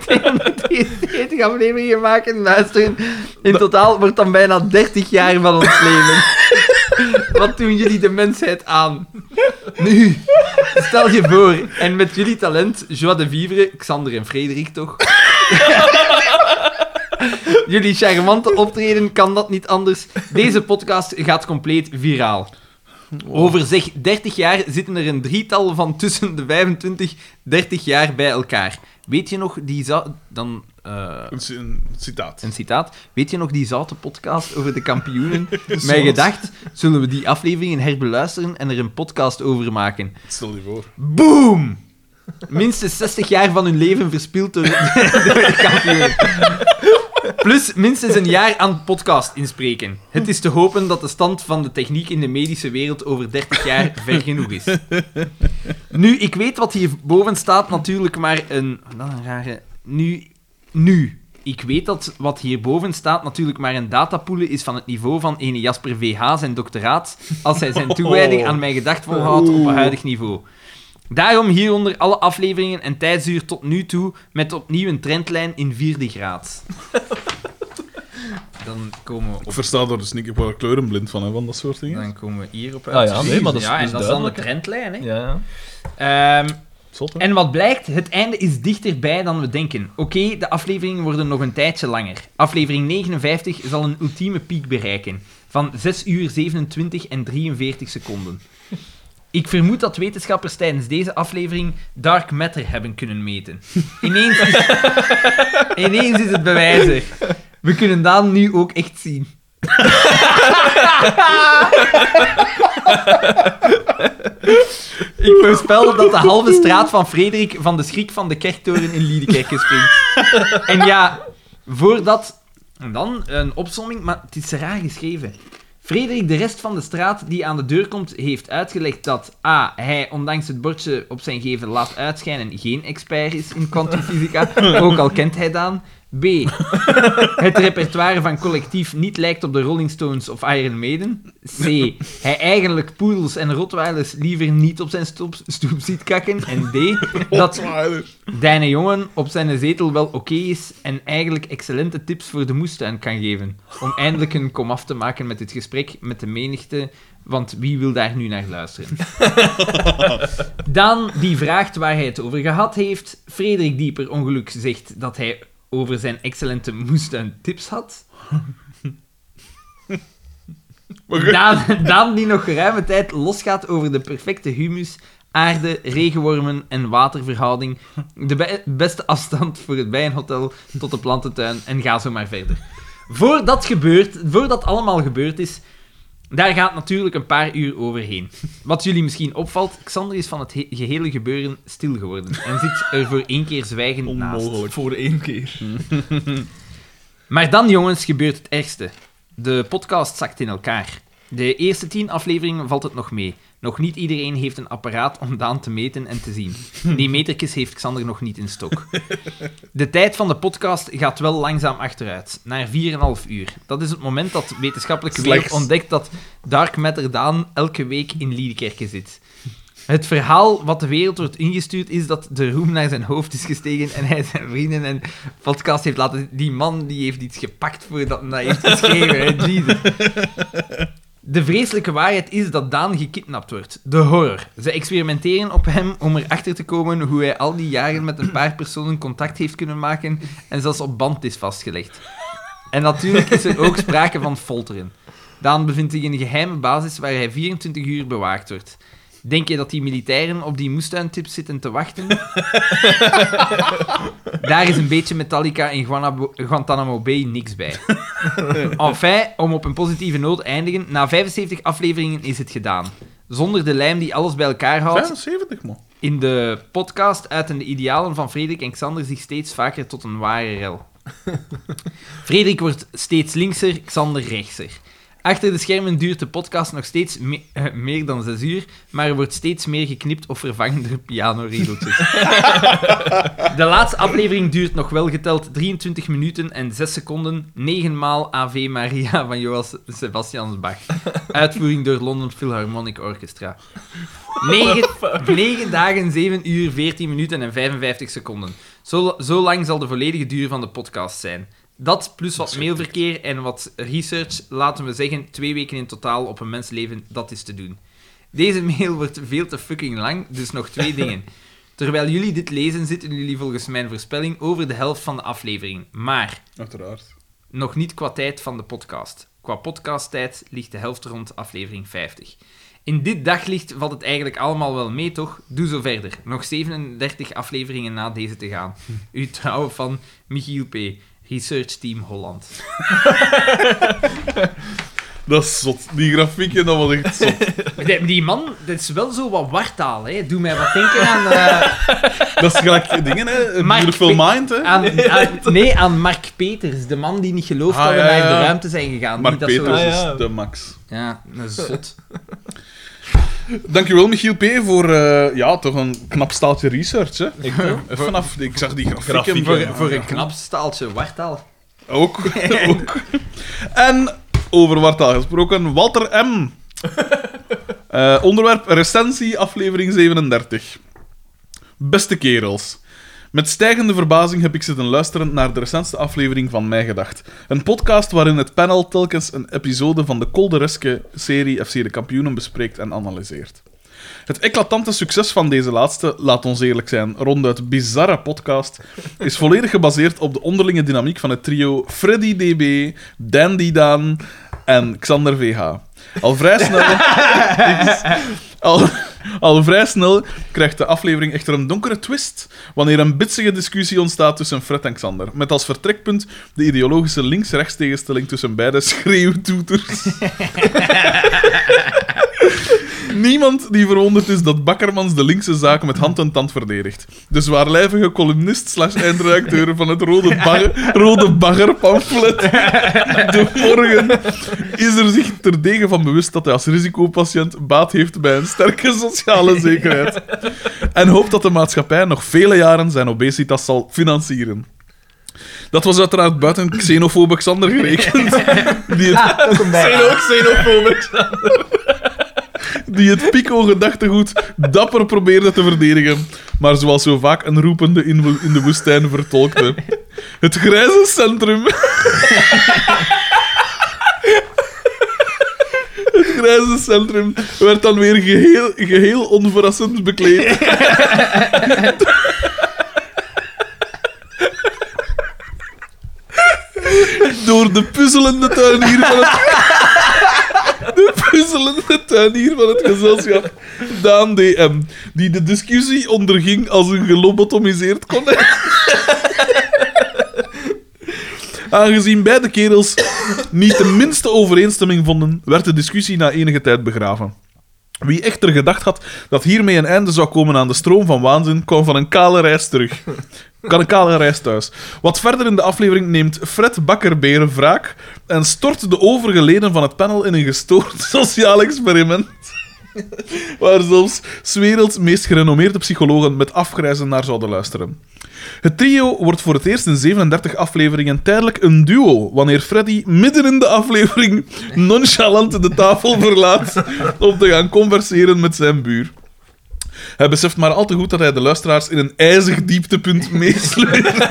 Speaker 3: 273 afleveringen maken en luisteren. In totaal wordt dan bijna 30 jaar van ons leven. Wat doen jullie de mensheid aan? Nu, stel je voor, en met jullie talent, Joie de Vivre, Xander en Frederik toch? jullie charmante optreden kan dat niet anders. Deze podcast gaat compleet viraal. Over zeg 30 jaar zitten er een drietal van tussen de 25 30 jaar bij elkaar. Weet je nog die zou... Dan... eh,
Speaker 1: Een, ci- een citaat.
Speaker 3: een citaat. Weet je nog die zoute podcast over de kampioenen? Mij gedacht, zullen we die afleveringen herbeluisteren en er een podcast over maken.
Speaker 1: Stel je voor.
Speaker 3: Boom! Minstens 60 jaar van hun leven verspild door, door de kampioen. Plus minstens een jaar aan podcast inspreken. Het is te hopen dat de stand van de techniek in de medische wereld over 30 jaar ver genoeg is. Nu, ik weet wat hierboven staat natuurlijk, maar een... Wat een rare... Nu... Nu. Ik weet dat wat hierboven staat natuurlijk maar een datapoele is van het niveau van ene Jasper VH zijn doctoraat, als hij zijn toewijding aan mijn gedacht volhoudt op een huidig niveau. Daarom hieronder alle afleveringen en tijdsduur tot nu toe met opnieuw een trendlijn in vierde graad. Dan komen we
Speaker 1: Ik
Speaker 3: op...
Speaker 1: versta daar dus niet. Ik word er kleurenblind van, hè, van dat soort dingen.
Speaker 3: Dan komen we hier op
Speaker 2: Ah ja, nee, maar dat is-
Speaker 3: ja, en
Speaker 2: dat is
Speaker 3: dat is dan de
Speaker 2: duidelijk, hè.
Speaker 3: trendlijn, hè.
Speaker 2: Ja.
Speaker 3: Ehm,
Speaker 1: Zot, hè?
Speaker 3: en wat blijkt, het einde is dichterbij dan we denken. Oké, de afleveringen worden nog een tijdje langer. Aflevering 59 zal een ultieme piek bereiken. Van 6 uur 27 en 43 seconden. Ik vermoed dat wetenschappers tijdens deze aflevering dark matter hebben kunnen meten. Ineens is, ineens is het bewijzer. We kunnen Daan nu ook echt zien. Ik voorspelde dat de halve straat van Frederik van de schrik van de kerktoren in Liedekerke springt. En ja, voordat... En dan een opsomming, maar het is raar geschreven. Frederik de rest van de straat die aan de deur komt, heeft uitgelegd dat A. Hij, ondanks het bordje op zijn gevel laat uitschijnen, geen expert is in kwantumfysica, ook al kent hij Daan. B. Het repertoire van collectief niet lijkt op de Rolling Stones of Iron Maiden. C. Hij eigenlijk poedels en rotweilers liever niet op zijn stoep, stoep ziet kakken. En D. Dat
Speaker 1: Rottweiler.
Speaker 3: Dijne jongen op zijn zetel wel oké is en eigenlijk excellente tips voor de moestuin kan geven. Om eindelijk een komaf te maken met dit gesprek met de menigte, want wie wil daar nu naar luisteren? Dan die vraagt waar hij het over gehad heeft. Frederik Dieper ongeluk zegt dat hij over zijn excellente moestuin tips had.
Speaker 1: Maar ge-
Speaker 3: Daan, Daan die nog geruime tijd losgaat over de perfecte humus, aarde, regenwormen en waterverhouding. De be- beste afstand voor het bijenhotel tot de plantentuin en ga zo maar verder. Voordat, gebeurt, voordat allemaal gebeurd is, daar gaat natuurlijk een paar uur overheen. Wat jullie misschien opvalt, Xander is van het he- gehele gebeuren stil geworden en zit er voor één keer zwijgend naast.
Speaker 1: Onmogelijk.
Speaker 2: Voor één keer.
Speaker 3: Maar dan, jongens, gebeurt het ergste. De podcast zakt in elkaar. De eerste tien afleveringen valt het nog mee. Nog niet iedereen heeft een apparaat om Daan te meten en te zien. Die metertjes heeft Xander nog niet in stok. De tijd van de podcast gaat wel langzaam achteruit, naar 4,5 uur. Dat is het moment dat de wetenschappelijke wereld
Speaker 1: Slechts.
Speaker 3: ontdekt dat Dark Matter Daan elke week in Liedekerke zit. Het verhaal wat de wereld wordt ingestuurd is dat de roem naar zijn hoofd is gestegen en hij zijn vrienden en podcast heeft laten. Die man die heeft iets gepakt voordat hij dat heeft geschreven. hè. Jezus. De vreselijke waarheid is dat Daan gekidnapt wordt. De horror. Ze experimenteren op hem om erachter te komen hoe hij al die jaren met een paar personen contact heeft kunnen maken en zelfs op band is vastgelegd. En natuurlijk is er ook sprake van folteren. Daan bevindt zich in een geheime basis waar hij 24 uur bewaakt wordt. Denk je dat die militairen op die moestuintips zitten te wachten? Daar is een beetje Metallica in Guanabo- Guantanamo Bay niks bij. Enfin, om op een positieve noot te eindigen, na 75 afleveringen is het gedaan. Zonder de lijm die alles bij elkaar houdt,
Speaker 1: 75, man.
Speaker 3: in de podcast uiten de idealen van Frederik en Xander zich steeds vaker tot een ware rel. Frederik wordt steeds linkser, Xander rechtser. Achter de schermen duurt de podcast nog steeds me- eh, meer dan 6 uur, maar er wordt steeds meer geknipt of vervangen door pianoregeltjes. de laatste aflevering duurt nog wel geteld 23 minuten en 6 seconden, 9 maal Ave Maria van Johann Sebastian Bach. Uitvoering door London Philharmonic Orchestra. 9, dagen, 7 uur, 14 minuten en 55 seconden. Zo, zo lang zal de volledige duur van de podcast zijn. Dat plus wat mailverkeer en wat research, laten we zeggen, twee weken in totaal op een mensleven, dat is te doen. Deze mail wordt veel te fucking lang, dus nog twee dingen. Terwijl jullie dit lezen, zitten jullie volgens mijn voorspelling over de helft van de aflevering. Maar
Speaker 1: Uiteraard.
Speaker 3: nog niet qua tijd van de podcast. Qua podcasttijd ligt de helft rond aflevering 50. In dit daglicht valt het eigenlijk allemaal wel mee, toch? Doe zo verder. Nog 37 afleveringen na deze te gaan. U trouwen van Michiel P., Research Team Holland.
Speaker 1: Dat is zot. Die grafieken, dat was echt zot.
Speaker 3: Die, die man, dat is wel zo wat wartaal, hè? Doe mij wat denken aan... eh,
Speaker 1: Dat is gelijk dingen, hè.
Speaker 3: Mark
Speaker 1: Beautiful
Speaker 3: Pe- Ah,
Speaker 1: Mind, hè.
Speaker 3: aan, aan- nee, aan Mark Peters, de man die niet gelooft
Speaker 1: Ah,
Speaker 3: dat we
Speaker 1: ja,
Speaker 3: naar
Speaker 1: ja.
Speaker 3: de ruimte zijn gegaan.
Speaker 1: Mark
Speaker 3: Niet dat zo-
Speaker 1: Peters
Speaker 2: Ah, ja.
Speaker 1: is de max.
Speaker 3: Ja, een zot.
Speaker 1: Dankjewel, Michiel P. voor eh, ja, toch een knap staaltje research, hè.
Speaker 2: Ik wel.
Speaker 1: Vanaf, ik zag die grafieken.
Speaker 2: Grafieken,
Speaker 1: maar-
Speaker 3: Voor, voor een knap staaltje wartaal.
Speaker 1: Ook, ook. En over Wartaal gesproken, Walter M. Eh, onderwerp recensie, aflevering 37. Beste kerels. Met stijgende verbazing heb ik zitten luisteren naar de recentste aflevering van Mij Gedacht. Een podcast waarin het panel telkens een episode van de koldereske serie FC De Kampioenen bespreekt en analyseert. Het eclatante succes van deze laatste, laat ons eerlijk zijn, ronduit bizarre podcast, is volledig gebaseerd op de onderlinge dynamiek van het trio Freddy DB, Dandy Daan en Xander VH. Al vrij snel... Al, al vrij snel krijgt de aflevering echter een donkere twist wanneer een bitsige discussie ontstaat tussen Fred en Xander. Met als vertrekpunt de ideologische links-rechts tegenstelling tussen beide schreeuwtoeters. Niemand die verwonderd is dat Bakkermans de linkse zaak met hand en tand verdedigt. De zwaarlijvige columnist slash eindredacteur van het Rode, bagger, rode Bagger-pamflet de morgen is er zich terdege van bewust dat hij als risicopatiënt baat heeft bij een sterke sociale zekerheid. En hoopt dat de maatschappij nog vele jaren zijn obesitas zal financieren. Dat was uiteraard buiten xenofobe Xander gerekend. Die het
Speaker 3: Ook een
Speaker 2: Xeno-
Speaker 3: bijnaam.
Speaker 2: xenofobe
Speaker 1: die het Pico-gedachtegoed dapper probeerde te verdedigen, maar zoals zo vaak een roepende in, wo- in de woestijn vertolkte. Het grijze centrum. Het grijze centrum werd dan weer geheel, geheel onverrassend bekleed. Door de puzzelende tuinier van het de puzzelende tuinier van het gezelschap, Daan DM, die de discussie onderging als een gelobotomiseerd konijn. Aangezien beide kerels niet de minste overeenstemming vonden, werd de discussie na enige tijd begraven. Wie echter gedacht had dat hiermee een einde zou komen aan de stroom van waanzin, kwam van een kale reis terug. Kan een kale reis thuis. Wat verder in de aflevering neemt Fred Bakkerbeer wraak en stort de overige leden van het panel in een gestoord sociaal experiment. Waar zelfs 's werelds meest gerenommeerde psychologen met afgrijzen naar zouden luisteren. Het trio wordt voor het eerst in 37 afleveringen tijdelijk een duo, wanneer Freddy midden in de aflevering nonchalant de tafel verlaat om te gaan converseren met zijn buur. Hij beseft maar al te goed dat hij de luisteraars in een ijzig dieptepunt meesleurt.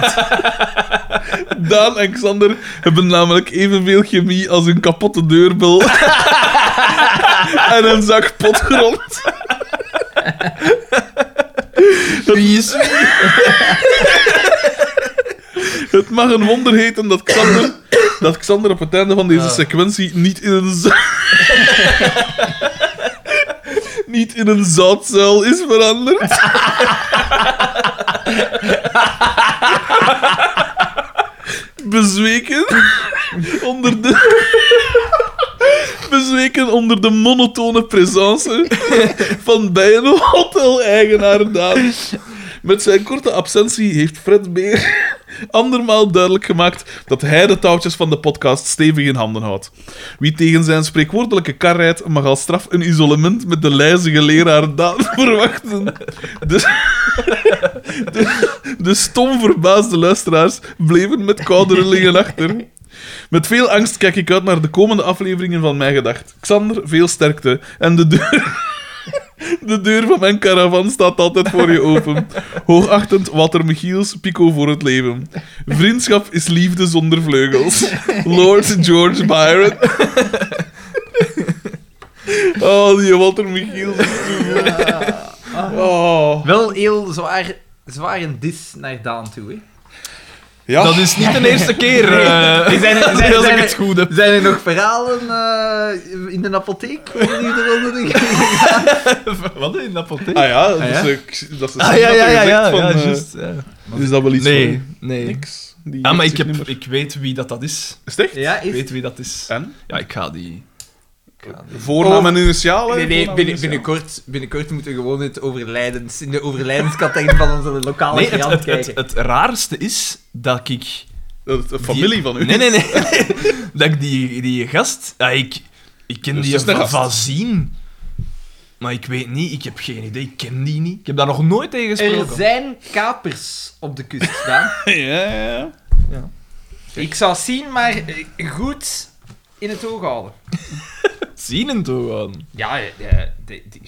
Speaker 1: Daan en Xander hebben namelijk evenveel chemie als een kapotte deurbel en een zak potgrond.
Speaker 2: Wie is
Speaker 1: Het mag een wonder heten dat Xander, dat Xander op het einde van deze sequentie niet in een za- niet in een zaadzuil is veranderd. Bezweken onder de bezweken onder de monotone presence van bijenhotel-eigenaar Daan. Met zijn korte absentie heeft Fred Beer andermaal duidelijk gemaakt dat hij de touwtjes van de podcast stevig in handen houdt. Wie tegen zijn spreekwoordelijke kar rijdt, mag als straf een isolement met de lijzige leraar Daan verwachten. Dus De, de, de stom verbaasde luisteraars bleven met koude rillingen achter. Met veel angst kijk ik uit naar de komende afleveringen van Mijn Gedacht. Xander, veel sterkte. En de deur... De deur van mijn caravan staat altijd voor je open. Hoogachtend Walter Michiels, Pico voor het leven. Vriendschap is liefde zonder vleugels. Lord George Byron. Oh, die Walter Michiels. is zo goed. Oh.
Speaker 3: Wel heel zwaar, zwaar een dis naar Daan toe, hè.
Speaker 1: Ja.
Speaker 2: Dat is niet de eerste keer. eh,
Speaker 3: Nee. Zijn er- zijn-
Speaker 2: als ik
Speaker 3: zijn
Speaker 2: het
Speaker 3: er-
Speaker 2: goed heb.
Speaker 3: Zijn er nog verhalen eh, in de apotheek? Die er onder de-
Speaker 2: Wat in de apotheek?
Speaker 1: Ah ja, dat
Speaker 3: Ah ja?
Speaker 1: is, eh, dat is gezegd van, eh, Is dat wel iets
Speaker 2: Nee,
Speaker 1: voor-
Speaker 2: nee.
Speaker 1: Niks. Die
Speaker 2: Ja, maar
Speaker 1: weet
Speaker 2: ik,
Speaker 1: zich
Speaker 2: heb,
Speaker 1: niet meer.
Speaker 2: ik weet wie dat, dat is.
Speaker 1: Is het echt?
Speaker 3: Ja,
Speaker 2: Ik
Speaker 3: is...
Speaker 2: weet wie dat is.
Speaker 1: En?
Speaker 2: Ja, ik ga die... Ik ga die.
Speaker 1: Voornaam en initialen?
Speaker 3: Nee, nee,
Speaker 1: Voornaam en
Speaker 3: binnen,
Speaker 1: initialen.
Speaker 3: binnenkort, binnenkort moeten we gewoon in, het overlijdens, in de overlijdenscategorie van onze lokale
Speaker 2: Nee, het, het,
Speaker 3: krant
Speaker 2: het,
Speaker 3: kijken.
Speaker 2: het raarste is dat ik...
Speaker 1: Dat is een familie
Speaker 2: die-
Speaker 1: van u.
Speaker 2: Nee, nee, nee. dat ik die, die gast... Ja, ik, ik ken
Speaker 1: Dus
Speaker 2: die
Speaker 1: het is een
Speaker 2: van,
Speaker 1: gast.
Speaker 2: van zien. Maar ik weet niet, ik heb geen idee. Ik ken die niet. Ik heb daar nog nooit tegen
Speaker 3: er
Speaker 2: gesproken.
Speaker 3: zijn kapers op de kust, Daan.
Speaker 1: Ja, ja, ja.
Speaker 3: Ik zal zien, maar eh, goed in het oog houden.
Speaker 2: Zien en toe aan.
Speaker 3: Ja, eh, eh, die- die-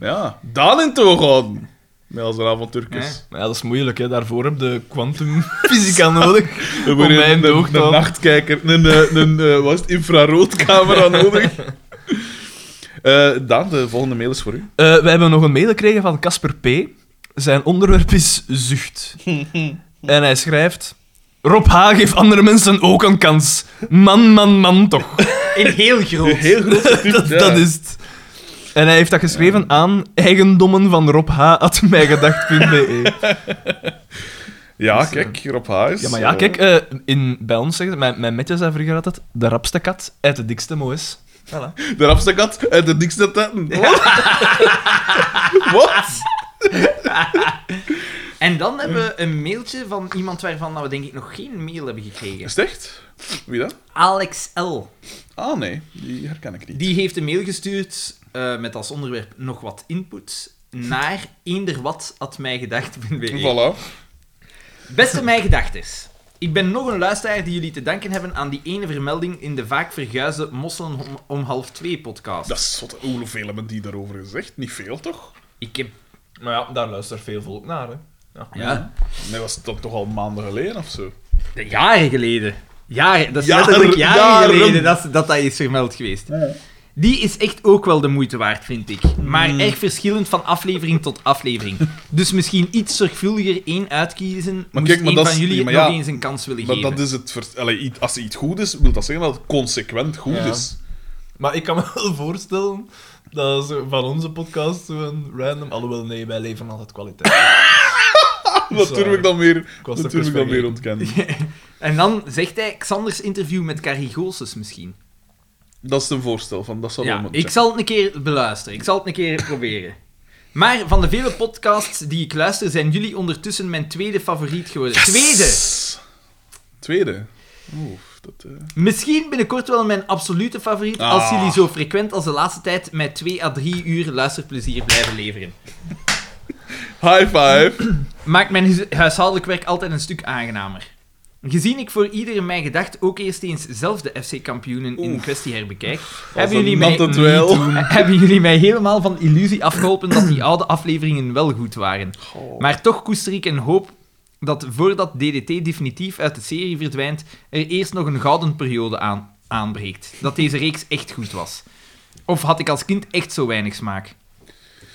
Speaker 1: Ja, Daan in toegaan. Ja, als een avontuurkes.
Speaker 2: Maar ja, dat is moeilijk, hè. daarvoor heb je kwantumfysica nodig.
Speaker 1: We worden
Speaker 2: mijn
Speaker 1: een,
Speaker 2: doog
Speaker 1: een,
Speaker 2: dan.
Speaker 1: nachtkijker, een, eh, een, eh, wat is het, infraroodcamera nodig. Eh, Daan, de volgende mail is voor u.
Speaker 2: Eh, we hebben nog een mail gekregen van Casper P. Zijn onderwerp is zucht. en hij schrijft... Rob H. geeft andere mensen ook een kans. Man, man, man toch.
Speaker 3: In heel groot.
Speaker 1: Heel groot.
Speaker 2: dat, dat is het. En hij heeft dat geschreven aan eigendommen van Rob H. at mijgedacht.be.
Speaker 1: Ja,
Speaker 2: Dus,
Speaker 1: kijk, hier op huis.
Speaker 2: Ja, maar ja,
Speaker 1: Eh,
Speaker 2: kijk, eh, in, bij ons zeggen ze- mijn, mijn metje zei vroeger altijd, de rapste kat uit de dikste moes. Voilà.
Speaker 1: De rapste kat uit de dikste tetten. Wat? Wat?
Speaker 3: En dan hebben we een mailtje van iemand waarvan we denk ik nog geen mail hebben gekregen.
Speaker 1: Is het echt? Wie dat?
Speaker 3: Alex L.
Speaker 1: Ah, nee. Die herken ik niet.
Speaker 3: Die heeft een mail gestuurd eh, met als onderwerp nog wat input naar eenderwat.mijgedacht.be.
Speaker 1: Voilà.
Speaker 3: E. Beste mijgedachters. Ik ben nog een luisteraar die jullie te danken hebben aan die ene vermelding in de vaak verguisde Mosselen om, om half twee podcast.
Speaker 1: Dat is zot. Hoeveel hebben die daarover gezegd? Niet veel, toch?
Speaker 3: Ik heb...
Speaker 2: Maar ja, daar luistert veel volk naar, hè. Ja.
Speaker 3: Ja,
Speaker 1: Nee, was het dan toch al maanden geleden of zo?
Speaker 3: de jaren geleden. Jaren, dat is
Speaker 1: Jaren-
Speaker 3: letterlijk jaren,
Speaker 1: jaren.
Speaker 3: geleden dat ze- dat dat is vermeld geweest. Die is echt ook wel de moeite waard, vind ik. Maar
Speaker 1: Mm.
Speaker 3: erg verschillend van aflevering tot aflevering. Dus misschien iets zorgvuldiger één uitkiezen, maar
Speaker 1: kijk, maar
Speaker 3: één
Speaker 1: dat
Speaker 3: van
Speaker 1: is-
Speaker 3: jullie
Speaker 1: ja, maar
Speaker 3: nog
Speaker 1: ja,
Speaker 3: eens een kans willen
Speaker 1: Maar
Speaker 3: geven.
Speaker 1: dat is het... vers- Allee, iets- als iets goed is, wil dat zeggen dat het consequent goed
Speaker 2: Ja.
Speaker 1: is.
Speaker 2: Maar ik kan me wel voorstellen dat ze van onze podcast zo'n random... Alhoewel, nee, wij leveren altijd kwaliteit.
Speaker 1: Dat
Speaker 2: Zo.
Speaker 1: durf ik dan weer,
Speaker 2: was
Speaker 1: dat
Speaker 2: het
Speaker 1: durf ik dan
Speaker 2: vergeten.
Speaker 1: weer ontkennen.
Speaker 3: En dan zegt hij Xanders interview met Carrie Goossens misschien.
Speaker 1: Dat is een voorstel van... Dat zal wel
Speaker 3: Ja,
Speaker 1: moeten
Speaker 3: ik zal het een keer beluisteren. Ik zal het een keer proberen. Maar van de vele podcasts die ik luister, zijn jullie ondertussen mijn tweede favoriet geworden. Tweede!
Speaker 1: Tweede. Oeh, dat... eh,
Speaker 3: Misschien binnenkort wel mijn absolute favoriet,
Speaker 1: Ah.
Speaker 3: als jullie zo frequent als de laatste tijd mij 2 à 3 uur luisterplezier blijven leveren.
Speaker 1: High five.
Speaker 3: Maakt mijn hu- huishoudelijk werk altijd een stuk aangenamer. Gezien ik voor iedere mijn gedacht ook eerst eens zelf de FC-kampioenen in kwestie herbekijk, hebben
Speaker 1: een
Speaker 3: jullie, mij,
Speaker 1: natte dweil.
Speaker 3: Niet doen. hebben jullie mij helemaal van de illusie afgeholpen dat die oude afleveringen wel goed waren.
Speaker 1: Goh.
Speaker 3: Maar toch koester ik een hoop dat voordat DDT definitief uit de serie verdwijnt, er eerst nog een gouden periode aan, aanbreekt. Dat deze reeks echt goed was. Of had ik als kind echt zo weinig smaak?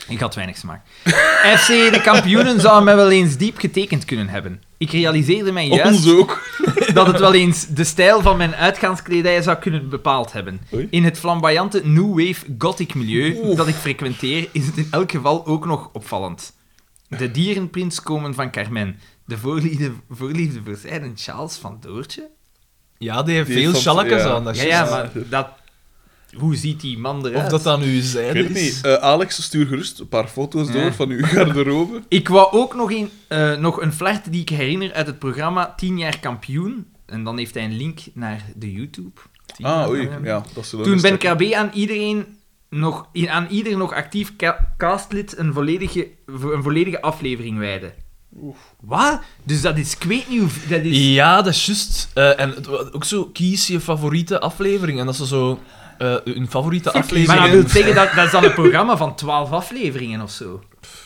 Speaker 3: Ik had weinig smaak. FC de kampioenen zou mij wel eens diep getekend kunnen hebben. Ik realiseerde mij juist
Speaker 1: Ons ook.
Speaker 3: dat het wel eens de stijl van mijn uitgaanskledij zou kunnen bepaald hebben.
Speaker 1: Oei.
Speaker 3: In het flamboyante New Wave Gothic milieu dat ik frequenteer, is het in elk geval ook nog opvallend. De dierenprins komen van Carmen. De voorliefde, voorliefde voor zij en Charles van Doortje?
Speaker 2: Ja, die heeft
Speaker 1: Die
Speaker 2: veel
Speaker 1: heeft soms-
Speaker 2: shalakas
Speaker 1: ja.
Speaker 2: aan. Dat
Speaker 3: Ja,
Speaker 2: is
Speaker 3: ja,
Speaker 2: juist.
Speaker 3: maar dat... Hoe ziet die man eruit?
Speaker 2: Of dat dan nu
Speaker 1: Ik weet
Speaker 2: zijde
Speaker 1: het
Speaker 2: is.
Speaker 1: niet. Eh, Alex, stuur gerust een paar foto's
Speaker 3: Ja.
Speaker 1: door van uw garderobe.
Speaker 3: Ik wou ook nog een, eh, nog een flart die ik herinner uit het programma 10 jaar kampioen. En dan heeft hij een link naar de YouTube. 10 jaar
Speaker 1: Ah, oei.
Speaker 3: kampioen.
Speaker 1: Ja, dat zullen we
Speaker 3: Toen ben
Speaker 1: eens checken.
Speaker 3: KB aan iedereen nog, aan ieder nog actief ca- castlid een volledige, vo- een volledige aflevering wijden. Wat? Dus dat is, ik weet niet hoe... Dat is...
Speaker 2: Ja, dat is juist. Eh, en het wa- ook zo, kies je favoriete aflevering. En dat ze zo eh, hun favoriete
Speaker 3: Maar
Speaker 2: aflevering...
Speaker 3: dat wil zeggen, dat, dat is dan een programma van 12 afleveringen of zo.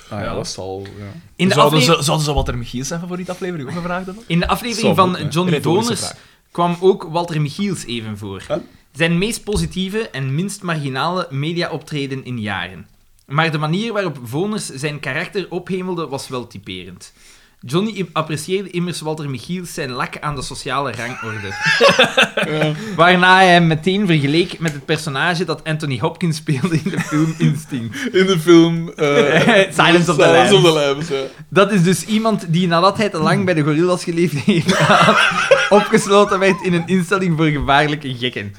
Speaker 1: Ah ja,
Speaker 2: Ja.
Speaker 1: dat zal... Ja.
Speaker 3: In de,
Speaker 2: zouden,
Speaker 3: afle-
Speaker 2: ze, zouden ze Walter Michiels zijn favoriete aflevering ook gevraagd hebben?
Speaker 3: in de
Speaker 1: Zal
Speaker 3: aflevering
Speaker 1: goed, hè.
Speaker 3: van Johnny
Speaker 2: Retorische
Speaker 3: Donors
Speaker 2: vraag.
Speaker 3: kwam ook Walter Michiels even voor.
Speaker 1: Huh?
Speaker 3: Zijn meest positieve en minst marginale mediaoptreden in jaren. Maar de manier waarop Voners zijn karakter ophemelde was wel typerend. Johnny apprecieerde immers Walter Michiels zijn lak aan de sociale rangorde. Waarna hij hem meteen vergeleek met het personage dat Anthony Hopkins speelde in de film Instinct.
Speaker 1: In de film... eh,
Speaker 3: Silence of the Lambs.
Speaker 1: Silence of the Lambs, ja.
Speaker 3: Dat is dus iemand die nadat hij te lang bij de gorillas geleefd heeft, opgesloten werd in een instelling voor gevaarlijke gekken.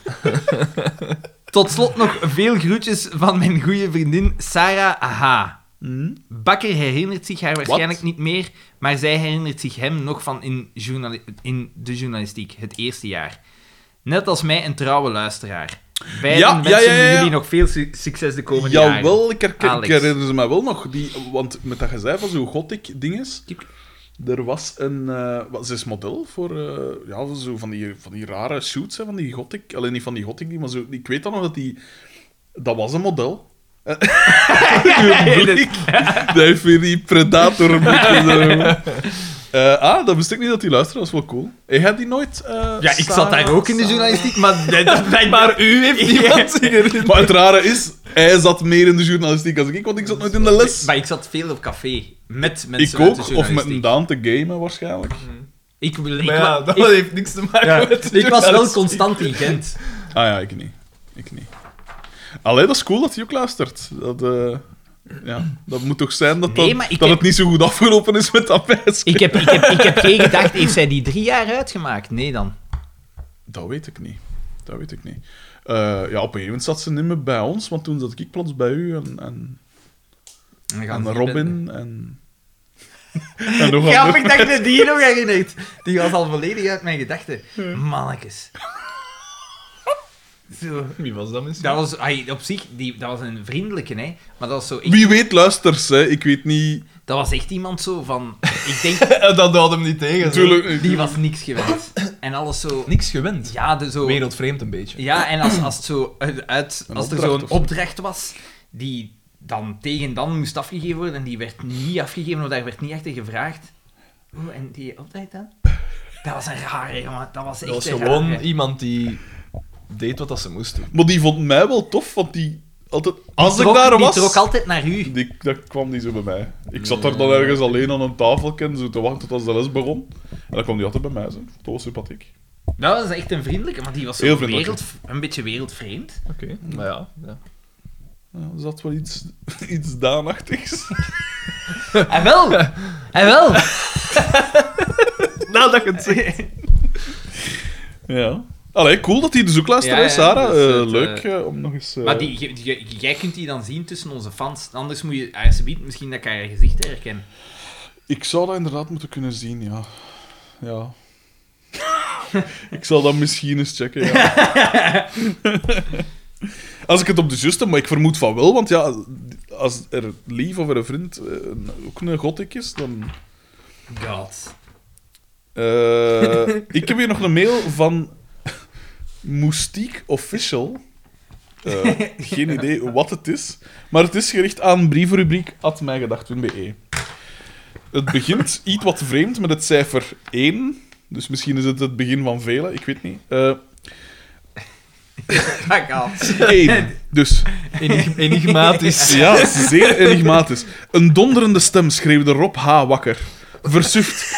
Speaker 3: Tot slot nog veel groetjes van mijn goede vriendin Sarah H. Hmm? Bakker herinnert zich haar waarschijnlijk niet meer, maar zij herinnert zich hem nog van in, journali- in de journalistiek, het eerste jaar. Net als mij een trouwe luisteraar. Beiden
Speaker 1: Ja, ja,
Speaker 3: wensen
Speaker 1: ja, ja, ja.
Speaker 3: jullie nog veel su- succes de komende jaren.
Speaker 1: Jawel, ik, herken, ik
Speaker 3: Alex.
Speaker 1: herinner ze mij wel nog. Die, want met dat gezegd van zo'n gothic dinges...
Speaker 3: Tuurlijk.
Speaker 1: Er was een... eh wat, ze is model voor... eh, ja, voor zo van die, van die rare shoots, hè, van die gothic. Alleen niet van die gothic, die, maar zo... Ik weet dan nog dat die... Dat was een model. Uw blik. Dat heeft weer die predator Eh Ah, dat wist ik niet dat die luisterde. Dat is wel cool. Ik had die nooit... eh,
Speaker 3: Ja, ik
Speaker 1: Sarah-
Speaker 3: zat daar ook in de journalistiek, maar dat- dat blijkbaar...
Speaker 2: Maar u heeft niemand hierin.
Speaker 1: Maar het rare is, hij zat meer in de journalistiek als ik, want ik zat nooit in de les.
Speaker 3: Maar ik zat veel op café met mensen
Speaker 1: Ik
Speaker 3: uit de
Speaker 1: ook, of met
Speaker 3: journalistiek.
Speaker 1: een Daan te gamen waarschijnlijk.
Speaker 3: Ik, wil- ik,
Speaker 2: Maar ja,
Speaker 3: wa-
Speaker 2: dat
Speaker 3: ik,
Speaker 2: heeft niks te maken
Speaker 3: ja,
Speaker 2: met de
Speaker 3: ik was wel
Speaker 2: journalistiek.
Speaker 3: constant in Gent.
Speaker 1: Ah ja, ik niet. Ik niet. Allee, dat is cool dat hij ook luistert. Dat, eh, ja, dat moet toch zijn dat,
Speaker 3: Nee,
Speaker 1: dat,
Speaker 3: maar ik
Speaker 1: dat
Speaker 3: heb-
Speaker 1: het niet zo goed afgelopen is met dat meisje.
Speaker 3: Ik heb, ik, heb, ik heb geen gedacht, heeft zij die drie jaar uitgemaakt? Nee dan.
Speaker 1: Dat weet ik niet. Dat weet ik niet. Eh, ja, op een gegeven moment zat ze niet meer bij ons, want toen zat ik plots bij u en, en,
Speaker 3: Dan gaan
Speaker 1: en
Speaker 3: ze-
Speaker 1: Robin en... en nog andere-
Speaker 3: Grappig dat ik me die nog herinnert. Die was al volledig uit mijn gedachten.
Speaker 2: Hmm.
Speaker 3: Mannekes. Zo.
Speaker 2: Wie was dat misschien?
Speaker 3: Dat was ai, op zich die, dat was een vriendelijke, hè. maar dat was, zo, echt-
Speaker 1: Wie weet luistert ze, ik weet niet...
Speaker 3: dat was echt iemand zo van... Ik denk,
Speaker 2: dat houdt hem niet tegen.
Speaker 1: Natuurlijk...
Speaker 3: die was niks gewend. En alles zo...
Speaker 2: Niks gewend.
Speaker 3: Ja, de, zo,
Speaker 2: Wereldvreemd een beetje.
Speaker 3: ja en als, als, het zo uit, uit-
Speaker 1: Een
Speaker 3: als er
Speaker 1: opdracht
Speaker 3: zo'n
Speaker 1: of zo.
Speaker 3: opdracht was, die dan tegen dan moest afgegeven worden, en die werd niet afgegeven, of daar werd niet achter gevraagd. Oeh, en die opdracht dan? Dat was een rare, jongen. Dat was echt
Speaker 2: Dat was
Speaker 3: een
Speaker 2: gewoon
Speaker 3: rare.
Speaker 2: iemand die deed wat dat ze moest doen.
Speaker 1: Maar die vond mij wel tof, want die altijd... Als
Speaker 3: trok-
Speaker 1: ik daar
Speaker 3: die
Speaker 1: was...
Speaker 3: trok altijd naar u.
Speaker 1: Die, dat kwam niet zo bij mij. Ik zat daar dan ergens alleen aan een tafeltje zo te wachten tot als de les begon. En dan kwam die altijd bij mij. Zo. Dat was sympathiek.
Speaker 3: Dat was echt een vriendelijke, maar die was zo
Speaker 1: Heel vriendelijk.
Speaker 3: wereld, een beetje wereldvreemd.
Speaker 2: Oké. Maar ja, ja.
Speaker 1: Ja, er zat wel iets, iets daanachtigs.
Speaker 3: Hij wel! Hij wel!
Speaker 2: Nou, dat je het zegt.
Speaker 1: ja. Allee, cool dat hij dus ook luistert,
Speaker 3: Ja,
Speaker 1: hè,
Speaker 3: ja,
Speaker 1: Sarah.
Speaker 3: dat is
Speaker 1: Eh,
Speaker 3: het,
Speaker 1: leuk
Speaker 3: eh,
Speaker 1: eh, om nog eens... eh,
Speaker 3: Maar die, j- j- jij kunt die dan zien tussen onze fans. Anders moet je, als ze biedt, misschien dat ik haar gezicht herken.
Speaker 1: Ik zou dat inderdaad moeten kunnen zien, ja. Ja. ik zal dat misschien eens checken, ja. als ik het op de zuster, maar ik vermoed van wel, want ja, als er lief of er een vriend eh, een- ook een gothic is, dan...
Speaker 3: God.
Speaker 1: Eh, ik heb hier nog een mail van Moustique Official. Eh, geen idee wat het is, maar het is gericht aan brievenrubriek atmijgedacht.be. Het begint iets wat vreemd met het cijfer 1, dus misschien is het het begin van velen, ik weet niet. Eh
Speaker 3: Dat gaat.
Speaker 1: 1, dus
Speaker 2: Enig- enigmatisch.
Speaker 1: Ja, zeer enigmatisch. Een donderende stem schreeuwde Rob H. wakker. Versuft.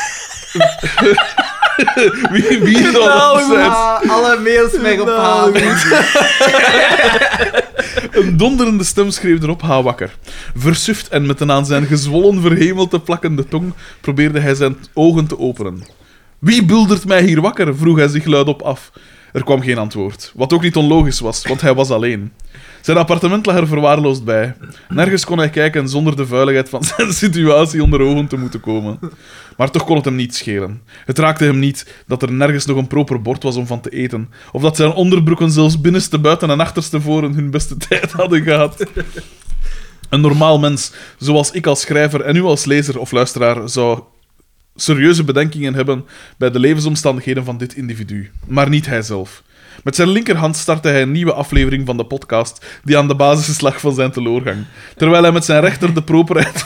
Speaker 1: wie wie zou dat
Speaker 2: Nou,
Speaker 1: zijn?
Speaker 3: alle mails mee ophalen.
Speaker 1: Een donderende stem schreef erop H. wakker. Versuft en met een aan zijn gezwollen verhemeld te plakkende tong probeerde hij zijn ogen te openen. Wie buldert mij hier wakker? vroeg hij zich luidop af. Er kwam geen antwoord, wat ook niet onlogisch was, want hij was alleen. Zijn appartement lag er verwaarloosd bij. Nergens kon hij kijken zonder de vuiligheid van zijn situatie onder ogen te moeten komen. Maar toch kon het hem niet schelen. Het raakte hem niet dat er nergens nog een proper bord was om van te eten, of dat zijn onderbroeken zelfs binnenste buiten en achterste voren hun beste tijd hadden gehad. Een normaal mens, zoals ik als schrijver en u als lezer of luisteraar, zou serieuze bedenkingen hebben bij de levensomstandigheden van dit individu, maar niet hijzelf. Met zijn linkerhand startte hij een nieuwe aflevering van de podcast, die aan de basis lag van zijn teleurgang. Terwijl hij met zijn rechter de properheid.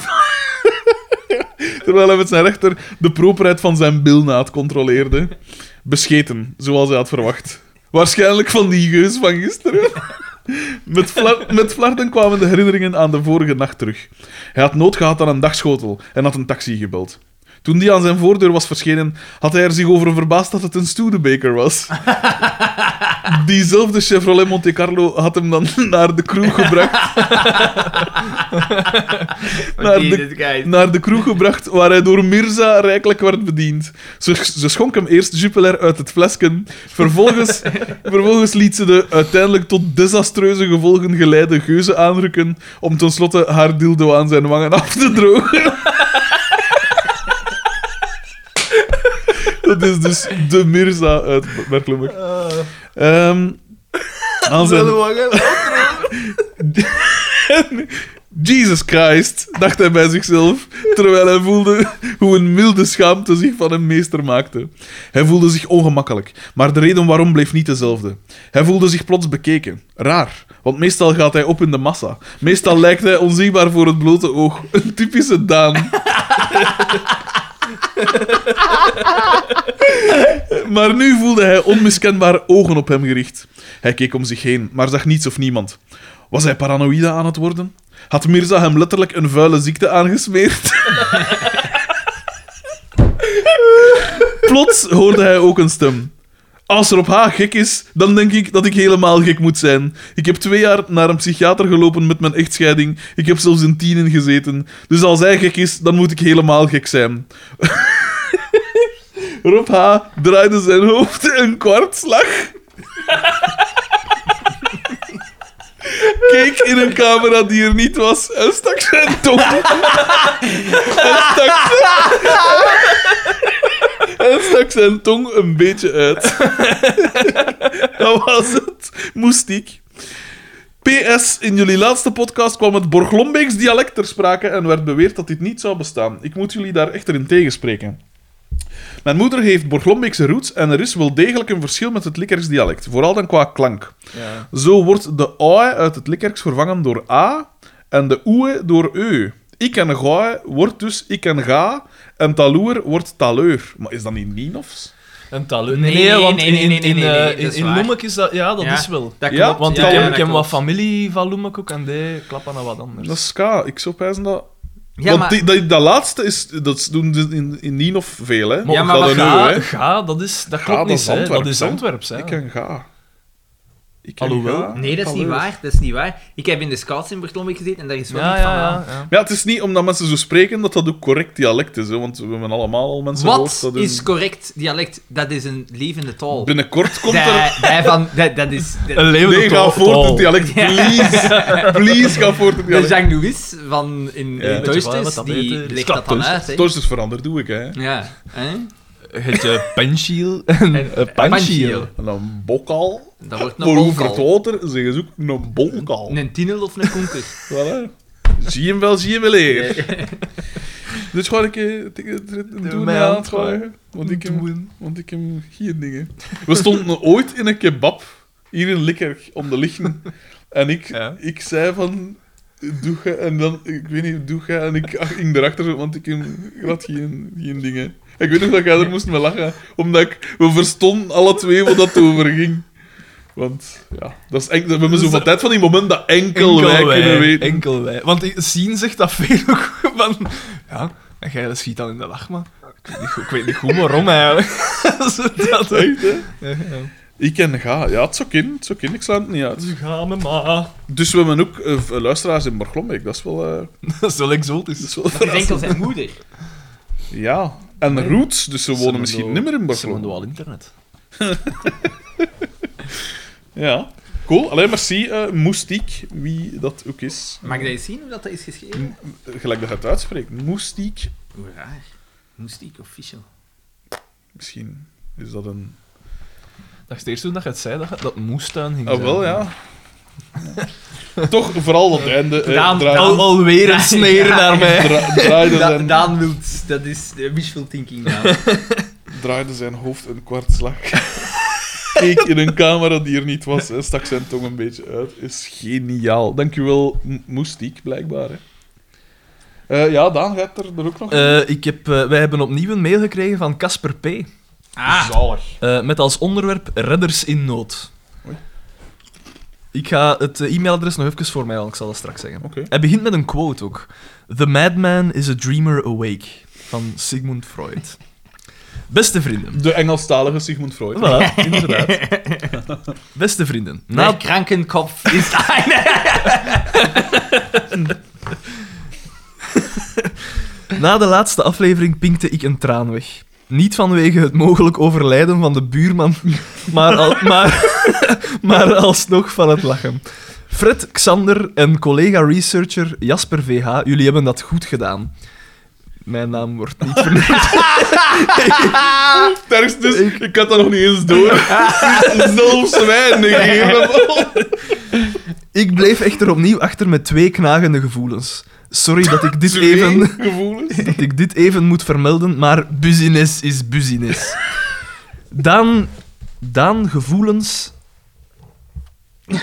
Speaker 1: Terwijl hij met zijn rechter de properheid van zijn bilnaad controleerde. Bescheten, zoals hij had verwacht. Waarschijnlijk van die geus van gisteren. Met, flar met flarden kwamen de herinneringen aan de vorige nacht terug. Hij had nood gehad aan een dagschotel en had een taxi gebeld. Toen die aan zijn voordeur was verschenen, had hij er zich over verbaasd dat het een Studebaker was. Diezelfde Chevrolet Monte Carlo had hem dan naar de kroeg gebracht. naar, de,
Speaker 2: nou,
Speaker 1: naar de kroeg gebracht waar hij door Mirza rijkelijk werd bediend. Ze, ze schonk hem eerst Jupiler uit het flesken. Vervolgens, vervolgens liet ze de uiteindelijk tot desastreuze gevolgen geleide geuze aanrukken om tenslotte haar dildo aan zijn wangen af te drogen. Dat is dus de Mirza uit Berkeley. Ehm aan zijn... Jesus Christ, dacht hij bij zichzelf, terwijl hij voelde hoe een milde schaamte zich van hem meester maakte. Hij voelde zich ongemakkelijk, maar de reden waarom bleef niet dezelfde. Hij voelde zich plots bekeken. Raar, want meestal gaat hij op in de massa. Meestal lijkt hij onzichtbaar voor het blote oog. Een typische Daan. Maar nu voelde hij onmiskenbaar ogen op hem gericht. Hij keek om zich heen, maar zag niets of niemand. Was hij paranoïde aan het worden? Had Mirza hem letterlijk een vuile ziekte aangesmeerd? Plots hoorde hij ook een stem. Als er op haar gek is, dan denk ik dat ik helemaal gek moet zijn. Ik heb twee jaar naar een psychiater gelopen met mijn echtscheiding. Ik heb zelfs een tien in gezeten. Dus als hij gek is, dan moet ik helemaal gek zijn. Rob H. draaide zijn hoofd een kwartslag. Keek in een camera die er niet was en stak zijn tong. en, stak zijn- en stak zijn tong een beetje uit. Dat was het. Moestiek. PS, in jullie laatste podcast kwam het Borglombeeks dialect ter sprake en werd beweerd dat dit niet zou bestaan. Ik moet jullie daar echter in tegenspreken. Mijn moeder heeft Borglombeekse roots en er is wel degelijk een verschil met het Likkerks dialect, vooral dan qua klank.
Speaker 2: Ja.
Speaker 1: Zo wordt de oe uit het Likkerks vervangen door a en de oe door eu. Ik en goe wordt dus ik en ga en taloer wordt taleur. Maar is dat niet Nienofs?
Speaker 2: Een talent.
Speaker 3: Nee,
Speaker 2: Nee,
Speaker 3: nee,
Speaker 2: want
Speaker 3: nee,
Speaker 2: in, in,
Speaker 3: nee,
Speaker 2: in,
Speaker 3: nee, nee,
Speaker 2: eh,
Speaker 3: nee,
Speaker 2: in-
Speaker 3: dat is
Speaker 2: in
Speaker 3: waar.
Speaker 2: Loemek is dat... Ja, dat
Speaker 3: Ja,
Speaker 2: is wel.
Speaker 3: Dat
Speaker 1: Ja,
Speaker 3: klopt.
Speaker 2: Want
Speaker 3: ja,
Speaker 2: ik heb,
Speaker 3: ja,
Speaker 2: ik
Speaker 3: dat
Speaker 2: heb wat
Speaker 3: klopt.
Speaker 2: familie van Loemek ook en die klappen aan wat anders.
Speaker 1: Dat is ka. Ik zou pijzen dat...
Speaker 3: Ja,
Speaker 1: Want
Speaker 3: maar-
Speaker 1: die- dat, dat laatste is, dat doen ze in, in Nienof veel, hè?
Speaker 3: Ja,
Speaker 2: ook
Speaker 3: maar
Speaker 1: dat
Speaker 3: wat
Speaker 1: een eu,
Speaker 2: ga,
Speaker 1: hè?
Speaker 2: ga, dat, is, dat
Speaker 1: Ga,
Speaker 2: klopt
Speaker 1: dat
Speaker 2: niet,
Speaker 1: is
Speaker 2: hè. dat
Speaker 1: Antwerps,
Speaker 2: is
Speaker 1: hè.
Speaker 2: Antwerps. Hè.
Speaker 1: Ik en ga. Ik en
Speaker 2: Alhoewel.
Speaker 1: ga,
Speaker 3: Nee, dat is niet
Speaker 1: taleur.
Speaker 3: waar. Dat is niet waar. Ik heb in de scouts in Bertlomme gezeten en daar is wel
Speaker 2: Ja,
Speaker 3: niet van
Speaker 2: ja,
Speaker 3: aan.
Speaker 2: ja, ja.
Speaker 1: Ja, het is niet omdat mensen zo spreken dat dat ook correct dialect is, hè, want we hebben allemaal al mensen gehoord
Speaker 3: Wat
Speaker 1: dat hun-
Speaker 3: is correct dialect? Dat is een levende taal.
Speaker 1: Binnenkort komt er...
Speaker 3: Daar- daar van- Dat dat is... dat- Oh.
Speaker 2: Een leeuw
Speaker 1: Nee,
Speaker 2: dat
Speaker 1: ga
Speaker 2: al-
Speaker 1: voort
Speaker 2: al-
Speaker 1: het dialect,
Speaker 3: Ja.
Speaker 1: please. Please, ga voort het
Speaker 3: De
Speaker 1: dialect.
Speaker 3: Jean Louis van in,
Speaker 1: Ja.
Speaker 3: in
Speaker 2: Weet je wel,
Speaker 3: Toysters,
Speaker 2: wat dat
Speaker 3: die
Speaker 2: heet, eh,
Speaker 3: legt dat dan uit. hè.
Speaker 1: Torsters veranderd Dus doe ik, hè.
Speaker 3: Ja. hè?
Speaker 2: Het je Panchiel en eh, Panchiel.
Speaker 1: En een bokal.
Speaker 3: Dat wordt
Speaker 1: Maar
Speaker 3: een
Speaker 1: over het
Speaker 3: bolkal.
Speaker 1: water zeggen ze ook een bonkal.
Speaker 3: Een tienel of een konker.
Speaker 1: Voilà. Zie hem wel, zie hem wel eer. Dus gewoon een keer het- het- het- het doen
Speaker 2: mij
Speaker 1: aan
Speaker 2: aan
Speaker 1: het
Speaker 2: het
Speaker 1: gooien. Want ik eh, hem
Speaker 2: Doen.
Speaker 1: Want ik heb geen dingen. We stonden ooit in een kebab, hier in Likkerk, om de lichten. En ik,
Speaker 2: Ja.
Speaker 1: ik zei van... Doe je, en dan... Ik weet niet, doe je. En ik ach, ging erachter, zo, want ik, heb- ik had geen, geen dingen. Ik weet nog dat jij er moest me lachen. Omdat ik, we verstonden alle twee wat dat over ging. Want, ja, Dus dat is enkel, we hebben zo van tijd van die moment dat enkel,
Speaker 2: Enkel
Speaker 1: wij,
Speaker 2: wij,
Speaker 1: kunnen weten.
Speaker 2: enkel wij. Want ik- Sien zegt dat veel ook van... Ja, en jij schiet dan in de lach, maar... Ik weet niet, goed- ik weet niet goed waarom, eigenlijk. Zo dat, hè.
Speaker 1: Echt, hè?
Speaker 2: Ja, ja.
Speaker 1: Ik en ga. Ja, het is ook in. Het is ook in. Ik sla het niet uit.
Speaker 2: Ze gaan me maar.
Speaker 1: Dus we hebben ook eh, luisteraars in Borglombeek. Dat is wel... eh,
Speaker 2: Dat is wel exotisch.
Speaker 1: dat is wel
Speaker 3: Dat is enkel zijn moeder.
Speaker 1: Ja, en roots, dus ze wonen
Speaker 2: doen
Speaker 1: misschien
Speaker 2: wel-
Speaker 1: nimmer in
Speaker 2: Ze hebben
Speaker 1: Barcelona.
Speaker 2: wel internet.
Speaker 1: Ja, cool. Alleen merci, eh Moestiek, wie dat ook is.
Speaker 3: Mag ik dat eens zien hoe dat dat is geschreven?
Speaker 1: Eh, Gelijk dat je het uitspreekt. Moestiek,
Speaker 3: Hoe raar. Moest ik official.
Speaker 1: misschien is dat een.
Speaker 2: Dacht eerst toen dat je het zei, dat je- dat moestuin ging
Speaker 1: Ah,
Speaker 2: zijn.
Speaker 1: wel ja. Ja. Toch vooral dat einde. eh,
Speaker 3: Daan-
Speaker 1: draai-
Speaker 2: Al, alweer een sneer
Speaker 3: Ja.
Speaker 2: naar mij.
Speaker 1: dra- draaide,
Speaker 3: Da
Speaker 1: zijn,
Speaker 3: Daan Wilt, dat is eh, wishful thinking. Daan.
Speaker 1: draaide zijn hoofd een kwartslag. Keek in een camera die er niet was en stak zijn tong een beetje uit. Is geniaal. Dankjewel, M- Moestiek, blijkbaar. Hè. Eh, ja, Daan, gaat er, er ook nog
Speaker 2: Eh, ik heb, eh, wij hebben opnieuw een mail gekregen van Casper P.
Speaker 3: Ah,
Speaker 1: Zalig.
Speaker 2: eh, met als onderwerp redders in nood.
Speaker 1: Oei.
Speaker 2: Ik ga het eh, e-mailadres nog even voor mij halen, ik zal dat straks zeggen.
Speaker 1: Oké.
Speaker 2: Hij begint met een quote ook. The madman is a dreamer awake. Van Sigmund Freud. Beste vrienden.
Speaker 1: De Engelstalige Sigmund Freud.
Speaker 2: Voilà,
Speaker 1: inderdaad.
Speaker 2: Beste vrienden. Na
Speaker 3: mijn krankenkopf is Ah, een...
Speaker 2: Na de laatste aflevering pinkte ik een traan weg. Niet vanwege het mogelijk overlijden van de buurman, maar, al, maar, maar alsnog van het lachen. Fred, Xander en collega-researcher Jasper VH, jullie hebben dat goed gedaan. Mijn naam wordt niet vernoemd.
Speaker 1: Het ergste is, dus, ik... had dat nog niet eens door. Zelfs wij negeren.
Speaker 2: Ik bleef echter opnieuw achter met twee knagende gevoelens. Sorry dat ik dit
Speaker 1: Twee
Speaker 2: even...
Speaker 1: gevoelens.
Speaker 2: dat ik dit even moet vermelden, maar business is business. Daan, Daan gevoelens. Da-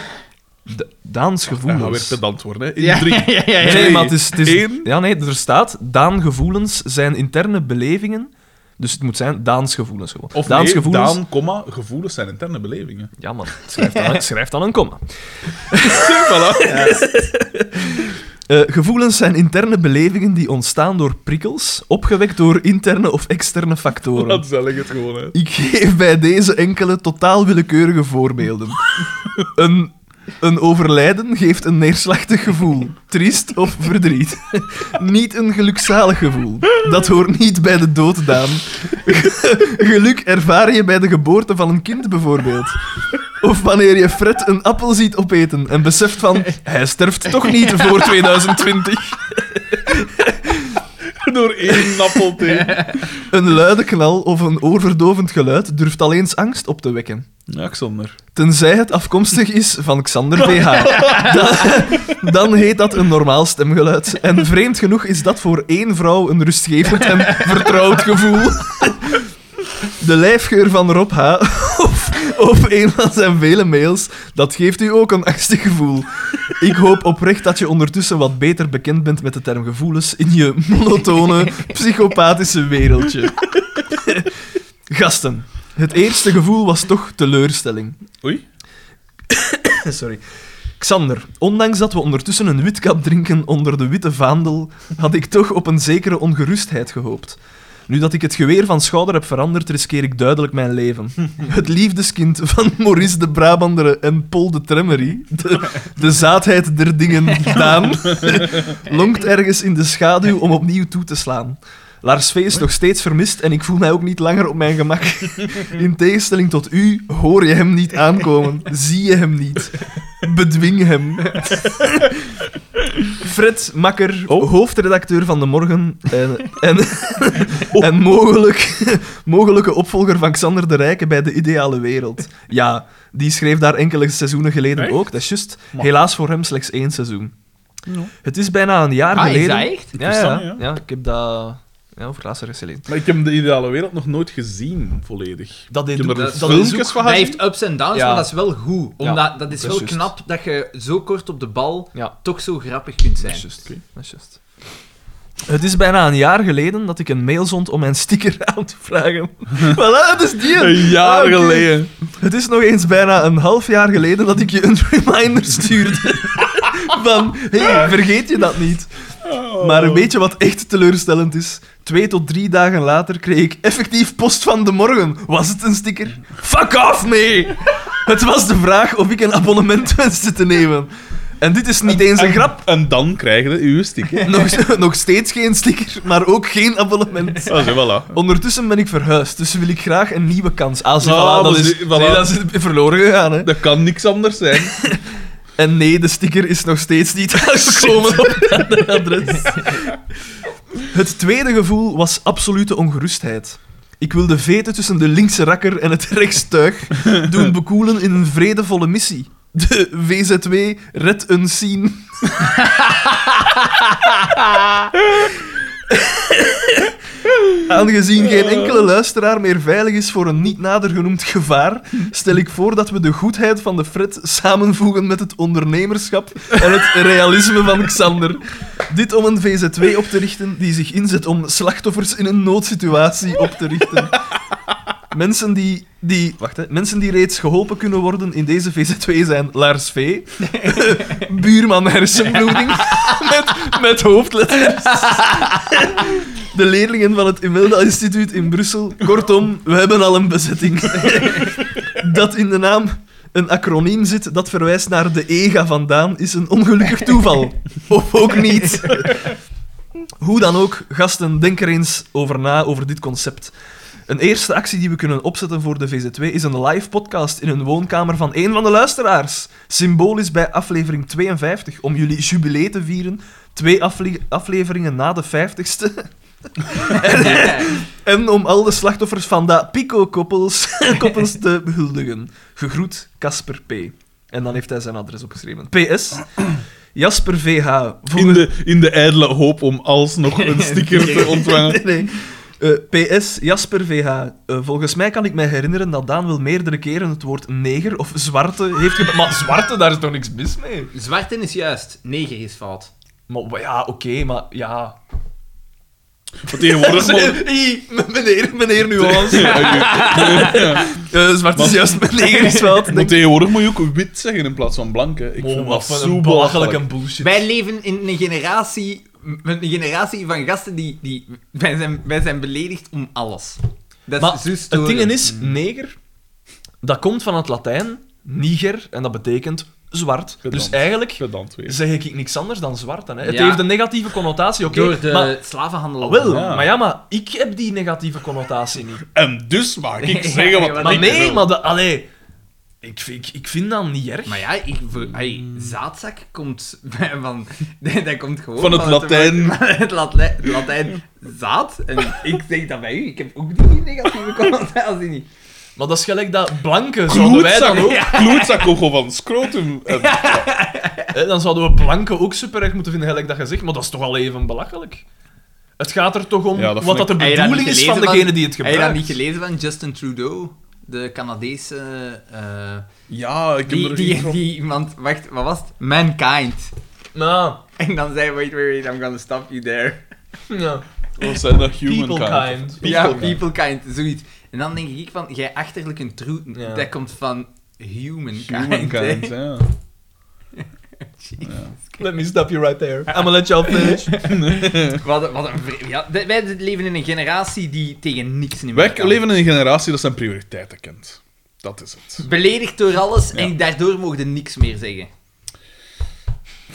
Speaker 2: Daans
Speaker 1: Ja, ga weer
Speaker 2: gevoelens.
Speaker 1: pedant worden, hè. In
Speaker 3: Ja,
Speaker 1: drie,
Speaker 3: ja, ja,
Speaker 2: Nee,
Speaker 3: ja.
Speaker 1: twee,
Speaker 2: maar het is. Het is
Speaker 1: één.
Speaker 2: ja, nee, er staat. Daan gevoelens zijn interne belevingen. Dus het moet zijn Daans gevoelens gewoon.
Speaker 1: Of
Speaker 2: Daans
Speaker 1: nee,
Speaker 2: gevoelens.
Speaker 1: Daan, comma, gevoelens zijn interne belevingen.
Speaker 2: Ja, man. Schrijf dan, schrijf dan een komma.
Speaker 1: voilà.
Speaker 2: Eh, gevoelens zijn interne belevingen die ontstaan door prikkels, opgewekt door interne of externe factoren.
Speaker 1: Dat zal ik het gewoon uit.
Speaker 2: Ik geef bij deze enkele totaal willekeurige voorbeelden. Een, een overlijden geeft een neerslachtig gevoel, triest of verdriet. Niet een gelukzalig gevoel. Dat hoort niet bij de dood, Daan. Geluk ervaar je bij de geboorte van een kind bijvoorbeeld. Of wanneer je Fred een appel ziet opeten en beseft van... Hij sterft toch niet voor 2020.
Speaker 1: Door één appelthee.
Speaker 2: Een luide knal of een oorverdovend geluid durft al eens angst op te wekken.
Speaker 1: Ja, Xander.
Speaker 2: Tenzij het afkomstig is van Xander BH. Dan, dan heet dat een normaal stemgeluid. En vreemd genoeg is dat voor één vrouw een rustgevend en vertrouwd gevoel. De lijfgeur van Rob H. Of, of een van zijn vele mails, dat geeft u ook een angstig gevoel. Ik hoop oprecht dat je ondertussen wat beter bekend bent met de term gevoelens in je monotone, psychopathische wereldje. Gasten, het eerste gevoel was toch teleurstelling.
Speaker 1: Oei.
Speaker 2: Sorry. Xander, ondanks dat we ondertussen een witkap drinken onder de witte vaandel, had ik toch op een zekere ongerustheid gehoopt. Nu dat ik het geweer van schouder heb veranderd, riskeer ik duidelijk mijn leven. Het liefdeskind van Maurice de Brabandere en Paul de Tremmery, de, de zaadheid der dingen Daan, lonkt ergens in de schaduw om opnieuw toe te slaan. Lars V is nog steeds vermist en ik voel mij ook niet langer op mijn gemak. In tegenstelling tot u hoor je hem niet aankomen, zie je hem niet. Bedwing hem. Fred Makker, hoofdredacteur van De Morgen en, en, en mogelijk, mogelijke opvolger van Xander de Rijke bij De Ideale Wereld. Ja, die schreef daar enkele seizoenen geleden
Speaker 1: Echt?
Speaker 2: ook. Dat is juist,
Speaker 1: Maar-
Speaker 2: helaas voor hem slechts één seizoen.
Speaker 1: Ja.
Speaker 2: Het is bijna een jaar
Speaker 3: Ah, is
Speaker 2: geleden.
Speaker 3: dat echt?
Speaker 2: Ja,
Speaker 1: wist
Speaker 2: ja,
Speaker 1: dat niet,
Speaker 2: ja, ik heb dat ja, over het laatste rechts gelezen.
Speaker 1: Maar ik heb de ideale wereld nog nooit gezien, volledig.
Speaker 2: Dat
Speaker 1: Ik heb
Speaker 2: doet-
Speaker 1: er
Speaker 3: dat-
Speaker 2: dat
Speaker 1: filmpjes
Speaker 2: is ook-
Speaker 1: van
Speaker 3: Hij
Speaker 1: gezien.
Speaker 3: heeft ups en downs,
Speaker 2: Ja.
Speaker 3: maar dat is wel goed. Omdat, dat is
Speaker 2: dat is
Speaker 3: wel
Speaker 2: juist.
Speaker 3: knap dat je zo kort op de bal
Speaker 2: Ja,
Speaker 3: toch zo grappig kunt
Speaker 2: dat
Speaker 3: zijn.
Speaker 2: is juist.
Speaker 1: Oké.
Speaker 2: Dat is juist. Het is bijna een jaar geleden dat ik een mail zond om mijn sticker aan te vragen. voilà, het is die.
Speaker 1: Een jaar
Speaker 2: Ah, oké.
Speaker 1: geleden.
Speaker 2: Het is nog eens bijna een half jaar geleden dat ik je een reminder stuurde. Van, hey, vergeet je dat niet.
Speaker 1: Oh.
Speaker 2: Maar weet je wat echt teleurstellend is? Twee tot drie dagen later kreeg ik effectief post van de morgen. Was het een sticker? Fuck off, nee! Het was de vraag of ik een abonnement wenste te nemen. En dit is niet eens een
Speaker 1: En-
Speaker 2: grap.
Speaker 1: En dan krijg je uw sticker.
Speaker 2: Nog, nog steeds geen sticker, maar ook geen abonnement.
Speaker 1: Ah, zo, voilà.
Speaker 2: Ondertussen ben ik verhuisd, dus wil ik graag een nieuwe kans. Ah, zie,
Speaker 1: Ah,
Speaker 2: voilà, dat,
Speaker 1: maar
Speaker 2: is,
Speaker 1: zie, voilà.
Speaker 2: Nee, dat is verloren gegaan. Hè.
Speaker 1: Dat kan niks anders zijn.
Speaker 2: En nee, de sticker is nog steeds niet aangekomen op het andere adres. Het tweede gevoel was absolute ongerustheid. Ik wil de veten tussen de linkse rakker en het rechtstuig doen bekoelen in een vredevolle missie. De VZW red een scene. Aangezien geen enkele luisteraar meer veilig is voor een niet nader genoemd gevaar, stel ik voor dat we de goedheid van de Fred samenvoegen met het ondernemerschap en het realisme van Xander. Dit om een VZW op te richten die zich inzet om slachtoffers in een noodsituatie op te richten. Mensen die, die, wacht, hè, mensen die reeds geholpen kunnen worden in deze VZW zijn Lars V, buurman hersenbloeding met, met hoofdletters, de leerlingen van het Imelda Instituut in Brussel. Kortom, we hebben al een bezetting. Dat in de naam een acroniem zit dat verwijst naar de EGA vandaan, is een ongelukkig toeval. Of ook niet. Hoe dan ook, gasten, denk er eens over na, over dit concept. Een eerste actie die we kunnen opzetten voor de VZ2 is een live podcast in een woonkamer van een van de luisteraars. Symbolisch bij aflevering 52, om jullie jubilee te vieren. Twee afle- afleveringen na de 50ste. En om al de slachtoffers van dat pico-koppels koppels te behuldigen. Gegroet, Casper P. En dan heeft hij zijn adres opgeschreven. PS. Jasper VH.
Speaker 1: In de, in de ijdele hoop om alsnog een sticker te ontvangen.
Speaker 2: Nee, nee. Eh, PS, Jasper VH. eh, volgens mij kan ik mij herinneren dat Daan wel meerdere keren het woord neger of zwarte heeft gebruikt. Maar zwarte, daar is toch niks mis mee?
Speaker 3: Zwarten is juist, neger is fout.
Speaker 2: Maar maar ja, oké, maar ja.
Speaker 1: Want tegenwoordig... mogen-
Speaker 2: Hey, meneer, meneer Nuance.
Speaker 1: Ja.
Speaker 2: Eh, zwart is
Speaker 1: Maar-
Speaker 2: juist, maar neger is wel.
Speaker 1: Maar tegenwoordig moet je ook wit zeggen in plaats van blank. Hè. Ik
Speaker 2: Oh,
Speaker 1: vind
Speaker 2: wat
Speaker 1: dat
Speaker 2: voor
Speaker 1: zo
Speaker 2: een belachelijke
Speaker 1: belachelijk.
Speaker 2: bullshit.
Speaker 3: Wij leven in een generatie, met een generatie van gasten die... die wij, zijn, wij zijn beledigd om alles. Dat
Speaker 2: Maar
Speaker 3: is zo
Speaker 2: het
Speaker 3: storend.
Speaker 2: ding is,
Speaker 1: Mm.
Speaker 2: neger, dat komt van het Latijn, niger, en dat betekent zwart.
Speaker 1: Pedant.
Speaker 2: Dus eigenlijk
Speaker 1: Pedant weer.
Speaker 2: zeg ik niks anders dan zwart. Hè. Het
Speaker 3: Ja.
Speaker 2: heeft een negatieve connotatie, oké.
Speaker 3: Door de
Speaker 2: Maar,
Speaker 3: slavenhandel.
Speaker 2: Ah, wel,
Speaker 1: Ja.
Speaker 2: maar ja, maar ik heb die negatieve connotatie niet.
Speaker 1: En dus maak ik
Speaker 3: Ja,
Speaker 1: zeggen wat
Speaker 3: ja,
Speaker 2: Maar
Speaker 1: ik
Speaker 2: nee,
Speaker 1: wil.
Speaker 2: maar de, allee, ik, vind- ik, ik vind dat niet erg.
Speaker 3: Maar ja, ik, voor, ai, zaadzak komt bij- van... Dat komt gewoon
Speaker 1: Van het Latijn.
Speaker 3: Van het Latijn, Latijn zaad. En ik zeg dat bij u. Ik heb ook die negatieve connotatie niet.
Speaker 2: Maar dat is gelijk dat blanke, zouden wij
Speaker 1: Klootzak
Speaker 2: dan ook...
Speaker 1: ook. Klootzak ook gewoon van scrotum. En-
Speaker 2: Hè, dan zouden we blanke ook super erg moeten vinden, gelijk dat je zegt. Maar dat is toch al even belachelijk. Het gaat er toch om
Speaker 1: Ja, dat
Speaker 2: wat
Speaker 1: vind
Speaker 2: dat de
Speaker 3: Heb je dat
Speaker 2: bedoeling
Speaker 3: niet
Speaker 2: is van
Speaker 3: gelezen
Speaker 2: degene die het
Speaker 3: Heb je
Speaker 2: gebruikt.
Speaker 3: dat niet gelezen van Justin Trudeau? De Canadese... eh,
Speaker 1: Ja, ik heb
Speaker 3: die,
Speaker 1: er
Speaker 3: die,
Speaker 1: iets van.
Speaker 3: die iemand... Wacht, wat was het? Mankind.
Speaker 2: Nou,
Speaker 3: En dan zei hij, wait, wait, wait, I'm gonna stop you there.
Speaker 2: ja.
Speaker 1: Wat Oh, zijn dat? Humankind.
Speaker 2: People kind.
Speaker 3: Ja,
Speaker 1: People kind.
Speaker 3: peoplekind, zoiets. En dan denk ik van, jij achterlijk een troet,
Speaker 2: Ja.
Speaker 3: dat komt van humankind.
Speaker 1: Humankind,
Speaker 3: hè.
Speaker 1: ja.
Speaker 2: Let me stop you right there. I'ma let y'all finish.
Speaker 3: Wat, een- wat een vre- ja, de- Wij leven in een generatie die tegen niks niet meer
Speaker 1: Wij
Speaker 3: kan.
Speaker 1: leven in een generatie dat zijn prioriteiten kent. Dat is het.
Speaker 3: Beledigd door alles
Speaker 1: Ja.
Speaker 3: en daardoor mogen we niks meer zeggen.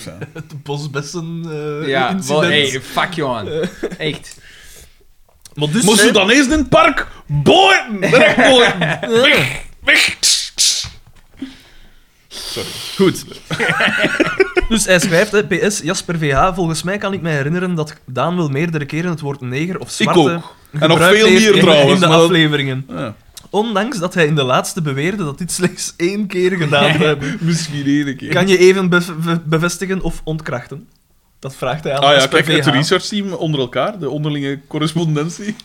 Speaker 1: Ja.
Speaker 2: De bosbessen eh
Speaker 3: ja,
Speaker 2: incident.
Speaker 3: wel, hey, fuck Johan. Echt.
Speaker 2: Maar dus...
Speaker 1: Moest je dan eens in het park? Boy! Direct boy! Weg! Weg! Sorry.
Speaker 2: Goed. dus hij schrijft, hè, PS, Jasper VH, volgens mij kan ik mij herinneren dat Daan wel meerdere keren het woord neger of zwarte
Speaker 1: ook. En nog
Speaker 2: gebruikt
Speaker 1: veel
Speaker 2: heeft
Speaker 1: meer
Speaker 2: in-
Speaker 1: trouwens,
Speaker 2: in de
Speaker 1: maar dat-
Speaker 2: afleveringen.
Speaker 1: Ja.
Speaker 2: Ondanks dat hij in de laatste beweerde dat dit slechts één keer gedaan te hebben.
Speaker 1: Misschien één keer.
Speaker 2: Kan je even bev- bev- bevestigen of ontkrachten? Dat vraagt hij aan
Speaker 1: Ah ja,
Speaker 2: Jasper
Speaker 1: kijk, het
Speaker 2: VH.
Speaker 1: research team onder elkaar, de onderlinge correspondentie.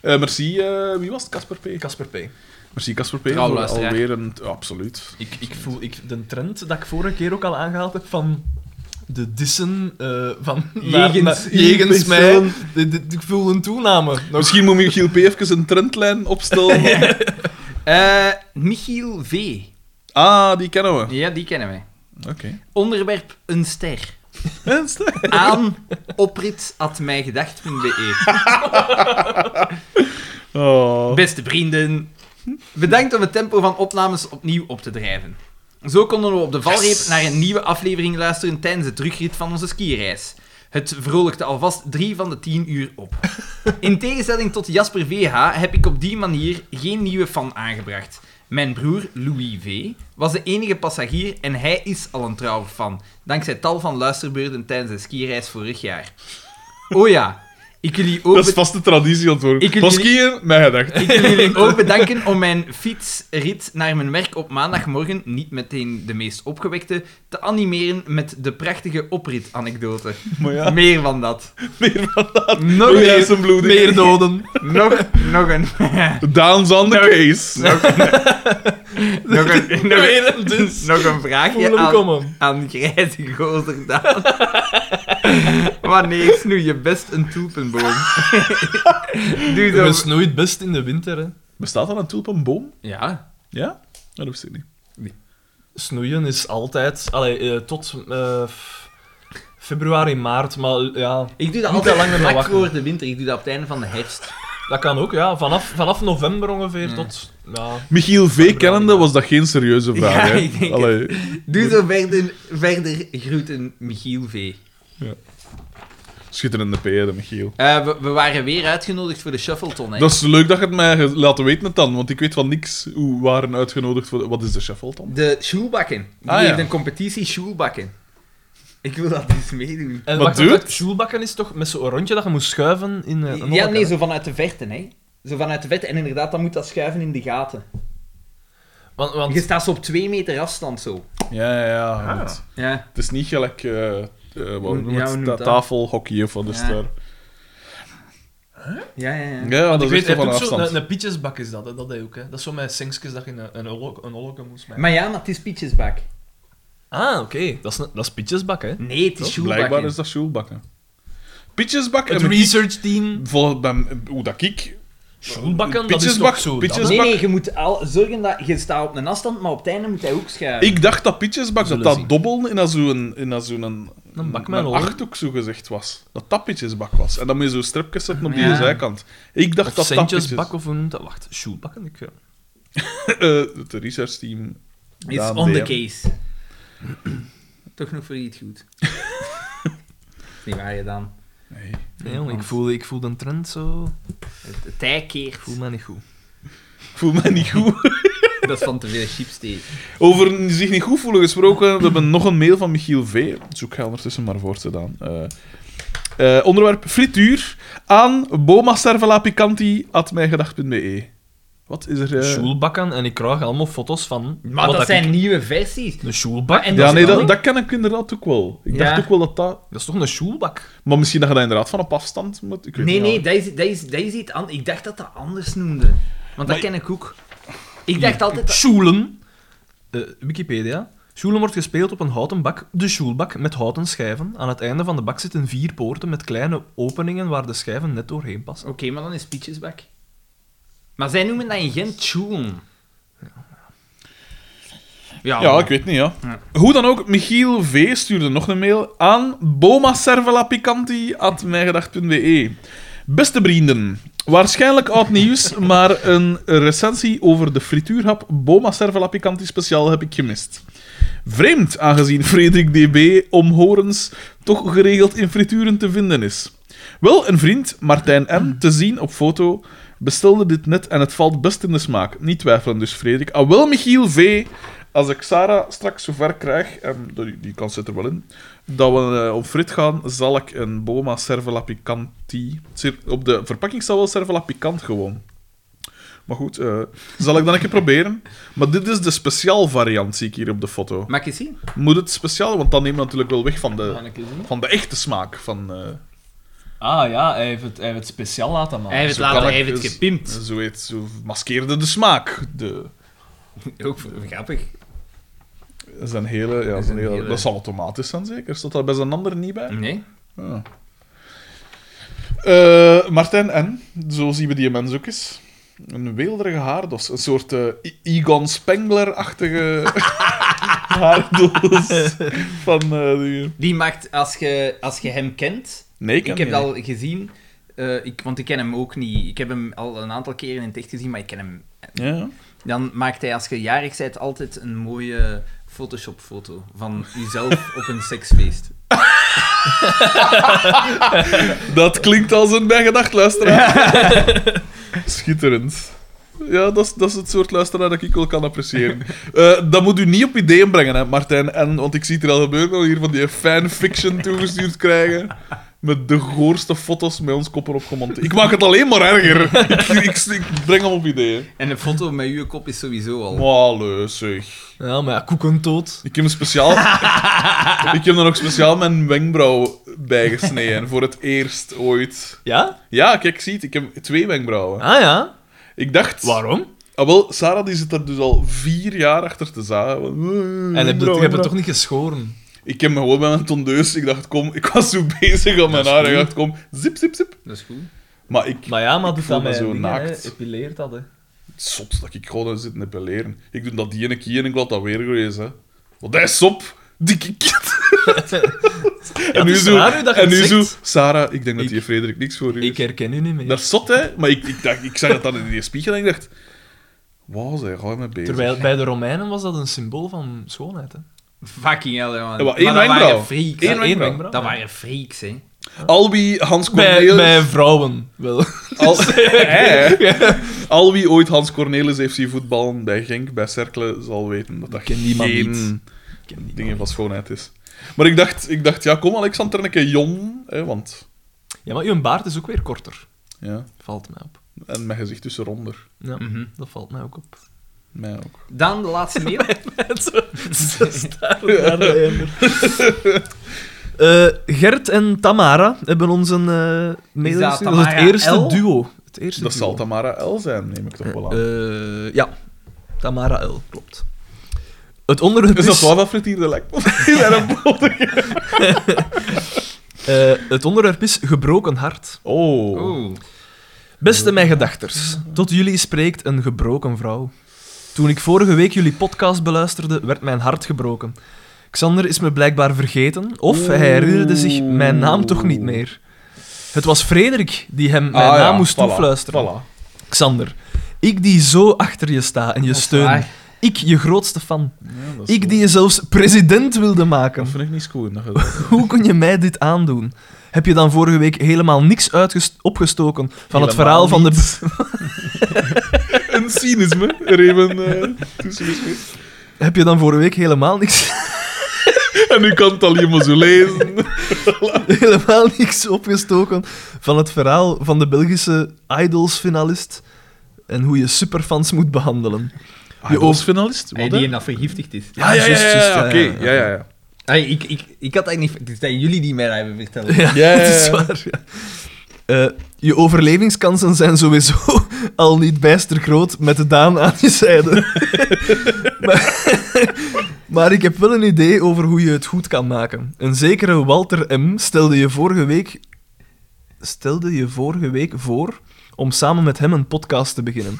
Speaker 1: Eh, merci, eh, wie was het? Casper P.
Speaker 2: Casper P.
Speaker 1: Merci, Casper P.
Speaker 3: Trouw
Speaker 1: voor
Speaker 3: luisteraar.
Speaker 1: alweer een... ja, absoluut.
Speaker 2: Ik, ik voel ik, de trend dat ik vorige keer ook al aangehaald heb van de dissen eh, van
Speaker 3: Jegens-
Speaker 2: jegens
Speaker 3: jegens
Speaker 2: mij. De- de- ik voel een toename. Nog-
Speaker 1: Misschien moet Michiel P. even een trendlijn opstellen.
Speaker 3: Eh, Michiel V.
Speaker 1: Ah, die kennen we.
Speaker 3: Ja, die kennen wij.
Speaker 1: Oké.
Speaker 3: Onderwerp een ster.
Speaker 1: Ernstig?
Speaker 3: Aan oprit.mijgedacht.be
Speaker 1: Oh.
Speaker 3: Beste vrienden, bedankt om het tempo van opnames opnieuw op te drijven. Zo konden we op de valreep naar een nieuwe aflevering luisteren tijdens de terugrit van onze skireis. Het vrolijkte alvast drie van de tien uur op. In tegenstelling tot Jasper VH heb ik op die manier geen nieuwe fan aangebracht. Mijn broer, Louis V, was de enige passagier en hij is al een trouwe fan, dankzij tal van luisterbeurten tijdens de skireis vorig jaar. Oh ja, ik wil jullie ook...
Speaker 1: Dat is
Speaker 3: be-
Speaker 1: vast de traditie antwoord.
Speaker 3: Ik-
Speaker 1: Ik Was skiën? Mijn gedacht.
Speaker 3: ik wil jullie ook bedanken om mijn fietsrit naar mijn werk op maandagmorgen, niet meteen de meest opgewekte, te animeren met de prachtige oprit-anekdote.
Speaker 1: Maar ja,
Speaker 3: Meer van dat.
Speaker 1: meer van dat. Oh
Speaker 3: Nog
Speaker 1: Louis
Speaker 3: meer.
Speaker 1: is een bloeding.
Speaker 2: meer doden.
Speaker 3: Nog, nog een.
Speaker 1: Daan's on the
Speaker 3: Nou,
Speaker 1: case.
Speaker 3: Nog een. Nog een, nog een,
Speaker 2: Weer een dis.
Speaker 3: nog een
Speaker 2: Dus, Voel
Speaker 3: vraagje
Speaker 2: hem
Speaker 3: aan,
Speaker 2: komen.
Speaker 3: aan grijze gozer Daan. Wanneer snoei je best een tulpenboom? Doe zo.
Speaker 2: We snoeit best in de winter. Hè.
Speaker 1: Bestaat dat een tulpenboom?
Speaker 3: Ja.
Speaker 1: Ja? Dat wist ik niet.
Speaker 2: Snoeien is altijd... Allee, eh, tot eh, f- februari, maart. Maar ja,
Speaker 3: Ik doe dat
Speaker 2: Niet
Speaker 3: altijd
Speaker 2: te lang meer
Speaker 3: vlak
Speaker 2: wachten.
Speaker 3: voor de winter. Ik doe dat op het einde van de herfst.
Speaker 2: dat kan ook. Ja. Vanaf, vanaf november ongeveer tot... Ja,
Speaker 1: Michiel V. kennende was dat geen serieuze vraag.
Speaker 3: Ja,
Speaker 1: hè?
Speaker 3: ik denk het.
Speaker 1: Allee.
Speaker 3: Doe zo verder, verder groeten Michiel V.
Speaker 1: Schitterende P, hè, de Michiel.
Speaker 3: Eh, we, we waren weer uitgenodigd voor de Shuffleton, hè?
Speaker 1: Dat is leuk dat je het mij ge- laten weten dan, want ik weet van niks hoe we waren uitgenodigd voor... de- Wat is de shuffle dan?
Speaker 3: De Schoelbakken. Die
Speaker 1: Ah, ja.
Speaker 3: heeft een competitie Schoelbakken. Ik wil dat eens meedoen.
Speaker 2: En
Speaker 1: Maar
Speaker 2: wacht,
Speaker 1: dude-
Speaker 2: dat Sjoelbakken is toch met zo'n rondje dat je moest schuiven in eh, een
Speaker 3: ja,
Speaker 2: holleke,
Speaker 3: nee,
Speaker 2: hè?
Speaker 3: zo vanuit de verte, hè? Zo vanuit de verte. En inderdaad, dan moet dat schuiven in de gaten.
Speaker 2: Want, want
Speaker 3: Je staat zo op twee meter afstand zo.
Speaker 1: Ja, ja, ja.
Speaker 4: Ah.
Speaker 1: want
Speaker 3: Ja.
Speaker 1: Het is niet gelijk... eh eh, wat
Speaker 3: Ja,
Speaker 1: noem je
Speaker 3: hoe
Speaker 1: het?
Speaker 3: noemt
Speaker 1: Ta-
Speaker 3: dat?
Speaker 1: Tafelhockey of wat is
Speaker 3: Ja.
Speaker 1: het daar?
Speaker 3: Ja, ja, ja.
Speaker 1: Ja,
Speaker 2: want
Speaker 1: dat
Speaker 2: ik
Speaker 1: is echt
Speaker 2: weet,
Speaker 1: wel
Speaker 2: hij
Speaker 1: van een
Speaker 2: heeft ook zo'n
Speaker 1: afstand.
Speaker 2: een, een pietjesbak is dat, hè, dat hij ook. Hè. Dat is zo met sinkjes dat je een, een, holo- een holocaust moest maken.
Speaker 3: Maar ja, maar het is Pietjesbak.
Speaker 2: Ah, oké. Dat, is een- dat is pietjesbak, hè.
Speaker 3: Nee, het is
Speaker 1: Blijkbaar
Speaker 3: Sjoelbakken.
Speaker 1: is dat Sjoelbakken. Pietjesbakken.
Speaker 2: Het
Speaker 1: heb ik-
Speaker 2: research team.
Speaker 1: Volgens bij- hoe dat ik...
Speaker 2: Schoenbakken, dat is
Speaker 1: Pietjesbak,
Speaker 2: toch zo.
Speaker 1: pietjes-
Speaker 2: dat-
Speaker 3: Nee, nee, je moet al zorgen dat je staat op een afstand, maar op het einde moet hij ook schuiven.
Speaker 1: Ik dacht dat Pietjesbak, dat
Speaker 2: Zullen
Speaker 1: dat
Speaker 2: zien.
Speaker 1: dobbel in dat zo'n... In dat zo'n een,
Speaker 2: Een bak met een hoor.
Speaker 1: achthoek zo gezegd was. Dat dat Pietjesbak was. En dan moet je zo stripjes zetten op die
Speaker 3: Ja.
Speaker 1: zijkant. Ik dacht
Speaker 2: Of
Speaker 1: dat dat Pietjes...
Speaker 2: centjesbak, of hoe noemt dat? Wacht, schoenbakken? Ik, eh,
Speaker 1: Eh, het research team...
Speaker 3: It's
Speaker 1: Daan
Speaker 3: on the
Speaker 1: DM.
Speaker 3: case. Toch nog voor iets goed. is niet waar je dan.
Speaker 1: Nee.
Speaker 2: nee, jongen, ik voel, ik voel de trend zo.
Speaker 3: Het, het tij keert.
Speaker 2: Ik voel me niet goed.
Speaker 1: Ik voel me niet goed.
Speaker 3: Dat is van te veel chips tegen.
Speaker 1: Over zich niet goed voelen gesproken, we hebben nog een mail van Michiel V. Zoek ga ondertussen maar voort dan. Eh eh, onderwerp frituur aan bomacervelapicanti.mijgedacht.be. E. Wat is er? eh?
Speaker 2: Schoelbakken, en ik krijg allemaal foto's van.
Speaker 3: Maar
Speaker 2: wat
Speaker 3: dat
Speaker 2: ik-
Speaker 3: zijn nieuwe versies.
Speaker 2: Een schoelbak?
Speaker 3: en
Speaker 1: Ja,
Speaker 3: is
Speaker 1: nee,
Speaker 3: dan
Speaker 1: dat,
Speaker 3: ook-
Speaker 1: dat ken ik inderdaad ook wel. Ik dacht
Speaker 3: Ja.
Speaker 1: ook wel dat dat...
Speaker 2: Dat is toch een schoelbak?
Speaker 1: Maar misschien dat je dat inderdaad van op afstand moet... Ik weet
Speaker 3: Nee,
Speaker 1: niet,
Speaker 3: nee,
Speaker 1: ja.
Speaker 3: dat is, dat, is, dat is iets anders. Ik dacht dat dat anders noemde. Want dat ken ik ook. Ik dacht altijd... dat-
Speaker 2: Schoelen. Eh, Wikipedia. Schoelen wordt gespeeld op een houten bak, de schoelbak, met houten schijven. Aan het einde van de bak zitten vier poorten met kleine openingen waar de schijven net doorheen passen.
Speaker 3: Oké, maar dan is Pietjesbak. Maar zij noemen dat in Gent Tjoen. Ja,
Speaker 1: Ja, ik weet niet, ja. Hoe dan ook, Michiel V. stuurde nog een mail aan bomacervelapicanti.mijgedacht.be. Beste vrienden, waarschijnlijk oud nieuws, maar een recensie over de frituurhap Boma Cervela Picanti speciaal heb ik gemist. Vreemd, aangezien Frederik DB omhorens toch geregeld in frituren te vinden is. Wel, een vriend, Martijn M., te zien op foto, bestelde dit net en het valt best in de smaak. Niet twijfelen dus, Frederik. Ah, wel, Michiel V., als ik Sarah straks zover krijg, en die, die kans zit er wel in, dat we eh, op frit gaan, zal ik een Boma Cervela Picanti... Cer- Op de verpakking staat wel Cervela Picant gewoon. Maar goed, eh, zal ik dan een keer proberen. Maar dit is de speciaal variant, zie ik hier op de foto.
Speaker 3: Mag ik eens zien?
Speaker 1: Moet het speciaal, want dan neemt het natuurlijk wel weg van
Speaker 3: Mag
Speaker 1: de,
Speaker 3: ik eens zien?
Speaker 1: van de echte smaak. Van, eh,
Speaker 2: Ah ja, hij heeft het, hij heeft het speciaal laten maken.
Speaker 3: Hij heeft
Speaker 1: zo
Speaker 3: het laten,
Speaker 1: kan
Speaker 3: hij
Speaker 1: ik
Speaker 3: heeft het
Speaker 1: dus-
Speaker 3: gepimpt.
Speaker 1: zo, heet, zo maskeerde de smaak. De,
Speaker 3: Ook voor- grappig.
Speaker 1: dat is een hele, ja, dat, is een hele,
Speaker 3: hele- Mm.
Speaker 1: dat zal automatisch zijn, zeker? Staat daar bij zijn ander niet bij?
Speaker 3: Nee.
Speaker 1: Ah. Eh, Martijn N., zo zien we die mens ook eens. Een weelderige haardos. Een soort eh, I- Egon Spengler-achtige haardos. Van, eh, die...
Speaker 3: Die maakt, als je, als je hem kent,
Speaker 1: Nee, ik,
Speaker 3: ik, heb dat al gezien, eh, ik, want ik ken hem ook niet. Ik heb hem al een aantal keren in het echt gezien, maar ik ken hem.
Speaker 1: Ja.
Speaker 3: Dan maakt hij als je jarig bent altijd een mooie Photoshop-foto van jezelf op een seksfeest.
Speaker 1: Dat klinkt als een bijgedacht luisteraar. Schitterend. Ja, dat is, dat is het soort luisteraar dat ik wel kan appreciëren. Eh, dat moet u niet op ideeën brengen, hè, Martijn. En, want ik zie het er al gebeuren, dat we hier van die fanfiction toegestuurd krijgen. Met de goorste foto's met ons koppen op gemonteerd. Ik maak het alleen maar erger. ik, ik, ik breng hem op ideeën.
Speaker 3: En een foto met uw kop is sowieso al.
Speaker 1: Allee, zeg.
Speaker 2: Ja, maar ja, koekentoot.
Speaker 1: Ik heb een speciaal... ik heb er nog speciaal mijn wenkbrauw bij gesneden. Voor het eerst ooit.
Speaker 2: Ja?
Speaker 1: Ja, kijk, zie het. Ik heb twee wenkbrauwen.
Speaker 2: Ah ja?
Speaker 1: Ik dacht...
Speaker 2: Waarom?
Speaker 1: Ah, wel, Sarah die zit er dus al vier jaar achter te zagen. "Eh, En
Speaker 2: En heb je het, je hebt het toch niet geschoren?
Speaker 1: Ik heb me gewoon bij mijn tondeus... Ik dacht, kom... Ik was zo bezig aan mijn
Speaker 2: is
Speaker 1: haar. Ik
Speaker 2: goed.
Speaker 1: dacht, kom... Zip, zip, zip.
Speaker 3: Dat is goed.
Speaker 1: Maar ik...
Speaker 2: Maar ja, maar doet
Speaker 1: voel
Speaker 2: dat
Speaker 1: me
Speaker 2: met
Speaker 1: zo
Speaker 2: dingen,
Speaker 1: naakt.
Speaker 2: hè. Epileert dat, hè.
Speaker 1: Zot dat ik gewoon zit te peleren. Ik doe dat die ene keer en ik laat dat weer geweest, hè. Want hij is op. Dikke kid. en nu
Speaker 2: is
Speaker 1: zo...
Speaker 2: dus raar hoe dat je
Speaker 1: en
Speaker 2: het
Speaker 1: nu zo...
Speaker 2: zegt.
Speaker 1: Sarah, ik denk dat
Speaker 2: Ik-
Speaker 1: die Frederik niks voor u
Speaker 2: Ik
Speaker 1: is.
Speaker 2: herken u niet meer.
Speaker 1: Dat is zot, hè. Maar ik, ik, dacht, ik zag dat dan in die spiegel en ik dacht... Wauw, zij gaan mee bezig.
Speaker 2: Terwijl bij de Romeinen was dat een symbool van schoonheid. Hè?
Speaker 3: Fucking hell, man.
Speaker 1: Ja, maar Eh, één
Speaker 3: dat
Speaker 1: wenkbrauw.
Speaker 3: waren freaks.
Speaker 1: Eén
Speaker 2: Ja, één
Speaker 1: wenkbrauw.
Speaker 2: wenkbrauw.
Speaker 3: Dat waren freaks, hè.
Speaker 1: Al wie Hans
Speaker 2: Bij,
Speaker 1: Cornelis...
Speaker 2: bij vrouwen wel.
Speaker 1: Al, Ah, Hè? Al wie ooit Hans Cornelis heeft zien voetballen bij Genk, bij Cercle, zal weten dat dat
Speaker 2: Ik ken die man
Speaker 1: geen
Speaker 2: niet. Ik ken die
Speaker 1: dingen van
Speaker 2: man.
Speaker 1: schoonheid is. Maar ik dacht, ik dacht ja, kom Alexander een keer jong, hè, want...
Speaker 2: Ja, maar uw baard is ook weer korter.
Speaker 1: Ja,
Speaker 2: Valt mij op.
Speaker 1: en mijn gezicht tussenronder.
Speaker 2: Ja,
Speaker 3: Mhm.
Speaker 2: dat valt mij ook op.
Speaker 1: Mij ook.
Speaker 3: Dan de laatste mail.
Speaker 1: Oh.
Speaker 2: Zo- zo staren naar de einder. Eh, Gert en Tamara hebben ons een eh mail gestuurd.
Speaker 3: dat
Speaker 2: Dat is het
Speaker 3: Tamara
Speaker 2: eerste
Speaker 3: L?
Speaker 2: duo. Het eerste
Speaker 1: Dat
Speaker 2: duo.
Speaker 1: zal Tamara L zijn, neem ik toch wel aan.
Speaker 2: Eh, ja, Tamara L, klopt. Het onderwerp
Speaker 1: is
Speaker 2: is,
Speaker 1: dat waar dat frituurde lek? Is dat een boter?
Speaker 2: eh, het onderwerp is gebroken hart.
Speaker 1: Oh.
Speaker 3: Oeh.
Speaker 2: Beste mijn gedachters, tot jullie spreekt een gebroken vrouw. Toen ik vorige week jullie podcast beluisterde, werd mijn hart gebroken. Xander is me blijkbaar vergeten, of hij herinnerde zich mijn naam toch niet meer. Het was Frederik die hem mijn
Speaker 1: Ah,
Speaker 2: naam
Speaker 1: ja,
Speaker 2: moest
Speaker 1: voilà,
Speaker 2: toefluisteren.
Speaker 1: Voilà.
Speaker 2: Xander, ik die zo achter je sta en je
Speaker 3: Dat is
Speaker 2: steun.
Speaker 3: waar.
Speaker 2: Ik, je grootste fan.
Speaker 1: Ja, dat is
Speaker 2: Ik
Speaker 1: goed.
Speaker 2: die je zelfs president wilde maken.
Speaker 1: Dat vind ik niet cool. Dat je dat-
Speaker 2: Hoe kon je mij dit aandoen? Heb je dan vorige week helemaal niks uitgest- opgestoken van het
Speaker 1: Helemaal
Speaker 2: verhaal van de...
Speaker 1: niet. een cynisme, Raven. eh, tussen de spits.
Speaker 2: Heb je dan vorige week helemaal niks,
Speaker 1: en nu kan het al iemand zo lezen.
Speaker 2: helemaal niks opgestoken van het verhaal van de Belgische Idols-finalist en hoe je superfans moet behandelen?
Speaker 1: Je
Speaker 2: Je over-
Speaker 1: oogfinalist?
Speaker 3: Hey, die hem dat vergiftigd is.
Speaker 1: Ah, Ja, ja, ja,
Speaker 2: juist,
Speaker 1: ja,
Speaker 2: juist,
Speaker 1: ja,
Speaker 2: ja,
Speaker 1: oké.
Speaker 2: ja,
Speaker 1: Ja, ja, ja.
Speaker 3: Hey, ik, ik, ik had eigenlijk niet... Het zijn jullie die mij dat hebben verteld.
Speaker 2: Ja,
Speaker 1: Ja, ja,
Speaker 2: dat is
Speaker 1: ja.
Speaker 2: waar. ja. Eh, je overlevingskansen zijn sowieso al niet bijster groot met de Daan aan je zijde. maar, maar ik heb wel een idee over hoe je het goed kan maken. Een zekere Walter M. stelde je vorige week, stelde je vorige week voor om samen met hem een podcast te beginnen.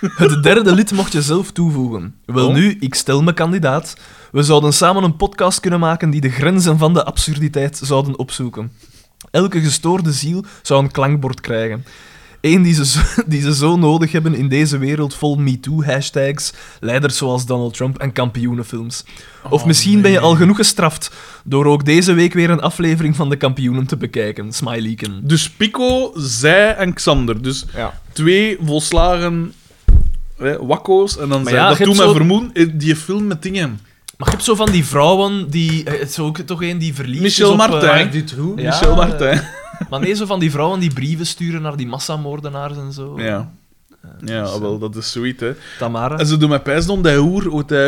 Speaker 2: Het derde lid mocht je zelf toevoegen. Wel
Speaker 1: Oh.
Speaker 2: nu, ik stel me kandidaat. We zouden samen een podcast kunnen maken die de grenzen van de absurditeit zouden opzoeken. Elke gestoorde ziel zou een klankbord krijgen. Eén die ze, zo, die ze zo nodig hebben in deze wereld vol MeToo-hashtags, leiders zoals Donald Trump en kampioenenfilms. Of
Speaker 1: Oh,
Speaker 2: misschien ben je
Speaker 1: nee.
Speaker 2: al genoeg gestraft door ook deze week weer een aflevering van de kampioenen te bekijken. Smileyken.
Speaker 1: Dus Pico, zij en Xander. Dus
Speaker 2: Ja.
Speaker 1: twee volslagen hè, wakko's. En dan
Speaker 2: Maar
Speaker 1: zei
Speaker 2: ja,
Speaker 1: dat
Speaker 2: je hebt
Speaker 1: toen mij
Speaker 2: zo-
Speaker 1: vermoeden, eh, die film met dingen.
Speaker 2: Maar je hebt zo van die vrouwen die... eh, Het is ook toch een die verliefd
Speaker 1: Michel
Speaker 2: is op... eh,
Speaker 1: Martin.
Speaker 3: Mark Dutroux.
Speaker 2: Ja. eh,
Speaker 1: Michel Martin.
Speaker 2: Maar nee, zo van die vrouwen die brieven sturen naar die massamoordenaars en zo.
Speaker 1: Ja. Ja, wel, dat is sweet, hè.
Speaker 2: Tamara.
Speaker 1: En ze doen mij pijs om die hoer uit die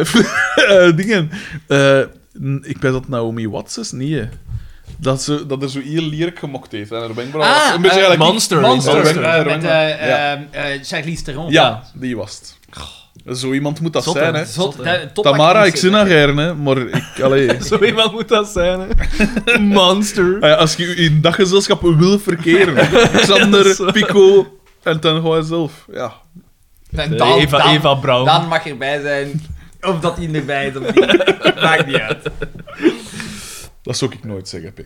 Speaker 1: eh, dingen. Eh, n- ik weet dat Naomi Watts is, niet, hè. Dat, ze, dat er zo hier lierk gemokt heeft. En haar wenkbrauw was een beetje
Speaker 3: eh,
Speaker 1: gelijk-
Speaker 2: Monster.
Speaker 3: Monster.
Speaker 1: Robin- eh, Robin-
Speaker 3: Met eh,
Speaker 1: ja.
Speaker 3: eh, eh, Charlize Theron.
Speaker 1: Ja, die was het. Zo iemand moet dat
Speaker 2: Zot,
Speaker 1: zijn,
Speaker 2: hè.
Speaker 1: hè.
Speaker 3: Zot,
Speaker 2: Zot,
Speaker 3: eh, topactrice.
Speaker 1: Tamara, ik zin naar haar, hè. Maar ik... Allee.
Speaker 2: Zo iemand moet dat zijn, hè. Monster.
Speaker 1: Ah ja, als je je in daggezelschap wil verkeren.
Speaker 2: Ja,
Speaker 1: Xander,
Speaker 2: zo.
Speaker 1: Pico en dan gewoon zelf. Ja.
Speaker 3: En Dan,
Speaker 2: Eh, Eva,
Speaker 3: dan,
Speaker 2: Eva Brouw.
Speaker 3: dan mag erbij zijn. Of dat hij erbij is of niet. Maakt niet uit.
Speaker 1: Dat zou ik nooit zeggen, P.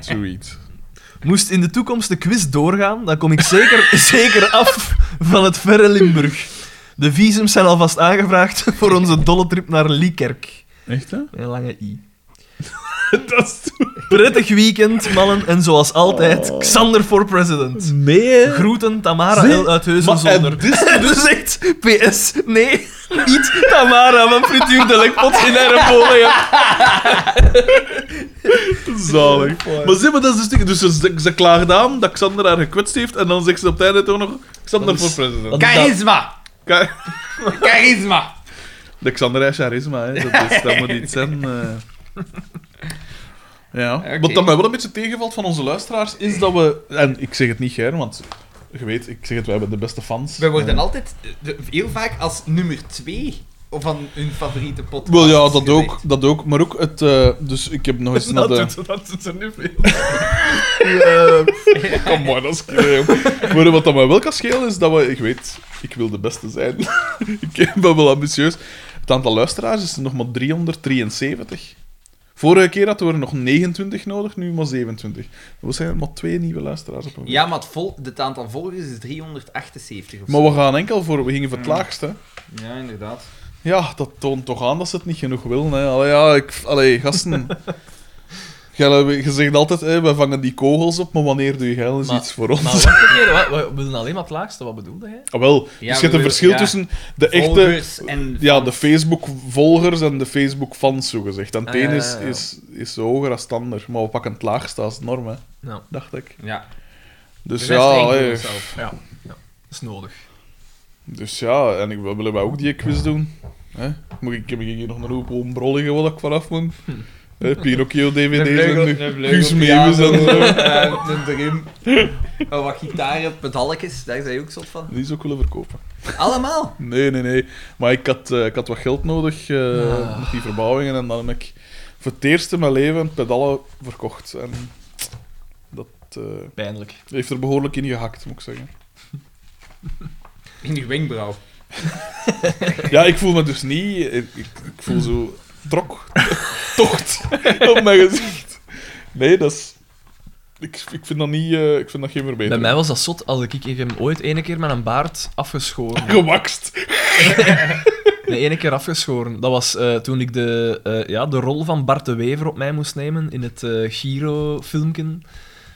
Speaker 1: Zoiets.
Speaker 2: Moest in de toekomst de quiz doorgaan, dan kom ik zeker, zeker af van het verre Limburg. De visums zijn alvast aangevraagd voor onze dolle trip naar Liekerk.
Speaker 1: Echt, hè?
Speaker 2: Een lange i.
Speaker 1: Dat is
Speaker 2: Prettig weekend, mannen. En zoals altijd, Xander for president.
Speaker 1: Nee,
Speaker 2: Groeten Tamara
Speaker 1: Zie?
Speaker 2: L. uit Heusen
Speaker 1: Maar-
Speaker 2: zonder.
Speaker 1: en
Speaker 2: dus echt, PS, nee, niet Tamara van Frituur de Lekpot in Erbolen.
Speaker 1: Zalig. Maar zie maar, dat is dus... ding. Dus ze, ze klaagt aan dat Xander haar gekwetst heeft en dan zegt ze op het einde toch nog Xander
Speaker 2: Dat
Speaker 1: voor
Speaker 2: is-
Speaker 1: president.
Speaker 2: dat-
Speaker 3: Charisma.
Speaker 1: Kijk,
Speaker 3: Charisma.
Speaker 1: De Xander heeft charisma, hè. Dat, is, dat moet iets zijn. eh. Ja.
Speaker 3: Oké.
Speaker 1: Wat dat mij wel een beetje tegenvalt van onze luisteraars is dat we... En ik zeg het niet, Ger, want... Je weet, ik zeg het, wij hebben de beste fans.
Speaker 3: We worden altijd eh, de- heel vaak als nummer 2 van hun favoriete podcast.
Speaker 1: Wel ja, dat
Speaker 3: gezet.
Speaker 1: ook, dat ook. Maar ook het... eh, dus ik heb nog eens naar de...
Speaker 2: dat doet er nu veel.
Speaker 1: Kom maar, dat is kille, jong. Maar wat dat mij wel kan schelen is dat we, ik weet, ik wil de beste zijn. ik ben wel ambitieus. Het aantal luisteraars is er nog maar 373. Vorige keer hadden we er nog 29 nodig, nu maar 27. We zijn er maar twee nieuwe luisteraars op een week.
Speaker 3: Ja, maar het, vol, het aantal volgers is 378 of zo.
Speaker 1: Maar we gaan enkel voor, we gingen voor het
Speaker 2: Mm.
Speaker 1: laagste.
Speaker 3: Ja, inderdaad.
Speaker 1: Ja, dat toont toch aan dat ze het niet genoeg willen. Hè. Allee, ja, ik, allee, gasten. Gij- Je zegt altijd, hè, we vangen die kogels op, maar wanneer doe je geil eens
Speaker 2: Maar-
Speaker 1: iets voor ons?
Speaker 2: Maar wacht een keer, wat- wat- we willen alleen maar het laagste, wat bedoelde jij?
Speaker 1: Ah, wel, dus
Speaker 3: we
Speaker 1: je hebt een
Speaker 3: willen-
Speaker 1: verschil
Speaker 3: ja.
Speaker 1: tussen de echte...
Speaker 3: Volgers en...
Speaker 1: Ja, de Facebook-volgers en de Facebook-fans, zogezegd. En het
Speaker 2: Ah,
Speaker 1: een
Speaker 2: ja,
Speaker 1: is,
Speaker 2: ja, ja.
Speaker 1: is, is hoger als het ander. Maar we pakken het laagste als norm, hè,
Speaker 2: Nou,
Speaker 1: dacht ik.
Speaker 3: Ja.
Speaker 1: Dus
Speaker 3: De rest
Speaker 1: ja,
Speaker 3: enkel
Speaker 1: hey,
Speaker 3: zelf.
Speaker 2: ja, ja, dat is nodig.
Speaker 1: Dus ja, en ik, we willen wij ook die quiz doen. Hè? Moet ik, heb ik hier nog een hoop onbrol liggen wat ik vanaf moet?
Speaker 2: Hm.
Speaker 1: Eh, Pinocchio DVD's en nu Guus Meeuwis en zo.
Speaker 3: Een drum. Oh, wat gitaren, pedalletjes, daar zijn je ook zot van.
Speaker 1: Die zou ik willen verkopen.
Speaker 3: Allemaal!
Speaker 1: Nee, nee, nee. Maar ik had, eh, ik had wat geld nodig eh,
Speaker 2: Ah.
Speaker 1: met die verbouwingen. En dan heb ik voor het eerst in mijn leven pedalen verkocht. En dat eh,
Speaker 2: Pijnlijk.
Speaker 1: heeft er behoorlijk in gehakt, moet ik zeggen.
Speaker 3: In je wenkbrauw.
Speaker 1: Ja, ik voel me dus niet... Ik, ik, ik voel zo trok, tocht op mijn gezicht. Nee, dat is... Ik, ik vind dat niet... eh, ik vind dat geen
Speaker 2: Bij
Speaker 1: verbetering.
Speaker 2: mij was dat zot als ik, ik heb hem ooit ene keer met een baard afgeschoren.
Speaker 1: Gewakst.
Speaker 2: Nee, ene keer afgeschoren. Dat was eh, toen ik de, eh, ja, de rol van Bart de Wever op mij moest nemen in het eh Giro-filmpje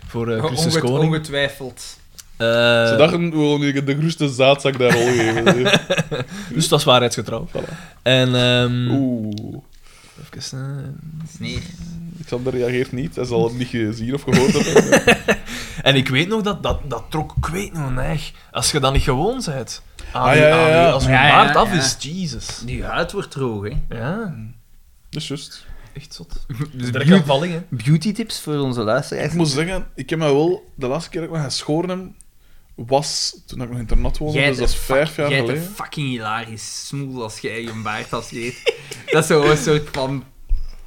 Speaker 2: voor
Speaker 1: Oh,
Speaker 2: eh Christus
Speaker 3: Onget-
Speaker 2: Koning.
Speaker 3: Ongetwijfeld.
Speaker 2: Eh,
Speaker 1: Ze dachten, we willen je de groeste zaadzak daar rol geven.
Speaker 2: dus dat is waarheidsgetrouw.
Speaker 1: Voilà.
Speaker 2: En, ehm
Speaker 1: Oeh.
Speaker 2: even, eh,
Speaker 3: Nee.
Speaker 1: Xander reageert niet. Hij zal het niet gezien of gehoord hebben.
Speaker 2: eh, en ik weet nog dat dat, dat trok, ik weet nog neig. Als je dat niet gewoon bent. Aan
Speaker 1: Ah,
Speaker 2: je-
Speaker 1: ja, ja,
Speaker 2: aan je-
Speaker 1: ja.
Speaker 2: Als je
Speaker 3: Ja, ja,
Speaker 2: baard af
Speaker 3: ja.
Speaker 2: is, Jesus.
Speaker 3: Die huid wordt droog, hè.
Speaker 2: Ja,
Speaker 1: Dat is Dus juist.
Speaker 2: echt zot.
Speaker 3: Dus
Speaker 2: Direct aan valling, hè.
Speaker 3: beauty tips voor onze luisteraars.
Speaker 1: Ik moet zeggen, ik heb mij wel... De laatste keer dat ik me geschoren heb, was toen ik nog internat woonde.
Speaker 3: Jij
Speaker 1: dus dat is
Speaker 3: bent
Speaker 1: vijf jaar
Speaker 3: Jij
Speaker 1: geleden.
Speaker 3: bent fucking hilarisch smoel als jij je baard afscheet. dat is zo een soort van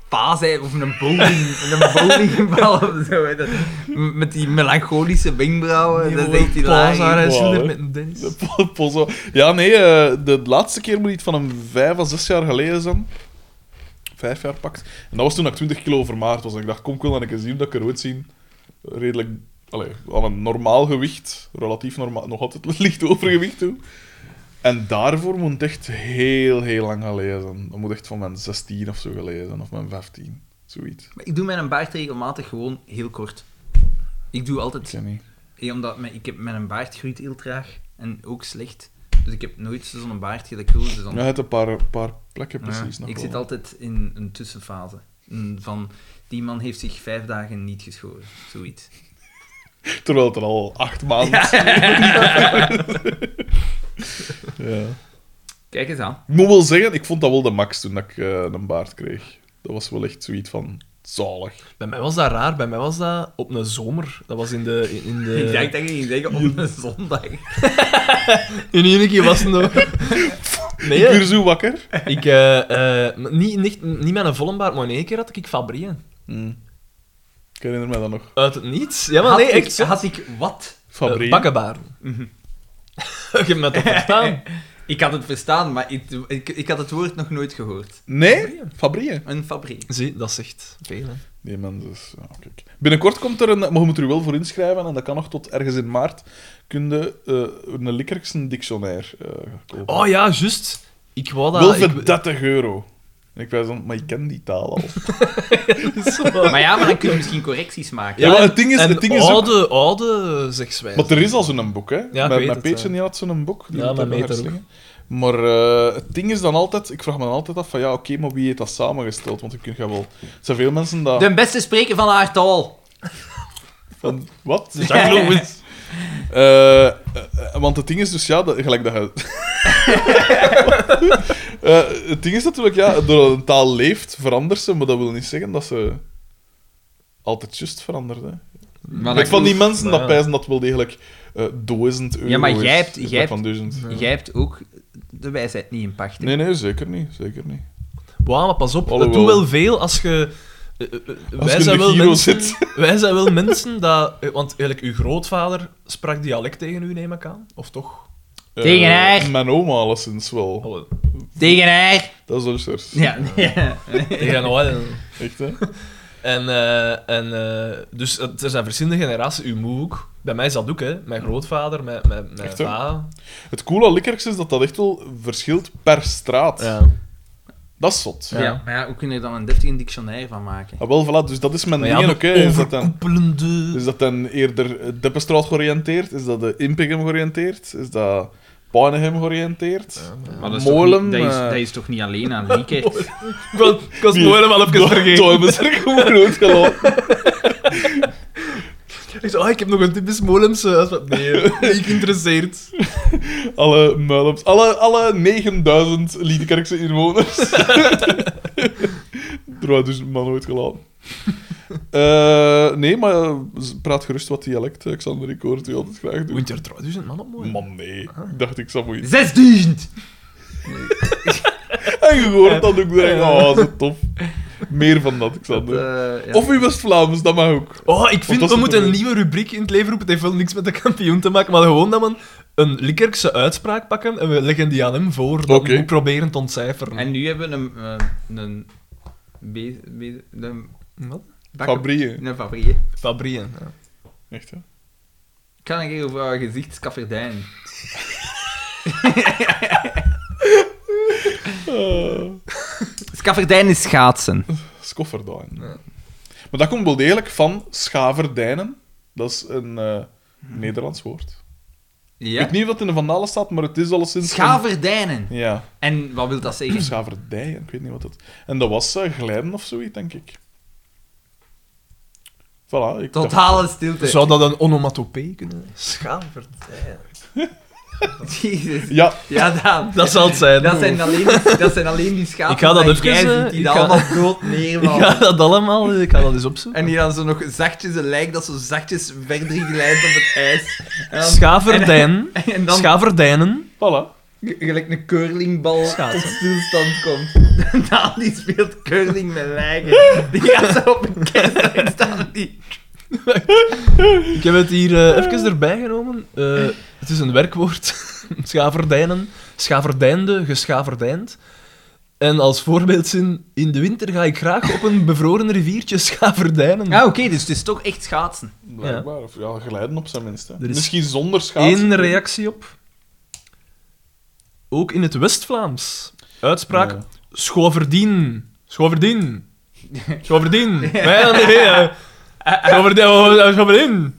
Speaker 3: paas hè, of een bowling, een bowlinggebal of zo. hè. Dat- m- met die melancholische wenkbrauwen, dat is echt hilarisch.
Speaker 2: Plaza en
Speaker 1: Wow,
Speaker 2: Schiller
Speaker 1: hè.
Speaker 2: met een Dennis.
Speaker 1: De po- Pozo. Ja, nee, eh, de laatste keer moet iets van een vijf à zes jaar geleden zijn. Vijf jaar pakt. En dat was toen ik 20 kilo vermaard was. En ik dacht, kom, ik wil dat ik eens zien, dat ik eruit zie. Redelijk, allee, aan een normaal gewicht. Relatief normaal, nog altijd licht overgewicht toen. En daarvoor moet het echt heel, heel lang geleden zijn. Dat moet echt van mijn 16 of zo geleden zijn, of mijn 15. Zoiets.
Speaker 3: Maar ik doe mijn baard regelmatig gewoon heel kort. Ik doe altijd...
Speaker 1: Ik weet niet.
Speaker 3: eh, Omdat mijn, ik heb, mijn baard groeit heel traag en ook slecht. Dus ik heb nooit zo'n baard gelijk wil. Dus dan
Speaker 1: Ja, je hebt een paar, paar plekken
Speaker 3: Ja,
Speaker 1: precies nog
Speaker 3: ik
Speaker 1: wel.
Speaker 3: zit altijd in een tussenfase. Een Van, die man heeft zich vijf dagen niet geschoren. Zoiets.
Speaker 1: Terwijl het er al acht maanden is. ja.
Speaker 3: Kijk eens aan.
Speaker 1: Ik moet wel zeggen, ik vond dat wel de max toen dat ik eh, een baard kreeg. Dat was wel echt zoiets van zalig.
Speaker 2: Bij mij was dat raar. Bij mij was dat op een zomer. Dat was in de... In, in
Speaker 1: Eh,
Speaker 2: de...
Speaker 3: Ik denk dat je ging zeggen op een zondag.
Speaker 2: In één keer was het nog... Nee,
Speaker 1: Ik
Speaker 2: hè.
Speaker 1: werd zo wakker.
Speaker 2: ik... eh, eh, maar niet, niet, niet met een volle baard, maar in één keer had ik Fabrien.
Speaker 1: Hmm. Ik herinner me dat nog.
Speaker 2: Uit het niets. Ja, maar nee,
Speaker 3: had,
Speaker 2: echt
Speaker 3: ik,
Speaker 2: zo.
Speaker 3: had ik wat?
Speaker 1: Fabrie.
Speaker 2: Eh, bakkenbaarden.
Speaker 1: Mhm.
Speaker 2: Je hebt me toch verstaan?
Speaker 3: Ik had het verstaan, maar ik, ik, ik had het woord nog nooit gehoord.
Speaker 1: Nee, Fabrie.
Speaker 3: Een fabriek.
Speaker 2: Zie, dat zegt veel, hè.
Speaker 1: Nee, mensen. Dus, ja, kijk. Binnenkort komt er een... Maar je moet er wel voor inschrijven. En dat kan nog tot ergens in maart. Kun je eh, een Likkerksen dictionair eh, kopen.
Speaker 2: Oh ja, juist. Ik wou dat...
Speaker 1: wel
Speaker 2: ik-
Speaker 1: voor 30 euro. En ik wijs dan, maar ik ken die taal al.
Speaker 3: Maar ja, maar dan kun je misschien correcties maken.
Speaker 1: Ja, maar het ding is-
Speaker 2: en
Speaker 1: het ding is ook-
Speaker 2: oude, oude zegswijze.
Speaker 1: Maar er is al zo'n boek, hè?
Speaker 2: Ja, ik
Speaker 1: mijn
Speaker 2: weet
Speaker 1: mijn
Speaker 2: het,
Speaker 1: Peetje
Speaker 2: ja.
Speaker 1: die had zo'n boek. Die
Speaker 2: Ja,
Speaker 1: moet
Speaker 2: mijn
Speaker 1: dat nog
Speaker 2: meter ook.
Speaker 1: herstellen. Maar eh, het ding is dan altijd, ik vraag me dan altijd af van ja, oké, maar wie heeft dat samengesteld? Want ik kun je wel. Er zijn veel mensen dat.
Speaker 3: De beste spreker van haar taal.
Speaker 1: Van, wat? Jacques Louis. Eh, eh, eh, want het ding is dus, ja, dat, gelijk dat je... Eh, het ding is natuurlijk, ja, door een taal leeft, verandert ze, maar dat wil niet zeggen dat ze altijd juist verandert. Hè.
Speaker 3: Maar
Speaker 1: Kijk, van die mensen
Speaker 2: maar
Speaker 1: dat
Speaker 2: ja.
Speaker 1: pijzen dat wel degelijk eh duizend euro
Speaker 3: Ja, maar
Speaker 1: is,
Speaker 3: jij hebt-
Speaker 1: in plaats
Speaker 3: jij
Speaker 1: van duizend.
Speaker 3: Jij hebt ook de wijsheid niet in pacht. hè?
Speaker 1: Nee, nee, zeker niet. Zeker niet.
Speaker 2: Wauw, maar pas op. Het
Speaker 1: Alhoewel.
Speaker 2: doet wel veel als je... eh, eh, eh,
Speaker 1: Als je
Speaker 2: wij,
Speaker 1: in
Speaker 2: zijn
Speaker 1: de
Speaker 2: wel
Speaker 1: Giro
Speaker 2: mensen,
Speaker 1: zit.
Speaker 2: wij zijn wel mensen dat... eh, Want eigenlijk, uw grootvader sprak dialect tegen u, neem ik aan. Of toch?
Speaker 1: Eh,
Speaker 3: Tegen haar. Oh.
Speaker 1: Mijn oma alleszins wel.
Speaker 2: Hallo.
Speaker 3: Tegen haar.
Speaker 1: Dat is dus
Speaker 3: Ja, ja.
Speaker 2: Tegen Noël.
Speaker 1: Echt, hè?
Speaker 2: En, eh, en eh, dus het- er zijn verschillende generaties. Uw moe ook. Bij mij is dat ook, hè. Mijn grootvader, mijn, mijn, mijn
Speaker 1: Echt, hè?
Speaker 2: pa.
Speaker 1: Het coole aan Likkerks is dat dat echt wel verschilt per straat. Dat is zot.
Speaker 2: Ja.
Speaker 3: Ja, maar ja, hoe kun je er dan een deftige dictionair van maken?
Speaker 1: Ah, wel, voilà, dus dat is mijn
Speaker 2: Maar ja,
Speaker 1: ding
Speaker 2: de
Speaker 1: ook, hè. Is dat dan, Dus
Speaker 2: overkoepelende...
Speaker 1: is dat dan eerder eh, Deppenstraat georiënteerd? Is dat de Impegem georiënteerd? Is dat Panehem georiënteerd?
Speaker 3: Maar dat is, toch
Speaker 1: Molen...
Speaker 3: niet, dat, is,
Speaker 1: eh,
Speaker 3: dat is toch niet alleen aan Likert?
Speaker 2: Ik was, ik was
Speaker 1: Wie?
Speaker 2: Noël helemaal even
Speaker 1: door-
Speaker 2: vergeten.
Speaker 1: door mijn zerk gewoon groot gelopen.
Speaker 2: Ik zo, ah, ik heb nog een typisch Molemse. Nee, niet geïnteresseerd.
Speaker 1: Alle muilums. Alle, alle 9000 Liedekerkse inwoners. er waren dus een man ooit gelaten. Eh, nee, maar eh, praat gerust wat dialect, eh, Xander. Ik hoor het u altijd graag doen.
Speaker 2: Woont er 3000 man op, mooi.
Speaker 1: Man, nee. Ik dacht, ik zou moeite.
Speaker 3: 6000!
Speaker 1: En je hoort dat ook. denk, Oh, zo tof. Meer van dat,
Speaker 3: Eh,
Speaker 1: Xander. Of in West-Vlaams, dat mag ook.
Speaker 2: Oh, ik vind,
Speaker 1: dat is
Speaker 2: we
Speaker 1: het
Speaker 2: moeten een
Speaker 1: probleem.
Speaker 2: nieuwe rubriek in het leven roepen. Het heeft wel niks met de kampioen te maken, maar gewoon dat we een Likkerkse uitspraak pakken en we leggen die aan hem voor. Dat
Speaker 1: Oké.
Speaker 2: we proberen te ontcijferen.
Speaker 3: En nu hebben we een... eh, een... Be be een
Speaker 2: Wat?
Speaker 3: bak-
Speaker 1: Fabrieën.
Speaker 3: Een fabriek.
Speaker 2: Fabrien. Ja.
Speaker 1: Echt, hè?
Speaker 3: Kan ik hier over haar gezichtskafferdijn?
Speaker 1: Eh,
Speaker 3: Oh. Skafferdijn is schaatsen.
Speaker 1: Skofferdijn.
Speaker 2: Ja.
Speaker 1: Maar dat komt wel degelijk van schaverdijnen. Dat is een eh, Nederlands woord.
Speaker 3: Ja.
Speaker 1: Ik weet niet of dat in de Vandalen staat, maar het is alleszins... een-
Speaker 3: Schaverdijnen.
Speaker 1: Ja,
Speaker 3: En wat wil dat zeggen?
Speaker 1: schaverdijen. Ik weet niet wat dat... En dat was eh, glijden of zoiets, denk ik. Voilà, ik dacht-
Speaker 3: Totale stilte.
Speaker 2: Zou dat een onomatopee kunnen zijn? Schaverdijn.
Speaker 3: Jezus.
Speaker 1: Ja,
Speaker 3: Ja, dan.
Speaker 2: Dat zal het zijn.
Speaker 3: Dat zijn alleen, dat zijn alleen die schapen
Speaker 2: Ik ga dat
Speaker 3: van
Speaker 2: even,
Speaker 3: Gijs
Speaker 2: eh,
Speaker 3: die
Speaker 2: ik
Speaker 3: dat
Speaker 2: ga-
Speaker 3: allemaal dood
Speaker 2: Ik ga
Speaker 3: neervallen.
Speaker 2: dat allemaal ik ga dat eens opzoeken.
Speaker 3: En die dan zo nog zachtjes een lijk dat zo zachtjes verder glijdt op het ijs. En dan,
Speaker 2: Schaverdijn.
Speaker 3: en dan
Speaker 2: Schaverdijnen.
Speaker 1: voilà.
Speaker 3: g- gelijk een curlingbal
Speaker 2: Schaatsen.
Speaker 3: tot stilstand komt. En dan die speelt curling met lijken. Die gaat zo op een kerstdijk staan. en Die...
Speaker 2: Ik heb het hier eh, even erbij genomen. Eh, het is een werkwoord. Schaverdijnen. Schaverdijnde, geschaverdijnd. En als voorbeeldzin, in de winter ga ik graag op een bevroren riviertje schaverdijnen.
Speaker 3: Ja, oké, dus het is toch echt schaatsen.
Speaker 1: Blijkbaar. Of ja, glijden op zijn minst. hè.
Speaker 2: is
Speaker 1: Misschien zonder schaatsen.
Speaker 2: Eén reactie op. Ook in het West-Vlaams. Uitspraak
Speaker 1: Ja.
Speaker 2: Schoverdien. Schoverdien. Schoverdien. Nee, nee, nee. eh. Schoverdien. oh, Schoverdien.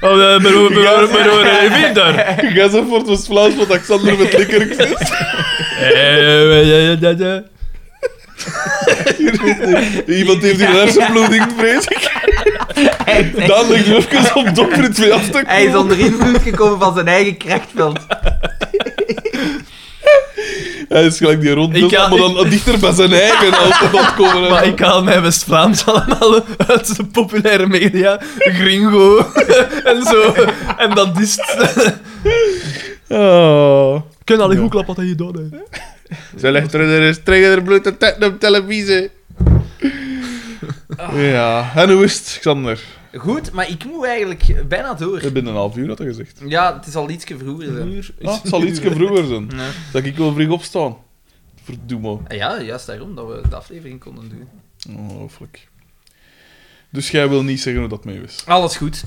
Speaker 2: Oh, eh, beroer- beroer- beroer- eh, wie daar?
Speaker 1: Ga zo voor het West-Vlaams, wat Alexander met Likkerks is.
Speaker 2: Eh, ja, ja, ja, ja.
Speaker 1: Iemand heeft hier een hersenbloeding, vrees ik.
Speaker 3: Hij is,
Speaker 1: Daan ligt er even op doprit mee af te
Speaker 3: hij is onder invloed gekomen van zijn eigen krachtveld.
Speaker 1: Hij is gelijk die rond,
Speaker 2: Ik ga-
Speaker 1: maar dan dichter bij zijn eigen als we dat komen.
Speaker 2: Maar ik haal mijn West-Vlaams allemaal uit de populaire media. Gringo. en zo. En dat is het.
Speaker 1: Oh.
Speaker 2: Ken al die
Speaker 1: Ja.
Speaker 2: goed klappen dat je doet, hè.
Speaker 1: Ze legt er strenger blote tent op televisie. Ah. Ja, en hoe is het, Xander?
Speaker 3: Goed, maar ik moet eigenlijk bijna door.
Speaker 1: We hebben een half uur, had hij gezegd.
Speaker 3: Ja, het is al ietsje vroeger. dan.
Speaker 1: Ah, het zal iets vroeger zijn.
Speaker 3: Ja. Ah,
Speaker 1: Dat ik wel vroeg opstaan. Verdomme.
Speaker 3: Ja, juist daarom dat we de aflevering konden doen.
Speaker 1: Ongelooflijk. Dus jij wil niet zeggen hoe dat mee is.
Speaker 3: Alles goed.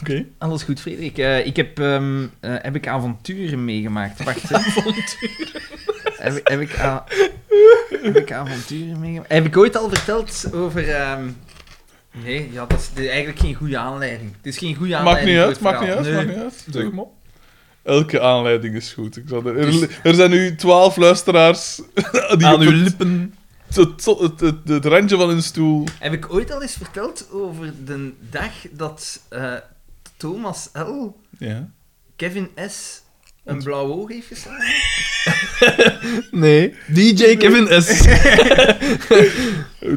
Speaker 1: Oké.
Speaker 3: Alles goed, Frederik. Eh, ik heb, ehm, eh, heb ik avonturen meegemaakt. Wacht, hè. heb, heb, ik a- heb ik avonturen meegemaakt? Heb ik ooit al verteld over... ehm, Nee, ja, dat is de- eigenlijk geen goede aanleiding. Het is geen goede
Speaker 1: Maakt niet
Speaker 3: aanleiding.
Speaker 1: uit,
Speaker 3: voor het
Speaker 1: maakt niet uit,
Speaker 3: verhaal.
Speaker 1: maakt niet uit.
Speaker 2: Zeg maar.
Speaker 1: Elke aanleiding is goed. Xander. Er, er zijn nu twaalf luisteraars die
Speaker 2: Aan
Speaker 1: op
Speaker 2: uw
Speaker 1: het-
Speaker 2: lippen.
Speaker 1: het, het, het, het, het randje van hun stoel...
Speaker 3: Heb ik ooit al eens verteld over de dag dat eh, Thomas L.
Speaker 1: Ja.
Speaker 3: Kevin S. een blauw oog heeft geslagen?
Speaker 2: Nee. DJ Kevin S.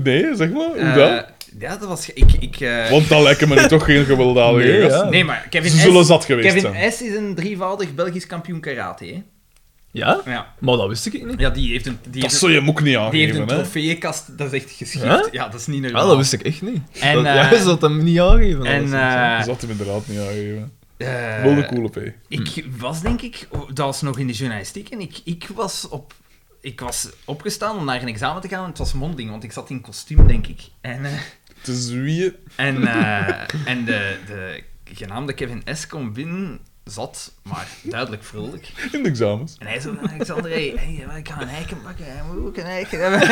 Speaker 1: Nee, zeg maar. Hoe dat?
Speaker 3: Eh, ja, dat was... Ik, ik, eh,
Speaker 1: Want dat lijken me nu toch geen gewelddadige
Speaker 2: Nee,
Speaker 1: gasten.
Speaker 2: ja.
Speaker 3: Nee, maar Kevin
Speaker 1: Ze
Speaker 3: S.
Speaker 1: zullen zat geweest
Speaker 3: Kevin
Speaker 1: zijn.
Speaker 3: S. is een drievoudig Belgisch kampioen karate, hè?
Speaker 2: Ja?
Speaker 3: Ja.
Speaker 2: Maar dat wist ik niet.
Speaker 3: Ja, die heeft een... Die
Speaker 1: Dat
Speaker 3: heeft
Speaker 1: zou je hem ook niet
Speaker 3: een, die heeft een
Speaker 1: aangeven, hè? Ah,
Speaker 3: trofeeënkast, dat is echt geschikt.
Speaker 2: Ja?
Speaker 3: Ja, dat is niet
Speaker 2: Ja,
Speaker 3: normaal.
Speaker 2: Ah, dat wist ik echt niet.
Speaker 3: En,
Speaker 2: dat, ja,
Speaker 3: eh,
Speaker 2: ze had hem niet aangegeven.
Speaker 3: En
Speaker 2: Dat is het, ja.
Speaker 1: Dat
Speaker 3: eh,
Speaker 1: had hem inderdaad niet aangegeven.
Speaker 3: eh,
Speaker 1: Wel een coole P.
Speaker 3: ik was denk ik, oh, dat was nog in de journalistiek, en ik, ik was op... Ik was opgestaan om naar een examen te gaan, en het was monding, want ik zat in kostuum, denk ik. En... eh,
Speaker 1: Het is wie je...
Speaker 3: En, eh, en de, de genaamde Kevin S. komt binnen, zat, maar duidelijk vrolijk.
Speaker 1: in de examens.
Speaker 3: En hij zo van, Alexander, hey, hey, ik ga een eiken pakken, hij moet ook een eiken hebben.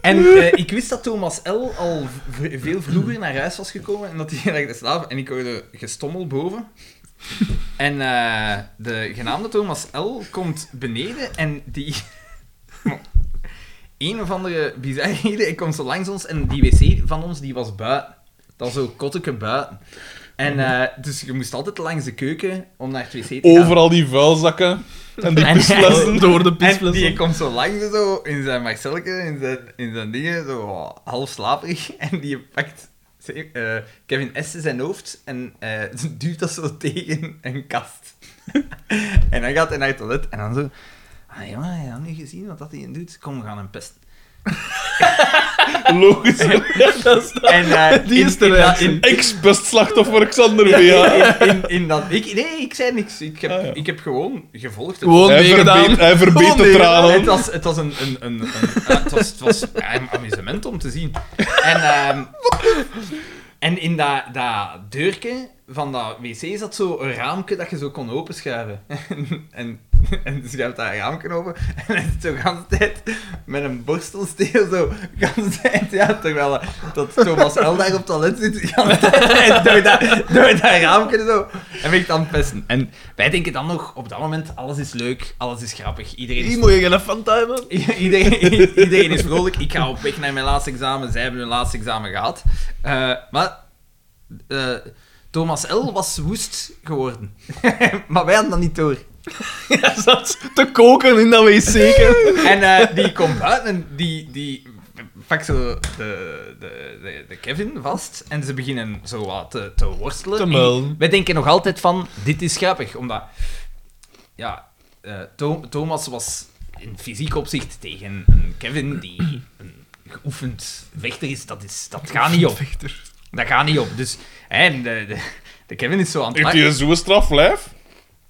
Speaker 3: en eh, ik wist dat Thomas L. al v- veel vroeger naar huis was gekomen en dat hij legde slaap. En ik hoorde gestommel boven. En eh, de genaamde Thomas L. komt beneden en die... Een of andere bizarre reden, hij komt zo langs ons en die wc van ons die was buiten. Dan zo kotteke buiten. En eh, dus je moest altijd langs de keuken om naar het wc te gaan.
Speaker 1: Overal die vuilzakken en die
Speaker 4: En-
Speaker 1: pisflessen.
Speaker 2: Door de
Speaker 3: En die
Speaker 2: pisflessen.
Speaker 3: komt zo langs zo in zijn Marcelke, in zijn, in zijn dingen, zo half slaperig. En die pakt eh, Kevin S. zijn hoofd en eh, duwt dat zo tegen een kast. en dan gaat hij naar het toilet en dan zo... Ah jongen, heb je dat nu gezien wat dat hij doet? Kom, we gaan hem pesten.
Speaker 1: Logisch.
Speaker 2: Dat is-
Speaker 3: En eh,
Speaker 2: Die
Speaker 3: in-
Speaker 2: is er
Speaker 3: in dat-
Speaker 2: echt.
Speaker 3: in-
Speaker 1: Ex-best slachtoffer Xander W.H.
Speaker 3: in, in, in dat... Ik, nee, ik zei niks. Ik heb,
Speaker 1: Ah, ja.
Speaker 3: ik heb gewoon gevolgd. Het
Speaker 2: Gewoon
Speaker 1: Hij
Speaker 2: meegedaan.
Speaker 1: verbeet, hij verbeet
Speaker 2: Gewoon
Speaker 1: de
Speaker 2: meegedaan.
Speaker 1: tranen.
Speaker 3: Het was, het was een, een, een, een- ja, het was, het was ja, een amusement om te zien. En, ehm, en in dat, dat deurke van dat wc zat zo een raamje dat je zo kon openschuiven. En, en, en dus je hebt dat raamje open en hij zit zo de hele tijd met een borstelsteen zo. De hele tijd, ja, terwijl dat Thomas L. daar op toilet zit, de hele tijd door dat, door dat raamje zo. En ben ik dan pesten. En wij denken dan nog, op dat moment, alles is leuk, alles is grappig, iedereen is
Speaker 2: Hier moet je geen fun timen.
Speaker 3: I- iedereen, i- iedereen is vrolijk. Ik ga op weg naar mijn laatste examen. Zij hebben hun laatste examen gehad. Eh, maar eh, Thomas L. was woest geworden. maar wij hadden dat niet door.
Speaker 2: Hij zat te koken in dat wc.
Speaker 3: En eh, die komt buiten en die, die pakt zo de, de, de, de Kevin vast. En ze beginnen zo wat te, te worstelen.
Speaker 2: Te
Speaker 3: En
Speaker 2: muilen.
Speaker 3: Wij denken nog altijd van, dit is grappig. Omdat, ja, eh, Tho- Thomas was in fysiek opzicht tegen een Kevin die een geoefend vechter is. Dat, is, dat gaat niet op. Dat gaat niet op. Dus, hè, en de, de, de Kevin is zo aan het
Speaker 1: Heeft
Speaker 3: lachen.
Speaker 1: hij zo'n straflijf?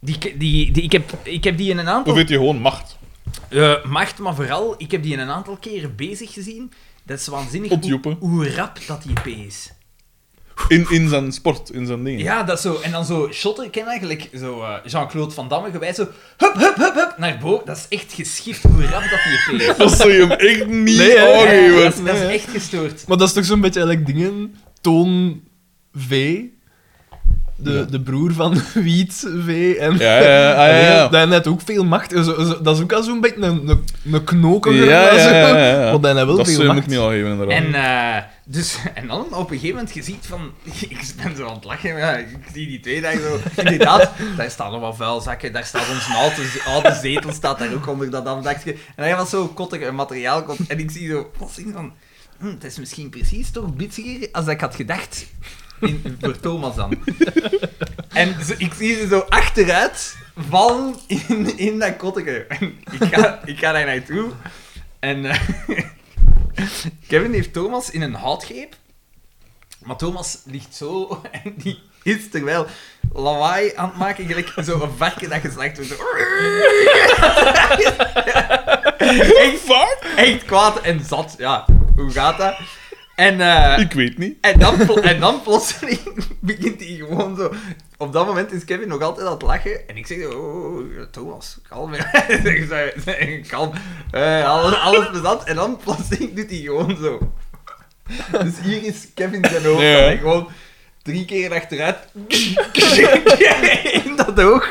Speaker 3: Die, die, die, ik, heb, ik heb die in een aantal
Speaker 1: Of heeft hij gewoon macht?
Speaker 3: eh, macht, maar vooral, ik heb die een aantal keren bezig gezien. Dat is waanzinnig hoe,
Speaker 1: Ontjoepen.
Speaker 3: hoe rap dat die P is.
Speaker 1: In, in zijn sport, in zijn dingen.
Speaker 3: Ja, dat zo. En dan zo shotten, ik ken eigenlijk zo eh, Jean-Claude Van Damme gewijs zo hup, hup, hup, hup, naar boven. Dat is echt geschift hoe rap dat die P is.
Speaker 1: Dat zou je hem echt niet
Speaker 2: Oh, Nee, hè?
Speaker 3: Eh,
Speaker 1: aangeven.
Speaker 3: dat, is, dat is
Speaker 2: Nee, hè.
Speaker 3: echt gestoord.
Speaker 2: Maar dat is toch zo'n beetje eigenlijk dingen. Toon V. De,
Speaker 1: Ja.
Speaker 2: de broer van Wiet V. En
Speaker 1: Ja, ja, ja, ja, ja.
Speaker 2: Daar net ook veel macht. Zo- zo- dat is ook al zo'n beetje een, een, een knoker.
Speaker 1: Ja, ja, ja, ja, ja.
Speaker 2: Want hij heeft wel
Speaker 1: Dat zou
Speaker 2: veel
Speaker 1: je hem
Speaker 2: macht.
Speaker 1: ook niet aangeven,
Speaker 3: En,
Speaker 1: inderdaad.
Speaker 3: eh, dus, en dan op een gegeven moment, je ziet van... Ik ben zo aan het lachen, maar ik zie die twee daar zo... Inderdaad, daar staan nog wat vuilzakken, daar staat onze oude, oude zetel, staat daar ook onder dat afdakje. En hij was zo kottig en materiaal komt. En ik zie zo plotseling van... hm, het is misschien precies toch bitsiger als dat ik had gedacht. In, voor Thomas dan. En ze- ik zie ze zo achteruit vallen in, in dat kotteke. En ik ga, ik ga daar naartoe. En... eh, Kevin heeft Thomas in een houtgreep. Maar Thomas ligt zo en die is terwijl lawaai aan het maken, gelijk zo'n varken dat geslacht wordt. Zo. echt, echt kwaad en zat, ja. Hoe gaat dat? En, eh,
Speaker 1: Ik weet niet.
Speaker 3: en, dan, pl- en dan plotseling begint hij gewoon zo... Op dat moment is Kevin nog altijd aan het lachen. En ik zeg, oh, oh, oh, Thomas, kalm. Hij zegt, "Zeg, zeg, kalm. Eh, alles, alles bezat. En dan plotseling doet hij gewoon zo. Dus hier is Kevin zijn hoofd.
Speaker 1: Ja.
Speaker 3: En hij gewoon drie keer achteruit. In dat oog.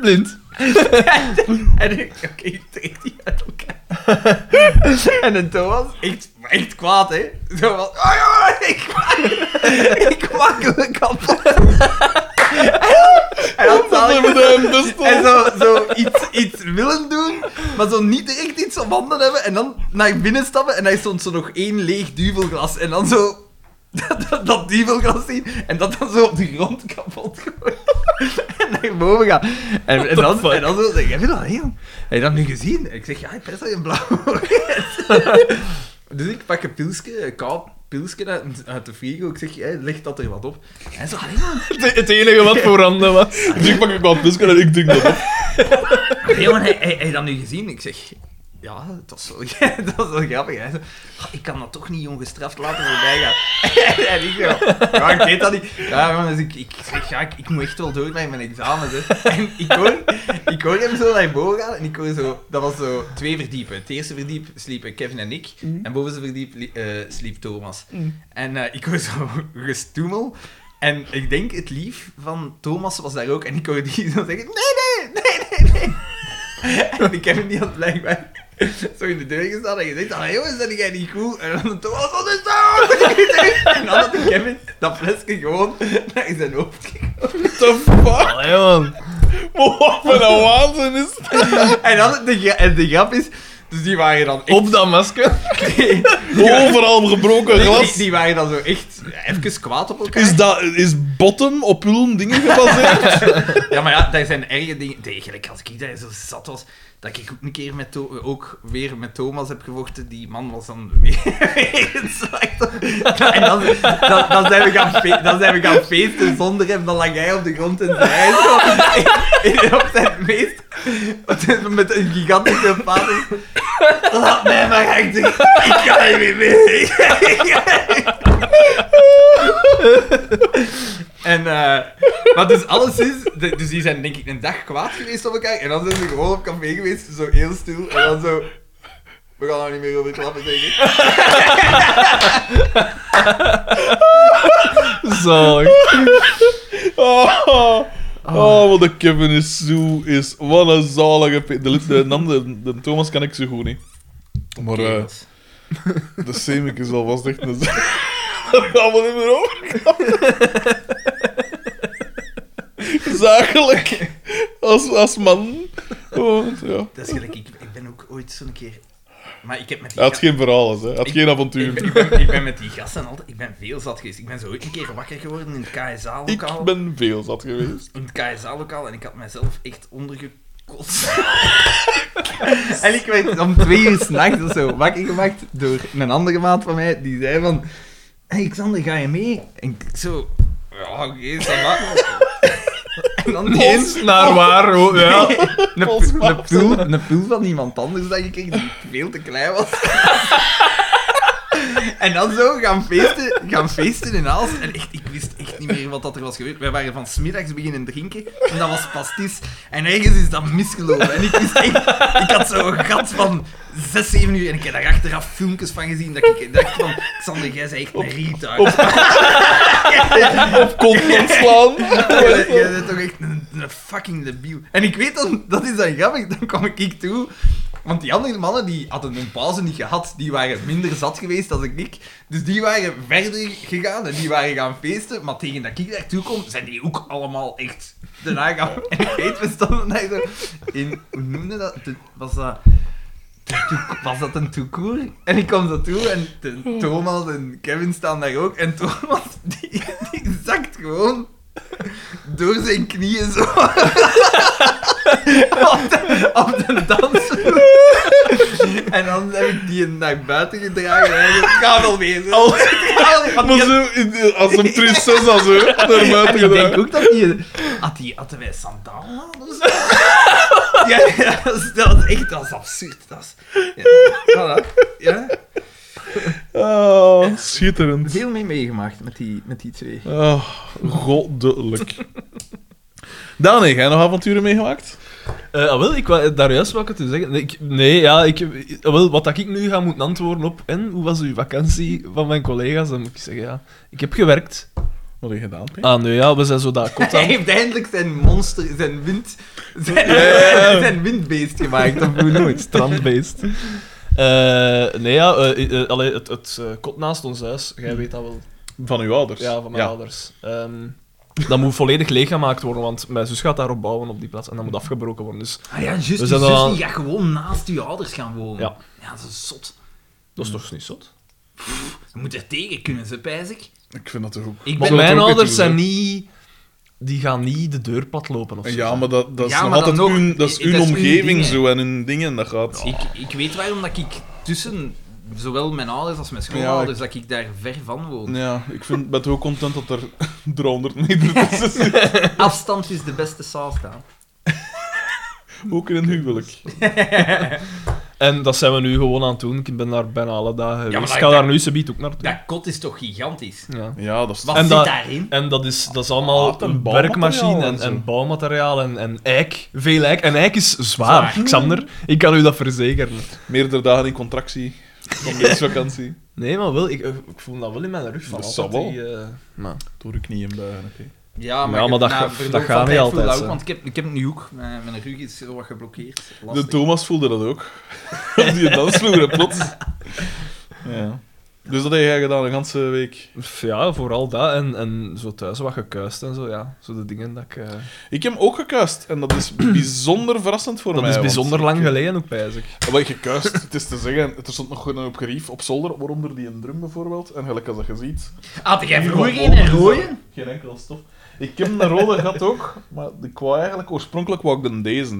Speaker 2: Blind.
Speaker 3: En ik, oké, ik trek die uit elkaar. en dan Thomas, echt, maar echt kwaad, hè. Zo van, oh ja, ik maak, ik maak hem kapot. Hij had
Speaker 1: Dat hebben
Speaker 3: zalig-
Speaker 1: we hem dus besteld.
Speaker 3: Ah. en zo, zo iets, iets willen doen, maar zo niet direct iets op handen hebben. En dan naar binnen stappen en daar stond zo nog één leeg duvelglas. En dan zo dat, dat, dat duvelglas zien en dat dan zo op de grond kapot gooien. en naar boven gaan. En, en, dan, en dan zo zeg heb je dat, hè, jong? Heb je dat nu gezien? En ik zeg, ja, ik pers al in blauw. dus ik pak een pilsje, een koud pilsje uit, uit de frigo. Ik zeg, hey, leg dat er wat op. En zo, allee, man.
Speaker 2: Het, het enige wat voorhanden was.
Speaker 1: Dus ik pak ik wat biscuit en ik drink dat op.
Speaker 3: Nee, maar hij, hij, hij dat nu gezien. Ik zeg, ja, het was wel, dat was wel grappig. Hij zo, "Ah, ik kan dat toch niet ongestraft laten voorbij gaan. en ik zo, ja, ik weet dat niet. Ja, man, dus ik, ik zeg, ja, ik, ik moet echt wel door met mijn examens. Hè. En ik hoor, ik hoor hem zo naar boven gaan en ik hoor zo, dat was zo twee verdiepen. Het eerste verdiep sliepen Kevin en ik, en boven zijn verdiep li- eh, sliep Thomas. En eh, ik hoor zo gestoemel. En ik denk het lief van Thomas was daar ook. En ik hoor die zo zeggen, nee, nee, nee, nee, nee. En ik heb hem niet aan het blijkbaar. zo in de deur gestaan en je zegt, ah jongens, dat jij niet cool? En dan de was wat is dat? En dan had de Kevin dat flesje gewoon naar zijn hoofd gekomen.
Speaker 1: What the fuck?
Speaker 2: Allee, man.
Speaker 1: Wat voor een waanzin is dat?
Speaker 3: En dan de, gra- en de grap is, dus die waren dan echt...
Speaker 2: Op dat masker.
Speaker 3: Nee,
Speaker 1: Overal gebroken
Speaker 3: die,
Speaker 1: glas.
Speaker 3: die waren dan zo echt even kwaad op elkaar.
Speaker 1: Is, dat, is bottom op hun dingen gebaseerd?
Speaker 3: Ja, maar ja, daar zijn erge dingen. Degelijk, als ik daar zo zat was, dat ik ook een keer met Tho- ook weer met Thomas heb gevochten, die man was dan weer een slachtoffer. En dan, dan, dan, zijn we gaan fe- dan zijn we gaan feesten zonder hem, dan lag hij op de grond en zij zo. in- in- op zijn meest, met een gigantische vader. Laat mij maar gaan doen. Ik ga hier niet mee. En, eh, maar dus alles is... de- dus die zijn denk ik een dag kwaad geweest op elkaar. En dan zijn ze gewoon op café geweest, zo heel stil. En dan zo... We gaan er niet meer over klappen, denk ik.
Speaker 2: Zo.
Speaker 1: Oh, oh, wat een Kevin is zo is. Wat een zalige... pe- De, de, nam, de, de Thomas kan ik zo goed niet. Maar eh, de Semik is alvast echt een... Dat gaan we niet meer over. Zakelijk. Als, als man. Oh, ja.
Speaker 3: Dat is gelijk, ik, ik ben ook ooit zo'n keer... Maar ik heb met die
Speaker 1: Hij had
Speaker 3: gasten-
Speaker 1: geen verhaal, hè. Hij had geen
Speaker 3: ik, ben-
Speaker 1: avontuur.
Speaker 3: ik, ben, ik ben met die gasten altijd... Ik ben veel zat geweest. Ik ben zo ooit een keer wakker geworden in het
Speaker 1: Ik
Speaker 3: KSA-lokaal.
Speaker 1: ben veel zat geweest.
Speaker 3: in het KSA-lokaal en ik had mezelf echt ondergekotst. en ik werd om twee uur s'nachts of zo wakker gemaakt door een andere maat van mij, die zei van... Hey, Xander, ga je mee? En ik zo... Ja, oké, ça va." En dan ineens...
Speaker 2: Eens naar waar, oh, ja.
Speaker 3: Een,
Speaker 1: Ons
Speaker 3: pu- een,
Speaker 1: maat.
Speaker 3: pul, een pul van iemand anders dat je kreeg, die veel te klein was. en dan zo gaan feesten, gaan feesten in Aals. En echt, ik wist echt niet meer wat dat er was gebeurd. Wij waren van smiddags beginnen drinken en dat was pastis. En ergens is dat misgelopen. En ik wist echt, ik had zo'n gat van 6, 7 uur en ik heb daar achteraf filmpjes van gezien dat ik dacht van, Xander, jij bent echt een retard.
Speaker 1: Op kont ontslaan.
Speaker 3: Jij jij bent toch echt een, een fucking debiel. En ik weet dan, dat is dan grappig, dan kwam ik toe. Want die andere mannen die hadden hun pauze niet gehad, die waren minder zat geweest dan ik. Dus die waren verder gegaan en die waren gaan feesten. Maar tegen dat ik daartoe kom, zijn die ook allemaal echt daarna gaan. En ik weet, we stonden daar zo in, hoe noemde dat? De- was dat? Toe- Was dat een toekoer? En ik kwam zo toe en de- Thomas en Kevin staan daar ook. En Thomas, die, die zakt gewoon door zijn knieën zo. op, de, op de dansvloer. en dan heb ik die naar buiten gedragen. En ik ga wel mee. zo."
Speaker 1: Al-
Speaker 3: Ik ga wel- want
Speaker 1: Maar
Speaker 3: die-
Speaker 1: zo, in de- als een prinses, als zo, naar buiten
Speaker 3: en ik denk
Speaker 1: gedaan.
Speaker 3: ook dat die... Had die hadden wij sandalen aan of zo? ja, ja, dat is- dat is echt dat is absurd. Dat is, ja, voilà. ja,
Speaker 1: Ah, schitterend.
Speaker 3: veel mee meegemaakt met die, met die twee.
Speaker 1: Ah, goddelijk. Daan, heb jij nog avonturen meegemaakt?
Speaker 2: Eh, ah, wel, ik wou, daar juist wou ik het u zeggen. Nee, ik- nee, ja, ik, ah, wel, wat dat ik nu ga moeten antwoorden op. En hoe was uw vakantie van mijn collega's? Dan moet ik zeggen, ja. Ik heb gewerkt.
Speaker 1: Wat heb je gedaan, P?
Speaker 2: Ah, nee, ja, we zijn zo daar kot
Speaker 3: Hij
Speaker 2: aan.
Speaker 3: heeft eindelijk zijn monster, zijn wind... Zijn,
Speaker 1: ja.
Speaker 3: zijn windbeest gemaakt, of hoe
Speaker 2: nooit, strandbeest. Eh, nee, ja, eh, eh, allee, het, het eh, kot naast ons huis, jij weet dat wel.
Speaker 1: Van uw ouders?
Speaker 2: Ja, van mijn ouders. Ehm, dat moet volledig leeggemaakt worden, want mijn zus gaat daarop bouwen op die plaats en dat moet afgebroken worden. Dus
Speaker 3: Ah ja, juist.
Speaker 2: We
Speaker 3: Dus
Speaker 2: zijn
Speaker 3: zus
Speaker 2: al-
Speaker 3: die gaat gewoon naast uw ouders gaan wonen.
Speaker 2: Ja.
Speaker 3: dat is zot.
Speaker 2: dat
Speaker 1: Mm.
Speaker 2: is toch niet zot?
Speaker 3: Je moet er tegen kunnen, ze, pijs ik.
Speaker 1: Ik vind dat toch ook...
Speaker 3: Ik
Speaker 2: Maar
Speaker 1: ben-
Speaker 2: mijn
Speaker 1: ook
Speaker 2: ouders
Speaker 1: het doen,
Speaker 2: zijn niet... Die gaan niet de deurpad lopen of zo.
Speaker 1: Ja, maar dat, dat is
Speaker 3: Ja,
Speaker 1: nog
Speaker 3: maar dan
Speaker 1: altijd
Speaker 3: nog-
Speaker 1: hun, dat is
Speaker 3: i-
Speaker 1: hun
Speaker 3: dat is hun
Speaker 1: omgeving
Speaker 3: dingen.
Speaker 1: zo en hun dingen, dat gaat...
Speaker 3: Ik, ik weet waarom dat ik tussen zowel mijn ouders als mijn schoonouders, dat ik daar ver van woon.
Speaker 1: Ja, ik vind, ben toch ook content dat er 300 meter tussen zit.
Speaker 3: Afstand is de beste saus dan.
Speaker 1: Ook in een huwelijk.
Speaker 2: En dat zijn we nu gewoon aan het doen. Ik ben daar bijna alle dagen geweest.
Speaker 3: maar
Speaker 2: ik ga
Speaker 3: dat-
Speaker 2: daar nu subiet ook naartoe.
Speaker 3: Dat kot is toch gigantisch?
Speaker 2: Ja.
Speaker 1: Ja, dat is...
Speaker 3: Wat
Speaker 2: En
Speaker 3: zit
Speaker 2: dat-
Speaker 3: daarin?
Speaker 2: En dat is, dat is
Speaker 1: Ah,
Speaker 2: allemaal
Speaker 1: en bouwmateriaal
Speaker 2: werkmachine en,
Speaker 1: en zo.
Speaker 2: en bouwmateriaal en, en eik. Veel eik. En eik is zwaar,
Speaker 3: Zwaar.
Speaker 2: Xander. Ik kan u dat verzekeren.
Speaker 1: Meerdere dagen in contractie. Van deze vakantie.
Speaker 2: Nee, maar wel, ik, ik voel dat wel in mijn rug. Van
Speaker 1: Dat
Speaker 2: altijd
Speaker 1: zal wel.
Speaker 2: die, eh, maar-
Speaker 1: Door uw knieën buigen, oké.
Speaker 3: Ja, maar,
Speaker 2: Ja,
Speaker 3: ik
Speaker 2: maar
Speaker 3: heb
Speaker 2: dat-
Speaker 3: na
Speaker 2: dat
Speaker 3: verloop
Speaker 2: gaat
Speaker 3: van
Speaker 2: niet
Speaker 3: tijd
Speaker 2: altijd,
Speaker 3: voelde dat
Speaker 2: hè.
Speaker 3: Ook, want ik heb, ik heb nu ook, mijn, mijn rug is zo wat geblokkeerd.
Speaker 1: De
Speaker 3: Lastig.
Speaker 1: Thomas voelde dat ook. Die dans vroeger plots. Ja. Dus dat heb jij gedaan de ganse week.
Speaker 2: Pff, Ja, vooral dat. En, en zo thuis wat gekuist en zo, ja. Zo de dingen dat ik... eh,
Speaker 1: Ik heb ook gekuist en dat is bijzonder verrassend voor
Speaker 2: Dat
Speaker 1: mij.
Speaker 2: is
Speaker 1: want
Speaker 2: bijzonder lang
Speaker 1: ik- Ah,
Speaker 2: geleden ook, pijs ik.
Speaker 1: Wat je kuist, het is te zeggen, er stond nog gewoon een op gerief op zolder, waaronder die een drum bijvoorbeeld. En gelijk als dat je ziet.
Speaker 3: Had jij vroeger
Speaker 1: Hier
Speaker 3: geen
Speaker 1: gewoon
Speaker 3: een
Speaker 1: boven,
Speaker 3: rode?
Speaker 1: dus Geen enkel stof. Ik heb een rode gehad ook, maar ik wou eigenlijk oorspronkelijk wou ik dan deze.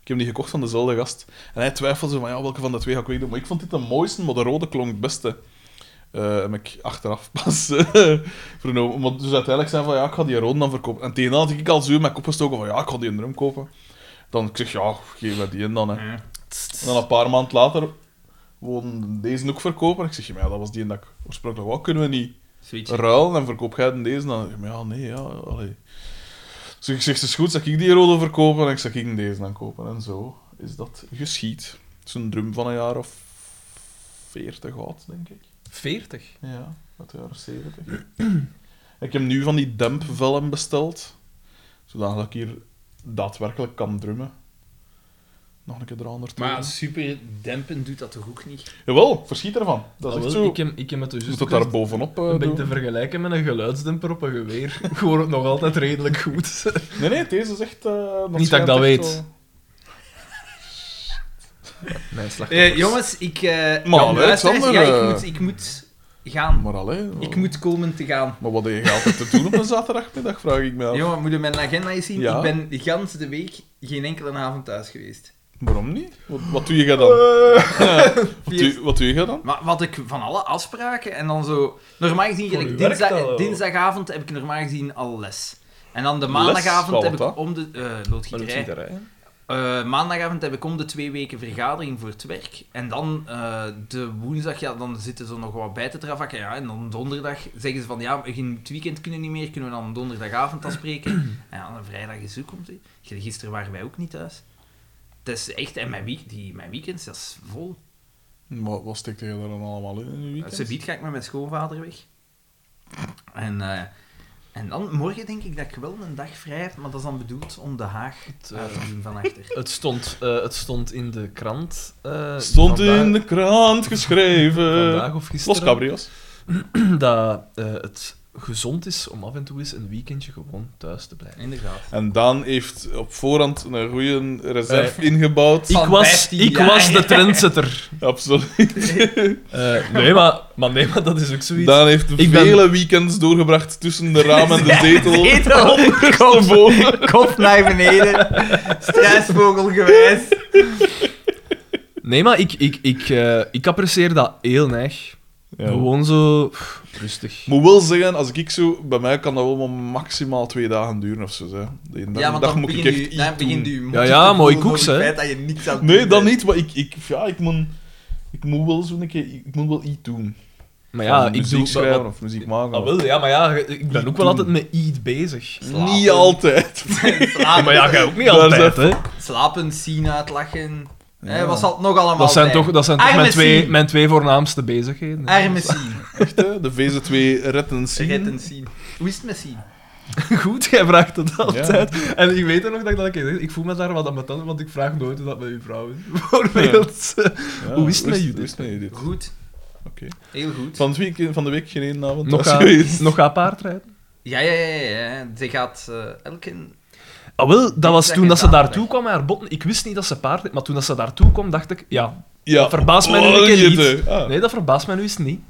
Speaker 1: Ik heb die gekocht van dezelfde gast. En hij twijfelde zo van, ja, welke van de twee ga ik wegdoen? Maar ik vond dit de mooiste, maar de rode klonk het beste. Eh heb ik achteraf pas eh, vernomen. Maar dus uiteindelijk zei hij van, ja, ik ga die rode dan verkopen. En tegen had ik al zo in mijn kop gestoken van, ja, ik ga die een drum kopen. Dan ik zeg, ja, geef mij die in dan, hè. En dan een paar maanden later woon deze ook verkopen. Ik zeg, ja, maar ja, dat was die dat ik oorspronkelijk wou. Kunnen we niet
Speaker 3: Zoiets.
Speaker 1: ruil en verkoop jij dan deze? Dan, maar ja, nee, ja, allee. Dus ik zeg, het is goed, zal ik die rode verkopen en ik zal ik deze dan kopen. En zo is dat geschied. Het is een drum van een jaar of 40 oud, denk ik.
Speaker 2: 40?
Speaker 1: Ja, uit de jaren 70. ik heb nu van die dempvellen besteld, zodat ik hier daadwerkelijk kan drummen. Nog een keer eronder toe.
Speaker 3: Maar super dempen doet dat toch ook niet?
Speaker 1: Jawel, verschiet ervan. Dat is
Speaker 2: Ah,
Speaker 1: echt
Speaker 2: wel,
Speaker 1: zo.
Speaker 2: Ik heb, ik heb het dus
Speaker 1: Je moet
Speaker 2: juist
Speaker 1: dat
Speaker 2: ook
Speaker 1: daar
Speaker 2: eens
Speaker 1: bovenop eh,
Speaker 2: een beetje
Speaker 1: doen.
Speaker 2: te vergelijken met een geluidsdemper op een geweer. Ik hoor het nog altijd redelijk goed.
Speaker 1: Nee, nee, deze is echt... eh,
Speaker 2: Niet dat ik
Speaker 1: schijnt
Speaker 2: dat
Speaker 1: echt
Speaker 2: weet.
Speaker 1: wel-
Speaker 2: Mijn slag.
Speaker 3: Eh, jongens, ik... eh,
Speaker 1: Maar
Speaker 3: ja, luister,
Speaker 1: Alexander,
Speaker 3: ja, ik,
Speaker 1: eh.
Speaker 3: moet, ik moet gaan.
Speaker 1: Maar allee...
Speaker 3: Ik
Speaker 1: wel.
Speaker 3: moet komen te gaan.
Speaker 1: Maar wat heb je altijd te doen op een zaterdagmiddag, vraag ik me af.
Speaker 3: Jongen, moet je mijn agenda eens zien?
Speaker 1: Ja.
Speaker 3: Ik ben de ganse de week geen enkele avond thuis geweest.
Speaker 1: Waarom niet? Wat, wat doe je dan? Wat doe, wat doe je dan?
Speaker 3: Maar wat ik van alle afspraken en dan zo. Normaal gezien,
Speaker 2: Voor
Speaker 3: gelijk
Speaker 2: u werkt
Speaker 3: dinsda-
Speaker 2: dat wel.
Speaker 3: dinsdagavond heb ik normaal gezien al les. En dan de maandagavond
Speaker 1: Wat
Speaker 3: heb
Speaker 1: was
Speaker 3: ik
Speaker 1: dat?
Speaker 3: om de. eh loodgieterij. Eh, maandagavond heb ik om de twee weken vergadering voor het werk. En dan eh, de woensdag, ja, dan zitten ze nog wat bij te travakken. Ja. En dan donderdag zeggen ze van, ja, we gaan het weekend kunnen niet meer, kunnen we dan donderdagavond afspreken. En ja, dan vrijdag is ook om te... Gisteren waren wij ook niet thuis. Het is echt, en mijn, week, die, mijn weekend, dat is vol.
Speaker 1: Wat, wat steekt je daar dan allemaal in in je weekend?
Speaker 3: Ze biedt ga ik met mijn schoonvader weg. En, eh, en dan, morgen denk ik dat ik wel een dag vrij heb, maar dat is dan bedoeld om de Haag
Speaker 2: eh,
Speaker 3: uit te doen van achter.
Speaker 2: Het stond, eh, het stond in de krant. eh,
Speaker 1: Stond
Speaker 2: vandaag-
Speaker 1: in de krant geschreven.
Speaker 2: Vandaag of gisteren.
Speaker 1: Los Cabrios.
Speaker 2: dat eh, het gezond is om af en toe eens een weekendje gewoon thuis te blijven.
Speaker 3: Inderdaad.
Speaker 1: En Daan heeft op voorhand een goede reserve ingebouwd.
Speaker 2: Eh, Ik
Speaker 3: Van
Speaker 2: was,
Speaker 3: 15
Speaker 2: ik
Speaker 3: jaar.
Speaker 2: was de trendsetter.
Speaker 1: Absoluut.
Speaker 2: Eh, nee, maar, maar nee, maar dat is ook zoiets.
Speaker 1: Daan heeft
Speaker 2: Ik ben-
Speaker 1: vele weekends doorgebracht tussen de raam en de zetel.
Speaker 3: Zetel.
Speaker 1: Boven.
Speaker 3: Kop naar beneden. Struisvogel geweest.
Speaker 2: Nee, maar ik, ik, ik, eh, ik apprecieer dat heel erg.
Speaker 1: Ja.
Speaker 2: Gewoon zo pff, rustig.
Speaker 1: Moet wel zeggen, als ik zo... Bij mij kan dat wel maar maximaal twee dagen duren of zo. Hè. Die ene
Speaker 3: Ja, want
Speaker 1: dag
Speaker 3: dan
Speaker 1: moet ik
Speaker 3: begint
Speaker 1: echt
Speaker 3: u,
Speaker 1: iets
Speaker 3: dan
Speaker 1: doen.
Speaker 3: begint u
Speaker 2: Ja, ja,
Speaker 3: moeite te
Speaker 2: mooi
Speaker 3: voelen door
Speaker 2: koeks,
Speaker 3: het
Speaker 2: hè.
Speaker 3: feit dat je niks aan het
Speaker 1: Nee,
Speaker 3: doen
Speaker 1: dat
Speaker 3: bent.
Speaker 1: niet, maar ik, ik, ja, ik moet, ik moet wel zo'n keer, ik moet wel iets doen.
Speaker 2: Maar ja,
Speaker 1: Van
Speaker 2: ik
Speaker 1: muziek
Speaker 2: doe...
Speaker 1: schrijven
Speaker 2: wat-
Speaker 1: of muziek maken.
Speaker 2: Ah, wel, ja, maar ja, ik ben ook wel altijd met iets bezig.
Speaker 3: slapen.
Speaker 1: Niet altijd.
Speaker 2: Ja,
Speaker 3: Slapen,
Speaker 2: Ah, maar ja, jij ook niet
Speaker 1: Daar
Speaker 2: altijd,
Speaker 1: zijn-
Speaker 2: hè.
Speaker 3: slapen, zien, uitlachen.
Speaker 1: Ja.
Speaker 3: Hè, wat zal het nog allemaal
Speaker 2: Dat zijn
Speaker 3: zijn?
Speaker 2: toch, dat zijn toch
Speaker 3: Arme
Speaker 2: mijn, twee,
Speaker 3: Sien.
Speaker 2: mijn twee voornaamste bezigheden. hè.
Speaker 3: Arme zien.
Speaker 1: Echt, hè? De VZ2 retten zien.
Speaker 3: Retten zien. Hoe is het met zien?
Speaker 2: Goed, jij vraagt het altijd. En ik weet ook nog dat ik dat een keer zeg. Ik voel me daar wat aan mijn tanden, want ik vraag nooit hoe dat met uw vrouw is. Bijvoorbeeld.
Speaker 1: Ja,
Speaker 2: Hoe is het met Judith?
Speaker 1: Hoe is het met Judith?
Speaker 3: Goed.
Speaker 1: Oké.
Speaker 3: Heel goed.
Speaker 1: Van, het week- van de week geen één avond
Speaker 2: Nog
Speaker 1: nog
Speaker 2: gaan,
Speaker 1: geweest.
Speaker 2: nog gaan paardrijden?
Speaker 3: Ja, ja, ja, ja. ja. Ze gaat eh, elke...
Speaker 2: Ah, wel, dat was
Speaker 3: zeg
Speaker 2: toen
Speaker 3: je
Speaker 2: dat ze
Speaker 3: zaterdag.
Speaker 2: daartoe kwam met haar botten. Ik wist niet dat ze paard maar toen dat ze daartoe kwam, dacht ik, ja,
Speaker 1: Ja.
Speaker 2: verbaast mij nu een keer
Speaker 1: Judith.
Speaker 2: niet.
Speaker 1: Ah,
Speaker 2: nee, dat verbaast mij nu eens niet.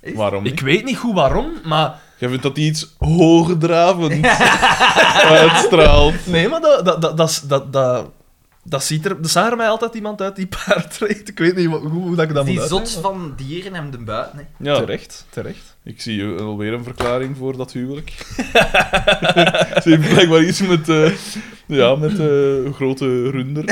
Speaker 3: Is-
Speaker 1: Waarom niet?
Speaker 2: Ik weet niet goed waarom, maar...
Speaker 1: Jij vindt dat die iets hoogdravend uitstraalt.
Speaker 2: Nee, maar dat, dat, dat, dat, is- dat, dat, dat ziet er... Er zag er mij altijd iemand uit die paardrijdt. Ik weet niet wat- hoe, hoe dat ik dat
Speaker 3: Die
Speaker 2: moet
Speaker 3: zot
Speaker 2: uitleggen.
Speaker 3: van dieren hem de buiten. Hè.
Speaker 1: Ja.
Speaker 2: Terecht, terecht.
Speaker 1: Ik zie alweer een verklaring voor dat huwelijk. Ze heeft blijkbaar iets met, eh, ja, met eh, grote runder.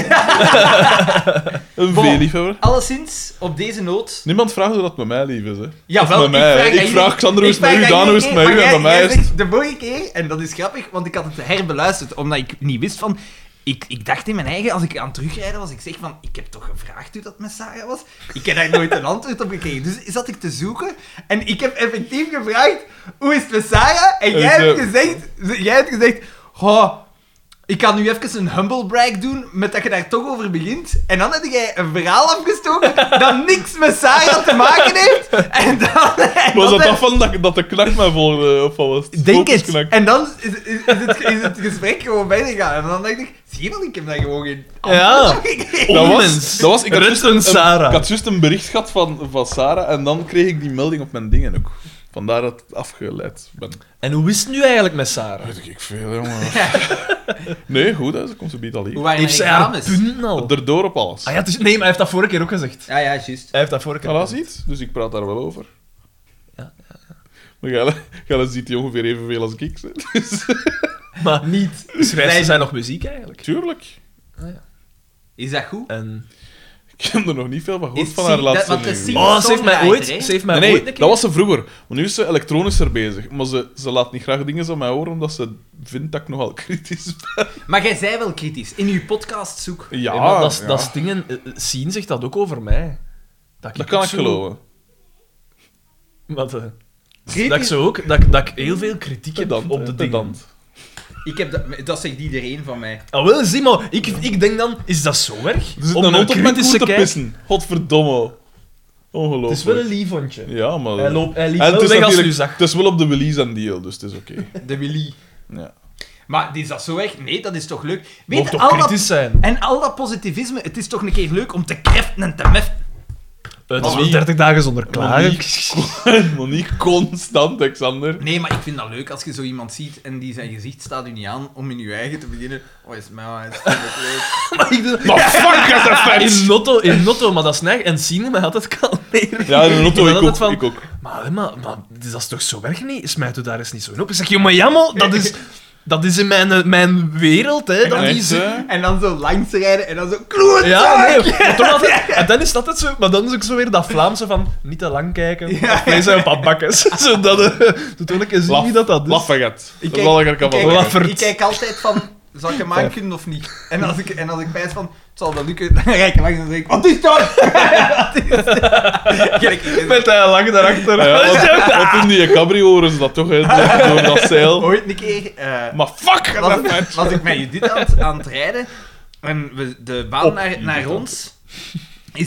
Speaker 1: een
Speaker 3: Bon.
Speaker 1: veeliefhebber.
Speaker 3: Alleszins, op deze noot...
Speaker 1: Niemand vraagt hoe dat met mij lief is, hè.
Speaker 3: Jawel,
Speaker 1: Met mij, hè. Ik
Speaker 3: aan
Speaker 1: vraag
Speaker 3: jullie-
Speaker 1: Xander hoe is het met
Speaker 3: vraag
Speaker 1: u,
Speaker 3: aan
Speaker 1: Daan hoe is het
Speaker 3: jullie,
Speaker 1: met u
Speaker 3: maar
Speaker 1: en
Speaker 3: jij-
Speaker 1: bij mij
Speaker 3: jij
Speaker 1: is het-
Speaker 3: zegt De vorige keer, en dat is grappig, want ik had het herbeluisterd, omdat ik niet wist van... Ik, ik dacht in mijn eigen, als ik aan het terugrijden was, ik zeg van, ik heb toch gevraagd hoe dat met Sarah was? Ik heb daar nooit een antwoord op gekregen. Dus zat ik te zoeken en ik heb effectief gevraagd, hoe is het met Sarah? En
Speaker 1: En
Speaker 3: jij
Speaker 1: ze-
Speaker 3: hebt gezegd, jij hebt gezegd, oh, ik kan nu even een humble brag doen, met dat je daar toch over begint. En dan heb jij een verhaal afgestoken dat niks met Sarah te maken heeft. En dan... en
Speaker 1: Was
Speaker 3: dan
Speaker 1: dat
Speaker 3: heb-
Speaker 1: dat van dat, dat de knak mij volgde? Of wat was het?
Speaker 3: Denk het.
Speaker 1: Focusknak.
Speaker 3: En dan is, is, is het, is het gesprek gewoon bijgegaan. En dan dacht ik, zie je wel, ik heb daar gewoon geen
Speaker 2: Ja. Oh,
Speaker 3: antwoord op gegeven.
Speaker 1: Dat was,
Speaker 2: Onmens.
Speaker 1: dat was, ik, had
Speaker 2: Rust
Speaker 1: juist een,
Speaker 2: een Sarah.
Speaker 1: ik had juist een bericht gehad van, van Sarah en dan kreeg ik die melding op mijn dingen ook. Vandaar dat ik afgeleid ben.
Speaker 2: En hoe is het nu eigenlijk met Sarah?
Speaker 1: Weet ik veel, jongen. nee, goed, hè, ze komt ze biedt al hier.
Speaker 3: waren
Speaker 2: Heeft zij haar punten al?
Speaker 1: Erdoor op alles.
Speaker 2: Ah ja, het is- nee, maar hij heeft dat vorige keer ook gezegd.
Speaker 3: Ja, ja, juist.
Speaker 2: Hij heeft dat vorige keer
Speaker 1: Voilà,
Speaker 2: gezegd.
Speaker 1: ziet. Dus ik praat daar wel over.
Speaker 2: Ja,
Speaker 1: Maar Gelle, Gelle ziet die ongeveer evenveel als ik. hè. Dus,
Speaker 2: Maar niet. Schrijft ze zijn nog muziek eigenlijk?
Speaker 1: tuurlijk.
Speaker 3: Is dat goed?
Speaker 2: En...
Speaker 1: Ik heb er nog niet veel van gehoord
Speaker 3: Is
Speaker 1: van
Speaker 3: sie-
Speaker 1: haar
Speaker 3: dat-
Speaker 1: laatste
Speaker 3: want dat
Speaker 1: nieuws.
Speaker 3: sie-
Speaker 2: Oh, ze heeft mij ooit,
Speaker 3: Songwriter, hè?
Speaker 2: ze heeft mij
Speaker 1: Nee,
Speaker 2: ooit
Speaker 1: nee
Speaker 2: een
Speaker 1: dat
Speaker 2: keer...
Speaker 1: was ze vroeger. Maar nu is ze elektronischer bezig. Maar ze, ze laat niet graag dingen aan mij horen, omdat ze vindt dat ik nogal kritisch ben.
Speaker 3: Maar jij zei wel kritisch. In uw podcast zoek.
Speaker 1: Ja,
Speaker 2: Ja, maar dat is-
Speaker 1: ja.
Speaker 2: dat is dingen... eh, eh, Sien zegt dat ook over mij. Dat,
Speaker 1: Dat kan
Speaker 2: ook
Speaker 1: ik
Speaker 2: zo-
Speaker 1: geloven.
Speaker 2: Wat, eh,
Speaker 3: Kritisch?
Speaker 2: dat ik zo ook... Dat, ik- dat ik heel veel kritiek heb
Speaker 1: Pedant,
Speaker 2: op
Speaker 1: hè,
Speaker 2: de dingen.
Speaker 1: pedant.
Speaker 3: Ik heb dat, dat zegt iedereen van mij.
Speaker 2: Ah, wel, zie maar. Ik, ik denk dan, is dat zo erg?
Speaker 1: Er zit
Speaker 2: Om
Speaker 1: een hond op mijn koe
Speaker 2: kritische
Speaker 1: te
Speaker 2: kijk-
Speaker 1: pissen. Godverdomme. Ongelooflijk.
Speaker 2: Het is wel een Eh, lief hondje.
Speaker 1: Ja, maar...
Speaker 2: Hij, loopt, hij liep
Speaker 1: En
Speaker 2: wel
Speaker 1: het, is
Speaker 2: weg als
Speaker 1: natuurlijk-
Speaker 2: u zag.
Speaker 1: het is wel op de Willy's en deal, dus het is oké.
Speaker 3: De Willy.
Speaker 1: Ja.
Speaker 3: Maar is dat zo echt? Nee, dat is toch leuk? Weet
Speaker 2: Mocht
Speaker 3: je,
Speaker 2: toch
Speaker 3: al dat,
Speaker 2: kritisch zijn.
Speaker 3: en al dat positivisme, het is toch een keer leuk om te kreften en te meften.
Speaker 2: Het is wel
Speaker 1: Monique-
Speaker 2: 30 dagen zonder klagen.
Speaker 1: Monique, Monique constant, Alexander.
Speaker 3: Nee, maar ik vind dat leuk als je zo iemand ziet en die zijn gezicht staat u niet aan om in je eigen te beginnen. Oh, is mij is dat leuk.
Speaker 2: Maar ik doe-
Speaker 1: Maar fuck, dat is
Speaker 2: In
Speaker 1: fijn!
Speaker 2: Notto, in Notto, maar dat is neig. En Sine mij altijd kalmeren.
Speaker 1: Ja, in de
Speaker 2: Ik ben
Speaker 1: auto, ik ook.
Speaker 2: altijd van-
Speaker 1: Ik ook.
Speaker 2: Maar, hè, maar, maar dit- dat is toch zo erg niet? Smijt u daar eens niet zo in op. Ik zeg, joh, maar jammer, dat is, dat is in mijn, eh, mijn wereld, hè. Dat
Speaker 1: Echt,
Speaker 2: is,
Speaker 1: hè?
Speaker 3: En dan zo langs rijden en dan zo... Kloot!
Speaker 2: ja, nee. maar toch altijd- en dan is dat het zo, maar dan is ook zo weer dat Vlaamse van niet te lang kijken,
Speaker 3: Ja.
Speaker 2: of wij zijn een paar bakkes. zo dat, eh, doet wel een keer
Speaker 1: Dus-
Speaker 2: zien
Speaker 1: Laf-
Speaker 2: wie dat dat is.
Speaker 1: Laffagat.
Speaker 3: Ik
Speaker 1: Dat
Speaker 3: kijk-
Speaker 1: is al een keer
Speaker 3: kijk-
Speaker 1: van Laffagat.
Speaker 2: Laffert.
Speaker 3: Ik kijk altijd van, zal ik hem aankunnen of niet? En als ik, en als ik pijs van, het zal wel lukken, dan rijd ik langs en zeg ik, wat is dat? Wat is dat? Kijk, ik dus ben
Speaker 2: Met hij lang daarachter.
Speaker 1: Ja, want, want in die cabrio horen ze dat toch, hè, door- door dat zeil.
Speaker 3: ooit een keer... eh,
Speaker 1: Maar fuck, dat is fijn.
Speaker 3: was, was ik met Judith aan, het- aan het rijden en we, de baan
Speaker 1: Op
Speaker 3: naar,
Speaker 1: Judith
Speaker 3: naar
Speaker 1: aan
Speaker 3: ons is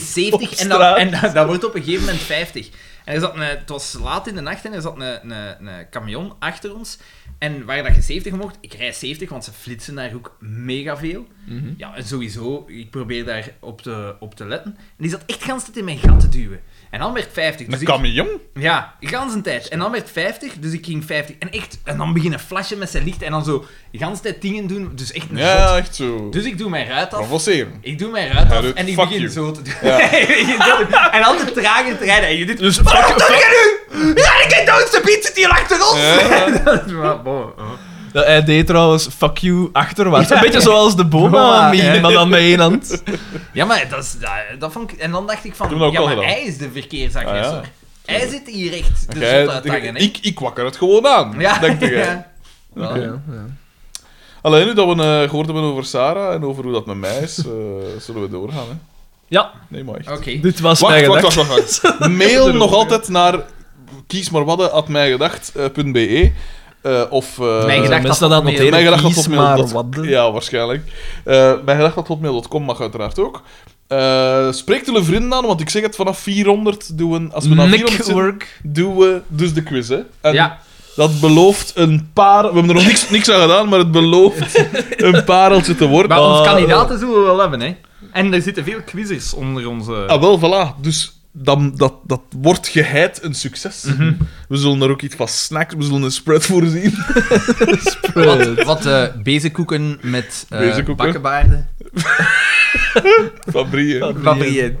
Speaker 2: Op
Speaker 3: 70 en, dat,
Speaker 2: straat.
Speaker 3: en dat, dat wordt op een gegeven moment 50. En er zat een, het was laat in de nacht en er zat een, een, een camion achter ons. En waar dat je 70 mocht, ik rij 70, want ze flitsen daar ook mega veel.
Speaker 1: Mhm.
Speaker 3: Ja, en sowieso, ik probeer daar op te, op te letten. En die zat echt de hele tijd in mijn gat te duwen. En dan werd 50. Dus
Speaker 1: Een
Speaker 3: ik-
Speaker 1: camion?
Speaker 3: ja, gans een tijd. En dan werd 50, dus ik ging 50. En echt, en dan beginnen flashen met zijn licht en dan zo gans tijd dingen doen. Dus echt een
Speaker 1: Ja,
Speaker 3: zot.
Speaker 1: echt zo.
Speaker 3: Dus ik doe mijn ruit af.
Speaker 1: Provoceren.
Speaker 3: Ik doe mijn ruit
Speaker 1: Hij
Speaker 3: af
Speaker 1: doet,
Speaker 3: en ik
Speaker 1: "Fuck
Speaker 3: begin
Speaker 1: you."
Speaker 3: zo te doen.
Speaker 1: Ja.
Speaker 3: Ik begin zo te doen. en altijd traag in te rijden. En je dit...
Speaker 2: Dus fuck,
Speaker 3: Wat doe je nu? Ja, ik heb dood, ze biedt zit hier achter ons!
Speaker 1: Ja.
Speaker 3: Dat is maar, bon, oh.
Speaker 2: Ja, hij deed trouwens fuck you achterwaarts.
Speaker 3: Ja.
Speaker 2: Een beetje zoals de
Speaker 3: Boa,
Speaker 2: boba
Speaker 3: ja.
Speaker 2: meme, maar dan met één hand.
Speaker 3: Ja, maar dat, is, dat, dat vond ik... En dan dacht ik van,
Speaker 1: Ik heb dat ook
Speaker 3: ja,
Speaker 1: al
Speaker 3: maar
Speaker 1: gedaan.
Speaker 3: hij is de verkeersagressor.
Speaker 1: Ah, ja.
Speaker 3: Hij zit hier echt de
Speaker 1: Jij-
Speaker 3: zot uit te hangen, Dus hè.
Speaker 1: ik, ik wakker het gewoon aan,
Speaker 3: Ja,
Speaker 1: denk ik.
Speaker 3: ja.
Speaker 1: Ja. Alleen nu dat we eh, gehoord hebben over Sarah en over hoe dat met mij is, eh, zullen we doorgaan. Hè?
Speaker 2: Ja,
Speaker 1: Nee, maar echt.
Speaker 3: Oké.
Speaker 2: dit was
Speaker 1: Wacht,
Speaker 2: mijn
Speaker 1: wacht,
Speaker 2: gedachte.
Speaker 1: wacht, wacht, wacht. Mail nog altijd naar kiesmaarwadden.mijgedacht.be eh of... eh,
Speaker 3: Mijn gedacht-
Speaker 2: Mensen dat aan het
Speaker 3: Mijn
Speaker 1: mijn
Speaker 2: noteren,
Speaker 1: gedacht
Speaker 2: kies maar
Speaker 1: hotmail.com.
Speaker 2: wat.
Speaker 1: Ja, waarschijnlijk. Eh mijn gedacht dat hotmail.com mag uiteraard ook. Eh spreek jullie vrienden aan, want ik zeg het, vanaf 400 doen we... Als we naar 400 zitten,
Speaker 2: Network.
Speaker 1: doen we dus de quiz, hè. En
Speaker 3: Ja.
Speaker 1: dat belooft een paar... We hebben er nog niks, niks aan gedaan, maar het belooft een pareltje te worden.
Speaker 3: Maar
Speaker 2: Oh.
Speaker 3: ons kandidaten zullen we wel hebben, hè? En er zitten veel quizzers onder onze.
Speaker 1: Ah, wel, voilà. Dus dan, dat, dat wordt geheid een succes.
Speaker 3: Mhm.
Speaker 1: We zullen er ook iets van snacks, we zullen een spread voorzien.
Speaker 3: Wat, wat eh, bezenkoeken met eh,
Speaker 1: Bezenkoeken.
Speaker 3: bakkenbaarden.
Speaker 1: Van Brie, hè.
Speaker 3: Fabrien.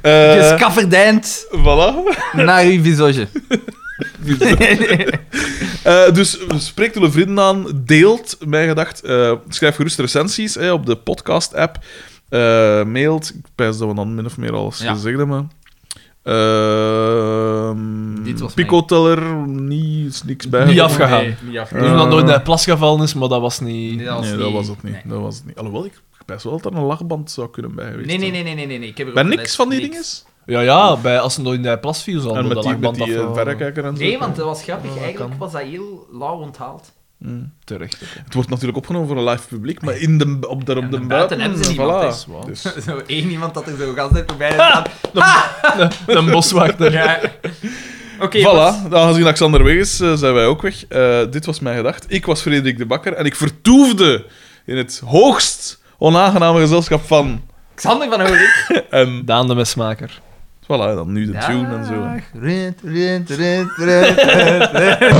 Speaker 1: Eh,
Speaker 3: Gescafferdijnd
Speaker 1: voilà.
Speaker 3: naar uw visage.
Speaker 1: Eh, dus spreek jullie vrienden aan, deelt mijn gedacht. eh, schrijf gerust recensies hè, op de podcast-app. eh mailt, ik pijs dat we dan min of meer alles
Speaker 3: Ja.
Speaker 1: gezegd hebben. Ehm,
Speaker 4: Dit was
Speaker 1: Picoteller, niets, niks bij.
Speaker 2: Niet afgegaan.
Speaker 4: Nee.
Speaker 3: Niet af.
Speaker 1: Eh,
Speaker 2: Dus dat nooit naar plas gevallen is, maar dat was niet...
Speaker 1: Nee,
Speaker 3: Nee,
Speaker 1: dat
Speaker 3: niet-
Speaker 1: was het niet.
Speaker 3: Nee.
Speaker 1: Dat was het niet. Alhoewel, ik ik best wel dat er een lachband zou kunnen bij geweest
Speaker 3: Nee, nee,
Speaker 1: zijn.
Speaker 3: nee, nee, nee, nee, nee. Ik heb er
Speaker 1: Bij
Speaker 3: ook
Speaker 1: niks
Speaker 3: gelet.
Speaker 1: van die
Speaker 3: Niks.
Speaker 1: dingen? is?
Speaker 2: Ja, ja, bij, als ze nooit naar plas viel, zal
Speaker 1: En
Speaker 2: dat
Speaker 1: met die, met
Speaker 2: langband
Speaker 1: die eh,
Speaker 2: afvallen.
Speaker 1: verrekijker en zo.
Speaker 3: Nee, want eh, dat was grappig.
Speaker 2: Ja, Oh, dat
Speaker 3: Eigenlijk
Speaker 2: kan.
Speaker 3: was dat heel lauw onthaald.
Speaker 1: Mm.
Speaker 2: Terecht. oké.
Speaker 1: Het wordt natuurlijk opgenomen voor een live publiek, maar in de, op de,
Speaker 3: Ja,
Speaker 1: op de
Speaker 3: maar buiten
Speaker 1: buiten...
Speaker 3: hebben ze
Speaker 1: eh,
Speaker 3: niemand,
Speaker 1: voilà.
Speaker 2: is waar.
Speaker 1: Dus-
Speaker 3: Zo één iemand dat er zo gans net voorbij staat.
Speaker 2: De boswachter.
Speaker 3: Ja. Oké, wat-
Speaker 1: voilà, dan aangezien Alexander weg is, eh, zijn wij ook weg. Eh, dit was mijn gedacht. Ik was Frederik de Bakker en ik vertoefde in het hoogst onaangename gezelschap van...
Speaker 3: Xander van Horik.
Speaker 1: En
Speaker 2: Daan de mesmaker.
Speaker 1: voilà, dan nu de tune en zo.
Speaker 4: Rent, rent, rent, rent.